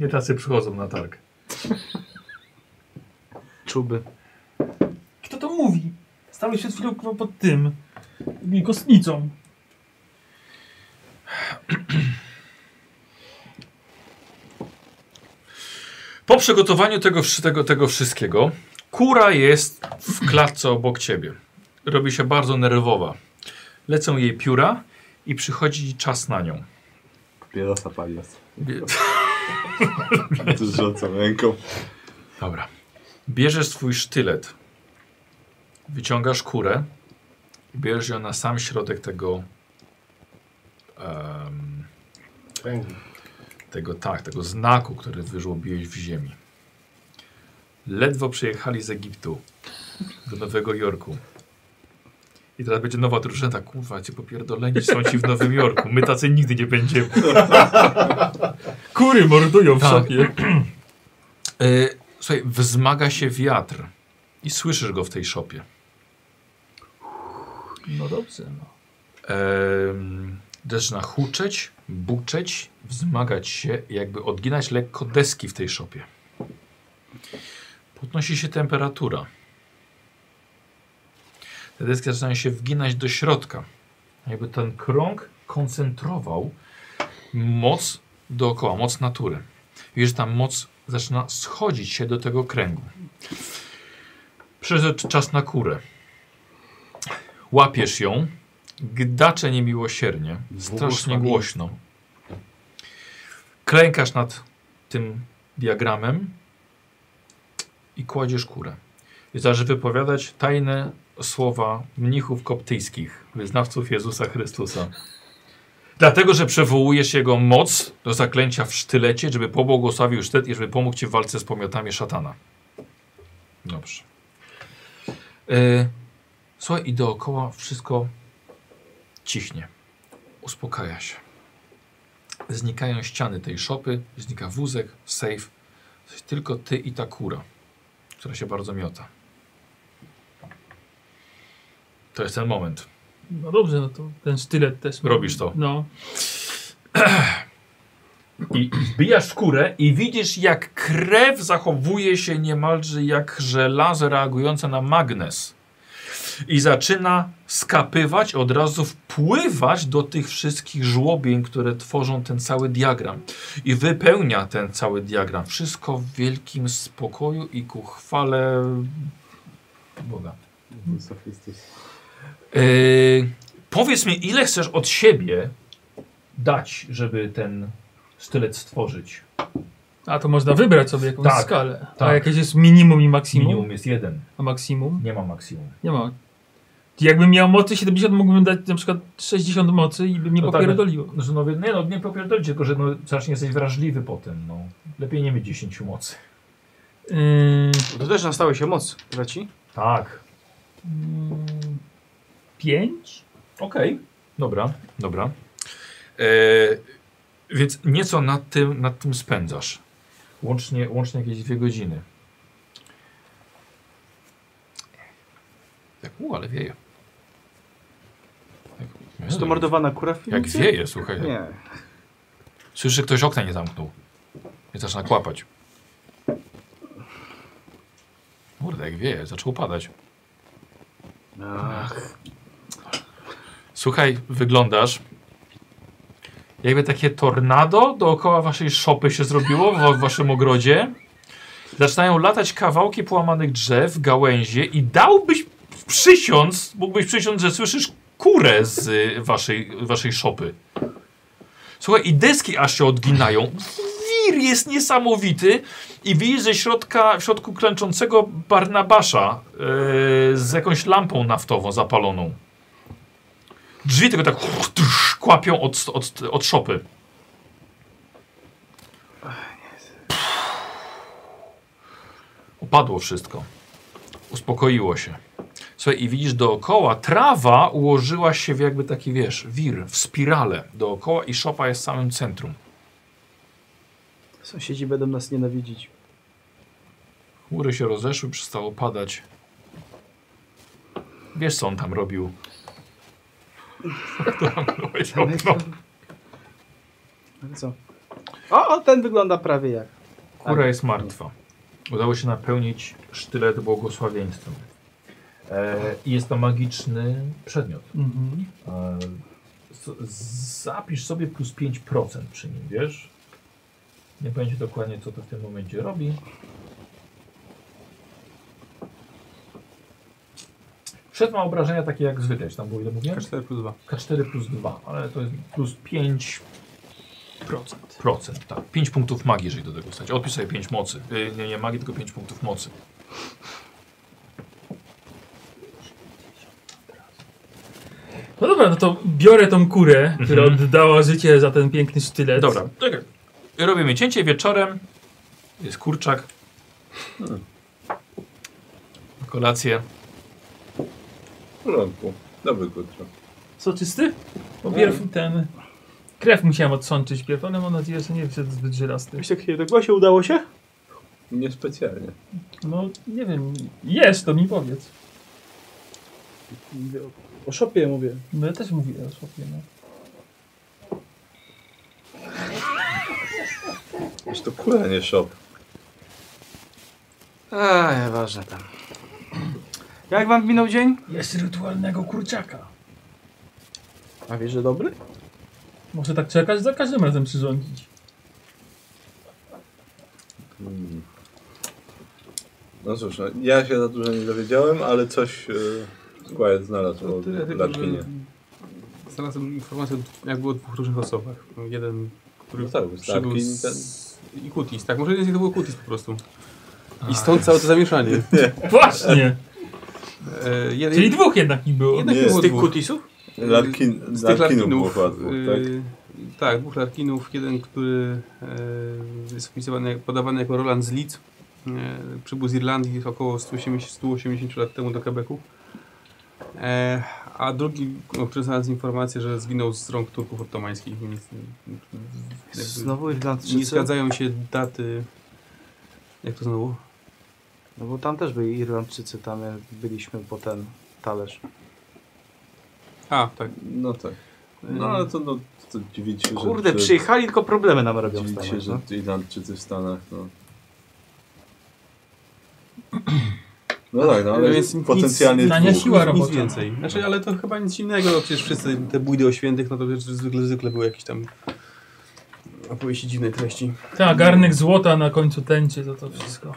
A: Nie tacy przychodzą na targ.
B: Czuby.
D: Kto to mówi? Stałeś przed chwilą kurwa, pod tym. Kostnicą.
A: Po przygotowaniu tego, wszy- tego, tego wszystkiego, kura jest w klatce obok ciebie. Robi się bardzo nerwowa. Lecą jej pióra i przychodzi czas na nią.
C: Pierosa palias.
A: Bie-
C: Rzucam ręką.
A: Dobra. Bierzesz swój sztylet, wyciągasz kurę i bierzesz ją na sam środek tego. em,
J: Węgiel.
A: tego tak, tego znaku, który wyżłobiłeś w ziemi. Ledwo przyjechali z Egiptu do Nowego Jorku. I teraz będzie nowa drużyna, tak, kurwa, cię popierdoleni są ci w Nowym Jorku. My tacy nigdy nie będziemy.
D: Kury mordują w
A: Tak.
D: szopie.
A: E, słuchaj, wzmaga się wiatr i słyszysz go w tej szopie.
D: No dobrze, no.
A: Em, zaczyna huczeć, buczeć, wzmagać się, jakby odginać lekko deski w tej szopie. Podnosi się temperatura. Te deski zaczynają się wginać do środka. Jakby ten krąg koncentrował moc dookoła, moc natury. Widzisz, ta moc zaczyna schodzić się do tego kręgu. Przyszedł czas na kurę. Łapiesz ją, Gdacze niemiłosiernie, strasznie głośno. Klękasz nad tym diagramem i kładziesz kurę. I zaczynasz wypowiadać tajne słowa mnichów koptyjskich, wyznawców Jezusa Chrystusa. Dlatego, że przywołujesz jego moc do zaklęcia w sztylecie, żeby pobłogosławił sztylet i żeby pomógł ci w walce z pomiotami szatana. Dobrze. Yy, słuchaj, i dookoła wszystko cichnie. Uspokaja się. Znikają ściany tej szopy, znika wózek, sejf. Jesteś Tylko ty i ta kura, która się bardzo miota. To jest ten moment.
D: No dobrze, no to ten sztylet też.
A: Robisz to.
D: No.
A: I wbijasz skórę i widzisz, jak krew zachowuje się niemalże jak żelazo reagujące na magnes. I zaczyna skapywać, od razu wpływać do tych wszystkich żłobień, które tworzą ten cały diagram. I wypełnia ten cały diagram. Wszystko w wielkim spokoju i ku chwale Boga.
C: Jezusa Chrystus.
A: Yy, powiedz mi, ile chcesz od siebie dać, żeby ten sztylet stworzyć?
D: A to można wybrać sobie jakąś
A: Tak,
D: skalę.
A: tak.
D: A jakieś jest minimum i maksimum?
A: Minimum jest jeden.
D: A maksimum?
A: Nie ma maksimum.
D: Nie ma. Jakbym miał mocy 70, mógłbym dać na przykład 60 mocy i by mnie
A: No tak,
D: popierdoliło.
A: No, że no, nie no, nie popierdolcie, tylko że no, strasznie jesteś wrażliwy potem. No. Lepiej nie mieć 10 mocy.
C: no.
D: Yy,
B: To też nastały się moc, braci.
A: Tak.
D: mm, 5?
A: Okej. Dobra, dobra. E, więc nieco nad tym, nad tym spędzasz. Łącznie, łącznie jakieś dwie godziny. Tak, u, ale wieje. Tak,
B: Jest to mordowana kura w
A: Jak
B: piwnicy?
A: wieje, słuchaj.
B: Nie.
A: Słyszę, że ktoś okna nie zamknął. Więc zaczyna kłapać. Kurde, jak wieje, zaczął padać.
B: Ach,
A: Słuchaj, wyglądasz. Jakby takie tornado dookoła waszej szopy się zrobiło w, w waszym ogrodzie. Zaczynają latać kawałki połamanych drzew, gałęzie i dałbyś przysiąc, mógłbyś przysiąc, że słyszysz kurę z y, waszej, waszej szopy. Słuchaj, i deski aż się odginają. Wir jest niesamowity i widzisz ze środka, w środku klęczącego Barnabasza y, z jakąś lampą naftową zapaloną. Drzwi tylko tak kłapią od, od, od szopy. Upadło wszystko. Uspokoiło się. Słuchaj, i widzisz dookoła, trawa ułożyła się w jakby taki, wiesz, wir, w spirale dookoła i szopa jest w samym centrum.
B: sąsiedzi będą nas nienawidzić.
E: Chmury się rozeszły, przestało padać. Wiesz, co on tam robił? Powiedział,
B: Zamykam.
E: no,
B: Ale Co? O, o, ten wygląda prawie jak.
E: kura jest martwa. Udało się napełnić sztylet błogosławieństwem. E, i jest to magiczny przedmiot.
D: Mhm.
E: E, z- z- Zapisz sobie plus 5% przy nim, wiesz? Nie będzie dokładnie co to w tym momencie robi. Przed ma obrażenia takie jak zwykle, czy tam było ile mówiłem?
G: K4 plus 2.
E: K4 plus 2, ale to jest plus 5%. Procent, tak. 5 punktów magii, jeżeli do tego stać. Odpisz sobie 5 mocy. Y, nie, nie magii, tylko 5 punktów mocy.
D: No dobra, no to biorę tą kurę, która
E: Mhm.
D: oddała życie za ten piękny sztylet.
E: Dobra, czekaj. Robimy cięcie wieczorem. Jest kurczak. Na Kolację.
C: W porządku. Dobry no. kurczę.
D: Soczysty? Bo pierw ten... Krew musiałem odsączyć pierw, ale mam nadzieję, że nie wszedł zbyt żylasty.
P: Myślę, jak tak właśnie udało się?
C: Niespecjalnie.
D: No, nie wiem, jest, to mi powiedz.
P: Mówię o- O szopie mówię.
D: No ja też mówiłem o szopie, no.
C: Wiesz, to kura, nie shop.
B: A, ważne tam. Jak wam minął dzień?
D: Jest rytualnego kurczaka.
B: A wiesz, że dobry?
D: Może tak czekać, za każdym razem przyrządzić.
C: Hmm. No cóż, no, ja się za dużo nie dowiedziałem, ale coś yy, Squire znalazł
G: To
C: o
G: tyle tylko, że
C: Larkinie.
G: znalazłem informację, jak było o dwóch różnych osobach. Jeden, który
C: No tak, bo
G: przybył
C: Larkin
G: z...
C: ten-
G: i Kutis, tak? Może nie to był Kutis po prostu. I stąd całe to zamieszanie.
D: Właśnie!
G: E, jed-
D: Czyli dwóch jednak nie było.
G: Jednak
C: Nie.
G: było
B: Z tych
G: dwóch.
B: kutisów?
C: Larkin,
G: e, Z tych
C: Larkinów było
G: larkinów.
C: chyba dwóch, tak?
G: y, tak, dwóch larkinów. Jeden, który y, jest opisywany, podawany jako Roland z Leeds. Y, przybył z Irlandii około 180, 180 lat temu do Quebecu. E, a drugi, no, który znalazł informację, że zginął z rąk Turków ottomańskich. Nie, jakby
B: Znowu Irlandczycy.
G: nie zgadzają się daty. Jak to znowu?
B: No bo tam też byli Irlandczycy, tam jak byliśmy po ten talerz.
G: A, tak.
C: No tak. No ale to, no, to dziwić się, że...
B: Kurde,
C: że-
B: przyjechali, tylko problemy nam robią.
C: Dziwić się,
B: same,
C: że
B: no.
C: Irlandczycy w Stanach, no. No tak, no ale
G: No więc nic
C: potencjalnie
D: na nie
C: dwóch.
D: siła
G: Nic
D: robota.
G: więcej. Znaczy, ale to chyba nic innego, no przecież wszyscy te bójdy o świętych, no to wiesz, zwykle, zwykle były jakieś tam opowieści dziwnej treści.
D: Tak, garnek złota na końcu tęczy, to to wszystko.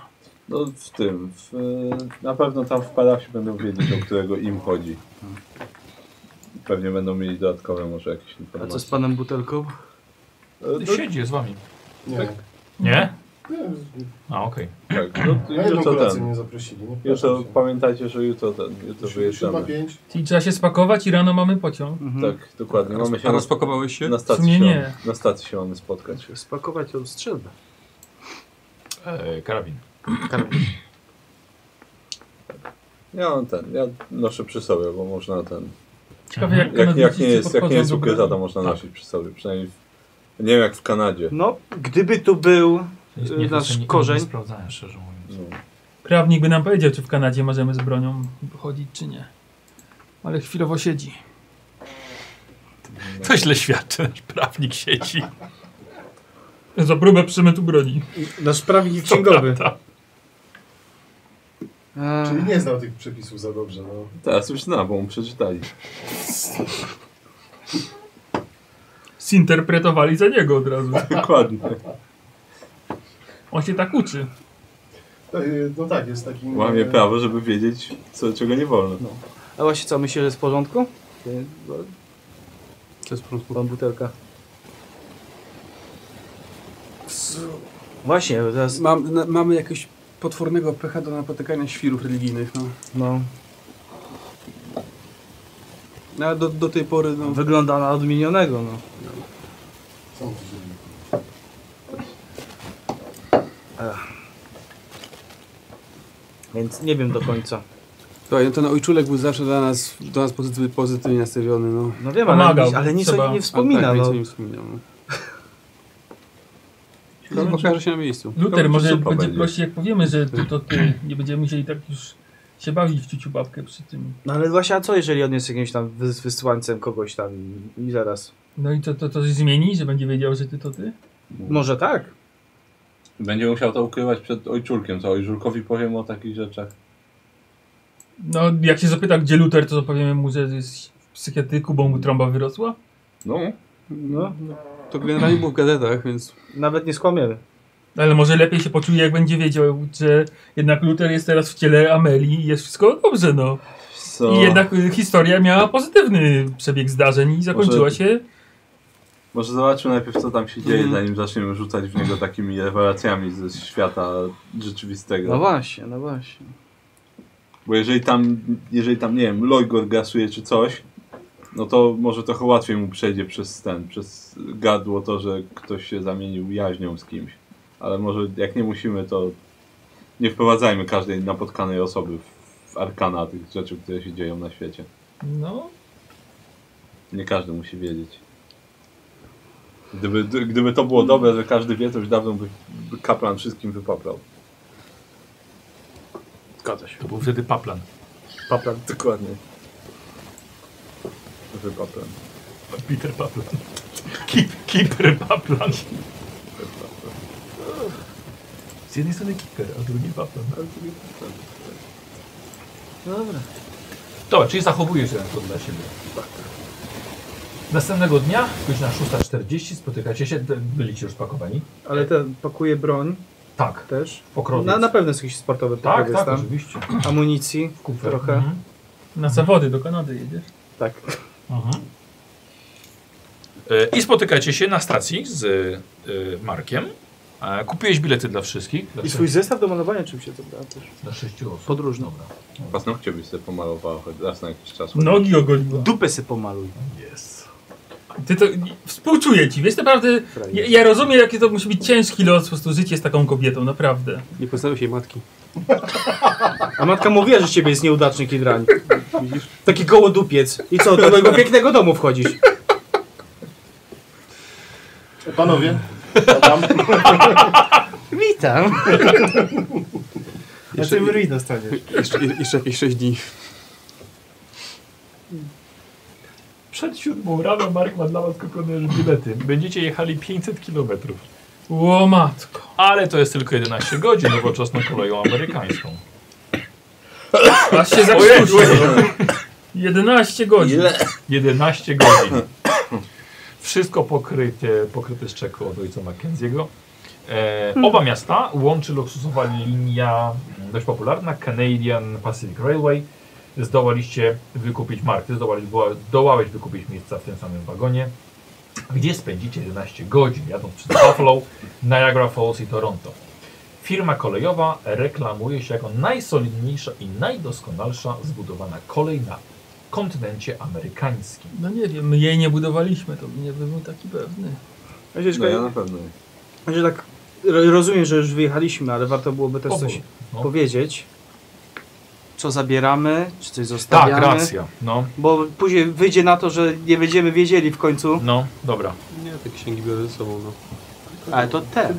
C: No w tym, w, e, na pewno tam w parafii będą wiedzieć, o którego im chodzi. Pewnie będą mieli dodatkowe może jakieś
B: A co z
C: informacje.
B: panem butelką?
C: E, no,
E: Siedzi z wami.
J: Nie,
E: Nie?
J: Tak. nie,
E: A, okej.
C: tak, no, to
J: na jedną
C: jutro
J: kolację
C: ten.
J: mnie zaprosili. Nie
C: Jutro,
J: pamiętam.
C: pamiętajcie, że jutro ten, jutro
J: Siódma,
C: wyjeżdżamy.
J: pięć.
D: Czyli trzeba się spakować i rano mamy pociąg.
B: Mhm.
C: Tak, dokładnie. Mamy się
G: A rozpakowałeś się?
C: na stacji,
D: W sumie
C: się,
D: nie.
C: mamy- na stacji się mamy spotkać.
B: Spakować tą strzelbę.
E: E, karabin.
C: Ja mam ten, ja noszę przy sobie, bo można ten...
D: Ciekawe jak,
C: Mhm. Jak, jak,
D: Kanadyjczycy
C: nie, jest, jak
D: podchodzą
C: nie jest
D: do Tak.
C: ukryta, to
D: broni.
C: można nosić przy sobie. Przynajmniej, w, nie wiem jak w Kanadzie.
B: No, gdyby tu był
E: Nie-
B: y,
E: nie-
B: nasz
E: nie- nie
B: korzeń.
E: sprawdzałem, szczerze mówiąc.
C: No.
D: Prawnik by nam powiedział, czy w Kanadzie możemy z bronią chodzić, czy nie. Ale chwilowo siedzi.
E: To źle świadczy, że prawnik siedzi.
D: Za próbę przemytu broni.
P: Nasz prawnik księgowy.
B: Eee,
J: Czyli nie znał tych przepisów za dobrze, no.
C: Teraz już zna, bo mu przeczytali.
D: Zinterpretowali za niego od razu.
C: Dokładnie.
D: On się tak uczy.
J: No, y, no tak, jest taki...
C: Łamie
J: e,
C: prawo, żeby wiedzieć, co, czego nie wolno.
B: A właśnie co, myślisz, że jest w porządku? Ty, bo-
G: To jest po prostu...
B: Pan butelka. Właśnie, bo teraz.
G: Mam, na, mamy jakiegoś potwornego pecha do napotykania świrów religijnych, no.
B: No,
G: No, Ale do, do tej pory, no...
B: wygląda na odmienionego, no.
J: co on tu zrobił?
B: Więc nie wiem do końca.
G: Słuchaj, no ten ojczulek był zawsze dla nas, do nas pozytywnie, pozytywnie nastawiony, no.
B: No wiem, ale,
D: Pomagał,
B: nic- ale nic o
G: tak,
D: trzeba-
B: nim nie wspomina,
G: Ale tak,
B: no.
G: więcej nie wspominał, no. No, Pokażę się na miejscu.
D: Luter może
C: Zupa
D: będzie
C: będzie.
D: prościej, jak powiemy, że to, to ty. Nie będziemy musieli tak już się bawić w ciuciu babkę przy tym.
B: No ale właśnie, a co jeżeli on jest jakimś tam wys- wysłańcem kogoś tam i- i zaraz.
D: No i to, to, to się zmieni, że będzie wiedział, że ty to ty?
B: Może tak?
C: Będzie musiał to ukrywać przed ojczulkiem, co ojczulkowi powiem o takich rzeczach.
D: No, jak się zapyta, gdzie Luter, to powiemy mu, że jest w psychiatryku, bo mu trąba wyrosła.
C: No,
B: No,
G: To generalnie było w gazetach, więc
B: nawet nie skłamiemy.
D: Ale może lepiej się poczuje, jak będzie wiedział, że jednak Luter jest teraz w ciele Amelii i jest wszystko dobrze, no.
C: co?
D: I jednak y, historia miała pozytywny przebieg zdarzeń i zakończyła
C: Może-
D: się
C: Może zobaczmy najpierw, co tam się dzieje,
G: Mhm.
C: zanim zaczniemy rzucać w niego takimi rewelacjami ze świata rzeczywistego.
B: No właśnie, no właśnie.
C: Bo jeżeli tam, jeżeli tam, nie wiem, Lojgor gasuje czy coś, no to może trochę łatwiej mu przejdzie przez ten, przez gadło to, że ktoś się zamienił jaźnią z kimś. Ale może jak nie musimy, to nie wprowadzajmy każdej napotkanej osoby w arkana tych rzeczy, które się dzieją na świecie.
D: No,
C: Nie każdy musi wiedzieć. Gdyby, gdyby to było dobre, że każdy wie, to już dawno by by kaplan wszystkim wypaprał.
A: Zgadza się. To był wtedy paplan.
C: Paplan, dokładnie. Wypaplan.
A: Peter paplan. Kip, kiper paplan. Z jednej strony kiper, a z drugiej paplan.
B: No Dobra.
A: Dobra, czyli zachowuje się to dla siebie. Następnego dnia, godzina 6.40, spotykacie się, d- byliście już spakowani.
B: Ale ten pakuje broń
A: Tak,
B: też.
A: pokrowiec.
B: Na, na pewno jest jakiś sportowy
A: tak,
B: pokrowiec
A: tak,
B: tam.
A: oczywiście.
B: Amunicji
A: W kufer.
B: trochę.
A: Mhm.
D: na zawody do Kanady jedziesz.
B: Tak.
A: E, I spotykacie się na stacji z e, Markiem. E, Kupiłeś bilety dla wszystkich. Dla,
N: I swój
A: sześć-
N: zestaw do malowania czymś to brałem też.
A: dla sześciu osób.
B: Podróżny.
A: Dobra.
C: Paznokcie byś sobie pomalowała choć raz na jakiś czas.
E: No,
D: Nogi ogoliła.
B: Dupę sy pomaluj.
A: Jest.
D: Ty to współczuję ci, wiesz, naprawdę. Ja, ja rozumiem, jakie to musi być ciężki los, po prostu życie z taką kobietą, naprawdę.
G: nie poznały się jej matki.
B: A matka mówiła, że z ciebie jest nieudacznik i drań. Taki gołodupiec. I co, do mojego pięknego domu wchodzisz?
J: Panowie, Adam,
B: Witam.
N: Na
G: Jeszcze-
N: tym ryj dostaniesz.
G: Jeszcze, jeszcze jakieś 6 dni.
E: Przed siódmą rano Mark ma dla was kupione już bilety. Będziecie jechali 500 km.
D: Ło matko.
A: Ale to jest tylko 11 godzin nowoczesną koleją amerykańską.
D: Aż się zakrztusił. 11 godzin.
A: 11 godzin. Wszystko pokryte, pokryte z czeku od ojca Mackenziego. E, oba miasta łączy luksusowa linia mm, dość popularna Canadian Pacific Railway. Zdołaliście wykupić Mark, ty zdołałeś, była- zdołałeś wykupić miejsca w tym samym wagonie, gdzie spędzicie 11 godzin jadąc przez Buffalo, Niagara Falls i Toronto. Firma kolejowa reklamuje się jako najsolidniejsza i najdoskonalsza zbudowana kolej na kontynencie amerykańskim.
D: No nie wiem, my jej nie budowaliśmy, to nie był taki pewny.
B: Ja się,
C: No ja
B: szkoda,
C: na pewno. nie.
B: że tak ro- rozumiem, że już wyjechaliśmy, ale warto byłoby też
A: Obu.
B: coś
A: No.
B: powiedzieć. Co zabieramy, czy coś
A: Tak,
B: zostawiamy.
A: racja. No,
B: Bo później wyjdzie na to, że nie będziemy wiedzieli w końcu.
A: no, dobra.
G: Nie, te księgi biorę ze sobą, no.
B: Ale to te.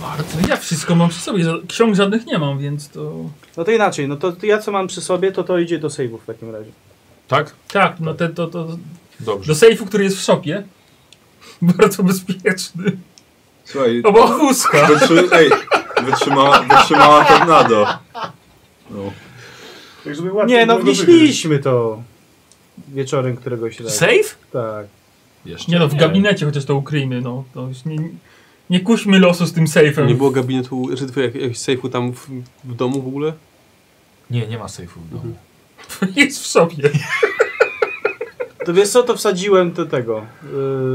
D: Bardzo. Ja wszystko mam przy sobie, za- ksiąg żadnych nie mam, więc to...
B: No to inaczej, no to to ja co mam przy sobie, to to idzie do save'u w takim razie.
A: Tak?
D: Tak, no te, to, to...
A: Dobrze.
D: Do sejfu, który jest w szopie. Bardzo bezpieczny.
C: Słuchaj,
E: No
D: Albo chustka.
C: wytrzy... Ej, wytrzymała, wytrzymała tornado. No.
F: Tak, żeby łatwiej
B: Nie, no
F: było go wygrać.
B: wnieśliśmy to wieczorem któregoś razu.
A: Safe?
B: Tak.
A: Jeszcze
D: Nie no, w gabinecie chociaż to ukryjmy, no. To już nie, nie kuśmy losu z tym sejfem.
G: Nie było gabinetu, czy twojego jakiegoś sejfu tam w, w domu w ogóle?
A: Nie, nie ma safe'u w domu.
D: Jest w szopie.
B: To wiesz co, to wsadziłem do tego. Yy,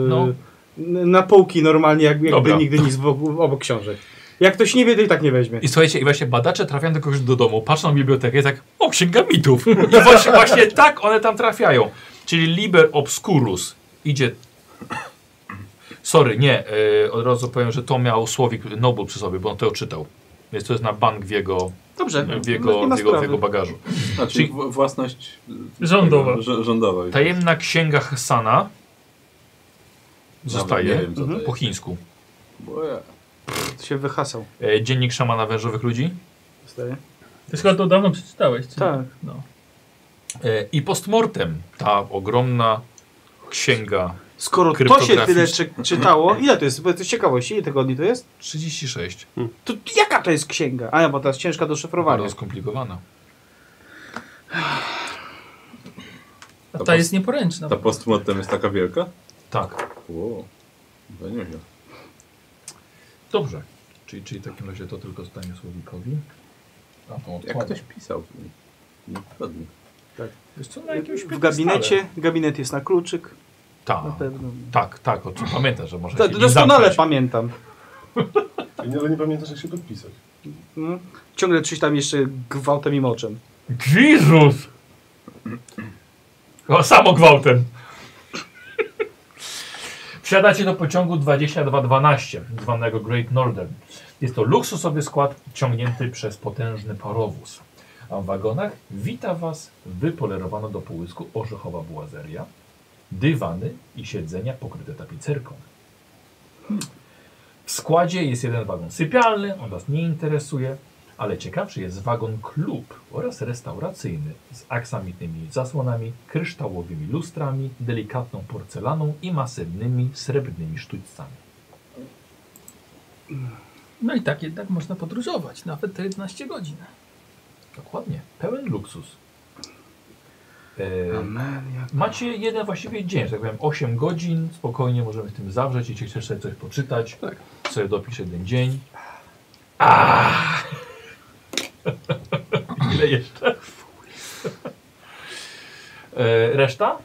A: No.
B: n- Na półki normalnie, jakby, jakby
A: Dobra.
B: nigdy nic wokół, obok książek. Jak ktoś nie wie, to i tak nie weźmie.
A: I słuchajcie, i właśnie badacze trafiają do kogoś do domu, patrzą na bibliotekę i tak, o, księga mitów. I właśnie, właśnie tak one tam trafiają. Czyli Liber Obscurus idzie... Sorry, nie, e, od razu powiem, że to miał Słowik Nobel przy sobie, bo on to czytał. Więc to jest na bank w jego,
B: Dobrze,
A: w
B: no,
A: jego, w jego, w jego bagażu.
C: Znaczy
A: Czyli-
C: w- własność
D: Rządowa.
C: Rz- rządowa.
A: Tajemna księga Hassana. Zostaje.
C: nie wiem, co to
E: Mhm.
A: Po
C: jest.
A: chińsku.
C: Bo ja.
B: się wyhasał.
A: E, dziennik szamana wężowych ludzi.
B: Zostaje.
D: To chyba to dawno przeczytałeś, czy?
B: Tak.
D: No.
A: E, I postmortem ta ogromna księga
B: Skoro to się
A: Kryptograficzny.
B: tyle czy, czytało, ile to jest? Bo to jest ciekawość, ile tygodni to jest?
A: 36.
B: To, to jaka to jest księga? A, bo ta jest ciężka do szyfrowania.
A: Bardzo skomplikowana.
D: A
C: To
D: ta
C: po-
D: jest nieporęczna.
C: Ta postmortem jest taka wielka?
A: Tak.
C: Wow. To nie wiem.
A: Dobrze. Czyli, czyli w takim razie to tylko zostanie słowikowi. A to
C: Jak
A: odpada.
C: ktoś pisał. to nie- Niewygodnie.
A: Wiesz co, na jakimś
B: W gabinecie, gabinet jest na kluczyk, na
A: Tak,
B: pewno.
A: tak, tak. O czym pamiętasz, że może
B: To,
A: się nim
B: doskonale
A: zamknąć.
B: pamiętam.
J: Ale nie pamiętasz, jak się podpisać.
B: No. Ciągle czyś tam jeszcze gwałtem i moczem.
A: Jezus! O, Samo gwałtem. Wsiadacie do pociągu 2212, zwanego Great Northern. Jest to luksusowy skład ciągnięty przez potężny parowóz. A w wagonach wita Was wypolerowana do połysku orzechowa bułazeria, dywany i siedzenia pokryte tapicerką. Hmm. W składzie jest jeden wagon sypialny, on Was nie interesuje, ale ciekawszy jest wagon klub oraz restauracyjny z aksamitnymi zasłonami, kryształowymi lustrami, delikatną porcelaną i masywnymi srebrnymi sztućcami.
D: No i tak jednak można podróżować, nawet te 11 godzin.
A: Dokładnie, pełen luksus. E, macie jeden właściwie dzień, że tak powiem 8 godzin, spokojnie możemy w tym zawrzeć, jeśli chcesz sobie coś poczytać,
E: Tak.
A: sobie dopisz jeden dzień. Aaa! Ile jeszcze? E, Reszta?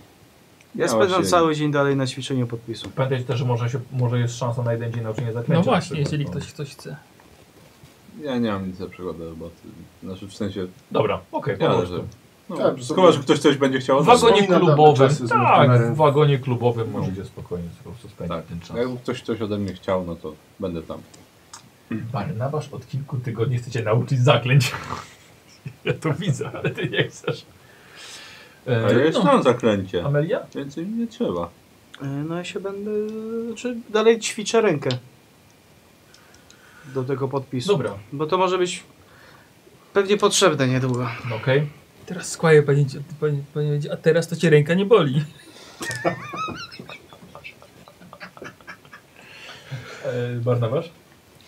B: Ja
C: Ja
B: spędzam
C: się-
B: cały dzień dalej na ćwiczeniu podpisu.
A: Pamiętajcie też, że może, się, może jest szansa na jeden dzień nauczenia zaklęcia.
D: No
A: na
D: właśnie,
A: przykład,
D: jeżeli
A: no.
D: ktoś coś chce.
C: Ja nie mam nic za przygodę roboty. Znaczy w sensie.
A: Dobra,
E: Tak,
A: okej,
C: Ja
A: okay,
C: leżę. No,
J: Tak,
C: Skoro, że ktoś coś będzie chciał. no
A: W
C: to-
A: wagonie
J: Wspomina dawne czasy
A: klubowym,
J: z
A: tak,
J: Montenerem.
A: w wagonie klubowym możecie spokojnie po prostu spędzić
C: No. Tak.
A: ten czas.
C: Jakby ktoś coś ode mnie chciał, no to będę tam.
A: Barnabasz od kilku tygodni chce cię nauczyć zaklęć. Ja to widzę, ale ty nie chcesz.
C: A ja
A: E,
C: jeszcze
E: no.
C: mam zaklęcie,
A: Amelia?
C: więc im nie trzeba.
B: E, No ja się będę... Czy dalej ćwiczę rękę. Do tego podpisu.
A: Dobra,
B: Bo to może być pewnie potrzebne niedługo.
A: okej.
D: Teraz skłaję pani, pani, pani będzie, a teraz to cię ręka nie boli.
A: E, Barnabasz?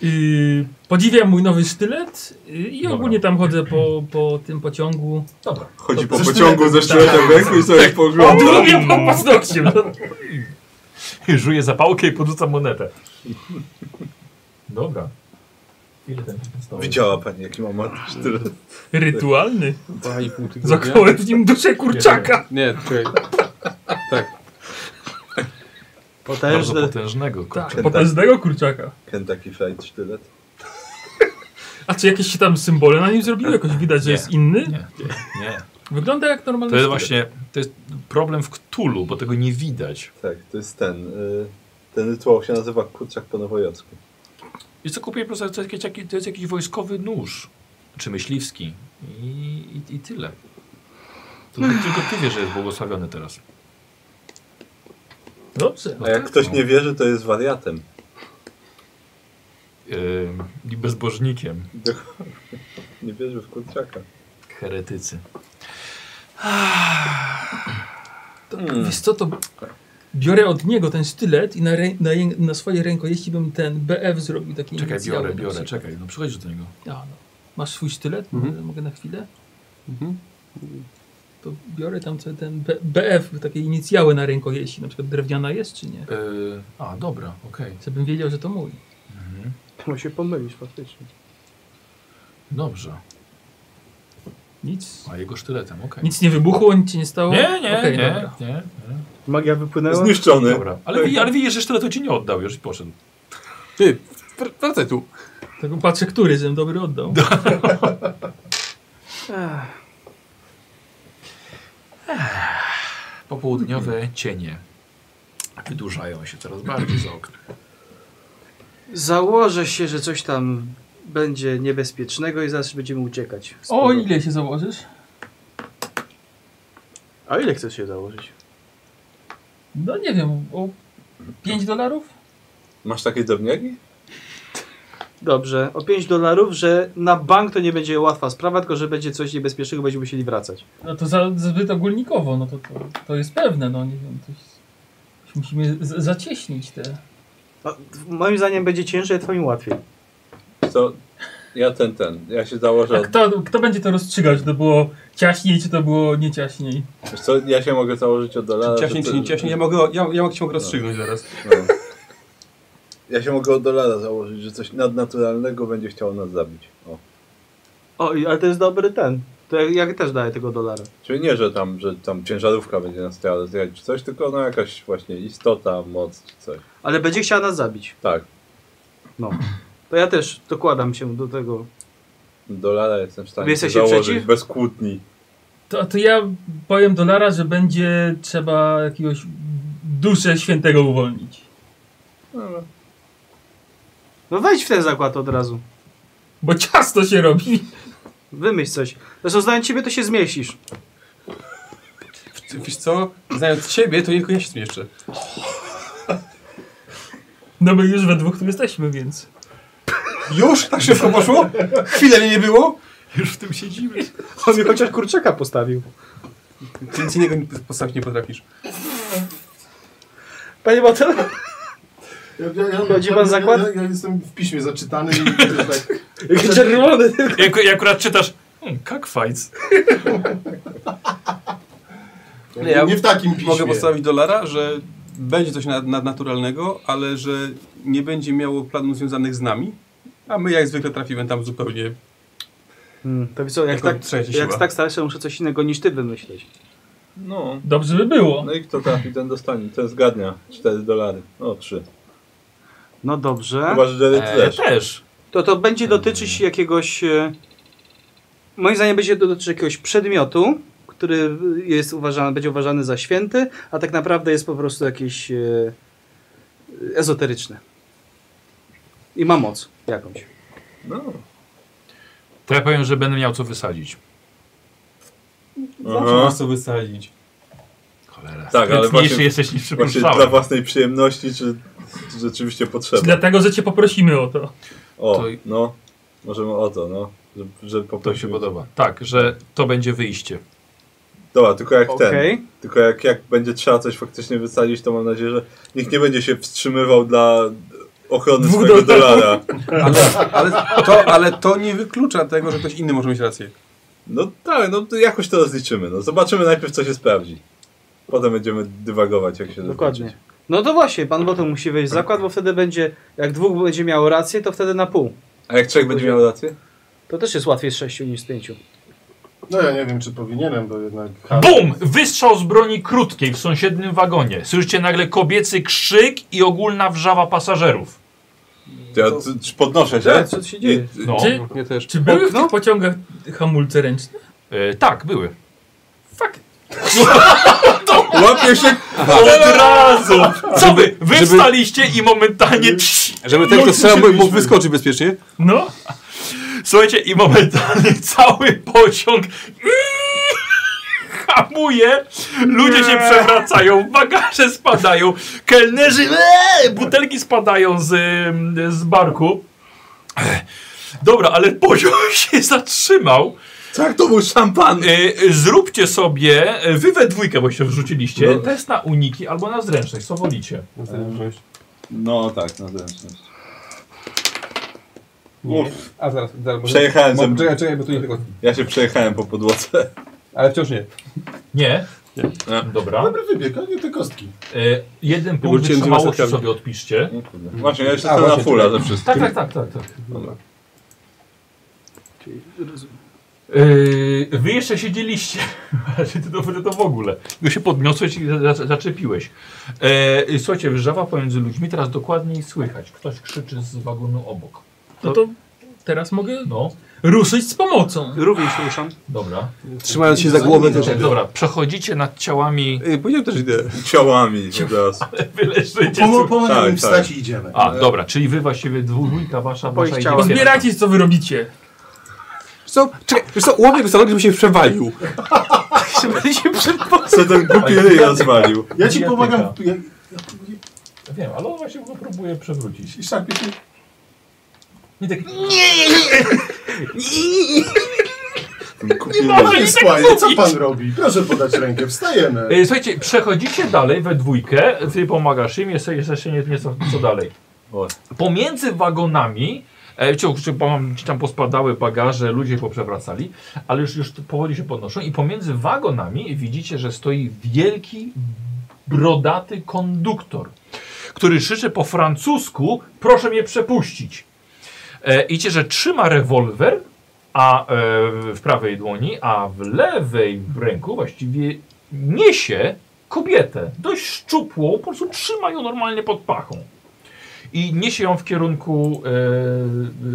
D: Yy, podziwiam mój nowy sztylet yy, i
A: Dobra.
D: ogólnie tam chodzę po, po tym pociągu.
A: Dobra.
C: Chodzi po
D: ze
C: pociągu ze sztyletem w ręku i sobie
D: O,
C: pogląda.
D: drugie po paznokciem! No.
A: Żuję zapałkę i podrzucam monetę. Dobra. Ile ten
G: Tak.
A: został?
C: Widziała pani, jaki mam ładny sztylet.
D: Rytualny.
G: 2,5 tygodnia.
D: Zakołem w nim duszę kurczaka. Tak.
G: Nie, czekaj.
A: Bardzo
B: Potężne.
A: potężnego.
D: Tak,
A: kurczę.
D: potężnego kurczaka.
C: Kentucky Fried sztylet.
D: A czy jakieś się tam symbole na nim zrobiły? Jakoś widać, że
A: Nie.
D: jest inny?
A: Nie, nie, nie.
D: Wygląda jak normalny
A: To jest
D: sztylet.
A: właśnie to jest problem w Ktulu, bo tego nie widać.
C: Tak, to jest ten. y, Ten rytuał się nazywa kurczak po nowojorku.
A: I co kupię po prostu, to jest, jakiś, to jest jakiś wojskowy nóż, czy myśliwski i, i, i tyle. To ty- tylko ty wiesz, że jest błogosławiony teraz.
D: Dobrze.
A: No
C: A jak
A: tak,
C: ktoś
A: no.
C: nie wierzy, to jest wariatem.
A: Yy, I bezbożnikiem.
C: Nie wierzy w kurczaka.
A: Heretycy.
D: To,
A: No.
D: Wiesz co, to biorę od niego ten sztylet i na, rę, na, jęk- na swoje rękojeści bym ten BF zrobił taki
A: Czekaj,
D: inicjały
A: biorę,
D: na
A: biorę,
D: przykład.
A: czekaj. No przychodź do niego.
D: A, no. Masz swój sztylet? Mogę- Mogę na chwilę?
G: Mhm.
D: To biorę tam sobie ten B, BF, takie inicjały na rękojeści, na przykład drewniana jest czy nie?
A: Yy, a, dobra, okej.
D: Żebym wiedział, że to mój.
B: Może się pomylić faktycznie.
A: Dobrze.
D: Nic.
A: A jego sztyletem, okej.
D: Nic nie wybuchło, nic się nie stało?
A: Nie, nie,
D: Okej, no.
A: nie,
D: dobra.
A: nie,
B: Magia
G: No.
B: wypłynęła?
A: nie.
C: Zniszczony.
A: Dobra. Ale, wi- ale widzisz, że sztyletu ci nie oddał, już poszedł.
G: Ty, wr- wracaj tu.
D: Tego patrzę, który, żebym dobry oddał.
B: Ech,
A: Popołudniowe cienie wydłużają się coraz bardziej za oknem.
B: Założę się, że coś tam będzie niebezpiecznego i zaraz będziemy uciekać.
D: O, ile się założysz?
B: A ile chcesz się założyć?
D: No nie wiem, o 5 dolarów?
C: Masz takie drobniaki?
B: Dobrze, o 5 dolarów, że na bank to nie będzie łatwa sprawa, tylko że będzie coś niebezpiecznego, będziemy musieli wracać.
D: No to za, zbyt ogólnikowo, no to, to, to jest pewne, no nie wiem, coś, coś musimy z, zacieśnić te...
B: A, w- moim zdaniem będzie ciężej, a twoim łatwiej.
C: To ja ten, ten. Ja się założę.
D: A kto, kto będzie to rozstrzygał, czy to było ciaśniej, czy to było nie ciaśniej?
C: Wiesz co, ja się mogę założyć od dolara.
G: Tak.
C: że
G: Ciaśnie
C: no.
G: czy
C: ty-
G: nie ciaśnie, ja mogę, ja, ja cię mogę rozstrzygnąć zaraz.
C: No. Ja się mogę od dolara założyć, że coś nadnaturalnego będzie chciało nas zabić. O.
B: O, i- ale to jest dobry ten. To ja, ja też daję tego dolara.
C: Czyli nie, że tam, że tam ciężarówka będzie nas chciała zjadać czy coś, tylko no jakaś właśnie istota, moc czy coś.
B: Ale będzie chciała nas zabić.
C: Tak,
B: No. To ja też dokładam się do tego.
C: dolara jestem w stanie
B: Wy jesteście
C: założyć
B: przeciw?
C: bez kłótni.
D: To, to ja powiem dolara, że będzie trzeba jakiegoś duszę świętego uwolnić.
B: No wejdź w ten zakład od razu.
D: Bo ciasto się robi.
B: Wymyśl coś. Zresztą znając ciebie, to się zmieścisz.
G: Ty Wiesz co, znając ciebie, to tylko ja się zmieszczę.
D: No my już we dwóch tu jesteśmy, więc.
G: Już? Tak szybko poszło? Chwilę mnie nie było?
Q: Już w tym siedzimy.
B: On mi chociaż kurczaka postawił.
G: Ty nic innego nie- postawić nie potrafisz.
B: Panie Botel?
J: Ja, ja, ja,
B: Chodzi pan zakład?
J: Ja, ja jestem w piśmie zaczytany i wiesz, tak.
B: Jaki czerwony.
Q: Jak, jak akurat czytasz, hmm, cockfights.
G: Nie, ja
J: nie w takim piśmie.
G: Mogę postawić dolara, że będzie coś nad, nadnaturalnego, ale że nie będzie miało planów związanych z nami, a my jak zwykle trafimy tam zupełnie
B: Hmm, to wiesz co, jak
G: jako
B: tak,
G: tak, trzecia siła.
B: jak tak starasz się, muszę coś innego niż ty wymyślić.
C: No.
D: Dobrze by było.
C: No i kto trafi, ten dostanie. Ten zgadnia. 4 dolary. O, 3.
B: No dobrze.
C: Chyba, że Jerry
E: Eee,
Q: E,
C: też.
E: tak.
Q: też.
B: To to będzie dotyczyć jakiegoś. e, Moim zdaniem będzie to dotyczyć jakiegoś przedmiotu, który jest uważany, będzie uważany za święty, a tak naprawdę jest po prostu jakieś e, ezoteryczne. I ma moc jakąś.
C: No.
E: To ja powiem, że będę miał co wysadzić.
G: Zawsze masz co wysadzić.
E: Cholera.
C: Tak, ale
E: Sprytniejszy
C: właśnie-
E: jesteś niż
C: Właśnie dla
E: przypuszczałem.
C: własnej przyjemności, czy czy rzeczywiście potrzeba.
D: Dlatego, że cię poprosimy o to.
C: O,
E: To-
C: no. Możemy o to, no. Że, że
E: To mi się
C: poprosimy.
E: podoba. Tak, że to będzie wyjście.
C: Dobra, tylko jak ten.
B: Okej.
C: Tylko jak, jak będzie trzeba coś faktycznie wysadzić, to mam nadzieję, że nikt nie będzie się wstrzymywał dla ochrony
D: Dwóch
C: swojego
D: dolarów.
C: dolara.
G: Ale, ale, to, ale to nie wyklucza tego, że ktoś inny może mieć rację.
C: No tak, no to jakoś to rozliczymy. No. Zobaczymy najpierw, co się sprawdzi. Potem będziemy dywagować, jak się
B: Dokładnie.
C: rozliczyć.
B: No to właśnie, pan Boton musi wejść w zakład, bo wtedy będzie, jak dwóch będzie miało rację, to wtedy na pół.
C: A jak trzech będzie miał rację?
B: To też jest łatwiej z sześciu niż z pięciu.
J: No ja nie wiem, czy powinienem, bo jednak.
E: BUM! Wystrzał z broni krótkiej w sąsiednim wagonie. Słyszycie nagle kobiecy krzyk i ogólna wrzawa pasażerów.
C: To ja c- c- podnoszę się.
B: Ale Tak, co tu się dzieje?
C: I- i-
E: No.
D: Czy,
G: Nie też.
D: czy były w
B: Okno?
D: tych pociągach hamulce ręczne?
E: E, tak, były.
D: Fuck.
C: Łapię się
E: Od razu! Co wy? Wy wstaliście i momentalnie...
G: Żeby ten, kto strzelał, mógł wyskoczyć bezpiecznie.
D: No,
E: Słuchajcie, i momentalnie cały pociąg hamuje, ludzie się przewracają, bagaże spadają, kelnerzy, eee, butelki spadają z, ym, z barku. E, Dobra, ale poziom się zatrzymał.
C: Tak, to był szampan!
E: Y, zróbcie sobie, y, wy we dwójkę, bo się wrzuciliście,
C: No.
E: test na uniki albo na zręczność, co wolicie.
C: No tak, na zręczność.
R: Nie.
C: Uff.
R: A zaraz, zaraz. może-
C: Przejechałem
R: mo-
C: zęb-
R: Czekaj, czekaj, bo tu nie tego.
C: Ja się przejechałem po podłodze.
R: Ale wciąż nie.
E: Nie? Dobra.
J: Dobry wybieg, a nie te kostki.
E: Y, jeden punkt
G: wróciłem z
E: wytrzymałości
G: maseczkami.
E: sobie odpiszcie.
C: No kurde. Właśnie, ja jeszcze
R: A,
C: to na
R: właśnie,
C: fula
R: czekaj.
C: ze wszystkim.
E: Tak, tak, tak, tak. tak.
B: Czyli
E: Yy, wy jeszcze siedzieliście. Ale ty to, ty to w ogóle. Tylko się podniosłeś i za, za, zaczepiłeś. E, słuchajcie, wrzawa pomiędzy ludźmi teraz dokładniej słychać. Ktoś krzyczy z wagonu obok.
D: no to teraz mogę
E: No,
D: ruszyć z pomocą.
B: Również ruszam.
E: dobra. E,
G: Trzymając się za głowę też.
E: Dobra, przechodzicie nad ciałami.
G: Ej, Powiedział też idę.
C: Ciałami po prostu.
E: Wyleżycie.
J: Pomo- Pomagamy
C: tak,
J: im wstać i idziemy.
E: A, dobra, czyli wy właściwie dwójka wasza
B: Bo ich
E: wasza
B: ciała.
E: idzie-
D: Pozbieracie się, co wy robicie.
G: Wiesz co, czekaj, wiesz co, łapię go za nogi, żeby się przewalił.
B: Żeby się przypomnieć.
C: Co ten głupi ryj rozwalił.
J: Ja ci
E: Ja
J: pomagam.
E: tylko.
J: Ja,
E: Wiem, ale on właśnie go próbuje przewrócić. I szarpie się. I tak...
J: Kupiłem.
E: może nie
J: Słuchaj,
E: tak
J: co
E: mówić.
J: pan robi? Proszę podać rękę, wstajemy.
E: E, Słuchajcie, przechodzicie dalej we dwójkę, ty pomagasz im, jest jest jeszcze nie, nieco co dalej.
C: O.
E: Pomiędzy wagonami, e, czy, czy, bo mam- czy tam pospadały bagaże, ludzie poprzewracali, ale już, już powoli się podnoszą i pomiędzy wagonami widzicie, że stoi wielki, brodaty konduktor, który krzyczy po francusku, proszę mnie przepuścić. E, idzie, że trzyma rewolwer, a e, w prawej dłoni, a w lewej ręku właściwie niesie kobietę, dość szczupłą, po prostu trzyma ją normalnie pod pachą. I niesie ją w kierunku e,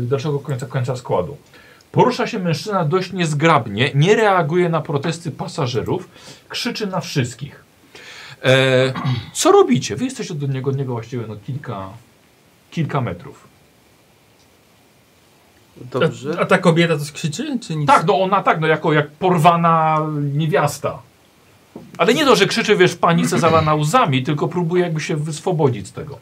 E: dalszego końca, końca składu. Porusza się mężczyzna dość niezgrabnie, nie reaguje na protesty pasażerów, krzyczy na wszystkich. E, co robicie? Wy jesteście od niego, od niego właściwie no kilka, kilka metrów.
B: Dobrze.
D: A, a ta kobieta to skrzyczy, czy nic?
E: Tak, no ona tak, no jako jak porwana niewiasta. Ale nie to, że krzyczy, wiesz, w panice zalana łzami, tylko próbuje jakby się wyswobodzić z tego.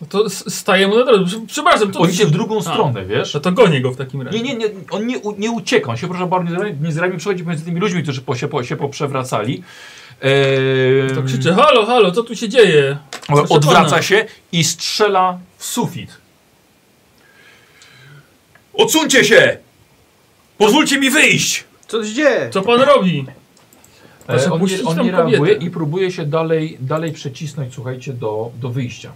D: No to s- staje mu na drodze. Prze- Przepraszam, to...
E: On idzie w drugą
D: A.
E: stronę, wiesz?
D: No to gonię go w takim razie.
E: Nie, nie, nie, on nie, u- nie ucieka, on się proszę bardzo nie zrami- nie zrami przechodzi pomiędzy tymi ludźmi, którzy po, się, po, się poprzewracali. Eee,
D: To krzyczy, halo, halo, co tu się dzieje?
E: ale
D: proszę
E: odwraca
D: pana.
E: się i strzela w sufit. Odsuńcie się! Pozwólcie mi wyjść!
B: Co gdzie?
D: Co pan robi? Proszę
E: E, on
D: puścić
E: nie, on
D: tam
E: nie reaguje
D: kobietę.
E: i próbuje się dalej, dalej przecisnąć, słuchajcie, do, do wyjścia.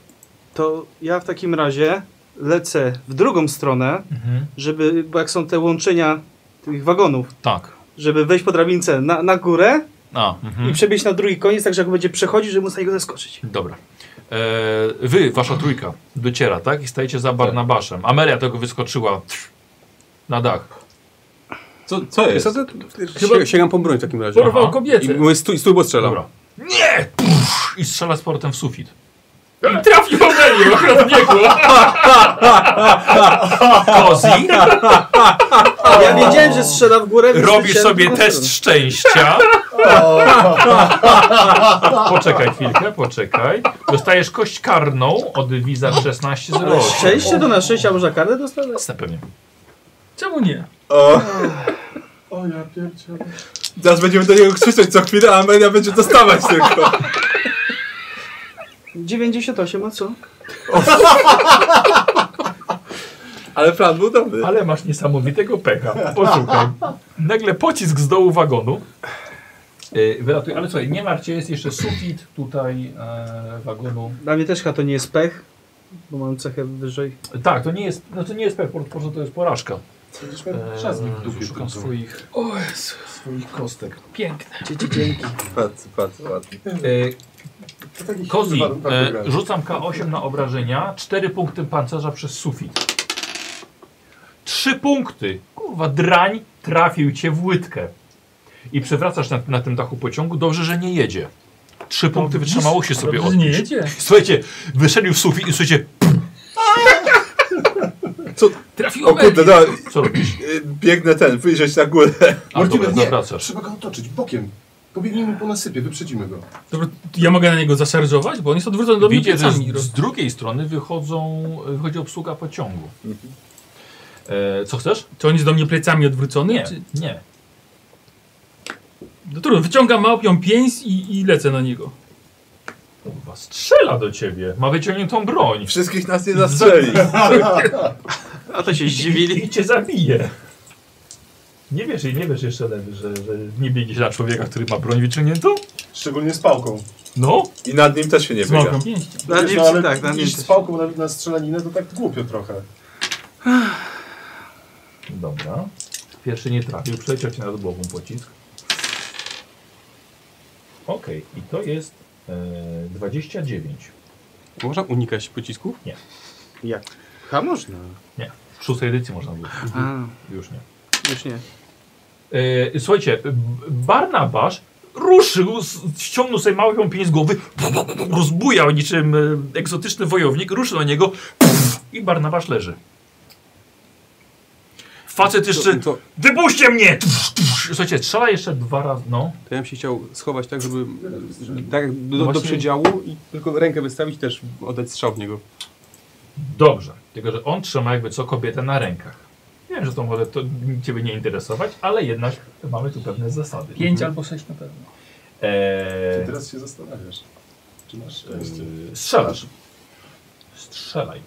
B: To ja w takim razie lecę w drugą stronę, żeby, bo jak są te łączenia tych wagonów,
E: Tak.
B: żeby wejść po drabince na, na górę
E: A,
B: i przebiegć na drugi koniec, tak że jak będzie przechodził, żeby móc na niego zaskoczyć.
E: Dobra. E, wy, wasza trójka, dociera, tak? I stajecie za Barnabaszem. Amelia tego wyskoczyła pff, na dach.
C: Co, co jest?
G: Co to? Chyba... Sięgam po broń w takim razie.
D: Porwał
E: Aha.
G: I
D: kobietę.
G: mówię, stój, stój, bo strzelam.
E: Dobra. Nie! Puff! I strzela z portem w sufit. I trafił Amelię, akurat biegła. Kozi,
B: Ja wiedziałem, że strzela w górę, więc
E: robisz
B: leciałem
E: sobie
B: w drugą
E: test
B: stronę.
E: szczęścia. Poczekaj chwilkę, poczekaj. Dostajesz kość karną od Wiza 1608.
B: Ale szczęście to na szczęście, a może kartę dostanę?
E: Jasne, pewnie.
D: Czemu nie?
J: O ja pierdzielę.
C: Teraz będziemy do niego krzyczeć co chwilę, a Amelia będzie dostawać tylko.
B: 98, a co?
C: Ale plan był dobry.
E: Ale masz niesamowitego pecha. Posłuchaj. Nagle pocisk z dołu wagonu. Yy, wylatuje, ale słuchaj, nie martw się, jest jeszcze sufit tutaj e, wagonu.
B: Dla mnie też chyba to nie jest pech, bo mam cechę wyżej.
E: Tak, to nie jest, no to nie jest pech, po po prostu to jest porażka. E, szukam swoich, swoich kostek.
D: Piękne.
B: Dzieci, dzięki.
C: Patrz, patrz, patrz.
E: E, Kozi, e, rzucam K8 na obrażenia, 4 punkty pancerza przez sufit. 3 punkty. Kurwa, drań trafił cię w łydkę. I przewracasz na, na tym dachu pociągu. Dobrze, że nie jedzie. 3
A: No,
E: punkty wytrzymało się sobie
D: Dobrze, że nie
E: odbić.
D: jedzie.
E: Słuchajcie, wyszedł w sufit i słuchajcie,
D: Trafił
C: O kurde,
D: Amelię.
C: no,
E: co robisz?
C: y, biegnę ten, wyjrzeć na górę.
E: A, dobra,
J: nie.
E: zawracasz.
J: Trzeba go otoczyć bokiem. Pobiegnijmy po nasypie, wyprzedzimy go.
D: Dobra, ja mogę na niego zaszarżować, bo on jest odwrócony do mnie
E: Widzicie, że z,
D: plecami.
E: z drugiej strony wychodzą, e, wychodzi obsługa pociągu. E, co chcesz?
D: Czy on jest do mnie plecami odwrócony?
E: Nie,
D: Czy...
E: nie.
D: No trudno, wyciągam małpią pięść i, i lecę na niego.
E: Kurwa, strzela do ciebie. Ma wyciągniętą broń.
C: Wszystkich nas nie zastrzeli.
B: A to się
E: I, i cię zabije. Nie wiesz, nie wiesz jeszcze lewy, że, że nie biegniesz na człowieka, który ma broń wyciągniętą?
J: Szczególnie z pałką.
E: No.
C: I nad nim też się nie
D: Z
C: biega.
D: małpią pięścią.
B: Na
J: Wiesz,
B: nim
J: no, ale
B: tak, na nim
J: iść z pałką na, na strzelaninę to tak głupio trochę.
E: Dobra. Pierwszy nie trafił, przeleciał cię nad głową pocisk. Okej, i to jest e, 29.
G: Można unikać pocisków?
B: A można.
E: Nie, w szóstej edycji można było.
B: A,
E: Już nie.
B: już nie.
E: E, słuchajcie, B- Barnabasz ruszył, s- ściągnął sobie małą pięć z głowy, rozbujał niczym e, egzotyczny wojownik, ruszył na niego i Barnabasz leży.
A: Facet jeszcze...
G: To,
A: Wypuśćcie mnie! Słuchajcie, strzela jeszcze dwa razy, no.
G: to ja bym się chciał schować tak, żeby
J: No,
G: tak jak
R: No
G: do, do
A: Właśnie-
G: przedziału i tylko rękę wystawić też oddać strzał w niego.
A: Dobrze, tylko że on trzyma jakby co kobietę na rękach. Wiem, że to może to ciebie nie interesować, ale jednak mamy tu pewne zasady. Mhm.
D: Pięć albo sześć na pewno.
A: Eee,
J: Teraz się zastanawiasz. Czy masz szczęście?
A: eee, strzelasz. Strzelaj.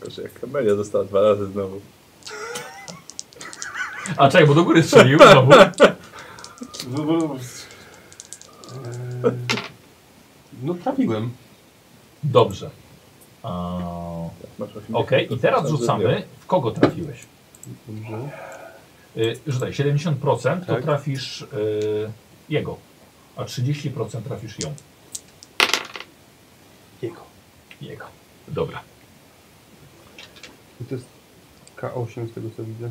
C: Proszę, jak Amelia dostała dwa razy znowu.
A: A czekaj, bo do góry strzelił znowu.
J: No, bo...
G: No trafiłem.
A: Dobrze. A,
C: tak Masz osiem-
A: Okej, i teraz
C: Dobrze,
A: rzucamy, w kogo trafiłeś.
G: Dobrze.
A: Y, Rzucaj, 70% to
G: Tak.
A: trafisz y, jego, a 30% trafisz ją.
G: Jego.
A: Jego. Dobra.
G: I to jest K8 z tego co widzę.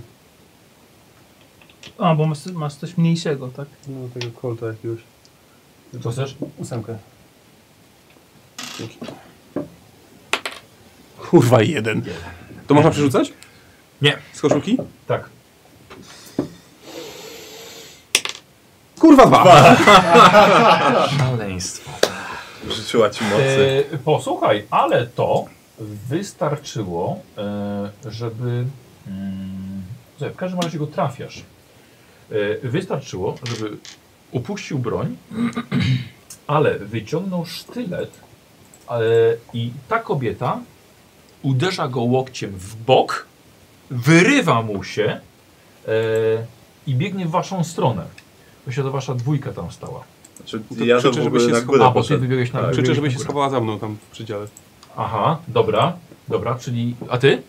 D: A, bo masz, masz coś mniejszego, tak?
G: No tego kolta jakiegoś.
A: Co chcesz?
F: Ósemkę.
G: Kurwa, jeden. To można przerzucać?
A: Nie.
G: Z koszulki?
A: Tak.
G: Kurwa, dwa.
A: Szaleństwo.
C: Życzyła ci mocy.
A: E, posłuchaj, ale to wystarczyło, e, żeby. Mm, słuchaj, w każdym razie go trafiasz. E, wystarczyło, żeby upuścił broń, ale wyciągnął sztylet e, i ta kobieta uderza go łokciem w bok, wyrywa mu się e, i biegnie w waszą stronę. Bo się to wasza dwójka tam stała.
C: Znaczy,
G: to
C: ja to
G: krzyczę,
C: w
G: żeby
C: ogóle
G: się
C: na
G: schował.
C: górę
A: A, bo ty
C: poszedł.
A: wybiegłeś na
G: Krzyczę,
A: wybiegłeś
G: żeby
A: na
G: się
A: górę.
G: schowała za mną tam w przedziale.
A: Aha, dobra, dobra, czyli. A ty?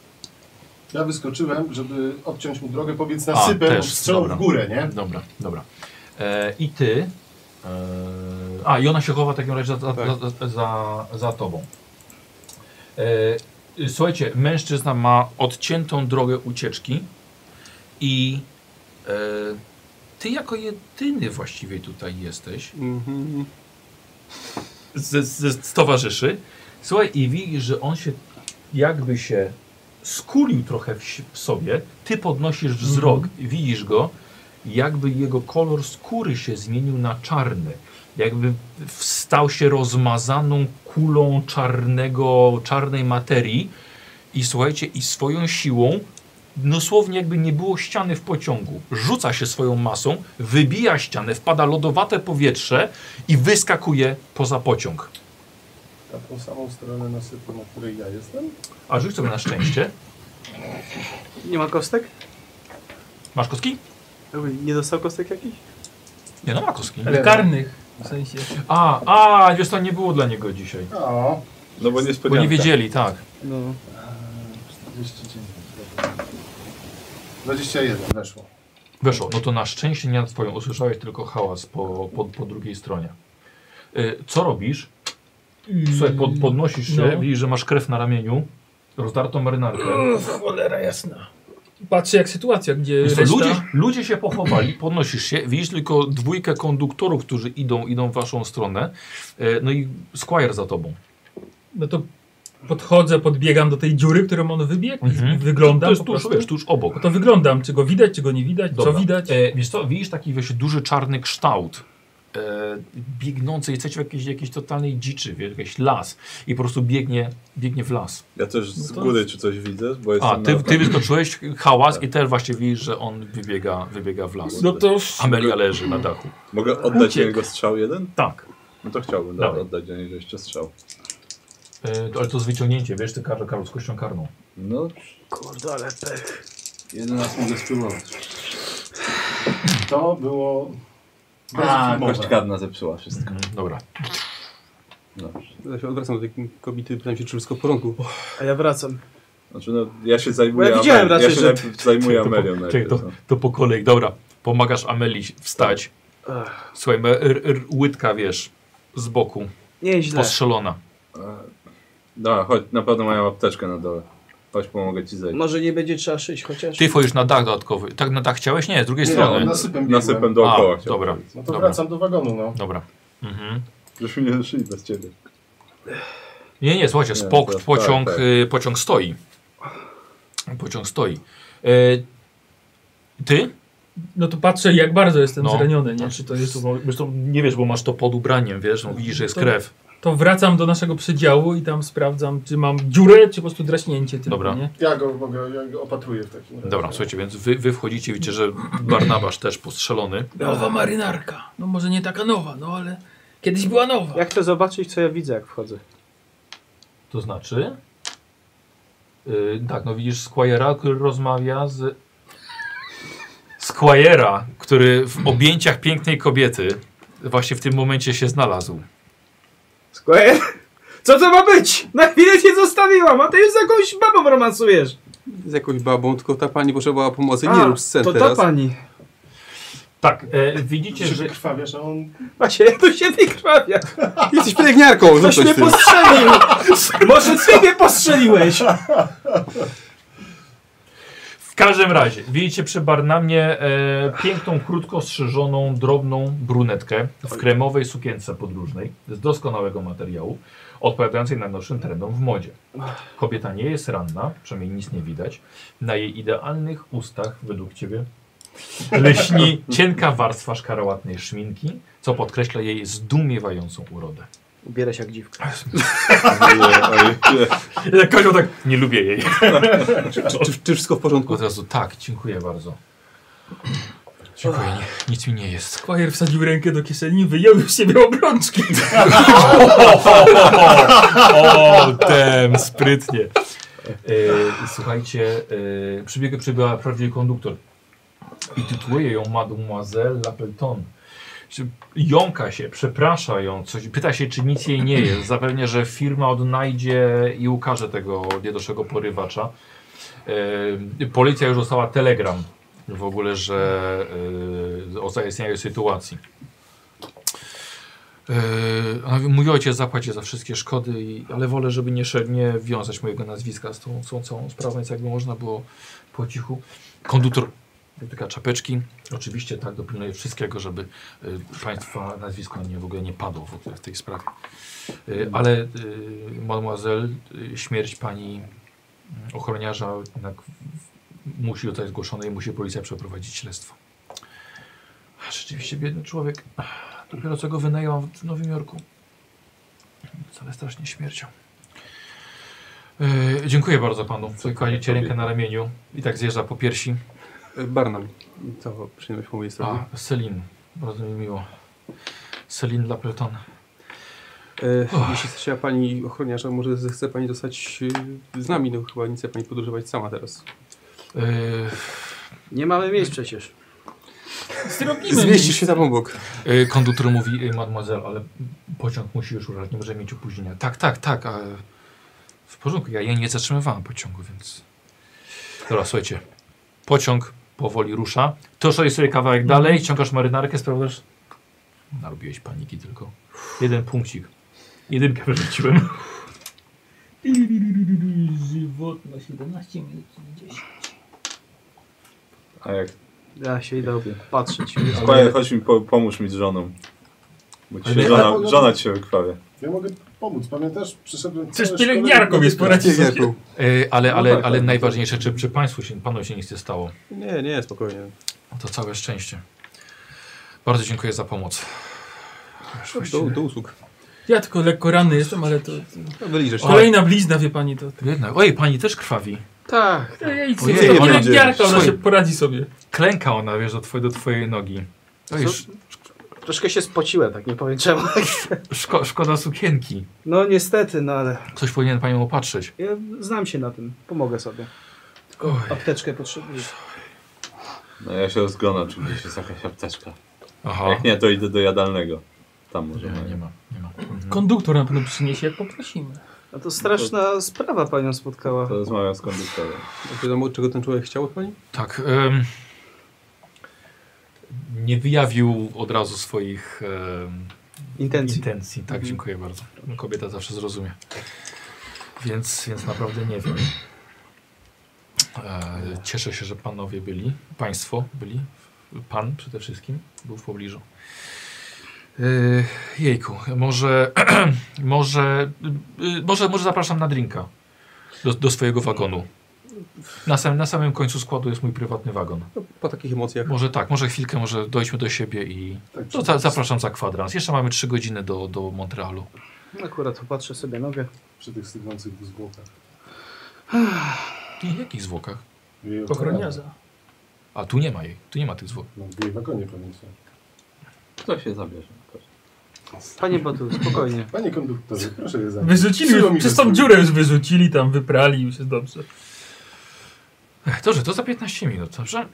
J: Ja wyskoczyłem, żeby obciąć mu drogę, powiedz na
A: A,
J: sypę, bo
A: też,
J: strzał
A: dobra.
J: w górę, nie?
A: Dobra, dobra. E, I ty. E, a, i ona się chowa w takim razie za, za,
G: Tak.
A: za, za, za tobą. E, słuchajcie, mężczyzna ma odciętą drogę ucieczki i e, ty jako jedyny właściwie tutaj jesteś
G: Mhm.
A: ze, ze, z towarzyszy. Słuchaj, i widzisz, że on się jakby się skulił trochę w, si- w sobie. Ty podnosisz wzrok, widzisz go, jakby jego kolor skóry się zmienił na czarny. Jakby wstał się rozmazaną kulą czarnego, czarnej materii. I słuchajcie, i swoją siłą, dosłownie No jakby nie było ściany w pociągu, rzuca się swoją masą, wybija ścianę, wpada lodowate powietrze i wyskakuje poza pociąg.
J: Na tą samą stronę na sypę, na której ja jestem.
A: A rzuć sobie na szczęście.
B: Nie ma kostek?
A: Masz kostki?
B: Jakby Nie dostał kostek jakichś?
A: Nie, no ma kostki.
D: Ale karnych, w sensie.
A: A, a, wiesz, to nie było dla niego dzisiaj.
J: O,
C: No bo
A: Bo
C: niespodzianka.
A: nie wiedzieli, tak.
B: No.
J: 49. dobra. 21 weszło.
A: Weszło. No to na szczęście nie na twoją. Usłyszałeś tylko hałas po, po, po drugiej stronie. Y, co robisz? Słuchaj, pod, podnosisz się,
D: Mm. No.
A: widzisz, że masz krew na ramieniu, rozdartą marynarkę.
N: Cholera jasna.
D: Patrzę jak sytuacja, gdzie
A: Wiesz co,
D: reszta...
A: ludzie, ludzie się pochowali, podnosisz się, widzisz tylko dwójkę konduktorów, którzy idą, idą w waszą stronę. E, No i Squire za tobą.
D: No to podchodzę, podbiegam do tej dziury, którą on wybiegł
A: Mhm.
D: i wyglądam
A: To jest
D: po
A: tuż,
D: prostu.
A: wiesz, tuż obok.
D: No to wyglądam, czy go widać, czy go nie widać,
A: Dobra.
D: co widać.
A: E, wiesz co, widzisz taki wiesz, duży czarny kształt. E, biegnący, jesteś w jakiejś, jakiejś totalnej dziczy, wiesz, jakiś las. I po prostu biegnie, biegnie w las.
C: Ja też z
D: No to-
C: góry czy coś widzę, bo jestem
A: A, ty,
C: na... Tak.
A: ty wyskoczyłeś, hałas i też właśnie widzisz, że on wybiega, wybiega w las.
D: No to już...
A: Amelia leży na dachu.
C: Mogę oddać
D: Uciekł.
C: jego strzał jeden?
A: Tak.
C: No to chciałbym
A: Dawaj.
C: Dawaj. oddać do niego jeszcze strzał.
A: E, to- ale to z wyciągnięciem, wiesz, ty Karol, Karol z kością karną.
C: No,
N: Kurde, ale pech.
J: Jeden raz mogę spróbować. To było...
C: a,
J: bezfilmowe.
C: kość karna zepsuła wszystko.
A: Dobra.
C: Dobrze.
G: Ja się odwracam do tej kobiety, pytam się, czy wszystko w porządku.
B: A ja wracam.
C: Znaczy, no, ja się zajmuję
B: Bo ja widziałem
C: Amelią.
B: raczej,
C: ja się
B: że-
C: najpierw zajmuję Amelią
A: Czekaj,
C: najpierw.
A: to,
C: no.
A: to po kolei, dobra. Pomagasz Ameli wstać.
B: Ech,
A: Słuchaj, me- r, r, łydka, wiesz, z boku,
B: nieźle.
A: postrzelona.
C: Dobra, chodź, na pewno mają apteczkę na dole. Chodź, pomogę ci
J: No,
C: zejść.
N: Może nie będzie trzeba szyć, chociaż.
A: Ty wchodzisz na dach dodatkowy. Tak na dach chciałeś? Nie, z drugiej
J: Nie,
A: strony.
J: no, nasypem biegłem.
C: Nasypem dookoła.
A: A,
C: chciałem
A: dobra.
C: powiedzieć.
J: No to
A: Dobra.
J: wracam do wagonu, no.
A: Dobra. Mhm.
C: Żeśmy nie ruszyli bez ciebie.
A: Nie, nie, słuchajcie,
C: Nie,
A: spok,
C: to- tak,
A: pociąg,
C: tak.
A: y, pociąg stoi. Pociąg stoi. E, ty?
D: No to patrzę, jak bardzo jestem
A: No.
D: zraniony, nie? Czy to jest...
A: Zresztą, zresztą nie wiesz, bo masz to pod ubraniem, wiesz, no, widzisz, że
C: Tak,
A: jest krew.
D: To wracam do naszego przedziału i tam sprawdzam, czy mam dziurę, czy po prostu draśnięcie tylko,
A: Dobra.
D: nie?
J: Ja go mogę, ja go opatruję w takim
C: tak,
J: razie.
A: Dobra, słuchajcie, więc wy, wy wchodzicie, widzicie, że Barnabasz też postrzelony.
D: Nowa marynarka. No może nie taka nowa, no ale kiedyś była nowa.
B: Ja chcę zobaczyć, co ja widzę, jak wchodzę.
A: To znaczy? Yy, tak, no widzisz Squire'a, który rozmawia z... Squire'a, który w objęciach pięknej kobiety właśnie w tym momencie się znalazł.
B: Square? Co to ma być? Na chwilę cię zostawiłam, a ty już z jakąś babą romansujesz.
G: Z jakąś babą, tylko ta pani potrzebowała pomocy. Nie
B: A,
G: rób scen
B: to ta
G: teraz.
B: pani.
A: Tak, e, widzicie, że...
J: krwawiasz, a on...
B: Właśnie, ja tu się wykrwawia.
G: Jesteś pielęgniarką,
B: Ktoś
G: rzucaj
B: mnie
G: tym.
B: postrzelił. Może ty mnie postrzeliłeś.
A: W każdym razie, widzicie przy Barnamie e, piękną, krótko strzyżoną, drobną brunetkę w kremowej sukience podróżnej z doskonałego materiału, odpowiadającej najnowszym trendom w modzie. Kobieta nie jest ranna, przynajmniej nic nie widać. Na jej idealnych ustach, według ciebie, leśni cienka warstwa szkarłatnej szminki, co podkreśla jej zdumiewającą urodę.
B: Ubiera się jak dziwka.
A: Jak kozioł tak, nie lubię jej.
G: Czy, czy, czy wszystko w porządku?
A: Od razu, tak, dziękuję bardzo. Dziękuję, nie, nic mi nie jest.
D: Squire wsadził rękę do kieszeni, wyjął już siebie obrączki.
A: O, tem, sprytnie. E, słuchajcie, e, przybiega, przybyła prawdziwy konduktor i tytułuje ją Mademoiselle Lapelton. Czy- Jąka się, przeprasza ją, coś, pyta się, czy nic jej nie jest. Zapewnia, że firma odnajdzie i ukaże tego niedoszłego porywacza. E, policja już dostała telegram w ogóle, że e, o zaistnieniu sytuacji. Yy, ona mówi, mój ojciec zapłaci za wszystkie szkody, i, ale wolę, żeby nie, sze- nie wiązać mojego nazwiska z tą, z tą całą sprawą, więc jakby można było po cichu. Konduktor dotyka czapeczki. Oczywiście tak, dopilnuję wszystkiego, żeby yy, państwa nazwisko nie, w ogóle nie padło w, ogóle w tej sprawie. Yy, ale yy, mademoiselle, yy, śmierć pani yy, ochroniarza jednak w- musi zostać zgłoszona i musi policja przeprowadzić śledztwo. A, Rzeczywiście biedny człowiek. Dopiero co go wynajęłam w Nowym Jorku. Wcale strasznie śmiercią. Yy, dziękuję bardzo panu. Kładziecie rękę na ramieniu i tak zjeżdża po piersi.
G: Barnum. To przyjemność po mojej stronie.
A: A, Selin. Bardzo mi miło. Selin Lapleton.
G: E,
A: Och.
G: jeśli chciała pani ochroniarza, może zechce pani zostać e, z nami. No chyba nie chce pani podróżować sama teraz.
A: Yy,
B: Nie mamy miejsc przecież.
D: Zdrobnimy.
G: Zmieścisz się tam obok.
A: yy, konduktor mówi, yy, mademoiselle, ale pociąg musi już urwać, nie może mieć opóźnienia. Tak, tak, tak, ale w porządku, ja jej nie zatrzymywałem pociągu, więc... Dobra, słuchajcie. Pociąg powoli rusza. To szedłeś sobie kawałek dalej, ciągasz marynarkę, sprawdzasz. Narobiłeś paniki tylko. Jeden punkcik. Jedynkę wyrzuciłem.
D: Żywot na 17 minut 10.
C: A jak
B: Ja się idę obie. patrzeć.
C: Squire, chodź mi, po, pomóż mi z żoną. Bo ci
A: Ale-
C: się żona,
J: ale-
C: żona ci się wykrwawia.
J: Ja mogę pomóc, pamiętasz? Przyszedłem...
D: Przecież
J: całe
D: pielęgniarką
J: szkolenie-
D: jest, poradzi sobie.
G: Pielęgniarką.
A: Yy, ale
C: No
A: ale,
C: tak,
A: ale
C: tak.
A: najważniejsze, czy, czy państwu się, panu się nic nie stało?
G: Nie, nie, spokojnie.
A: To całe szczęście. Bardzo dziękuję za pomoc. Już
G: Do,
A: właściwie-
G: do usług. No,
D: Ja tylko lekko ranny jestem, ale to...
G: Wyliżesz. się.
D: Kolejna blizna, wie pani, to...
A: Jednak. Ojej, pani też krwawi.
B: Tak.
D: Ej, co,
A: Ojej,
D: co,
A: ona-
D: pielęgniarka, ona się
A: Słuchaj.
D: poradzi sobie.
A: Klęka ona, wiesz, do, twoje, do twojej nogi. Ojej,
B: Co?
A: sz,
B: Troszkę się spociłem, tak nie powiem czemu.
A: szko, szkoda sukienki.
B: No niestety, no ale
A: Ktoś powinien panią opatrzyć.
B: ja znam się na tym. Pomogę sobie.
A: Oj.
B: Apteczkę potrzebuję.
C: No ja się rozglądam, czy gdzieś jest jakaś apteczka.
A: Aha.
C: Jak nie, to idę do jadalnego. Tam może
A: Nie,
C: mają.
A: nie ma, nie ma. Mhm.
D: Konduktor na pewno przyniesie, jak poprosimy.
B: No to straszna sprawa panią spotkała.
C: To rozmawiam z konduktorem.
G: Wiadomo, czego ten człowiek chciał od pani?
A: Tak. em, nie wyjawił od razu swoich em,
B: Intencji.
A: intencji. Tak, dziękuję bardzo. Kobieta zawsze zrozumie. Więc, więc naprawdę nie wiem. E, cieszę się, że panowie byli, państwo byli, pan przede wszystkim był w pobliżu. E, jejku, może, e, może, y, może, może zapraszam na drinka do, do swojego wagonu. Na, sam, na samym końcu składu jest mój prywatny wagon.
G: No, po takich emocjach.
A: Może tak, może chwilkę, może dojdźmy do siebie i...
J: Tak,
A: To No za, zapraszam za kwadrans. Jeszcze mamy 3 godziny do, do Montrealu.
B: Akurat popatrzę sobie nogę.
J: przy tych sygnących w zwłokach.
A: Nie, jakich zwłokach?
J: W jej wagonie.
D: Ochroniarza.
A: A tu nie ma jej, tu nie ma tych zwłok.
J: No, w jej wagonie pewnie są.
C: Kto się zabierze?
B: Panie Botu, spokojnie.
J: Panie konduktorze, proszę je zabrać.
D: Wyrzucili,
J: Przyjął
D: już,
J: mi
D: przez
J: wysłanie.
D: tą dziurę już wyrzucili tam, wyprali, już jest dobrze.
A: Ech, Dobrze, to za 15 minut, dobrze?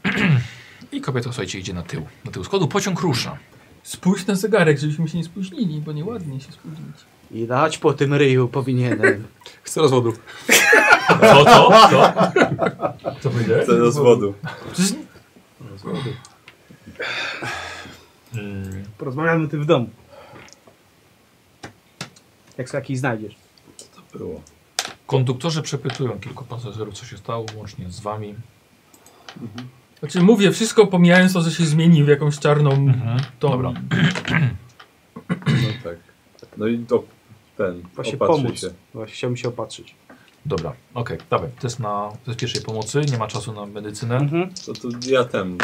A: I kobieta, słuchajcie, idzie na tył. Na tył składu pociąg rusza.
D: Spójrz na zegarek, żebyśmy się nie spóźnili, bo nieładnie się spóźnić.
B: I dać po tym ryju powinienem.
G: Chcę rozwodu.
E: Co, co, co? Co powiedziałeś?
C: Chcę rozwodu.
D: Przecież
A: Mm,
B: Porozmawiamy o tym w domu. Jak sobie jakiś znajdziesz.
C: Było.
A: Konduktorzy przepytują kilku pasażerów, co się stało, łącznie z wami.
D: Znaczy mówię wszystko pomijając to, że się zmienił w jakąś czarną
A: Mhm.
D: tą.
A: Dobra.
C: No tak. No i to ten.
B: Właśnie
C: opatrzy
B: pomóc.
C: Się.
B: Właśnie chciałbym się opatrzyć.
A: Dobra, okej, dawaj. To jest na to jest pierwszej pomocy, nie ma czasu na medycynę.
B: Mhm.
C: To, No to ja ten.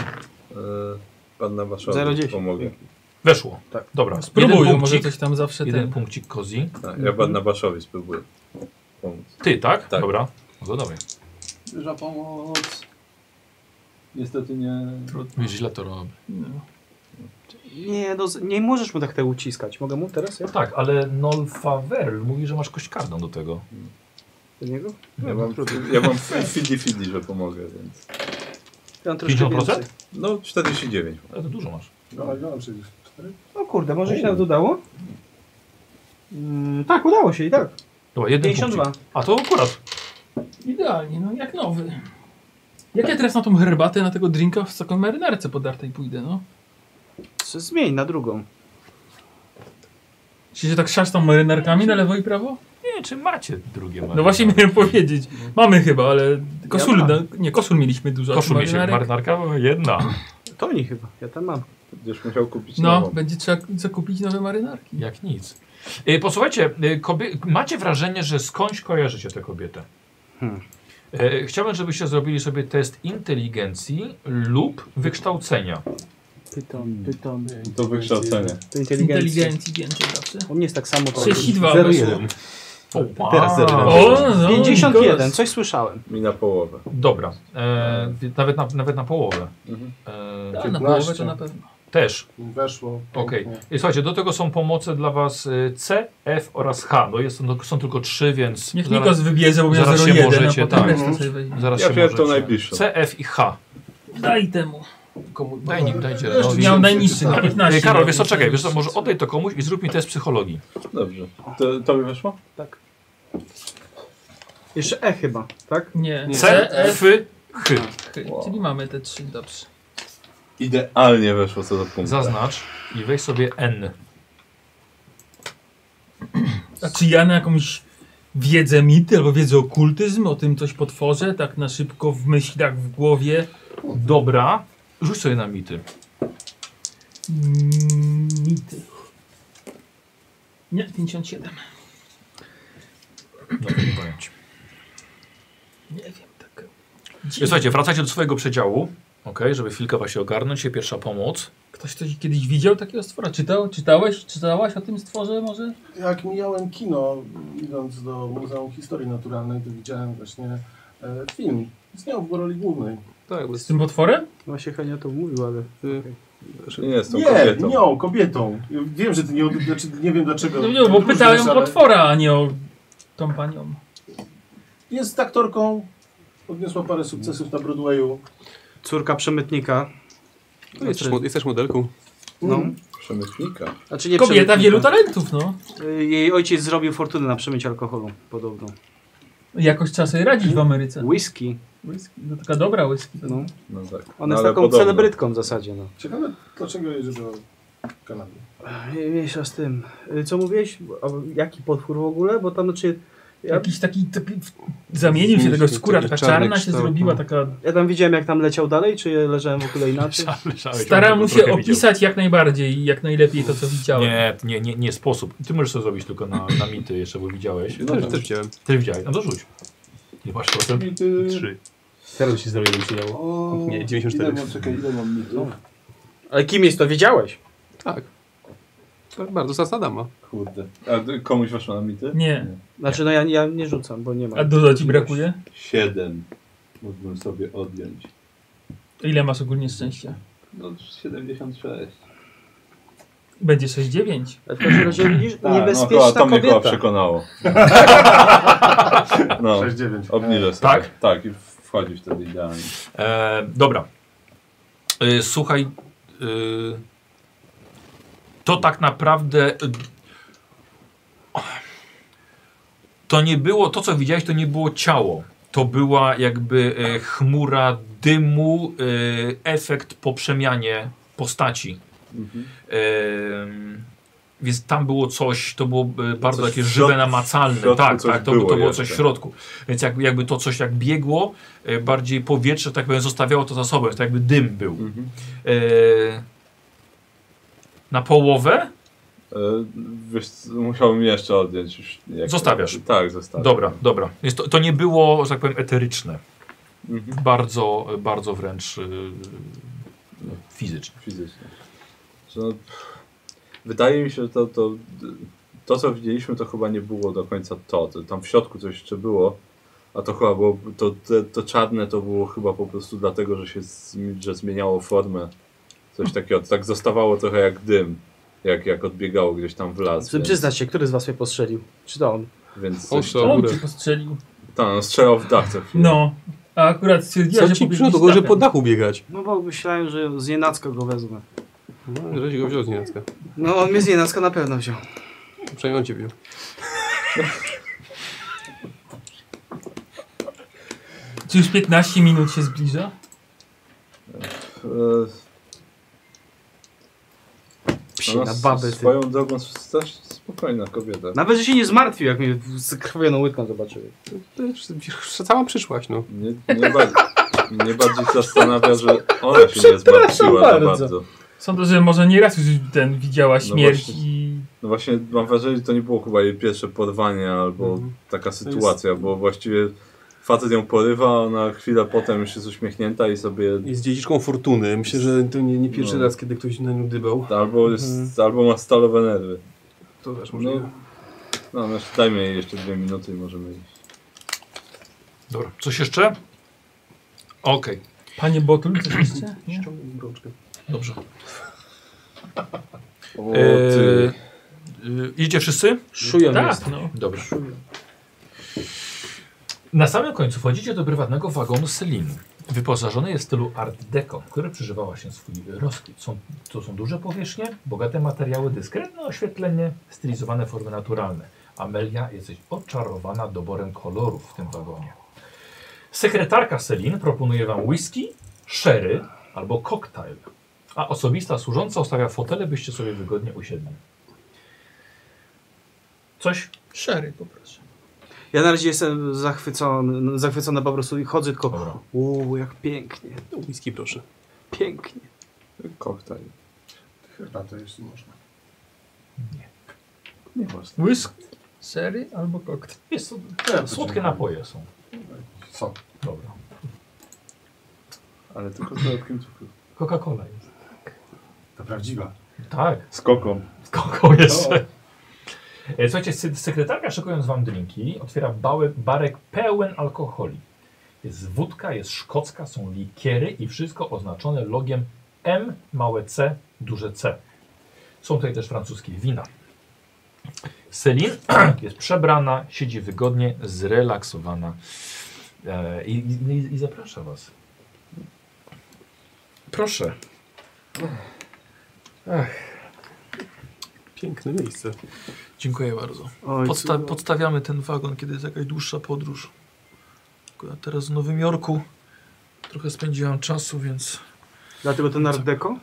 C: E, pan na
B: Zero
C: Warszawie
B: dziesięć.
C: pomogę.
A: Weszło.
B: Tak.
A: Dobra,
D: Spróbuję,
A: jeden
D: może
A: punkcik,
D: coś tam zawsze
A: jeden
D: ten.
A: punkcik kozi.
C: Tak, ja pan na Warszawie spróbuję pomóc.
A: Ty, tak?
C: Tak.
A: Dobra. No to dawaj.
C: Duża pomoc. Niestety nie.
A: Wiesz, źle to robi.
B: Nie, no, z- nie możesz mu tak tego uciskać. Mogę mu teraz? Ja?
A: Tak, ale Nolfaverl mówi, że masz kość karną do tego.
B: Do niego?
C: Ja mam, ja mam fidi fidi, że pomogę, więc.
B: Ja mam troszkę
A: 50%?
B: więcej.
C: No 49.
A: Ale to dużo masz.
J: No, ale mam przecież cztery.
B: No kurde, może się nawet udało? Mm, tak, udało się i tak.
A: Dobra, jeden
B: 52.
A: punkcik. A to akurat.
D: Idealnie, no jak nowy. Jak ja teraz na tą herbatę, na tego drinka w taką marynarce podartej pójdę, no?
B: Co, Zmień na drugą.
D: Czy się tak szasztam marynarkami na lewo i prawo?
A: Nie, czy macie drugie
D: No właśnie miałem powiedzieć. Mamy chyba, ale koszul,
B: mam.
D: no, nie, koszul mieliśmy dużo. a
A: Koszul mi się
D: marynarek-
A: marynarka jedna.
B: To nie chyba, ja tam mam.
C: Będziesz musiał kupić
D: No,
C: nową.
D: będzie trzeba zakupić nowe marynarki.
A: Jak nic. Y, Posłuchajcie, y, kobie... macie wrażenie, że skądś kojarzycie tę kobietę.
B: Hmm.
A: Y, Chciałbym, żebyście zrobili sobie test inteligencji lub wykształcenia.
B: Pytam, pytam.
C: To wykształcenie.
B: To inteligencja.
D: Inteligencji więcej zawsze.
B: U mnie jest tak samo. powiem.
D: 32
F: Zero
D: weszło.
F: jeden.
A: O,
B: Teraz
A: wow.
B: zerwę.
D: O, no,
B: 51, coś słyszałem.
C: Mi na połowę.
A: Dobra, e, nawet, na, nawet na połowę.
C: Mhm.
A: E,
D: Tak, na
J: 15.
D: połowę to na pewno.
A: Też,
J: Weszło.
A: okej.
J: pięknie.
A: Y, Słuchajcie, do tego są pomoce dla was y, C, F oraz H. No jest, no, są tylko trzy, więc
D: Niech
A: zaraz,
D: Nikos wybierze, bo miał
A: zaraz się
D: 01, a
A: możecie,
D: potem
A: tak.
D: resztę sobie weźmie.
A: zaraz
C: Ja
A: się
C: wziąłem tą
A: możecie.
C: najbliższą.
A: C, F i H.
D: Daj temu.
A: Komu, daj nim, dajcie.
J: Jeszcze
A: Renowi.
J: nie
D: Miał najniższy, na 15.
A: Ej, Karol, wiesz co, czekaj, wiesz co, może oddaj to komuś i zrób mi test psychologii.
C: Dobrze. To, tobie weszło?
B: Jeszcze E chyba, tak?
D: Nie,
A: C, F, H.
D: K, Czyli mamy te trzy, dobrze.
C: Idealnie weszło co do punktu.
A: Zaznacz i weź sobie N.
D: A czy ja na jakąś wiedzę mity albo wiedzę okultyzm, o tym coś potworzę, tak na szybko w myślach, w głowie?
A: Dobra, rzuć sobie na mity.
D: Mm, Mity. Nie, 57.
A: No, to nie powiem ci.
D: Nie wiem, tak.
A: I Słuchajcie, wracacie do swojego przedziału, ok, żeby chwilkę właśnie ogarnąć się, pierwsza pomoc.
D: Ktoś coś kiedyś widział takiego stwora? Czytał, czytałeś, czytałaś o tym stworze może?
J: Jak mijałem kino, idąc do Muzeum Historii Naturalnej, to widziałem właśnie e, film. Istniał w roli głównej.
G: Tak, bo
D: Z tym potworem?
B: Właśnie Hania to mówił, ale...
C: Znaczy, Nie jest tą
J: nie,
C: kobietą.
J: nią, kobietą. Wiem, że ty nie, od- znaczy, nie wiem dlaczego.
D: No, nie, bo
J: odróżniasz,
D: pytałem o
J: ale
D: potwora, a nie o tą panią.
J: Jest aktorką, odniosła parę sukcesów na Broadwayu.
B: Córka przemytnika.
G: Jesteś, mo- jesteś modelką.
B: No.
C: Przemytnika.
B: Znaczy nie
D: Kobieta
B: przemytnika.
D: wielu talentów, no.
B: Y, Jej ojciec zrobił fortunę na przemycie alkoholu, podobno.
D: Jakoś trzeba sobie radzić w Ameryce.
B: Whisky.
D: Whisky, no taka dobra whisky. to-
B: No.
C: No tak.
B: Ona
C: no,
B: jest
C: ale
B: taką
C: podobno.
B: celebrytką w zasadzie, no.
J: Ciekawe, dlaczego jedzie do Kanady.
B: Ej, Mniejsza z tym. Y, Co mówiłeś? A Jaki potwór w ogóle? Bo tam znaczy... Ja,
D: Jakiś taki, taki w- zamienił się tego
G: Zmienił się
D: skóra,
G: taki
D: taka
G: czarny
D: czarna się
G: kształt,
D: zrobiła,
G: no.
D: taka...
B: ja tam widziałem jak tam leciał dalej, czy leżałem w ogóle inaczej?
A: Leżałeś,
D: Starałem
A: on
D: mu
A: tylko
D: się
A: trochę widział.
D: opisać jak najbardziej i jak najlepiej to, co widziałem.
A: Nie, nie, nie, nie sposób. Ty możesz to zrobić tylko na, na mity jeszcze, bo widziałeś.
G: No, też, też wziąłem.
A: Ty widziałeś, no to rzuć. Nie masz procent?
C: I ty-
A: Trzy.
F: Teraz się zdrowie mi się dało.
C: O,
F: Nie, 94.
C: Ile mam, czekaj, ile mam mitów?
B: Ale kim jest to wiedziałeś?
G: Tak. To bardzo zasada ma.
C: Kurde. A ty- komuś weszło na mity?
D: Nie.
B: Znaczy, no ja, ja nie rzucam, bo nie mam.
D: A dużo ci brakuje?
C: Siedem. Mógłbym sobie odjąć.
D: Ile masz ogólnie szczęścia?
C: No 76.
D: Będzie 6-9.
B: A w każdym razie widzisz,
C: Tak,
B: niebezpieczna
C: to mnie chyba
B: kobieta.
C: przekonało. No,
J: 6-9.
C: obniżę sobie.
A: Tak?
C: Tak, i wchodzi wtedy idealnie.
A: E, dobra. E, słuchaj. E, to tak naprawdę. E, to nie było. To, co widziałeś, to nie było ciało. To była jakby e, chmura dymu, e, efekt po przemianie postaci.
C: Mhm.
A: Em, więc tam było coś, to było e, bardzo
C: coś
A: takie
C: w
A: żywe,
C: środ- w
A: namacalne.
C: środku
A: Tak,
C: coś
A: tak, to
C: było
A: było, to było coś
C: jeszcze.
A: w środku. Więc jak, jakby to coś jak biegło, e, bardziej powietrze, tak powiem, zostawiało to za sobą, to jakby dym był.
C: Mhm.
A: E, na połowę?
C: E, Wiesz, co, musiałbym jeszcze odjąć. Już jak-
A: Zostawiasz.
C: Tak, zostawiam.
A: Dobra, dobra. Więc to, to nie było, że tak powiem, eteryczne.
C: Mhm.
A: Bardzo, bardzo wręcz e, fizyczne.
C: Fizycznie. Że No, pff, wydaje mi się, że to, to, to, co widzieliśmy, to chyba nie było do końca to. to tam w środku coś jeszcze było, a to chyba było, to, to, to czarne to było chyba po prostu dlatego, że się zmi- że zmieniało formę. Coś takiego. To tak zostawało trochę jak dym, jak, jak odbiegało gdzieś tam w las.
B: Chcę
C: Więc,
B: przyznać się, który z was mnie postrzelił? Znaczy, Czy to on?
C: więc
G: O,
C: coś,
G: co?
D: On
G: Dobra.
D: cię postrzelił.
C: ta, no, strzelał w dach co chwilę.
D: No. A akurat stwierdziła,
G: Co
D: że
G: ci
D: pobiegli
G: przyszło do głowy, że
D: stawem.
G: po dachu biegać?
B: No bo myślałem, że z nienacka go wezmę.
G: No, żeś go wziął z nienacka.
B: No on mnie z nienacka na pewno wziął.
G: Przynajmniej on cię wziął.
D: Czy już 15 minut się zbliża?
C: E,
B: Psie
C: ona
B: na
C: no, s-
B: babę. Ty.
C: Swoją drogą też spokojna kobieta.
B: Nawet, że się nie zmartwił, jak mnie z krwioną łydką zobaczyły.
G: To już- Sama przyszłaś, no.
C: Mnie, mnie, ba- mnie bardziej zastanawia, że ona się nie zmartwiła za
B: bardzo.
C: bardzo. No
D: Sądzę, że może nie raz już ten widziała śmierć
C: właśnie.
D: i
C: No właśnie mam wrażenie, że to nie było chyba jej pierwsze porwanie albo taka sytuacja, bo właściwie facet ją porywa, a ona chwilę potem już jest uśmiechnięta i sobie
G: Jest dziedziczką fortuny. Myślę, że to nie, nie pierwszy
C: No.
G: raz, kiedy ktoś na nią dybał.
C: albo, jest, albo ma stalowe nerwy.
G: To też
C: No,
G: możliwe.
C: no, no dajmy jej jeszcze dwie minuty i możemy iść.
A: Dobra. Coś jeszcze? Okej,
D: panie Botul, coś jeszcze? Nie?
G: Ściągnij brączkę.
A: dobrze.
C: O,
D: E,
A: Eee,
C: ty.
A: y, idzie wszyscy?
B: Szują tak.
D: Tak, no.
A: Dobra. Na samym końcu wchodzicie do prywatnego wagonu Seliny. Wyposażony jest w stylu Art Deco, który przeżywała się swój rozkwit. Są, to są duże powierzchnie, bogate materiały, dyskretne oświetlenie, stylizowane formy naturalne. Amelia jesteś oczarowana doborem kolorów w tym wagonie. Sekretarka Selin proponuje wam whisky, sherry albo koktajl, a osobista służąca ustawia fotele, byście sobie wygodnie usiedli. Coś
N: Szary poproszę.
B: Ja na razie jestem zachwycony, zachwycony po prostu i chodzę
A: Dobra.
B: tylko uuu, jak pięknie,
G: Whisky proszę.
B: pięknie.
C: Koktajl.
J: Chyba to jeśli można.
C: Nie właśnie.
D: Łysk?
N: Sery albo koktajl.
A: Jest to,
J: podziękuję.
A: słodkie napoje są.
J: Co?
A: Dobra.
C: Ale tylko z dodatkiem cukru.
A: Coca-Cola jest.
J: To prawdziwa.
A: Tak,
C: Z koką.
A: z koką jeszcze. E, Słuchajcie, sy- sekretarka szykując wam drinki, otwiera bałek, barek pełen alkoholi. Jest wódka, jest szkocka, są likiery i wszystko oznaczone logiem M, małe C, duże C. Są tutaj też francuskie wina. Selin jest przebrana, siedzi wygodnie, zrelaksowana e, i, i, i zaprasza was.
N: Proszę.
G: Piękne miejsce.
N: Dziękuję bardzo.
B: Oj,
N: Podsta podstawiamy ten wagon, kiedy jest jakaś dłuższa podróż. Akurat teraz w Nowym Jorku trochę spędziłam czasu, więc
B: Dlatego ten Art Deco?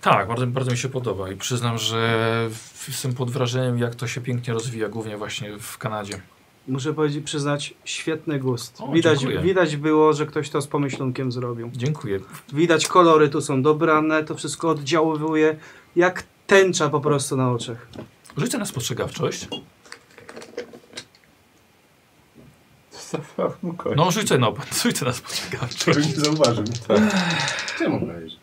N: tak, bardzo, bardzo mi się podoba i przyznam, że w- jestem pod wrażeniem, jak to się pięknie rozwija, głównie właśnie w Kanadzie.
B: Muszę powiedzieć, przyznać, świetny gust.
N: O,
B: widać,
N: dziękuję.
B: widać było, że ktoś to z pomyślunkiem zrobił.
N: Dziękuję.
B: Widać kolory tu są dobrane, to wszystko oddziaływuje jak tęcza po prostu na oczach.
N: Rzucę na spostrzegawczość.
C: Zafamu koń.
A: No rzuć sobie na opłat, rzuć sobie na spostrzegawczość.
J: Czego nie zauważył. Gdzie mam leżeć?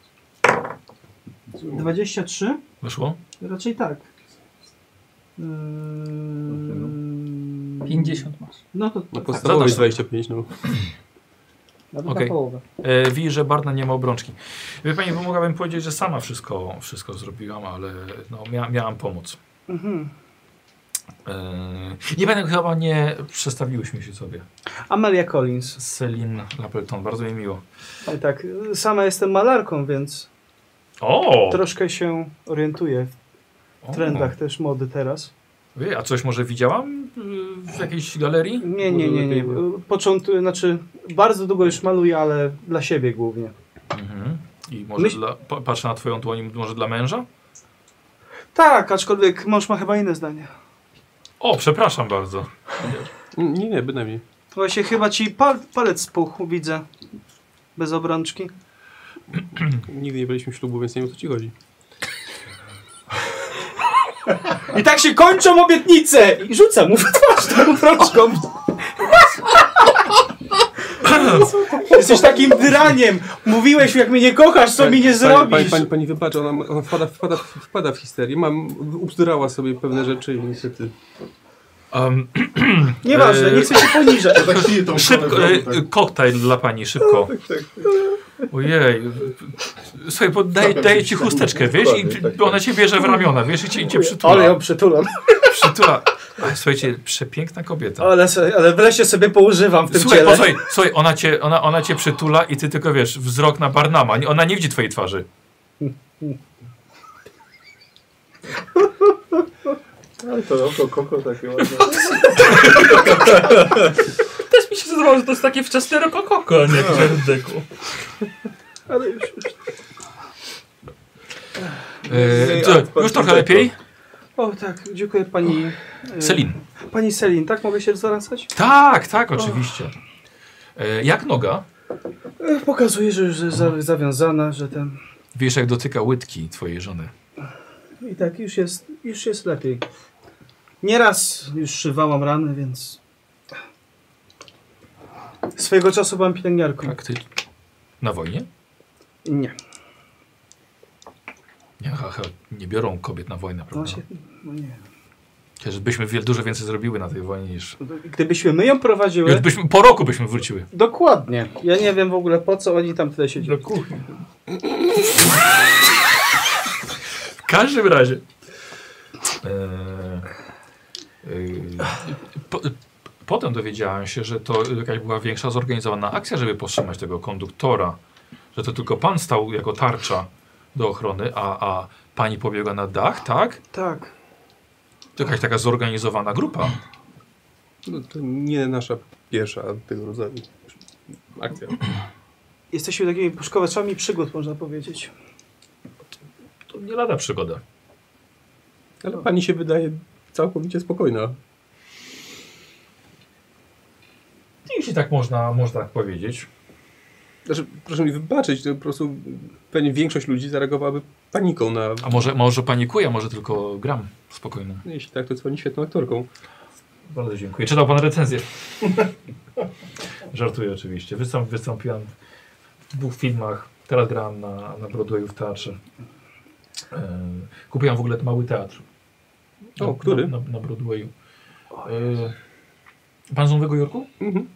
B: 23?
A: Wyszło?
B: Raczej tak. Yy...
D: 50 masz.
B: No to
G: No
B: tak,
G: podstawowy
A: zadasz.
G: jest 25, no.
B: nawet
A: okej.
B: na połowę.
A: E, Widzi, że Barna nie ma obrączki. Wie pani, bo mogłabym powiedzieć, że sama wszystko, wszystko zrobiłam, ale no, mia, miałam pomóc.
B: Mhm.
A: E, nie będę chyba nie przestawiłyśmy się sobie.
B: Amelia Collins.
A: Celine Lapelton, bardzo mi miło.
B: Ale tak, y, sama jestem malarką, więc
A: O!
B: troszkę się orientuję
A: O!
B: w trendach też mody teraz.
A: Wie, a coś może widziałam y, w jakiejś galerii?
B: Nie, nie, nie, nie. Początku, znaczy bardzo długo już maluję, ale dla siebie głównie.
A: Mhm. I może
B: Myśl-
A: dla, pa- patrzę na twoją dłoń, może dla męża?
B: Tak, aczkolwiek mąż ma chyba inne zdanie.
A: O, przepraszam bardzo.
G: Mm, Nie, nie, bynajmniej.
B: Właśnie chyba ci pal, palec spuchł, widzę. Bez obrączki.
G: Nigdy nie byliśmy w ślubu, więc nie wiem o co ci chodzi.
B: I tak się kończą obietnice! I rzucam mu w twarz tą obrączką. Jesteś takim dyraniem! Mówiłeś, jak mnie nie kochasz, co mi nie
G: Pani, pani,
B: zrobisz!
G: pani, pani wybacz, ona, ona wpada, wpada, wpada w histerię. Mam, ubzdurała sobie pewne rzeczy i niestety.
A: Um,
B: Nieważne, nie chcę się poniżać.
J: Właściwie tą
A: szybko,
J: kolę tak.
A: e,
J: w ogóle.
A: koktajl dla pani, szybko. Ojej. Słuchaj, bo daję, daję ci chusteczkę, wiesz? I
C: Dokładnie, tak.
A: ona cię bierze w ramiona, wiesz? I cię, i cię przytula.
B: Ale ją przytulam.
A: przytula. A, słuchajcie, przepiękna kobieta.
B: Ale, se- ale wreszcie sobie poużywam w tym
A: Słuchaj,
B: ciele.
A: posłuchaj, słuchaj, ona cię, ona, ona cię przytula i ty tylko wiesz, wzrok na Barnama. Nie- Ona nie widzi twojej twarzy.
C: Ale to oko koko takie ładne.
D: Też mi się zdawało, że to jest takie wczesne rokokoko, a nie no.
A: E, co, już trochę lepiej?
B: O tak, dziękuję pani... e,
A: Selin.
B: Pani Selin, tak? Mogę się zwracać?
A: Tak, tak, oczywiście. E, jak noga?
B: E, Pokazuje, że już jest za- zawiązana, że ten...
A: Wiesz, jak dotyka łydki twojej żony.
B: I tak, już jest, już jest lepiej. Nieraz już szywałam rany, więc... Swojego czasu byłam pielęgniarką.
A: Tak, ty na wojnie?
B: Nie.
A: Nie, ha, ha, nie biorą kobiet na wojnę,
B: No,
A: prawda?
B: się, no nie.
A: Chociaż byśmy wiele, dużo więcej zrobiły na tej wojnie niż...
B: Gdybyśmy my ją prowadziły...
A: Już byśmy, po roku byśmy wróciły.
B: Dokładnie. Ja nie wiem w ogóle po co oni tam tyle siedzą.
D: Do kuchni.
A: W każdym razie... E, e, po, potem dowiedziałem się, że to jakaś była większa zorganizowana akcja, żeby powstrzymać tego konduktora. Że to tylko pan stał jako tarcza do ochrony, a, a pani pobiegła na dach, tak?
B: Tak.
A: To jakaś taka zorganizowana grupa.
G: No, to nie nasza pierwsza tego rodzaju akcja.
B: Jesteśmy takimi puszkowaczami przygód, można powiedzieć.
A: To nie lada przygoda.
G: Ale pani się wydaje całkowicie spokojna.
A: Jeśli tak można, można tak powiedzieć.
G: Znaczy, proszę mi wybaczyć, to po prostu pewnie większość ludzi zareagowałaby paniką na...
A: A może, może panikuję, a może tylko gram spokojnie.
G: Jeśli tak, to jest pani świetną aktorką.
A: Bardzo dziękuję. Czytał pan recenzję. Żartuję oczywiście. Wystąp, wystąpiłem w dwóch filmach. Teraz grałem na, na Broadwayu w teatrze. Yy, Kupiłem w ogóle mały teatr.
G: O,
A: Na-
G: który?
A: Na, na, na Broadwayu. Yy, Pan z Nowego Jorku?
G: Mhm.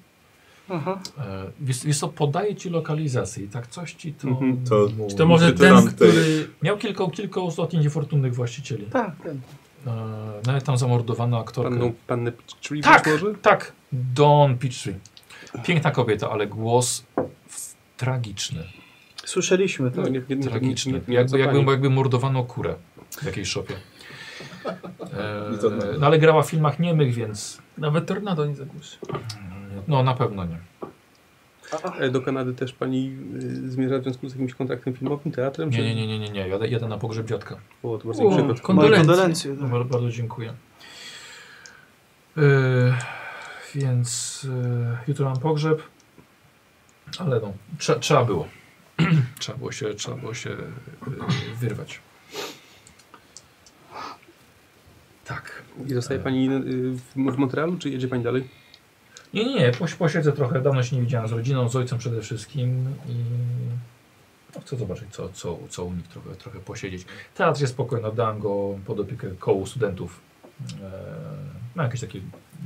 B: Aha.
A: Yy, Wiesz, wiesz co, podaję ci lokalizację i tak coś ci to...
C: Mhm, to-
A: mówi.
D: To może
C: Czy to tam
D: ten,
C: tej-
D: który...
A: Miał kilka, kilka ostatnich niefortunnych właścicieli.
B: Tak, ten.
A: E, nawet tam zamordowano aktorkę.
G: Panną, pannę Pitchtree
A: Tak,
G: być może?
A: tak. Dawn Petrie. Piękna kobieta, ale głos w... tragiczny.
B: Słyszeliśmy to.
G: No, nie, No, nie, nie,
A: Tragiczny.
G: nie- nie-
A: jakby,
G: co
A: jakby,
G: pani.
A: jakby mordowano kurę w jakiejś szopie. E,
C: I to nawet.
A: no ale grała w filmach niemych, więc
D: Nawet tornado nie zagłuszy.
A: no na pewno nie.
G: E, Do Kanady też pani y, zmierza w związku z jakimś kontraktem filmowym, teatrem?
A: Nie,
G: czy-
A: nie, nie, nie, nie, nie. Jadę, jadę na pogrzeb dziadka.
G: O, to bardzo mi przykro.
B: Moje
D: Kondolencje.
B: kondolencje. tak.
A: Bardzo, bardzo dziękuję. E, więc e, jutro mam pogrzeb, ale no, trze, trzeba było. trzeba było się, trzeba było się e, wyrwać. Tak.
G: I zostaje pani y, w, w Montrealu, czy jedzie pani dalej?
A: Nie, nie, nie, poś- posiedzę trochę, dawno się nie widziałem z rodziną, z ojcem przede wszystkim i no, chcę zobaczyć, co, co, co u nich, trochę, trochę posiedzieć. Teatr jest spokojny, oddałem go pod opiekę kołu studentów e, na jakąś taką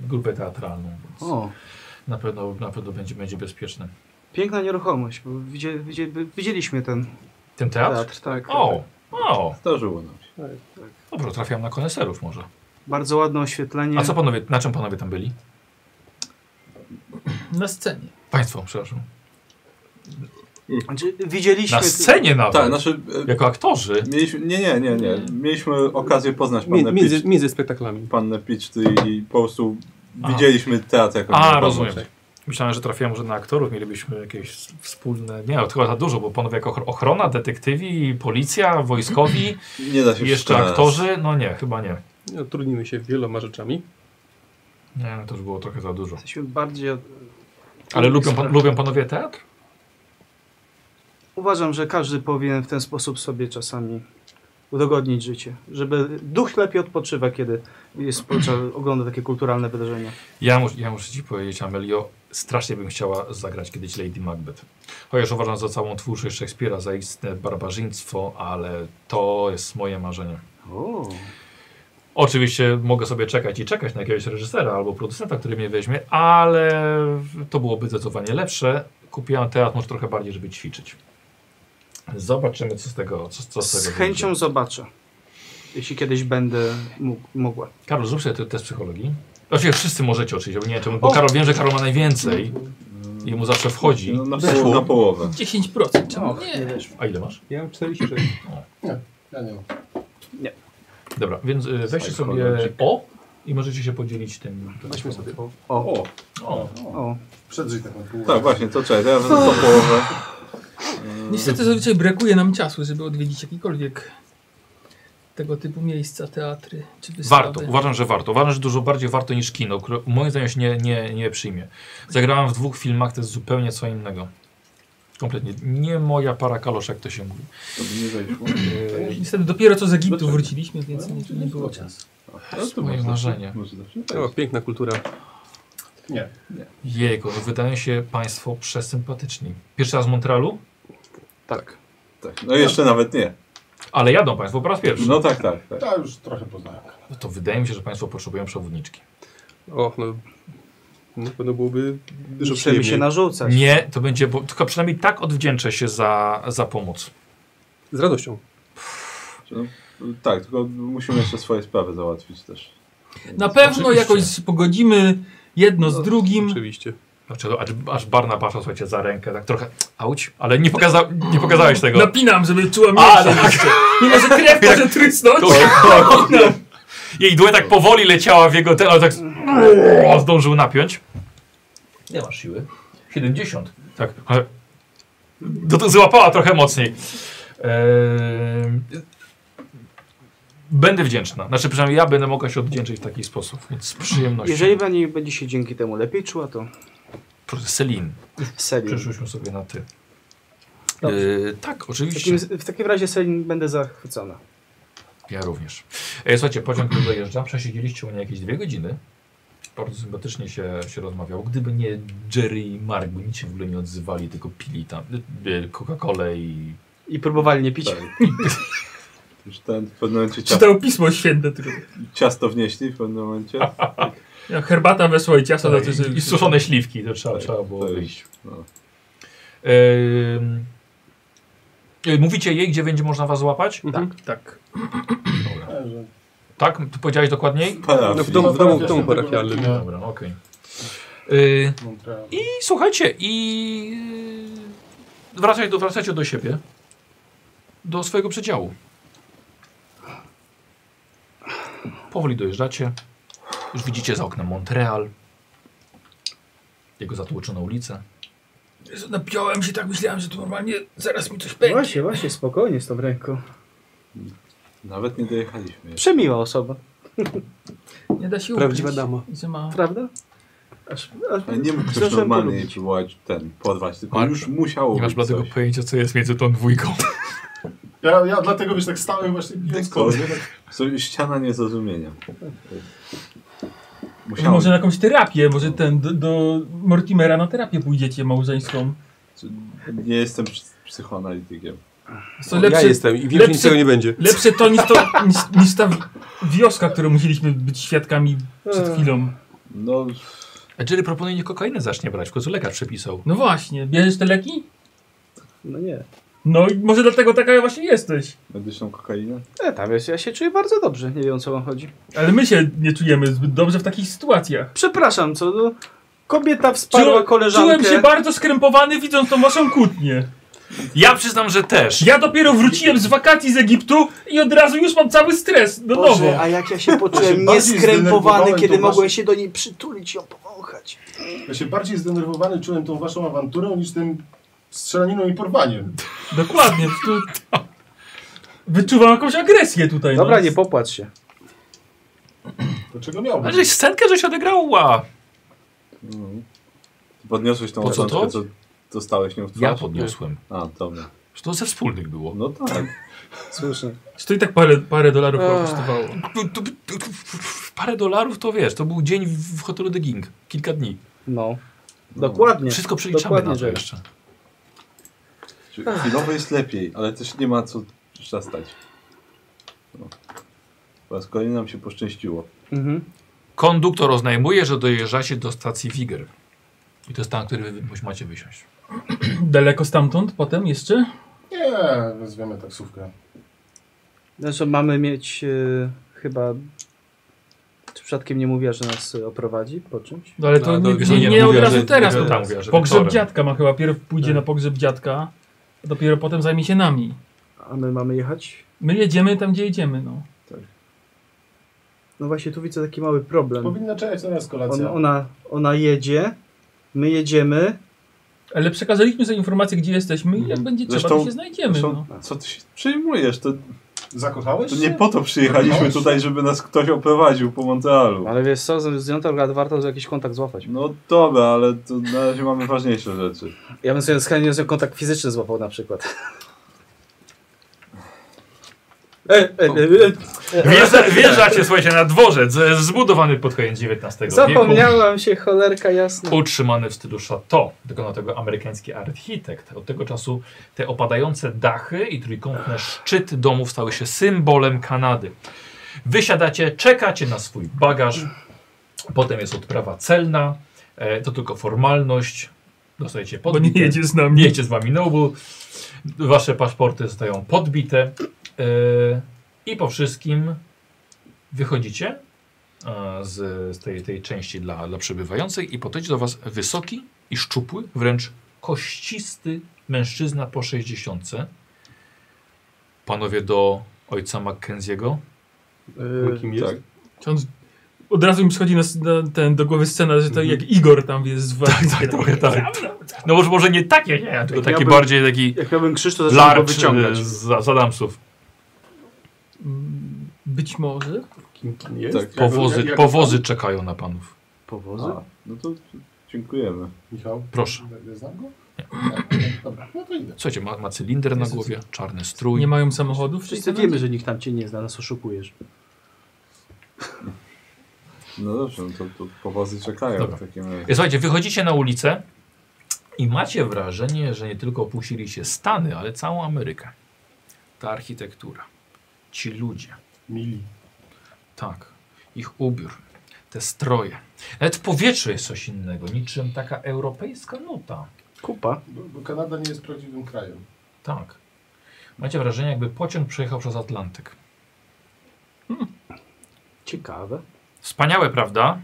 A: grupę teatralną, więc
J: O,
A: na pewno, na pewno będzie, będzie bezpieczne.
B: Piękna nieruchomość, bo widzie, widzie, widzieliśmy ten
A: Ten teatr?
B: teatr, tak.
A: O, o,
C: Zdarzyło nam się.
A: dobrze, trafiam na koneserów może.
B: Bardzo ładne oświetlenie.
A: A co panowie, na czym panowie tam byli?
D: Na scenie.
A: Państwo, przepraszam.
B: Znaczy, Widzieliśmy...
A: Na scenie nawet,
C: Tak, znaczy... e,
A: jako aktorzy.
C: Mieliśmy, nie, nie, nie, nie. Mieliśmy okazję poznać
G: Mi-
C: pannę
G: Między,
C: Pitch,
G: między spektaklami.
C: pannę Pitch i po prostu widzieliśmy teatr jako
A: A,
C: nieruchomość.
A: rozumiem. Myślałem, że trafiłem może na aktorów, mielibyśmy jakieś s- wspólne. Nie, to chyba za dużo, bo panowie jako ochr- ochrona, detektywi, policja, wojskowi,
C: Nie da się
A: i jeszcze
C: wszystko
A: aktorzy. No nie, chyba nie.
G: No, trudnimy się wieloma rzeczami.
A: Nie, no to już było trochę za dużo.
B: Jesteśmy bardziej... od-
A: Ale tak. lubią, pan, lubią panowie teatr?
B: Uważam, że każdy powinien w ten sposób sobie czasami udogodnić życie, żeby duch lepiej odpoczywa, kiedy jest, podczas- ogląda takie kulturalne wydarzenia.
A: Ja, mus, ja muszę ci powiedzieć, Amelio, strasznie bym chciała zagrać kiedyś Lady Macbeth. Chociaż No uważam za całą twórczość Szekspira za istne barbarzyństwo, ale to jest moje marzenie.
B: O.
A: Oczywiście mogę sobie czekać i czekać na jakiegoś reżysera albo producenta, który mnie weźmie, ale to byłoby zdecydowanie lepsze. Kupiłam teatr może trochę bardziej, żeby ćwiczyć. Zobaczymy, co z tego co, co z
B: Z
A: tego
B: chęcią
A: będzie.
B: zobaczę, jeśli kiedyś będę mógł, mogła.
A: Karol, zrób sobie te- test psychologii. Znaczy, wszyscy możecie oczywiście, bo nie wiem czemu, bo Karol, wiem, że Karol ma najwięcej i mu zawsze wchodzi.
C: No, na, pół, na połowę.
D: 10%. Czemu
B: Och,
D: nie?
A: A ile masz?
G: Ja mam 46.
J: ja nie mam.
A: Dobra, więc y, weźcie sobie o i możecie się podzielić tym.
B: Weźmy sobie o.
C: O,
A: O,
B: o.
J: Przedrzyj taką połowę.
C: tak właśnie, to czekaj, teraz będę po połowę.
D: Niestety zazwyczaj brakuje nam czasu, żeby odwiedzić jakikolwiek tego typu miejsca, teatry czy wystawy.
A: Warto, uważam, że warto. Uważam, że dużo bardziej warto niż kino, które moim zdaniem się nie, nie, nie przyjmie. Zagrałem w dwóch filmach, to jest zupełnie co innego. Kompletnie. Nie moja para kalosz, jak to się mówi.
C: To by nie weszło.
D: Niestety dopiero co z Egiptu wróciliśmy, więc nie, nie było czasu.
C: No to
A: Moje
C: może-
B: znaczy.
A: marzenie.
C: Może zawsze
G: O,
C: tak.
G: piękna kultura.
J: Nie.
A: Jego, no wydają się Państwo przesympatyczni. Pierwszy raz w Montrealu,
G: Tak.
C: tak. No jeszcze nawet nie.
A: ale jadą Państwo po raz pierwszy.
C: No tak, tak, tak.
J: Ja już trochę poznałem.
A: No to wydaje mi się, że Państwo potrzebują przewodniczki.
G: O, no. Na pewno byłoby dużo
B: Nie chcemy się
G: przyjemniej.
B: narzucać.
A: Nie, to będzie, bo, tylko przynajmniej tak odwdzięczę się za, za pomoc.
G: Z radością.
C: No, tak, tylko musimy jeszcze swoje sprawy załatwić też.
D: Na pewno
A: Oczywiście.
D: jakoś pogodzimy jedno
B: No,
D: z drugim.
G: Oczywiście.
A: Znaczy, aż, aż Barna pasza, słuchajcie, za rękę, tak trochę, auć, ale nie, pokaza, nie pokazałeś tego.
D: Napinam, żeby czuła
A: A,
D: mięśnie.
A: tak.
D: Mimo, że krew może trysnąć.
A: Jej dłoń tak powoli leciała w jego ten, ale tak o, zdążył napiąć. Nie masz siły. 70. Tak. ale- Do, do, złapała trochę mocniej. Ehm, Będę wdzięczna. Znaczy przynajmniej ja będę mogła się odwdzięczyć w taki sposób. Więc z przyjemnością.
B: Jeżeli pani będzie się dzięki temu lepiej czuła, to
A: Selin,
B: Selin.
A: przeszłyśmy sobie na ty.
B: Dobrze.
A: Ehm, tak,
B: W
A: oczywiście.
B: takim, w takim razie Selin będę zachwycona.
A: Ja również. E, słuchajcie, pociąg już dojeżdża. Przesiedzieliście u niej jakieś dwie godziny. Bardzo sympatycznie się, się rozmawiało. Gdyby nie Jerry i Mark, bo nic się w ogóle nie odzywali, tylko pili tam y, y, Coca-Colę i...
B: I próbowali nie pić.
C: Tak. Już ten w pewnym momencie ciasto,
D: Czytał Pismo Święte tylko.
C: ciasto wnieśli w pewnym momencie.
D: Jak Herbata weszła i ciasto na to, że...
A: Tak. I, I suszone śliwki, to trzeba,
C: Tak,
A: trzeba było
C: to jest-
A: wyjść.
C: No.
A: Ym, y, mówicie jej, gdzie będzie można was złapać?
G: Mhm.
D: Tak.
A: Dobra. Tak? Ty powiedziałeś dokładniej?
C: Parafii.
G: No, w domu, w domu, w domu parafialnym.
A: Dobra, okej. Y,
J: Montreal.
A: I słuchajcie, i yy, wracaj do, wracacie do siebie, do swojego przedziału. Powoli dojeżdżacie, już widzicie za oknem Montreal, jego zatłoczone ulice.
D: Jezu, Napiąłem się, tak myślałem, że to normalnie zaraz mi coś pęknie.
B: Właśnie, właśnie, spokojnie z tą ręką.
C: Nawet nie dojechaliśmy. jeszcze.
B: Przemiła osoba,
D: Nie da się ukryć.
G: Prawdziwa dama.
D: Że ma...
B: prawda? Aż, aż
C: Ale Nie mógł ktoś
B: zdążyłem
C: normalnie jej
B: polubić.
C: próbować ten, podwać, tylko
A: Mark,
C: już musiało
A: Nie masz
C: być
A: bladego
C: coś.
A: pojęcia, co jest między tą dwójką.
J: Ja, ja dlatego wiesz, tak stałem właśnie pijąc
C: Tylko-
J: kolę.
C: Są ściana niezrozumienia.
A: No.
D: Że może na jakąś terapię, może ten do, do Mortimera na terapię pójdziecie małżeńską.
C: Nie jestem psy- psychoanalitykiem.
D: Co
G: ja jestem i wiem, że
D: lepszy-
G: niczego nie będzie.
D: lepsze to niż, to niż, niż ta wi- wioska, którą musieliśmy być świadkami przed chwilą.
C: No,
A: A Jerry proponuje nie kokainę zacznie brać, w końcu lekarz przepisał.
D: No właśnie, bierzesz te leki?
B: No nie.
D: No i może dlatego taka właśnie jesteś.
C: medyczną kokainę?
B: E, tam jest, ja się czuję bardzo dobrze, nie wiem o co wam chodzi.
D: Ale my się nie czujemy zbyt dobrze w takich sytuacjach.
B: Przepraszam, co? No, kobieta wsparła
D: Czułem- Czułem
B: koleżankę.
D: się bardzo skrępowany widząc tą waszą kłótnię.
A: Ja przyznam, że też.
D: Ja dopiero wróciłem z wakacji z Egiptu i od razu już mam cały stres No do domu.
B: Boże, a jak ja się
J: Ja się
B: poczułem
J: bardziej
B: nieskrępowany,
J: zdenerwowałem
B: kiedy
J: tą
B: mogłem się do niej przytulić i ją powąchać.
J: Ja się bardziej zdenerwowany czułem tą waszą awanturą niż tym strzelaniną i porwaniem.
D: Dokładnie. Tu... Wyczuwam jakąś agresję tutaj.
B: Dobra,
D: no.
B: nie popłacz się.
J: To czego miałbym?
A: Ale żeś scenkę żeś odegrała.
C: Mhm. Podniosłeś tą
A: Po co
C: książkę,
A: to?
C: co dostałeś nią w twarz?
A: Ja podniosłem.
C: A, dobra.
A: Że to ze wspólnych było.
C: No tak.
B: Słyszę.
D: Czy to i tak parę, parę dolarów chyba
B: Ech.
D: kosztowało?
A: Tu- tu- tu- tu- Parę dolarów to wiesz, to był dzień w w hotelu The King. Kilka dni.
B: No. Dokładnie.
A: Wszystko przeliczamy
B: Dokładnie,
A: na to
B: Jerry.
A: jeszcze.
C: Czyli Chwilowo jest lepiej, ale też nie ma co szastać. No. Po raz kolejny nam się poszczęściło.
B: Mhm.
A: Konduktor oznajmuje, że dojeżdżacie do stacji Wiger. I to jest tam, który wy wy- macie wysiąść.
D: Daleko stamtąd potem jeszcze?
J: Nie, wezwiemy taksówkę.
B: Znaczy mamy mieć e, chyba... Czy przypadkiem nie mówiła, że nas e, oprowadzi po czymś?
D: No ale to
A: No,
D: nie,
A: to-
D: nie, nie,
A: nie
D: od
A: mówiła,
D: razu
A: że-
D: teraz.
A: że-
D: to
A: tam mówiła, że
D: pogrzeb
A: wieczorem.
D: dziadka ma chyba. Pierw pójdzie
B: Tak.
D: na pogrzeb dziadka, a dopiero potem zajmie się nami.
B: A my mamy jechać?
D: My jedziemy tam, gdzie jedziemy, no.
B: No właśnie, tu widzę taki mały problem.
J: Powinna czekać na nas
B: On,
J: kolacja.
B: ona, ona jedzie, my jedziemy.
D: Ale przekazaliśmy sobie informację, gdzie jesteśmy
B: Mhm.
D: i jak będzie trzeba,
C: Zresztą-
D: to się znajdziemy,
C: Zresztą,
D: no.
C: co ty się przejmujesz? To,
J: Zakochałeś
C: to
J: się?
C: nie po to przyjechaliśmy tutaj, żeby nas ktoś oprowadził po Montrealu.
B: Ale wiesz co, z z nią to akurat warto jakiś kontakt złapać.
C: No dobra, ale to na razie mamy ważniejsze rzeczy.
B: Ja bym sobie z chęcią z nią kontakt fizyczny złapał na przykład. E, e, e, e,
A: Wjeżdża, wjeżdżacie, słuchajcie, na dworzec e, zbudowany pod koniec XIX wieku.
B: zapomniałam się, cholerka jasna.
A: Utrzymany w stylu chateau. Dokonał tego amerykański architekt. Od tego czasu te opadające dachy i trójkątne szczyty domów stały się symbolem Kanady. Wysiadacie, czekacie na swój bagaż. Potem jest odprawa celna. E, to tylko formalność. Dostajecie
D: Bo nie
A: podbite.
D: jedzie z nami.
A: Nie jedzie z wami Nobu. Wasze paszporty zostają podbite. E, I po wszystkim wychodzicie e, z, z tej, tej części dla, dla przebywających i podejdzie do was wysoki i szczupły, wręcz kościsty mężczyzna po 60. Panowie do ojca Mackenziego.
B: E,
G: Kim jest?
C: tak.
D: Czy on z- Od razu mi przychodzi na, s- na ten, do głowy scena, że to
B: Mhm.
D: jak Igor tam jest z tak, tak,
A: Trochę tak. No może, może nie takie, nie, tylko taki
B: miałbym-
A: bardziej taki
B: Jak miałbym krzyż, to zacząłem go
A: larcz e,
B: wyciągać.
A: z, z Adamsów.
D: Być może.
G: Kim, kim jest?
C: Tak.
A: Powozy, powozy czekają na panów.
B: Powozy?
C: A, no to dziękujemy.
J: Michał,
A: Proszę.
J: ja znam go? Dobra, no to idę.
A: Słuchajcie, ma, ma cylinder na głowie, czarny strój.
D: Nie mają samochodów.
B: No, Wszyscy
D: Czy-
B: wiemy, że nikt tam cię nie zna, nas oszukujesz.
C: No dobrze, no to, to powozy czekają
A: Dobra.
C: w takim razie.
A: Słuchajcie, wychodzicie na ulicę i macie wrażenie, że nie tylko opuściliście Stany, ale całą Amerykę. Ta architektura, ci ludzie,
J: Mili.
A: tak, ich ubiór, te stroje. Nawet w powietrzu jest coś innego, niczym taka europejska nuta.
B: Kupa.
J: Bo, bo Kanada nie jest prawdziwym krajem.
A: Tak. Macie wrażenie, jakby pociąg przejechał przez Atlantyk.
B: Ciekawe.
A: Wspaniałe, prawda?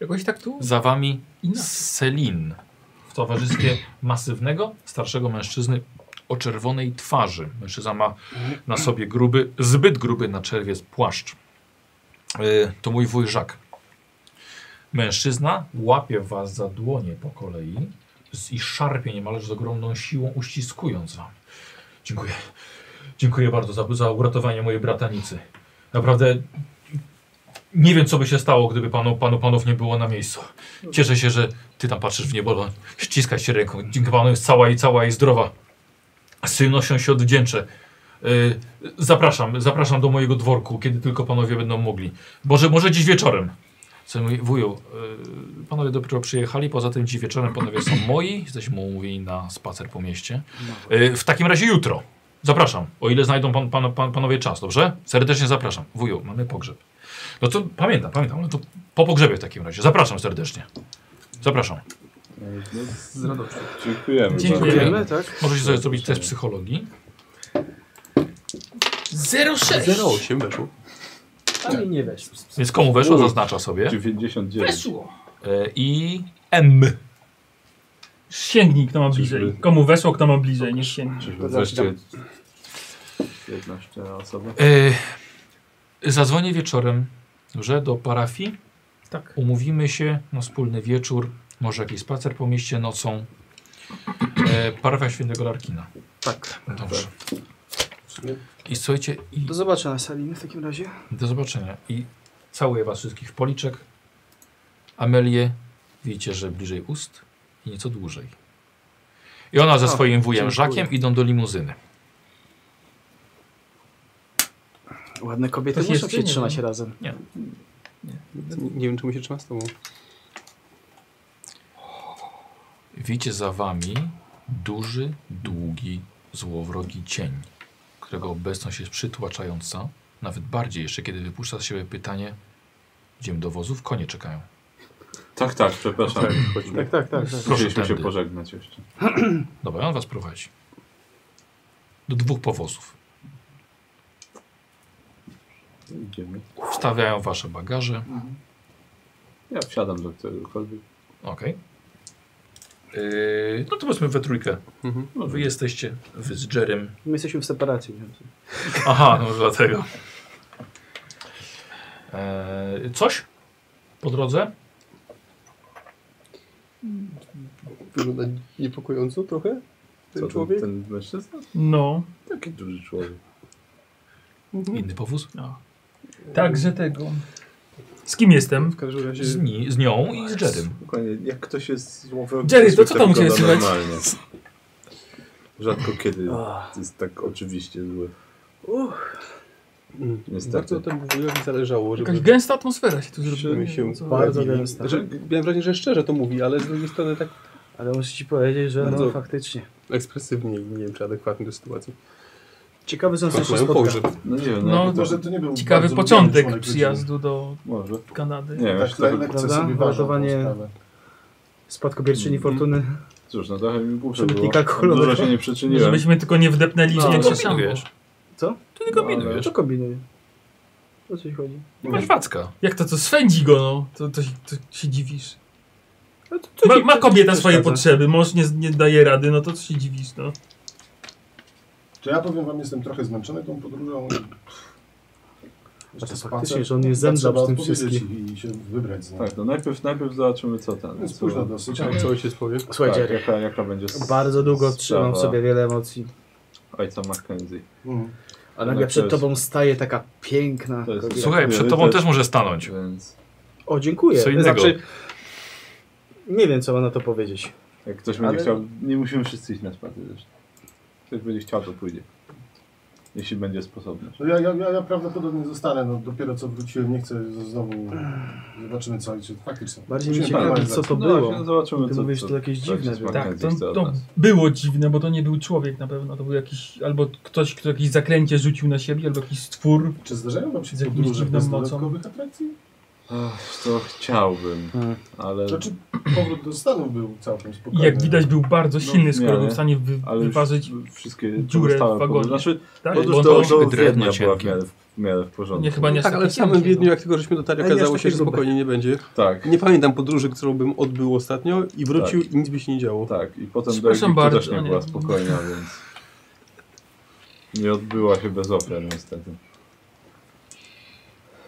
D: Jakoś tak tu?
A: Za wami
D: Inaczej.
A: Selin w towarzystwie masywnego, starszego mężczyzny o czerwonej twarzy. Mężczyzna ma na sobie gruby, zbyt gruby na czerwiec płaszcz. Y, To mój wuj Jacques. Mężczyzna łapie was za dłonie po kolei z- i szarpie niemalże z ogromną siłą, uściskując wam. Dziękuję. Dziękuję bardzo za, za uratowanie mojej bratanicy. Naprawdę nie wiem, co by się stało, gdyby panu, panu panów nie było na miejscu. Cieszę się, że ty tam patrzysz w niebo, no, ściskaj się ręką. Dzięki panu jest cała i cała i zdrowa. Z przyjemnością się odwdzięczę. Y, zapraszam, zapraszam do mojego dworku, kiedy tylko panowie będą mogli. Może, może dziś wieczorem. Co mówi, wuju, y, panowie dopiero przyjechali, poza tym dziś wieczorem panowie są moi, jesteśmy umówieni na spacer po mieście. Y, w takim razie jutro. Zapraszam, o ile znajdą pan, pan, pan, panowie czas, dobrze? Serdecznie zapraszam. Wuju, mamy pogrzeb. No to pamiętam, pamiętam, no to po pogrzebie w takim razie. Zapraszam serdecznie. Zapraszam.
C: No, z radością. Dziękujemy.
D: Dziękujemy.
C: bardzo.
B: Wiemy, tak?
A: Możecie sobie zrobić test psychologii.
D: 06!
G: 08 No, weszło.
B: A mi nie weź.
A: Więc komu weszło, zaznacza sobie.
C: 99.
D: Weszło!
A: Y, I M.
D: Sięgnij, kto ma bliżej. Komu weszło, kto ma bliżej, niż sięgnij.
C: Czyżby
B: To
C: wreszcie
B: zaczynam.
C: jedna szczera osoba?
A: Y, zadzwonię wieczorem, dobrze, do parafii.
D: Tak.
A: Umówimy się na wspólny wieczór, może jakiś spacer po mieście nocą. E, parafia świętego Larkina.
B: Tak.
A: Dobrze. I słuchajcie, i
B: Do zobaczenia na sali w takim razie.
A: do zobaczenia. I całuję was wszystkich w policzek. Amelię widzicie, że bliżej ust i nieco dłużej. I ona ze
B: O,
A: swoim wujem
B: dziękuję.
A: Żakiem idą do limuzyny.
B: Ładne kobiety
D: To się
B: muszą
D: jest-
B: się
D: nie
B: trzymać
D: wiem.
B: razem.
G: Nie, nie wiem, czemu się trzyma z tobą.
A: Widzicie za wami duży, długi, złowrogi cień, którego obecność jest przytłaczająca, nawet bardziej jeszcze kiedy wypuszcza z siebie pytanie, idziemy do wozów, konie czekają.
C: Tak, tak, przepraszam. Chodźmy.
B: Tak, tak, tak. tak.
A: Proszę
C: Musieliśmy się
A: tędy.
C: pożegnać jeszcze.
A: Dobra, on was prowadzi. Do dwóch powozów.
C: Idziemy.
A: Wstawiają wasze bagaże.
C: Ja wsiadam do któregokolwiek.
A: Okej. Yy, no to powiedzmy we trójkę.
G: Mhm.
A: No, wy jesteście, wy z Jerem.
B: My jesteśmy w separacji. nie?
A: Aha, no dlatego. Eee, coś po drodze?
F: Wygląda niepokojąco trochę ten
C: Co
F: człowiek.
C: ten, ten mężczyzna?
D: No.
C: Taki duży człowiek.
A: Inny powóz?
D: Także tego. Z kim jestem?
G: W każdym razie...
A: Z, ni- z nią i z Jerem.
C: Dokładnie, jak ktoś jest złowrogi,
D: Jerry, to co tam u
C: wygląda
D: ciebie słychać?
C: normalnie. Rzadko kiedy jest tak oczywiście zły.
G: Mm,
C: Niestety. Znaczy,
G: Bardzo temu wujowi zależało, żeby...
D: Jakaś gęsta atmosfera się tu zrobiła.
G: Żeby się
C: no,
D: Co?
G: bardzo
B: gęsta.
G: Znaczy, miałem wrażenie, że szczerze to mówi, ale z drugiej strony tak
B: Ale muszę ci powiedzieć, że no
G: Bardzo-
B: faktycznie.
G: ekspresywnie i nie wiem, czy adekwatnie do sytuacji.
B: Ciekawy są jeszcze
G: Tak, Mają
B: spotka.
G: pogrzeb.
C: No nie wiem,
D: No,
C: no,
J: Może to nie był
D: Ciekawy
J: bardzo lubiany
D: początek
J: członek
D: przyjazdu do
C: to może.
D: Kanady.
C: Nie wiem, tak,
J: rodziny. Tak, tak,
C: trochę,
J: lekce
B: Prawda?
J: sobie ważą
B: Ładowanie-
J: tą sprawę.
B: Spadkobierczyni fortuny.
C: cóż, no trochę mi głupio
B: Przemytnika
C: było.
B: kolorowego.
C: Dużo się nie przyczyniłem.
D: Żebyśmy tylko nie wdepnęli w
B: No,
D: niego
B: to
D: samo.
A: kombinujesz.
B: Co?
A: Ty nie
C: No,
A: kombinujesz.
B: Co kombinuje? O co ci chodzi?
A: Nie masz wacka.
D: Jak to, to swędzi go, no. To, to, się- to się dziwisz.
B: No to- to
D: Ma,
B: nie-
D: ma
B: to
D: kobieta
B: nie
D: swoje
B: przeszkadza.
D: potrzeby, mąż nie, nie daje rady, no to co się dziwisz, no.
J: Czy ja powiem wam, jestem trochę zmęczony tą podróżą.
B: A to
J: Jeszcze spacer.
B: faktycznie, że on jest
J: Trzeba
B: zemdlał z tym
J: odpowiedzieć
B: wszystkim.
J: I się wybrać z nim.
C: Tak, no najpierw, najpierw zobaczymy co ten.
J: Jest
C: co-
J: późno dosyć, ale
G: Ciekawe, co on się spowie.
B: Słuchaj,
C: tak,
B: Jerry,
C: jaka, jaka będzie s-
B: bardzo długo
C: sprawa
B: trzymam w sobie wiele emocji.
C: Ojca Mackenzie.
J: Mm.
B: A
C: Jednak
B: nagle
C: to
B: przed
C: jest-
B: tobą staje taka piękna
C: to jest-
B: kobieta.
A: Słuchaj, przed tobą też może stanąć.
C: Więc
B: O, dziękuję.
A: Co innego.
B: Znaczy, nie wiem, co mam na to powiedzieć.
C: jak ktoś będzie
B: Ale-
C: chciał, nie musimy wszyscy iść na spacer zresztą. Ktoś będzie chciał, to pójdzie. Jeśli będzie sposobny.
J: No ja, ja, ja, ja prawdopodobnie zostanę, no dopiero co wróciłem, nie chcę z- znowu, zobaczymy co i czy faktycznie.
B: Bardziej mnie
J: Musimy
B: ciekawi,
J: porozmawiać.
B: co to
C: No,
B: było.
C: właśnie, zobaczymy,
B: Ty
C: co,
B: mówisz,
C: co,
B: to jakieś
C: co
B: dziwne
C: ojciec
B: było.
D: Tak,
C: Mackenzie
D: to,
C: chce od
D: to
C: nas.
D: było dziwne, bo to nie był człowiek na pewno, to był jakiś, albo ktoś, kto jakieś zaklęcie rzucił na siebie, albo jakiś stwór.
J: Czy zdarzają wam się
D: Z jakimś
J: podróże
D: dziwną
J: bez
D: mocą.
J: dodatkowych atrakcji?
C: Ach, to chciałbym,
B: Hmm.
C: ale...
J: Znaczy powrót do Stanów był całkiem
D: I
J: spokojny.
D: jak widać był bardzo
C: No,
D: silny, skoro
C: miarę,
D: był w stanie wy,
C: ale już
D: wyważyć.
C: wszystkie
D: dziurę
C: pozostałe
D: w wagonie.
C: podróże- Znaczy,
D: Tak?
A: bo
C: podróż
A: on
C: do,
A: to
C: do
A: musi być
C: Wiednia była w
A: cienkie.
C: miarę, w miarę w porządku.
D: Nie, chyba nie aż
G: Tak, ale w
D: takie
G: samym
D: cienkie,
G: Wiedniu,
D: no.
G: jak tylko żeśmy dotarli,
B: Ale nie aż
G: okazało się, że
B: takiej grube.
G: spokojnie nie będzie.
C: Tak,
G: Nie pamiętam podróży, którą bym odbył ostatnio i wrócił i nic by się nie działo.
C: tak. I potem do
D: Przepraszam
C: Egiptu
D: bardzo,
C: też nie
D: nie.
C: była spokojna, więc... Nie odbyła się bez ofiar niestety.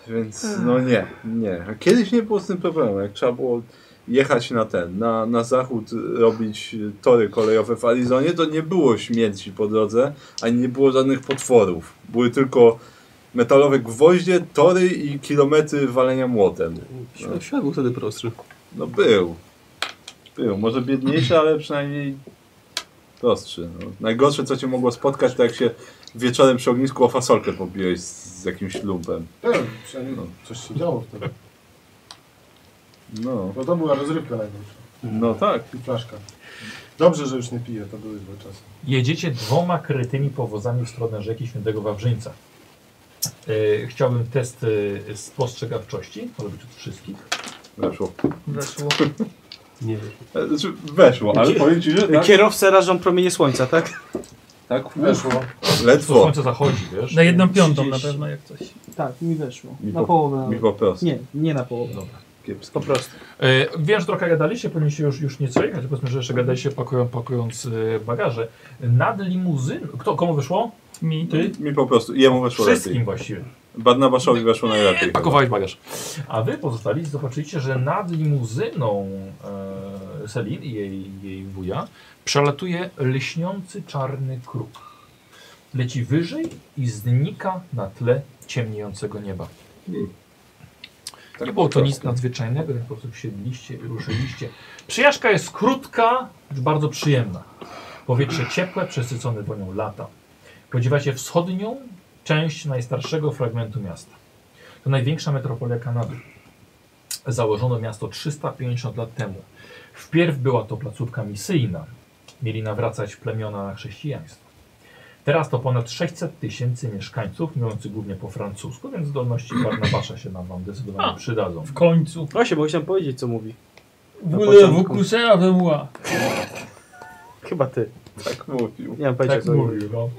C: Więc no nie, nie. A Kiedyś nie było z tym problemu, jak trzeba było jechać na ten, na, na zachód robić y, tory kolejowe w Arizonie, to nie było śmierci po drodze, ani nie było żadnych potworów. Były tylko metalowe gwoździe, tory i kilometry walenia młotem.
G: Świat, świat był wtedy prostszy.
C: No był. Był. Może biedniejszy, ale przynajmniej prostszy. No. Najgorsze, co cię mogło spotkać, to jak się wieczorem przy ognisku o fasolkę pobiłeś z, z jakimś lumpem.
J: no, Tak, przynajmniej coś się działo wtedy.
C: No,
J: Bo to była rozrywka najlepsza.
C: no tak.
J: I flaszka. Dobrze, że już nie piję, to były złe czasy.
A: Jedziecie dwoma krytymi powozami w stronę rzeki Świętego Wawrzyńca. E, chciałbym test e, spostrzegawczości, to robić od wszystkich.
C: Weszło.
D: Weszło.
S: Nie wiem.
C: E, Znaczy, weszło, ale powiem ci, że tak.
B: Kierowcę rażą promienie słońca, tak?
C: Tak
J: Weszło.
A: To
C: Ledwo.
A: słońce zachodzi, wiesz?
D: Na jedną piątą na
B: 30.
D: pewno jak coś.
B: Tak, mi weszło.
C: Mi
B: na
C: po-
B: połowę.
C: Mi No.
B: nawet.
C: po prostu.
B: Nie, nie na połowę.
A: Dobra.
C: Kiepsko.
B: Po prostu.
A: E, wiem, że trochę gadaliście, pewnie się już, już nieco jechać, powiedzmy, że jeszcze gadaliście pakują, pakując e, bagaże. Nad limuzyną, kto, komu wyszło?
D: Mi.
A: Ty?
C: Mi po prostu. Jemu weszło
A: Wszystkim
C: lepiej.
A: właściwie.
C: Barnabaszowi weszło najlepiej.
A: Pakowałeś bagaż. A wy pozostali zobaczyliście, że nad limuzyną e, Selin i jej, jej wuja przelatuje lśniący czarny kruk. Leci wyżej i znika na tle ciemniejącego nieba.
C: Tak
A: Nie było to
C: trochę.
A: nic nadzwyczajnego, jak po prostu siedliście i ruszyliście. Przyjażdżka jest krótka, lecz bardzo przyjemna. Powietrze ciepłe, przesycone wonią lata. Podziwacie wschodnią część najstarszego fragmentu miasta. To największa metropolia Kanady. Założono miasto 350 lat temu. Wpierw była to placówka misyjna. Mieli nawracać plemiona na chrześcijaństwo. Teraz to ponad 600 tysięcy mieszkańców, mówiących głównie po francusku, więc zdolności Barnabasza się nam wam zdecydowanie
D: A.
A: przydadzą.
D: W końcu.
B: Właśnie, bo chciałem powiedzieć, co mówi.
D: W
B: Na
D: ogóle w
B: początku.
D: kusera we mła.
B: Chyba ty.
C: Tak mówił.
B: Nie mam pojęcia,
A: Tak
B: co mówi.
A: mówił, no.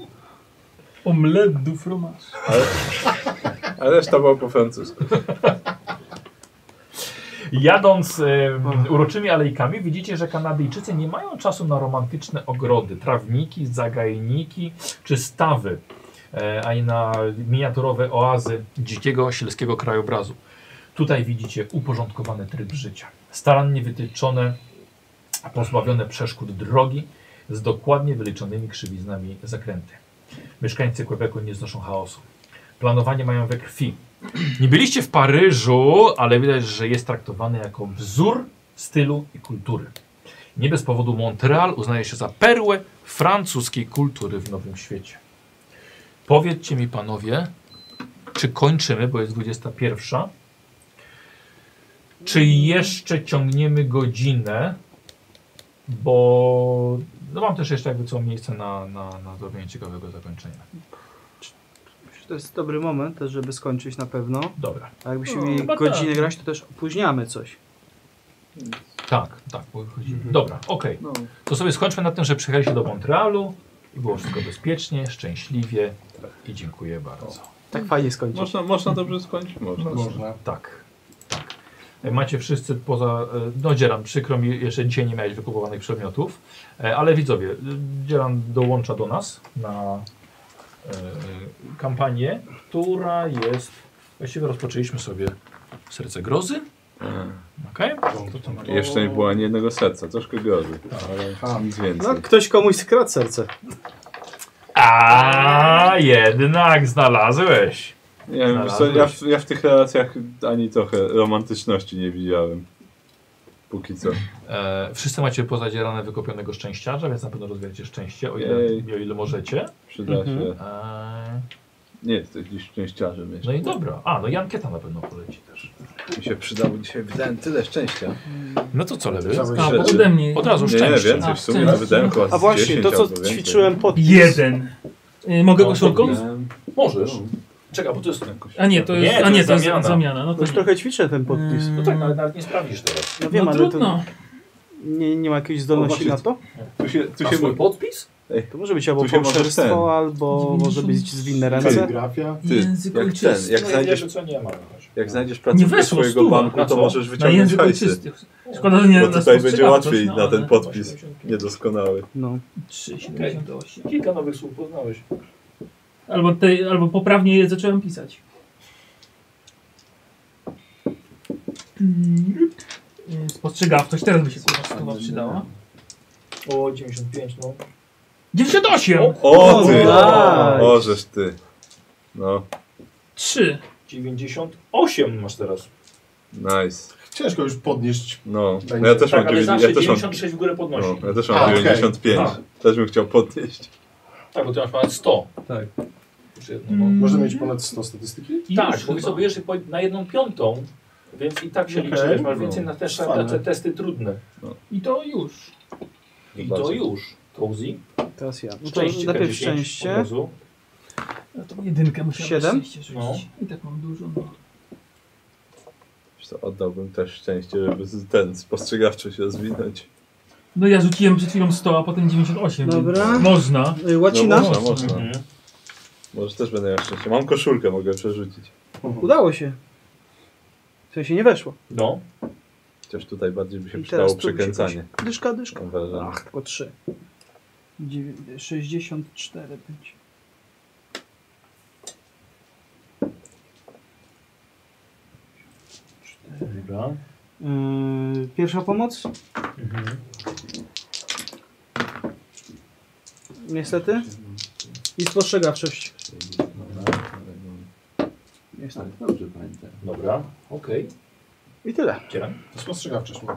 D: Omlet du fromage.
C: A reszta była po francusku.
A: Jadąc e, uroczymi alejkami widzicie, że Kanadyjczycy nie mają czasu na romantyczne ogrody, trawniki, zagajniki czy stawy, e, ani na miniaturowe oazy dzikiego, sielskiego krajobrazu. Tutaj widzicie uporządkowany tryb życia, starannie wytyczone, pozbawione przeszkód drogi z dokładnie wyliczonymi krzywiznami zakręty. Mieszkańcy Quebecu nie znoszą chaosu. Planowanie mają we krwi. Nie byliście w Paryżu, ale widać, że jest traktowany jako wzór stylu i kultury. Nie bez powodu Montreal uznaje się za perłę francuskiej kultury w Nowym Świecie. Powiedzcie mi panowie, czy kończymy, bo jest 21. Czy jeszcze ciągniemy godzinę? Bo no mam też jeszcze jakby co miejsce na, na, na zrobienie ciekawego zakończenia.
B: To jest dobry moment, też, żeby skończyć na pewno.
A: Dobra.
B: A jakbyśmy
D: No,
B: mieli
D: chyba
B: godzinę
D: tak.
B: grać, to też opóźniamy coś.
A: Tak, tak, bo wychodzimy. Dobra, okej.
C: No.
A: To sobie skończmy na tym, że przyjechaliście do Montrealu i było wszystko bezpiecznie, szczęśliwie i dziękuję bardzo.
B: Tak
D: Mhm.
B: fajnie skończyć.
C: Można, można dobrze skończyć? Można.
J: Można.
A: Tak, tak. E, Macie wszyscy poza... e, No Dzieran, przykro mi, jeszcze dzisiaj nie miałeś wykupowanych przedmiotów, e, ale widzowie, e, Dzieran dołącza do nas na e, kampanię, która jest... Właściwie rozpoczęliśmy sobie Serce Grozy, okej?
C: Jeszcze nie było ani jednego serca, troszkę grozy. Ale nic
B: No,
C: więcej.
B: ktoś komuś skradł serce.
A: A jednak znalazłeś.
C: Nie wiem, wiesz co, ja, w, ja w tych relacjach ani trochę romantyczności nie widziałem. Póki co.
A: E, wszyscy macie pozadzierane wykopionego szczęściarza, więc na pewno rozwijacie szczęście, o ile,
C: Jej.
A: o ile możecie.
C: Przyda
D: Mhm.
C: się.
A: E,
C: Nie jesteś dziś szczęściarzem
A: no
C: jeszcze.
A: i dobra. A, no i ankieta na pewno poleci też.
C: Mi się przydało dzisiaj. Wydałem tyle szczęścia.
A: No to co, lewy?
J: Chciałbyś
D: A, bo
C: Rzeczy.
D: ode mnie.
A: Od razu
C: Nie, nie,
A: szczęście.
C: więcej w sumie. A, wydałem chyba z
B: A właśnie,
C: 10
B: to
C: albo
B: co
C: więcej.
B: ćwiczyłem pod...
D: Jeden. Y, Mogę
A: No,
D: koszulką?
C: Wydałem
A: Możesz. Czekaj, bo to jest...
D: A nie, to
A: Nie,
D: jest,
A: to
D: a nie,
A: jest
D: to jest
A: zamiana.
D: zamiana. No to
B: Już
D: nie.
B: trochę ćwiczę ten podpis.
D: Mm,
A: No tak, ale nawet nie sprawdzisz teraz.
B: No wiem,
D: no
B: ale to
D: trudno.
B: nie, nie ma jakiejś zdolności
C: O,
B: na
C: właśnie.
B: to?
C: Tu się, tu
A: Na
C: się,
A: swój podpis?
B: To może być albo
C: Tu się może ten.
B: fałszerstwo, albo może być zwinne ręce.
J: Kaligrafia.
C: Ty, jak
D: Język
C: ten,
D: ojczysty.
A: No
C: jak znajdziesz,
A: co nie ma.
C: jak znajdziesz
D: Nie
C: pracę
D: weszło
C: swojego
D: stuwa.
A: Na
C: banku,
A: co?
C: to możesz
D: Na
C: wyciągnąć
D: język
C: hajsy.
D: ojczysty. Szkoda, że nie
C: Bo
D: na
C: tutaj
D: spostrzegawczość,
C: będzie łatwiej
D: no,
C: na ten
D: ale-
C: podpis niedoskonały.
B: No.
D: 3,78.
A: Kilka nowych słów poznałeś.
D: Albo, te, albo poprawnie je zacząłem pisać. Mm. Y, Spostrzegawczość teraz by się kurwa stuwa przydała.
A: O, 95, no.
D: 98!
C: O
B: O,
C: ty!
B: nice.
C: Możesz ty. No,
D: 3.
A: 98 masz teraz.
C: nice.
J: Ciężko już podnieść.
C: No,
J: Będzie.
C: no ja też
A: Tak,
C: mam
A: ale
C: 90,
A: zawsze
C: ja też mam,
A: 96 w górę podnosi.
C: no, ja też
J: A,
C: mam
J: okej.
C: 95. Też bym chciał podnieść.
A: Tak, bo ty masz ponad 100.
G: Tak.
A: Już jedno, no.
J: Może mieć ponad 100 statystyki?
D: Już
A: Tak, bo
D: chyba.
A: sobie jeszcze po- na jedną piątą
E: Więc i tak się
J: Okej.
E: liczy, wiesz, masz więcej na te, na
J: Fajne.
E: te testy trudne.
C: No.
E: I to już. I to
C: Zobaczę.
E: już. Kozi.
B: Teraz ja. no
E: Szczęście.
B: Najpierw
E: K10 od
B: szczęście.
E: razu.
D: No to jedynkę musiałem
B: Siedem?
D: szczęście rzucić.
E: No.
D: I tak mam dużo. No.
C: Wiesz co, oddałbym też szczęście, żeby z- ten spostrzegawczy się rozwinąć.
D: no ja rzuciłem przed chwilą 100, a potem 98. więc
B: Dobra.
D: Można.
B: Y, Łacina.
C: No, można, można.
A: Mm.
E: Mhm.
C: Może też będę miał szczęście. Mam koszulkę, mogę przerzucić.
B: Udało się. W sensie nie weszło.
E: No.
C: Chociaż tutaj bardziej by się
B: I
C: przydało
B: teraz tu musi
C: przekręcanie.
B: Dyszka, dyszka.
C: Mam wrażenie.
B: Ach, tylko trzy. Dziewię- 64 będzie.
E: Dobra.
B: Yy, pierwsza pomoc?
E: Mhm.
B: Niestety. I spostrzegawczość. Niestety.
C: Dobrze pamiętam.
E: Dobra. Okej.
B: I tyle.
E: Cieram.
J: To spostrzegawczość mogę.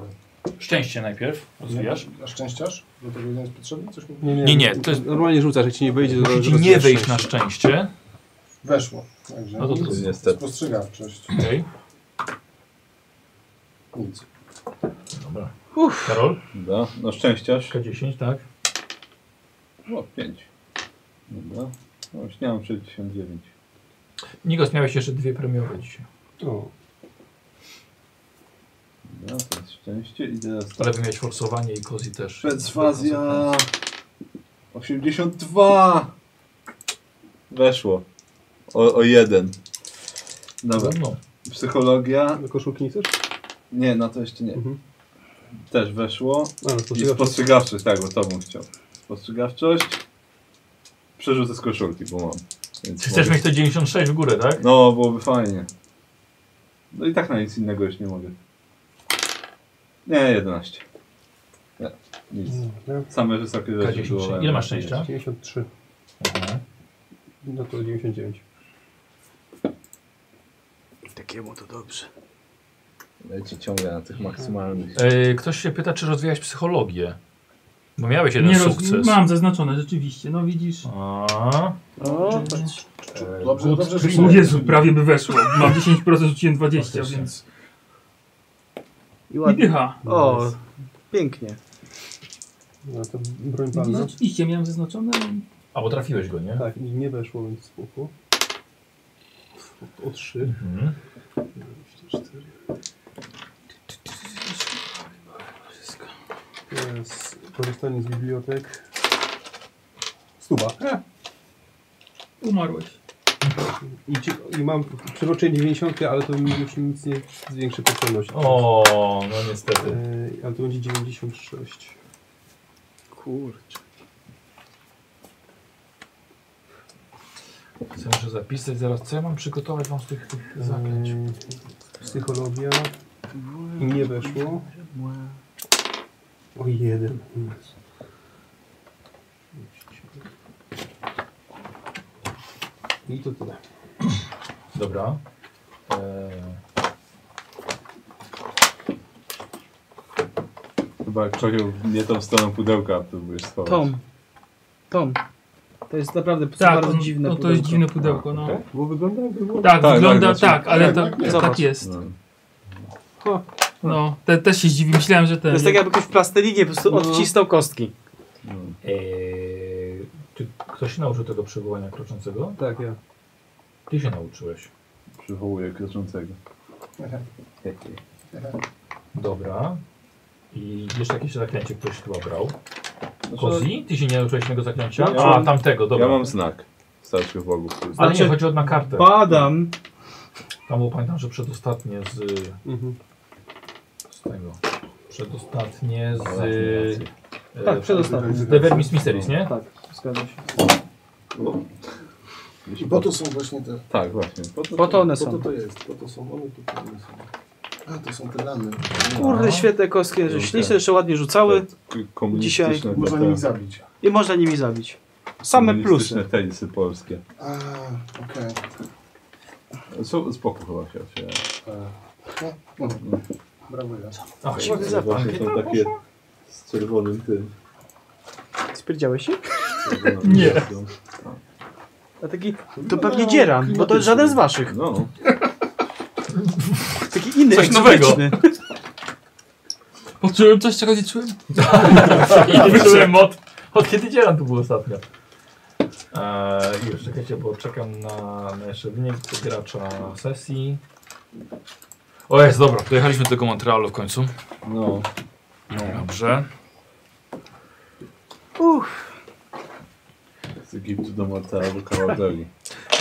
A: Szczęście najpierw. Rozwijasz?
J: A szczęściarz? Do tego jeden jest potrzebny? Coś mi...
T: Nie, nie, to jest-
G: Normalnie rzucasz, jak ci nie wyjdzie,
T: Musi ci nie wyjść na szczęście.
J: Weszło. Także
A: No to
J: nic.
A: trudno.
C: Niestety.
J: Spostrzegawczość.
A: Okej.
J: Nic.
A: Dobra.
B: Uff.
A: Karol?
C: Dobra. No szczęściarz.
A: K10, tak?
C: O, 5. Dobra. No już nie mam 69.
A: Nikos, miałeś jeszcze dwie premiowe dzisiaj.
C: Dobra, to jest szczęście i teraz
A: Ale wy miałeś forsowanie i Kozi też.
C: Perswazja 82 Weszło O, o jeden Dobra,
A: No,
C: psychologia
G: Do koszulki nie chcesz?
C: Nie, na to jeszcze nie
G: Mhm.
C: Też weszło
G: A, no,
C: I spostrzegawczość, tak, bo to bym chciał Spostrzegawczość Przerzucę z koszulki, bo mam Więc
A: Chcesz
C: mogę-
A: mieć to 96 w górę, tak?
C: No, byłoby fajnie No i tak na nic innego już nie mogę Nie, 11 Nie, nic Same wysokie rzeczy
A: K10. Ile masz szczęścia?
G: 93.
A: Mhm.
G: No to 99.
B: Takiemu to dobrze.
C: Leci ciągle na tych maksymalnych.
A: E, ktoś się pyta, czy rozwijałeś psychologię. Bo miałeś jeden
D: Nie
A: sukces.
D: roz... Mam zaznaczone, rzeczywiście. No widzisz.
A: A,
C: No,
B: O,
C: tak.
A: e,
J: Dobrze,
A: good
J: dobrze,
D: O
J: że
D: Jezu, prawie by weszło. Mam 10%, rzuciłem 20,
A: Faktycznie.
D: więc...
B: i
D: I
B: ładnie.
D: dycha.
B: O, pięknie.
G: No to broń
D: No,
G: palna.
D: Rzeczywiście miałem zaznaczone.
A: A bo trafiłeś go, nie?
G: Tak, i nie weszło, więc spoko. O 3.
A: Mhm.
G: Teraz korzystanie z bibliotek. E. Stuba.
D: Umarłeś.
G: I, ci, I mam przekroczenie 90, ale to mi już nic nie zwiększy potrzebności.
A: O, no niestety.
G: E, ale to będzie 96.
B: Kurczę.
A: Chcę muszę zapisać zaraz, co ja mam przygotować wam z tych, tych zaklęć.
G: E, psychologia. I nie weszło. O jeden. I to tyle.
A: Dobra. E,
C: Chyba jak przejął nie tą stroną pudełka, próbujesz schować.
B: Tom. Tom. To jest naprawdę
D: Tak,
B: bardzo
D: on,
B: dziwne
D: no, to jest
B: pudełko.
D: dziwne pudełko. No.
C: okej.
G: Bo wygląda jakby było...
D: Tak,
C: Tak,
D: wygląda
C: tak,
D: tak,
C: znaczy-
D: ale
J: tak,
D: to,
J: tak, nie.
D: tak
B: Zobacz.
D: jest.
C: No.
D: No, te, też się zdziwi. Myślałem, że
B: To
D: ten.
B: jest tak jakby ktoś w plastelinie po prostu
G: No.
B: odcisnął kostki.
C: No.
A: e, ty, kto się nauczył tego przywołania kroczącego?
G: Tak, ja.
A: Ty się nauczyłeś.
C: Przywołuję kroczącego.
A: Dobra. I jeszcze jakieś zaklęcie ktoś tu obrał. Kozi? Ty się nie nauczyłeś tego zaklęcia?
C: No Ja
A: A,
C: mam-
A: tamtego, dobra.
C: Ja mam znak. Starszych bogów. który-
A: Ale nie,
B: Znaczy-
A: chodzi o na kartę.
B: Badam.
A: Tam było, pamiętam, że przedostatnie z...
G: Mhm.
A: z tego. Przedostatnie z... e,
B: Tak, przedostatnie.
A: Z The Vermis Mysteries, nie?
B: Tak, zgadza się.
J: I po to są właśnie te...
C: Tak, właśnie. Po to-
B: Po to one
J: Po to
B: są.
J: to jest, po to są one, tutaj one są. A, to są te lany.
B: Kurde, świetne kostki, że śliczne, jeszcze ładnie rzucały
C: k- komunistyczne
B: Dzisiaj
J: Można
C: te-
J: nimi zabić.
B: i można nimi zabić. Same
A: No,
C: komunistyczne
B: plusy.
C: tenisy polskie.
J: A, okej.
C: Są spoko chyba się otwierają.
J: Okay. No, brawo ja.
A: A,
C: Właśnie Są takie z czerwonym tym.
B: Spierdziałeś się?
C: czerwoną
D: Nie.
C: gwiazdą.
B: A
A: No,
B: taki, to pewnie dzieran, bo to jest żaden z waszych.
C: No,
B: Taki inny
A: Coś nowego.
B: egzotyczny.
D: Poczułem coś, czego nie czułem?
A: I wyczułem od, od kiedy dzielam tu było ostatnio. Eee, już czekajcie, bo czekam na, na jeszcze wynik gracza sesji. O jest, dobra, dojechaliśmy do tego Montrealu w końcu.
C: No,
A: Dobrze.
C: z Egiptu do Montrealu kawał drogi.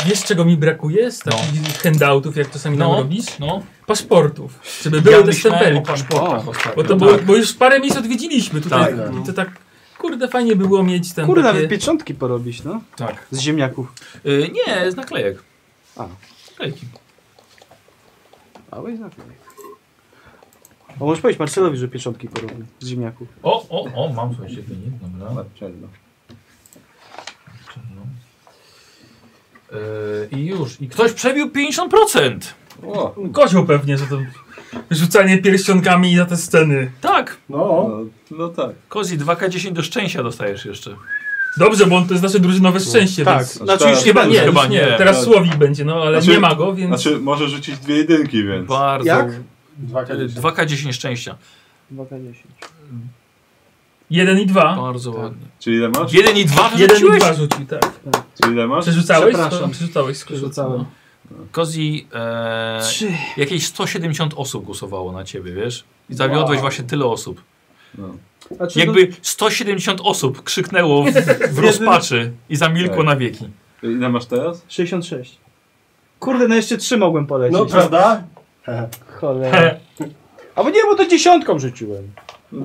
D: Wiesz, czego mi brakuje z takich handoutów, jak czasami
A: No.
D: nam robisz?
A: No,
D: Paszportów, żeby były te
A: myślałem o
D: stempelki.
A: paszportach No tak.
D: Bo,
A: ostatnio.
D: to było, bo już parę miejsc odwiedziliśmy tutaj
J: Tak.
D: i to tak, kurde, fajnie było mieć ten
B: Kurde, nawet
D: takie...
B: pieczątki porobić, no.
A: Tak.
B: Z ziemniaków.
A: Y, nie, z naklejek.
B: A.
A: Naklejki.
B: A weź na chwilę. O, możesz powiedzieć Marcelowi, że pieczątki porobił z ziemniaków.
A: O, o, o, mam słuchajcie wynik, dobra.
C: Marcello.
A: No. Y, I już. I ktoś przebił 50%!
C: O,
D: Kozioł pewnie, że to rzucanie pierścionkami za te sceny.
A: Tak!
J: No,
C: no, no tak.
A: Kozi, 2K10 do szczęścia dostajesz jeszcze.
D: Dobrze, bo on to jest nasze drużynowe szczęście,
B: Tak,
D: więc...
B: znaczy już nie
A: Chyba
B: będzie.
A: nie.
D: już Teraz Słowik będzie, no ale
C: Znaczy-
D: nie ma go, więc...
C: Znaczy, może rzucić dwie jedynki, więc.
A: Bardzo.
J: jak?
A: Y, 2K10 szczęścia.
B: Uwaga, 10.
D: Jeden i dwa.
A: Bardzo ładnie.
C: Czyli ile masz?
A: Jeden i dwa
D: Jeden i
A: wyrzuciłeś?
D: dwa rzucił, tak.
C: Czyli ile masz?
D: Przerzucałeś?
B: Przepraszam.
D: Przerzucałeś skrzydło.
B: Przerzucałem.
A: Kozi, e,
B: Trzy.
A: jakieś 170 osób głosowało na ciebie, wiesz? I zawiodłeś właśnie tyle osób.
C: No.
B: Znaczy, no,
A: Jakby 170 osób krzyknęło w, w rozpaczy i zamilkło
C: Tak.
A: na wieki.
C: Ile masz teraz?
B: 66. Kurde, no jeszcze trzy mogłem polecieć.
J: no prawda?
B: Cholera. A bo nie, bo to dziesiątką rzuciłem.
J: No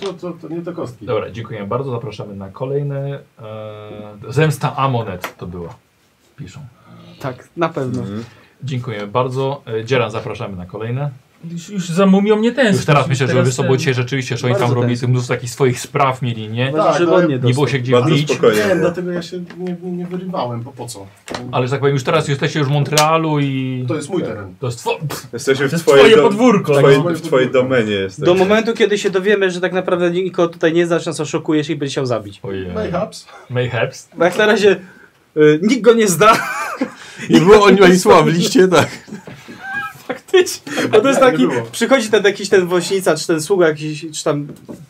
J: to, to, to, to nie to kostki.
A: Dobra, dziękuję bardzo. Zapraszamy na kolejne. E, zemsta Amonet to była. Piszą.
B: Tak, na pewno.
A: Mm. Dziękuję bardzo. E, Dzieran, zapraszamy na kolejne.
D: Już, już za mumią nie ten.
A: Już teraz myślę, że wy
D: ten-
A: sobie dzisiaj rzeczywiście, że oni tam
B: e, Bardzo
A: robili
B: tęsknię.
A: mnóstwo takich swoich spraw mieli, nie?
B: Uważam, że
J: ale
B: on nie
A: Nie było
B: dostał.
A: się gdzie
C: Bardzo
A: wbić.
C: no spokojnie.
J: Nie,
C: było.
J: dlatego ja się nie, nie, nie wyrywałem, bo po co?
A: Ale że tak powiem, już teraz jesteście już w Montrealu i...
J: To jest mój teren.
A: To jest two- pff,
C: Jesteśmy
D: To
C: w
D: jest twoje
C: twojej, do...
D: podwórko.
C: w
D: no.
C: twojej, w twojej domenie. Jesteś.
B: Do momentu, kiedy się dowiemy, że tak naprawdę nikogo tutaj nie znasz, nas oszukujesz i będzie chciał zabić.
A: Ojej.
J: Mayhaps.
A: Mayhaps.
B: Bo jak na razie y, nikt go nie zna,
U: I było oni Władysław w liście, tak.
B: faktycznie. Bo to jest
J: Nie, nie
B: taki,
J: było.
B: przychodzi ten jakiś ten woźnica, czy ten sługa jakiś, czy tam,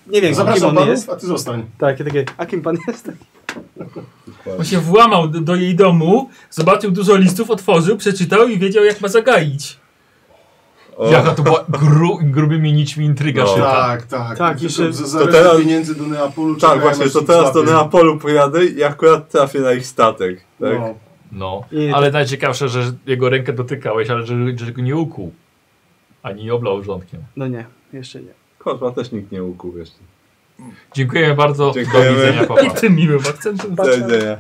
B: nie wiem, kim
J: Zapraszam
B: on
J: panów,
B: jest.
J: a ty zostań.
B: Tak, i takie, a kim pan jest?
D: On się włamał do, do jej domu, zobaczył dużo listów, otworzył, przeczytał i wiedział jak ma zagaić.
C: O,
A: Jaka to była gru, grubymi nićmi intryga
C: No.
A: szyta.
J: Tak, tak.
B: Tak,
J: Tylko
B: jeszcze-
J: z- zaraz
C: teraz-
J: pieniędzy do Neapolu.
C: tak,
J: czekałem,
C: właśnie,
J: aż
C: to
J: ich
C: teraz do
J: złapię.
C: Neapolu pojadę i akurat trafię na ich statek. Tak?
J: No.
A: No,
B: I-
A: ale najciekawsze, że jego rękę dotykałeś, ale że, że go nie ukuł. Ani nie oblał rządkiem.
B: No nie, jeszcze nie.
C: Kurwa, też nikt nie ukuł jeszcze.
A: Dziękujemy bardzo.
C: Dziękujemy.
A: Do widzenia, papa.
D: I tym miłym akcentem.
C: Do widzenia.